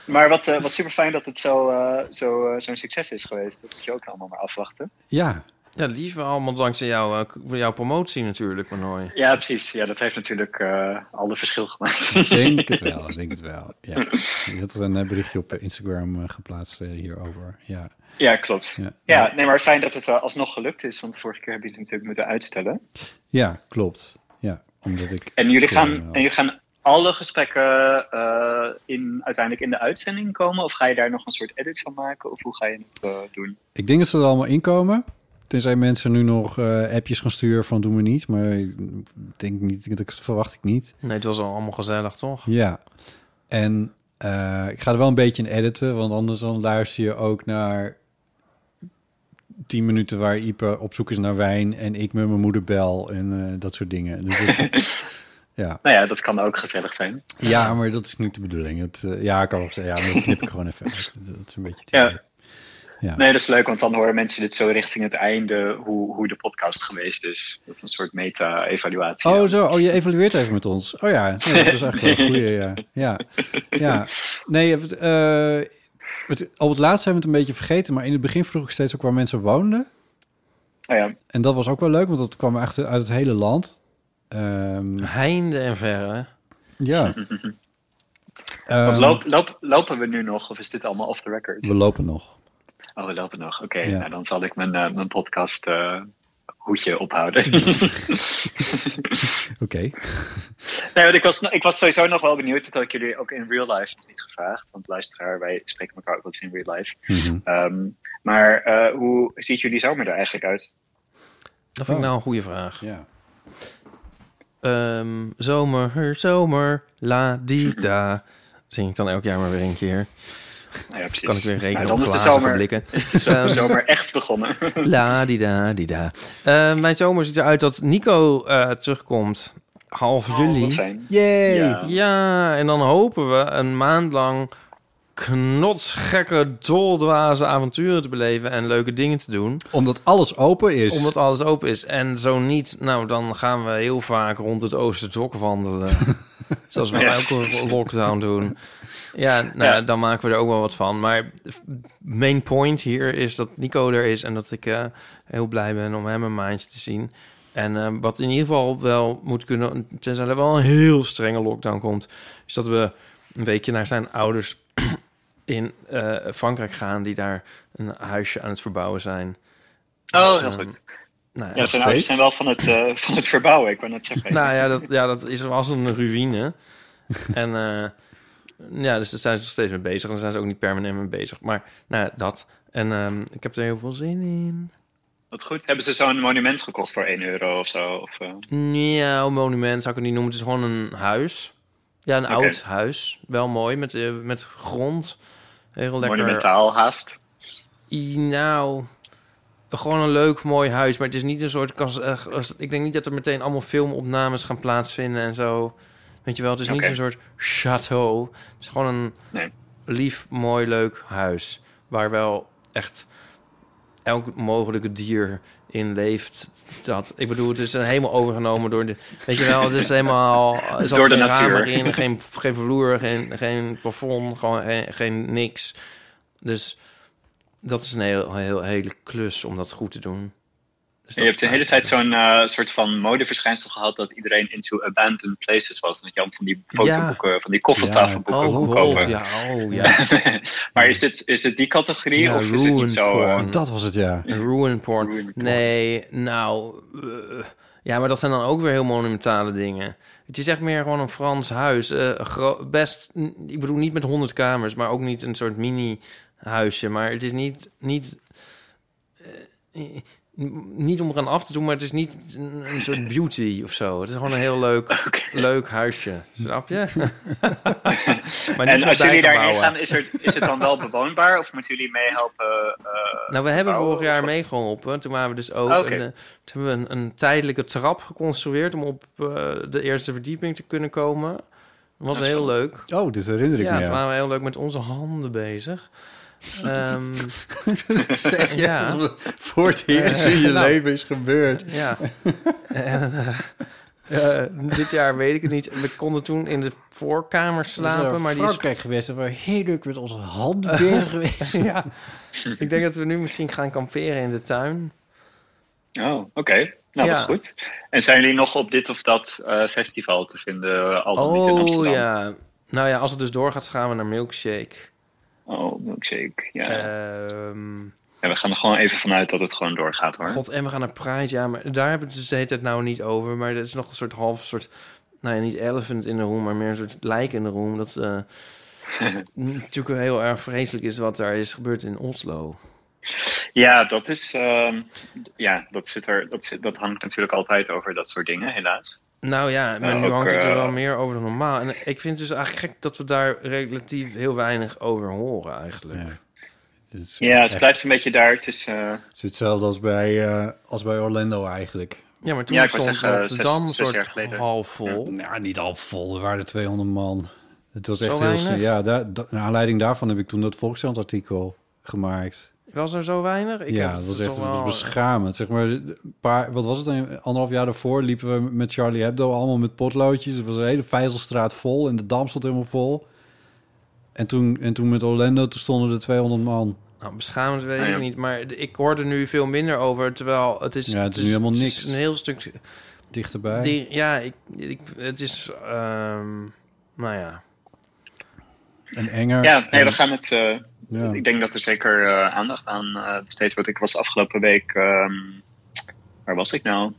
[SPEAKER 18] Maar wat, eh, wat super fijn dat het zo, eh, zo, eh, zo'n succes is geweest. Dat moet je ook allemaal maar afwachten.
[SPEAKER 3] Ja.
[SPEAKER 11] Ja, lief allemaal dankzij jou, eh, k- jouw promotie natuurlijk, Manoy.
[SPEAKER 18] Ja, precies. Ja, dat heeft natuurlijk eh, al de verschil gemaakt.
[SPEAKER 3] Ik denk het wel, ik denk het wel. Ja. Je had een eh, berichtje op eh, Instagram eh, geplaatst eh, hierover. Ja.
[SPEAKER 18] Ja, klopt.
[SPEAKER 3] Ja.
[SPEAKER 18] Ja, nee, maar fijn dat het eh, alsnog gelukt is. Want de vorige keer hebben jullie het natuurlijk moeten uitstellen.
[SPEAKER 3] ja, klopt. Ja, omdat ik...
[SPEAKER 18] En jullie gaan,
[SPEAKER 3] Ja,
[SPEAKER 18] en jullie gaan alle gesprekken eh, in, uiteindelijk in de uitzending komen? Of ga je daar nog een soort edit van maken? Of hoe ga je het eh, doen?
[SPEAKER 3] Ik denk dat ze er allemaal inkomen. Tenzij mensen nu nog eh, appjes gaan sturen van doen we niet. Maar ik denk niet, dat verwacht ik niet.
[SPEAKER 11] Nee, het was al allemaal gezellig, toch?
[SPEAKER 3] Ja. En eh, ik ga er wel een beetje in editen. Want anders dan luister je ook naar 10 minuten waar Ipe op zoek is naar wijn. En ik met mijn moeder bel en eh, dat soort dingen. Dus het- ja.
[SPEAKER 18] Nou ja, dat kan ook gezellig zijn.
[SPEAKER 3] ja, maar dat is niet de bedoeling. Het, eh, ja, ik kan wel zeggen. Ja, maar dat knip ik gewoon even uit. Dat is een beetje...
[SPEAKER 18] Ja.
[SPEAKER 3] Ja.
[SPEAKER 18] Nee, dat is leuk, want dan horen mensen dit zo richting het einde, hoe, hoe de podcast geweest is. Dat is een soort meta-evaluatie.
[SPEAKER 3] Oh, zo. Oh, je evalueert even met ons. Oh ja, nee, dat is eigenlijk wel een goede. Ja. ja. ja. Nee, het, eh, het, op het laatst hebben we het een beetje vergeten. Maar in het begin vroeg ik steeds ook waar mensen woonden.
[SPEAKER 18] Oh ja.
[SPEAKER 3] En dat was ook wel leuk, want dat kwam echt uit het hele land. Ehm,
[SPEAKER 11] Heinde en verre.
[SPEAKER 3] ja.
[SPEAKER 18] Want
[SPEAKER 3] Ehm,
[SPEAKER 18] loop, loop, lopen we nu nog, of is dit allemaal off the record?
[SPEAKER 3] We lopen nog.
[SPEAKER 18] Oh, we lopen nog. Oké,
[SPEAKER 3] Ja.
[SPEAKER 18] nou, dan zal ik mijn, eh, mijn podcast eh, hoedje ophouden.
[SPEAKER 3] Oké.
[SPEAKER 18] nee, want ik was, ik was sowieso nog wel benieuwd. Dat had ik jullie ook in real life nog niet gevraagd. Want luisteraar, wij spreken elkaar ook wel eens in real life.
[SPEAKER 3] Mhm.
[SPEAKER 18] Ehm, maar eh, hoe ziet jullie zomer er eigenlijk uit?
[SPEAKER 11] Dat vind ik nou een goede vraag.
[SPEAKER 3] Oh.
[SPEAKER 11] Ehm,
[SPEAKER 3] Ja.
[SPEAKER 11] zomer, her, zomer, la di da. Zing ik dan elk jaar maar weer een keer.
[SPEAKER 18] Nou ja, precies.
[SPEAKER 11] Kan ik weer
[SPEAKER 18] Nou,
[SPEAKER 11] rekenen
[SPEAKER 18] dan
[SPEAKER 11] op
[SPEAKER 18] is de
[SPEAKER 11] glazige
[SPEAKER 18] zomer-
[SPEAKER 11] blikken.
[SPEAKER 18] is de zomer-
[SPEAKER 11] Ehm,
[SPEAKER 18] zomer echt begonnen.
[SPEAKER 11] La di da di da. Eh, mijn zomer ziet eruit dat Nico eh, terugkomt half juli.
[SPEAKER 18] wat fijn.
[SPEAKER 11] Yay.
[SPEAKER 18] Ja.
[SPEAKER 11] Ja. en dan hopen we een maand lang knotsgekke, doldwaze avonturen te beleven en leuke dingen te doen.
[SPEAKER 3] Omdat alles open is.
[SPEAKER 11] Omdat alles open is. En zo niet, nou dan gaan we heel vaak rond het Oosterdok wandelen. Zoals we
[SPEAKER 5] Ja.
[SPEAKER 11] elke lockdown doen. Ja, nou, dan maken we er ook wel wat van. Maar main point hier is dat Nico er is en dat ik eh, heel blij ben om hem een maandje te zien. En eh, wat in ieder geval wel moet kunnen, tenzij er wel een heel strenge lockdown komt, is dat we een weekje naar zijn ouders in eh, Frankrijk gaan, die daar een huisje aan het verbouwen zijn.
[SPEAKER 18] Oh,
[SPEAKER 11] Dus,
[SPEAKER 18] heel
[SPEAKER 11] ehm,
[SPEAKER 18] goed.
[SPEAKER 11] nou
[SPEAKER 18] ja,
[SPEAKER 11] nog
[SPEAKER 18] zijn, ouders
[SPEAKER 11] steeds.
[SPEAKER 18] zijn wel van het, eh, van het verbouwen, ik wou net zeggen.
[SPEAKER 11] Nou ja, dat, ja, dat is was een ruïne. en eh, ja, dus daar zijn ze nog steeds mee bezig. En daar zijn ze ook niet permanent mee bezig. Maar nou, ja, dat. En ehm, ik heb er heel veel zin in.
[SPEAKER 18] Wat goed. Hebben ze zo'n monument gekost voor 1 euro of zo? Of, eh?
[SPEAKER 11] Ja, een monument zou ik het niet noemen. Het is gewoon een huis. Ja, een
[SPEAKER 18] Oké.
[SPEAKER 11] oud huis. Wel mooi, met, eh, met grond. Heel lekker.
[SPEAKER 18] Monumentaal haast.
[SPEAKER 11] i- nou, gewoon een leuk, mooi huis. Maar het is niet een soort... kas- eh, als- Ik denk niet dat er meteen allemaal filmopnames gaan plaatsvinden en zo. Weet je wel, het is
[SPEAKER 5] Oké.
[SPEAKER 11] niet een soort château. Het is gewoon een
[SPEAKER 18] Nee.
[SPEAKER 11] lief, mooi, leuk huis. Waar wel echt elk mogelijke dier in leeft. Dat, ik bedoel, het is een helemaal overgenomen door de... Weet je wel, het is helemaal... Er zat
[SPEAKER 18] Door de
[SPEAKER 11] geen ramen
[SPEAKER 18] natuur.
[SPEAKER 11] in, geen, geen vloer, geen, geen plafond, gewoon geen, geen niks. Dus dat is een heel, heel, hele klus om dat goed te doen. Dus
[SPEAKER 18] En je hebt de
[SPEAKER 11] dat zou
[SPEAKER 18] hele
[SPEAKER 11] ik
[SPEAKER 18] tijd zo'n eh, soort van modeverschijnsel gehad dat iedereen into abandoned places was. En dat je allemaal van die fotoboeken, van die koffertafelboeken
[SPEAKER 11] Ja. Oh,
[SPEAKER 18] kon
[SPEAKER 11] God,
[SPEAKER 18] kopen.
[SPEAKER 11] ja, oh, ja.
[SPEAKER 18] maar is het, is het die categorie
[SPEAKER 11] Ja,
[SPEAKER 18] of is het
[SPEAKER 11] ruin
[SPEAKER 18] niet zo... eh,
[SPEAKER 11] porn.
[SPEAKER 3] Dat was het, ja.
[SPEAKER 11] Ruin porn. Nee, nou... eh, ja, maar dat zijn dan ook weer heel monumentale dingen. Het is echt meer gewoon een Frans huis. eh, gro- best, n- ik bedoel niet met honderd kamers, maar ook niet een soort mini-huisje. Maar het is niet, niet, eh, n- niet om eraan af te doen, maar het is niet een, een soort beauty of
[SPEAKER 18] Eh,
[SPEAKER 11] zo. Het is gewoon een heel leuk, leuk huisje. Snap je? maar
[SPEAKER 18] en
[SPEAKER 11] met
[SPEAKER 18] als jullie daarheen
[SPEAKER 11] dijkenbouwen.
[SPEAKER 18] gaan, is, er, is het dan wel bewoonbaar of moeten jullie meehelpen? eh,
[SPEAKER 11] Nou, we hebben vorig jaar meegeholpen. Toen waren we dus ook
[SPEAKER 18] Ah, oké.
[SPEAKER 11] een, eh, toen hebben we een, een tijdelijke trap geconstrueerd om op eh, de eerste verdieping te kunnen komen. Dat was
[SPEAKER 3] Dat is
[SPEAKER 11] heel
[SPEAKER 3] wel-
[SPEAKER 11] leuk.
[SPEAKER 3] Oh, dit herinner ik
[SPEAKER 11] ja,
[SPEAKER 3] me,
[SPEAKER 11] toen
[SPEAKER 3] ja.
[SPEAKER 11] waren we heel leuk met onze handen bezig. Ehm,
[SPEAKER 3] Dat zeg je alsof het voor het eerst in je
[SPEAKER 11] nou,
[SPEAKER 3] leven is gebeurd.
[SPEAKER 11] Ja. En, eh, eh, dit jaar weet ik het niet. We konden toen in de voorkamer slapen, maar die is
[SPEAKER 3] Frankrijk geweest. We waren heel leuk met onze handen
[SPEAKER 11] bezig
[SPEAKER 3] bezig geweest.
[SPEAKER 11] ja. Ik denk dat we nu misschien gaan kamperen in de tuin.
[SPEAKER 18] Oh, oké. Nou, dat
[SPEAKER 11] Ja.
[SPEAKER 18] is goed. En zijn jullie nog op dit of dat eh, festival te vinden, eh, al Oh, dan niet in Amsterdam?
[SPEAKER 11] Oh, ja. Nou ja, als het dus doorgaat, gaan we naar Milkshake.
[SPEAKER 18] Oh, Milkshake, ja.
[SPEAKER 11] Ehm,
[SPEAKER 18] Ja, we gaan er gewoon even vanuit dat het gewoon doorgaat, hoor.
[SPEAKER 11] God, en we gaan naar Pride, ja, maar daar hebben we het dus de hele tijd nou niet over. Maar dat is nog een soort half soort, nou ja, niet elephant in de room, maar meer een soort lijk in de room. Dat eh, natuurlijk heel erg vreselijk is wat daar is gebeurd in Oslo.
[SPEAKER 18] Ja, dat is... ehm, ja, dat, zit er, dat, zit- dat hangt natuurlijk altijd over dat soort dingen, helaas.
[SPEAKER 11] Nou ja, maar
[SPEAKER 18] Ja,
[SPEAKER 11] nu
[SPEAKER 18] ook,
[SPEAKER 11] hangt het er
[SPEAKER 18] eh,
[SPEAKER 11] wel meer over dan normaal. En ik vind het dus eigenlijk gek dat we daar relatief heel weinig over horen eigenlijk.
[SPEAKER 18] Ja, het blijft een beetje daar tussen... eh,
[SPEAKER 3] Het is hetzelfde als bij, eh, als bij Orlando eigenlijk.
[SPEAKER 11] Ja, maar toen
[SPEAKER 18] Ja, ik wou
[SPEAKER 11] stond
[SPEAKER 18] zeggen,
[SPEAKER 11] Rotterdam
[SPEAKER 18] zes- zes
[SPEAKER 11] een
[SPEAKER 18] jaar
[SPEAKER 11] soort
[SPEAKER 18] geleden.
[SPEAKER 11] half vol.
[SPEAKER 3] Nou, niet al vol. Er waren 200 man. Het was
[SPEAKER 11] Zo
[SPEAKER 3] echt heel...
[SPEAKER 11] weinig?
[SPEAKER 3] stil. Ja, daar, da- naar aanleiding daarvan heb ik toen dat Volkskrant-artikel gemaakt.
[SPEAKER 11] Was er zo weinig? Ik
[SPEAKER 3] ja,
[SPEAKER 11] heb
[SPEAKER 3] dat
[SPEAKER 11] het
[SPEAKER 3] was echt
[SPEAKER 11] toch
[SPEAKER 3] dat was
[SPEAKER 11] wel-
[SPEAKER 3] beschamend. Zeg maar, een paar, wat was het? Een anderhalf jaar daarvoor liepen we met Charlie Hebdo allemaal met potloodjes. Het was de hele Vijzelstraat vol en de Dam stond helemaal vol. En toen, en toen met Orlando, toen stonden er 200 man.
[SPEAKER 11] Nou, beschamend weet
[SPEAKER 3] Nou ja.
[SPEAKER 11] ik niet, maar de- ik hoor er nu veel minder over, terwijl het is...
[SPEAKER 3] Ja, het is nu helemaal
[SPEAKER 11] het is
[SPEAKER 3] niks.
[SPEAKER 11] een heel stuk...
[SPEAKER 3] Dichterbij.
[SPEAKER 11] Die- ja, ik, ik, het is... ehm, nou ja.
[SPEAKER 3] En enger.
[SPEAKER 18] Ja, nee,
[SPEAKER 3] en-
[SPEAKER 18] we gaan het. eh,
[SPEAKER 3] Ja.
[SPEAKER 18] Ik denk dat er zeker eh, aandacht aan eh, besteed wordt. Ik was afgelopen week. ehm, waar was ik nou?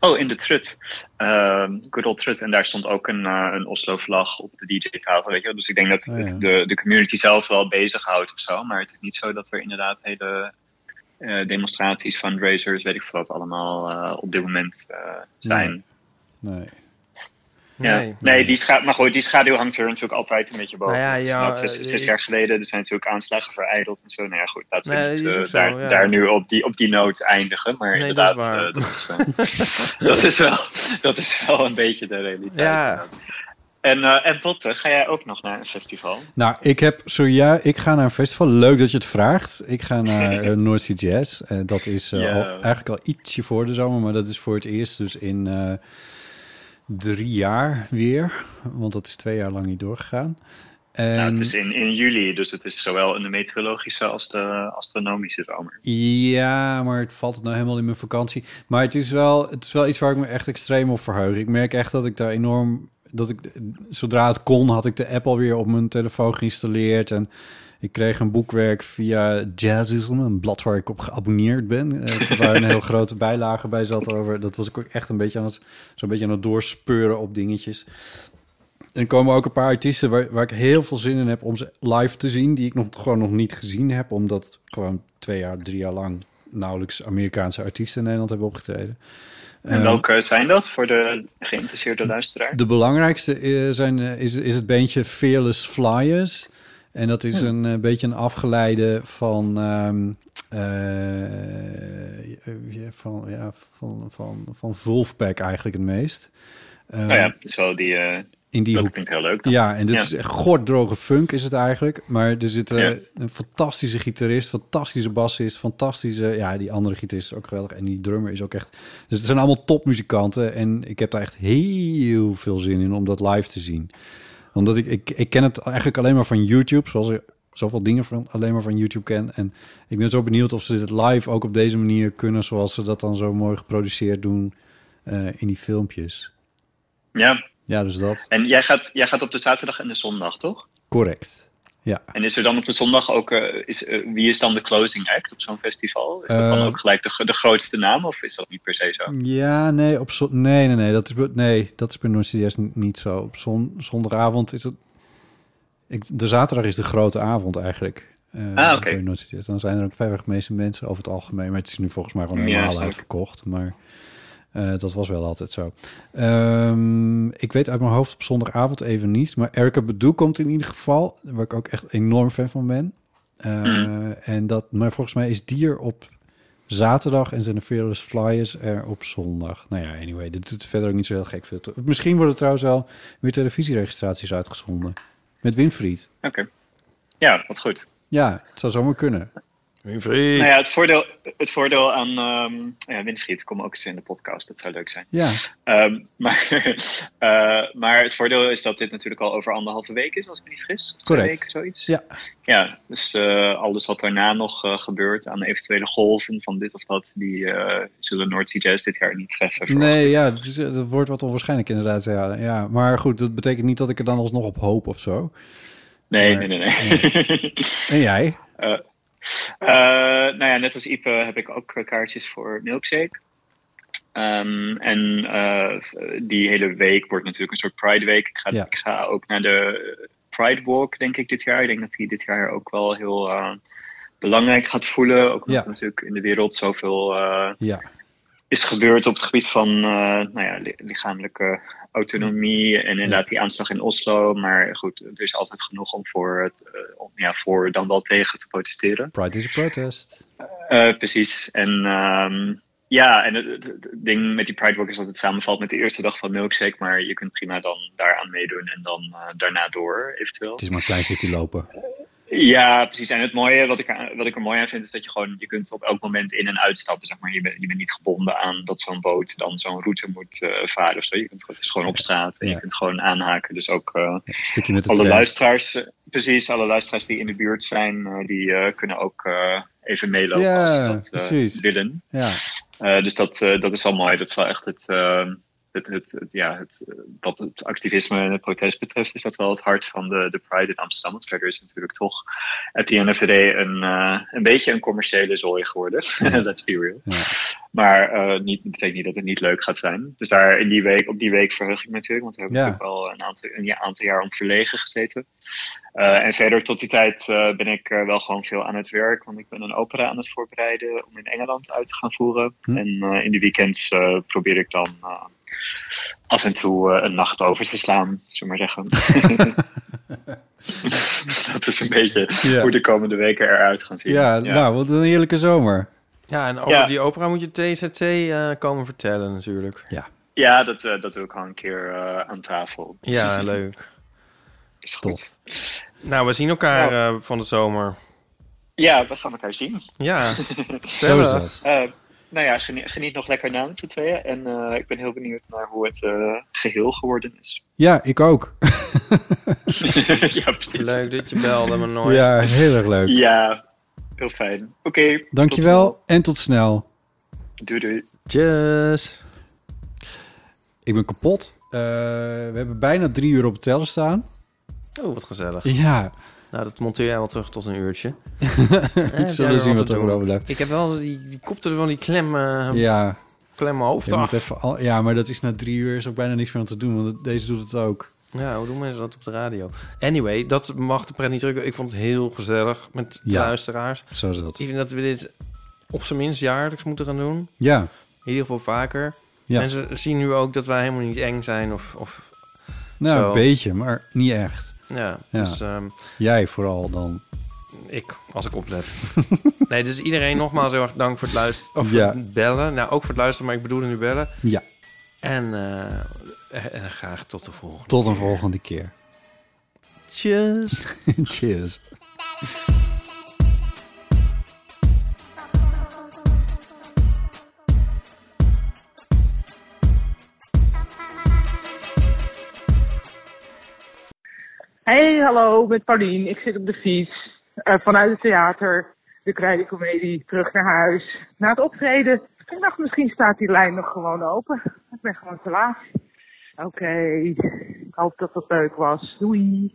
[SPEAKER 18] Oh, in de Trut. Ehm good old Trut. En daar stond ook een, eh, een Oslo-vlag op de DJ-tafel. Weet je? wel. Dus ik denk dat
[SPEAKER 3] Oh, ja.
[SPEAKER 18] het de, de community zelf wel bezighoudt of zo. Maar het is niet zo dat er inderdaad hele eh, demonstraties, fundraisers, weet ik veel wat allemaal eh, op dit moment eh, zijn.
[SPEAKER 3] Nee.
[SPEAKER 18] Ja.
[SPEAKER 11] Nee.
[SPEAKER 18] Nee, die schaduw, maar goed, die schaduw hangt er natuurlijk altijd een beetje boven.
[SPEAKER 11] Nou ja,
[SPEAKER 18] Dus
[SPEAKER 11] ja,
[SPEAKER 18] nou, zes,
[SPEAKER 11] eh,
[SPEAKER 18] zes
[SPEAKER 11] ik-
[SPEAKER 18] jaar geleden er zijn natuurlijk aanslagen verijdeld en zo. Nou ja, goed, laten we
[SPEAKER 11] Nee,
[SPEAKER 18] niet,
[SPEAKER 11] dat is
[SPEAKER 18] eh,
[SPEAKER 11] ook zo,
[SPEAKER 18] daar,
[SPEAKER 11] ja.
[SPEAKER 18] daar nu op die, op die noot eindigen. Maar
[SPEAKER 11] Nee, dat is
[SPEAKER 18] inderdaad,
[SPEAKER 11] waar.
[SPEAKER 18] eh, dat, is, eh, dat, is wel, dat is wel een beetje de realiteit.
[SPEAKER 11] Ja.
[SPEAKER 18] En, eh, en Botte, ga jij ook nog naar een festival?
[SPEAKER 3] Nou, ik heb zojuist... Ik ga naar een festival. Leuk dat je het vraagt. Ik ga naar eh, North Sea Jazz. Eh, dat is eh,
[SPEAKER 18] Ja.
[SPEAKER 3] al- eigenlijk al ietsje voor de zomer, maar dat is voor het eerst dus in eh, drie jaar weer. Want dat is twee jaar lang niet doorgegaan. En,
[SPEAKER 18] Nou, het is in, in juli, dus het is zowel in de meteorologische als de astronomische zomer.
[SPEAKER 3] Ja, maar het valt nou helemaal in mijn vakantie. Maar het is, wel, het is wel iets waar ik me echt extreem op verheug. Ik merk echt dat ik daar enorm... Dat ik, zodra het kon, had ik de app alweer op mijn telefoon geïnstalleerd. En ik kreeg een boekwerk via Jazzism, een blad waar ik op geabonneerd ben. eh, waar een heel grote bijlage bij zat over. Dat was ik ook echt een beetje aan het, zo'n beetje aan het doorspeuren op dingetjes. En er komen ook een paar artiesten waar, waar ik heel veel zin in heb om ze live te zien. Die ik nog, gewoon nog niet gezien heb. Omdat gewoon twee jaar, drie jaar lang nauwelijks Amerikaanse artiesten in Nederland hebben opgetreden.
[SPEAKER 18] En
[SPEAKER 3] Eh,
[SPEAKER 18] welke zijn dat voor de geïnteresseerde luisteraar?
[SPEAKER 3] de belangrijkste eh, zijn, eh, is, is het beentje Fearless Flyers. En dat is een eh, beetje een afgeleide van, ehm, eh, eh, van, ja, van, van, van Wolfpack eigenlijk het meest. Ehm,
[SPEAKER 18] nou ja, zo die. eh,
[SPEAKER 3] in die
[SPEAKER 18] dat
[SPEAKER 3] hoek.
[SPEAKER 18] klinkt heel leuk. dan.
[SPEAKER 3] Ja, en dit
[SPEAKER 18] Ja.
[SPEAKER 3] is echt gorddroge funk is het eigenlijk. Maar er zit eh,
[SPEAKER 18] Ja.
[SPEAKER 3] een fantastische gitarist, fantastische bassist, fantastische... Ja, die andere gitarist is ook geweldig. En die drummer is ook echt... Dus het zijn allemaal topmuzikanten. En ik heb daar echt heel veel zin in om dat live te zien. Omdat ik, ik, ik ken het eigenlijk alleen maar van YouTube. Zoals ik zoveel dingen van, alleen maar van YouTube ken. En ik ben zo benieuwd of ze dit live ook op deze manier kunnen... zoals ze dat dan zo mooi geproduceerd doen eh, in die filmpjes.
[SPEAKER 18] ja.
[SPEAKER 3] Ja, dus dat.
[SPEAKER 18] En jij gaat, jij gaat op de zaterdag en de zondag, toch?
[SPEAKER 3] Correct. Ja.
[SPEAKER 18] En is er dan op de zondag ook, eh, is, eh, wie is dan de closing act op zo'n festival? Is dat dan
[SPEAKER 3] Eh.
[SPEAKER 18] ook gelijk de, gro- de grootste naam of is dat niet per se zo?
[SPEAKER 3] Ja, nee, op zo nee, nee, nee, dat is, be- nee, dat is bij NoordCDS niet, niet zo. Op zon zondagavond is het... Ik, de zaterdag is de grote avond eigenlijk. eh,
[SPEAKER 18] Ah, oké.
[SPEAKER 3] bij NoordCDS. Dan zijn er ook verreweg de meeste mensen over het algemeen. Maar het is nu volgens mij gewoon
[SPEAKER 18] Ja,
[SPEAKER 3] helemaal
[SPEAKER 18] snap ik.
[SPEAKER 3] uitverkocht. Maar eh, dat was wel altijd zo. Ehm, ik weet uit mijn hoofd op zondagavond even niet. Maar Erika Bedoe komt in ieder geval. Waar ik ook echt enorm fan van ben. Eh,
[SPEAKER 21] Mm.
[SPEAKER 3] en dat, maar volgens mij is Dier op zaterdag en zijn de Fearless Flyers er op zondag. Nou ja, anyway, dit doet verder ook niet zo heel gek veel. toe. Misschien worden trouwens wel weer televisieregistraties uitgezonden. Met Winfried.
[SPEAKER 18] Oké. Ja, wat goed.
[SPEAKER 3] Ja, het zou zomaar kunnen.
[SPEAKER 5] Winfried.
[SPEAKER 18] Nou ja, het voordeel, het voordeel aan ehm ja, Winfried, kom ook eens in de podcast, dat zou leuk zijn.
[SPEAKER 3] Ja.
[SPEAKER 18] Ehm, maar, eh, maar het voordeel is dat dit natuurlijk al over anderhalve week is, als ik me niet vergis. Twee
[SPEAKER 3] Correct.
[SPEAKER 18] weken, zoiets.
[SPEAKER 3] Ja.
[SPEAKER 18] Ja, dus eh, alles wat daarna nog eh, gebeurt aan eventuele golven van dit of dat, die eh, zullen North Sea Jazz dit jaar niet treffen.
[SPEAKER 3] Nee, ja, het, is, het wordt wat onwaarschijnlijk inderdaad. Ja, ja. Maar goed, dat betekent niet dat ik er dan alsnog op hoop of zo.
[SPEAKER 18] Nee,
[SPEAKER 3] Maar-
[SPEAKER 18] nee, nee. nee.
[SPEAKER 3] En jij?
[SPEAKER 18] Eh, eh, nou ja, net als Ipe heb ik ook eh, kaartjes voor Milkshake. Ehm, en eh, die hele week wordt natuurlijk een soort Pride Week. Ik ga,
[SPEAKER 3] Ja.
[SPEAKER 18] ik ga ook naar de Pride Walk, denk ik, dit jaar. Ik denk dat die dit jaar ook wel heel eh, belangrijk gaat voelen. Ook omdat
[SPEAKER 3] Ja.
[SPEAKER 18] er natuurlijk in de wereld zoveel eh,
[SPEAKER 3] Ja.
[SPEAKER 18] is gebeurd op het gebied van eh, nou ja, li- lichamelijke autonomie en inderdaad die aanslag in Oslo. Maar goed, er is altijd genoeg om voor, het, eh, om, ja, voor dan wel tegen te protesteren.
[SPEAKER 3] Pride is a protest.
[SPEAKER 18] Eh, precies. En ehm, ja, en het, het- het ding met die Pride Walk is dat het samenvalt met de eerste dag van Milkshake. Maar je kunt prima dan daaraan meedoen en dan eh, daarna door, eventueel.
[SPEAKER 3] Het is maar een klein stukje lopen.
[SPEAKER 18] Ja, precies. En het mooie, wat ik, er- wat ik er mooi aan vind, is dat je gewoon, je kunt op elk moment in en uitstappen, zeg maar. Je bent, je bent niet gebonden aan dat zo'n boot dan zo'n route moet eh, varen of zo. Je kunt, gewoon- het is gewoon op straat en je kunt gewoon aanhaken. Dus ook eh,
[SPEAKER 3] Een stukje met de
[SPEAKER 18] alle
[SPEAKER 3] trein.
[SPEAKER 18] luisteraars, eh, precies, alle luisteraars die in de buurt zijn, eh, die eh, kunnen ook eh, even meelopen
[SPEAKER 3] Ja,
[SPEAKER 18] als ze dat eh,
[SPEAKER 3] precies.
[SPEAKER 18] willen.
[SPEAKER 3] Ja.
[SPEAKER 18] Eh, dus dat, eh, dat is wel mooi. Dat is wel echt het, eh, het, het, het- ja, het, eh, wat het activisme en het protest betreft, is dat wel het hart van de, de Pride in Amsterdam. Want verder is het natuurlijk toch at the end of the day een, eh, een beetje een commerciële zooi geworden. Let's be real. Maar eh niet, dat betekent niet dat het niet leuk gaat zijn. Dus daar in die week, op die week verheug ik me natuurlijk, want we hebben
[SPEAKER 3] Ja.
[SPEAKER 18] natuurlijk wel een aantal, een ja- aantal jaar om verlegen gezeten. Eh, en verder tot die tijd eh, ben ik eh, wel gewoon veel aan het werk, want ik ben een opera aan het voorbereiden om in Engeland uit te gaan voeren.
[SPEAKER 3] Hm.
[SPEAKER 18] En eh, in de weekends eh, probeer ik dan eh, af en toe eh, een nacht over te slaan, zullen we maar zeggen. dat is een beetje
[SPEAKER 3] Ja.
[SPEAKER 18] hoe de komende weken eruit gaan zien.
[SPEAKER 3] Ja, nou, wat een heerlijke zomer.
[SPEAKER 11] Ja, en over
[SPEAKER 18] Ja.
[SPEAKER 11] die opera moet je TZT eh, komen vertellen natuurlijk.
[SPEAKER 3] Ja.
[SPEAKER 18] Ja, dat, eh, dat doe ik al een keer eh, aan tafel.
[SPEAKER 11] Ja, leuk.
[SPEAKER 18] Is
[SPEAKER 3] goed.
[SPEAKER 11] Nou, we zien elkaar eh, van de zomer.
[SPEAKER 18] Ja, we gaan elkaar zien.
[SPEAKER 11] Ja,
[SPEAKER 18] Zo
[SPEAKER 11] is dat.
[SPEAKER 18] Eh, nou ja, geniet, geniet nog lekker na met z'n tweeën. En eh, ik ben heel benieuwd naar hoe het eh, geheel geworden is.
[SPEAKER 3] Ja, ik ook.
[SPEAKER 18] ja, precies.
[SPEAKER 11] Leuk dat je belde me nooit.
[SPEAKER 3] Ja, heel erg leuk.
[SPEAKER 18] Ja, heel fijn. Oké. tot
[SPEAKER 3] Dankjewel en tot snel.
[SPEAKER 18] snel. Doei doei.
[SPEAKER 11] Tjus.
[SPEAKER 3] Ik ben kapot. Eh, we hebben bijna drie uur op het tellen staan.
[SPEAKER 11] Oh, wat gezellig.
[SPEAKER 3] Ja.
[SPEAKER 11] Nou, dat monteer jij wel terug tot een uurtje. Eh,
[SPEAKER 3] zullen
[SPEAKER 11] we
[SPEAKER 3] zien wat er overblijft.
[SPEAKER 11] Ik heb wel die, die kopte van die klem, eh
[SPEAKER 3] Ja.
[SPEAKER 11] klemme hoofd
[SPEAKER 3] Je moet
[SPEAKER 11] af.
[SPEAKER 3] even al- ja, maar dat is na drie uur is ook bijna niks meer aan te doen, want het- deze doet het ook.
[SPEAKER 11] Ja, hoe doen mensen dat op de radio? Anyway, dat mag de pret niet drukken. Ik vond het heel gezellig met de
[SPEAKER 3] Ja,
[SPEAKER 11] luisteraars.
[SPEAKER 3] zo is dat.
[SPEAKER 11] Ik vind dat we dit op zijn minst jaarlijks moeten gaan doen.
[SPEAKER 3] Ja.
[SPEAKER 11] In ieder geval vaker.
[SPEAKER 3] Ja.
[SPEAKER 11] Mensen zien nu ook dat wij helemaal niet eng zijn of... of
[SPEAKER 3] Nou,
[SPEAKER 11] zo.
[SPEAKER 3] een beetje, maar niet echt.
[SPEAKER 11] Ja,
[SPEAKER 3] Ja.
[SPEAKER 11] dus ehm,
[SPEAKER 3] Jij vooral dan.
[SPEAKER 11] ik, als ik oplet. nee, dus iedereen nogmaals heel erg dank voor het luisteren. Of
[SPEAKER 3] Ja.
[SPEAKER 11] voor het bellen. Nou, ook voor het luisteren, maar ik bedoelde nu bellen.
[SPEAKER 3] Ja.
[SPEAKER 11] En, eh, en graag tot de volgende.
[SPEAKER 3] Tot een volgende keer.
[SPEAKER 11] Cheers.
[SPEAKER 3] Cheers.
[SPEAKER 7] Hey, hallo, met Paulien. Ik zit op de fiets eh, vanuit het theater. De krijdencomedie, terug naar huis. Na het optreden. Ik dacht, misschien staat die lijn nog gewoon open. Ik ben gewoon te laat. Oké, ik hoop dat het leuk was. Doei.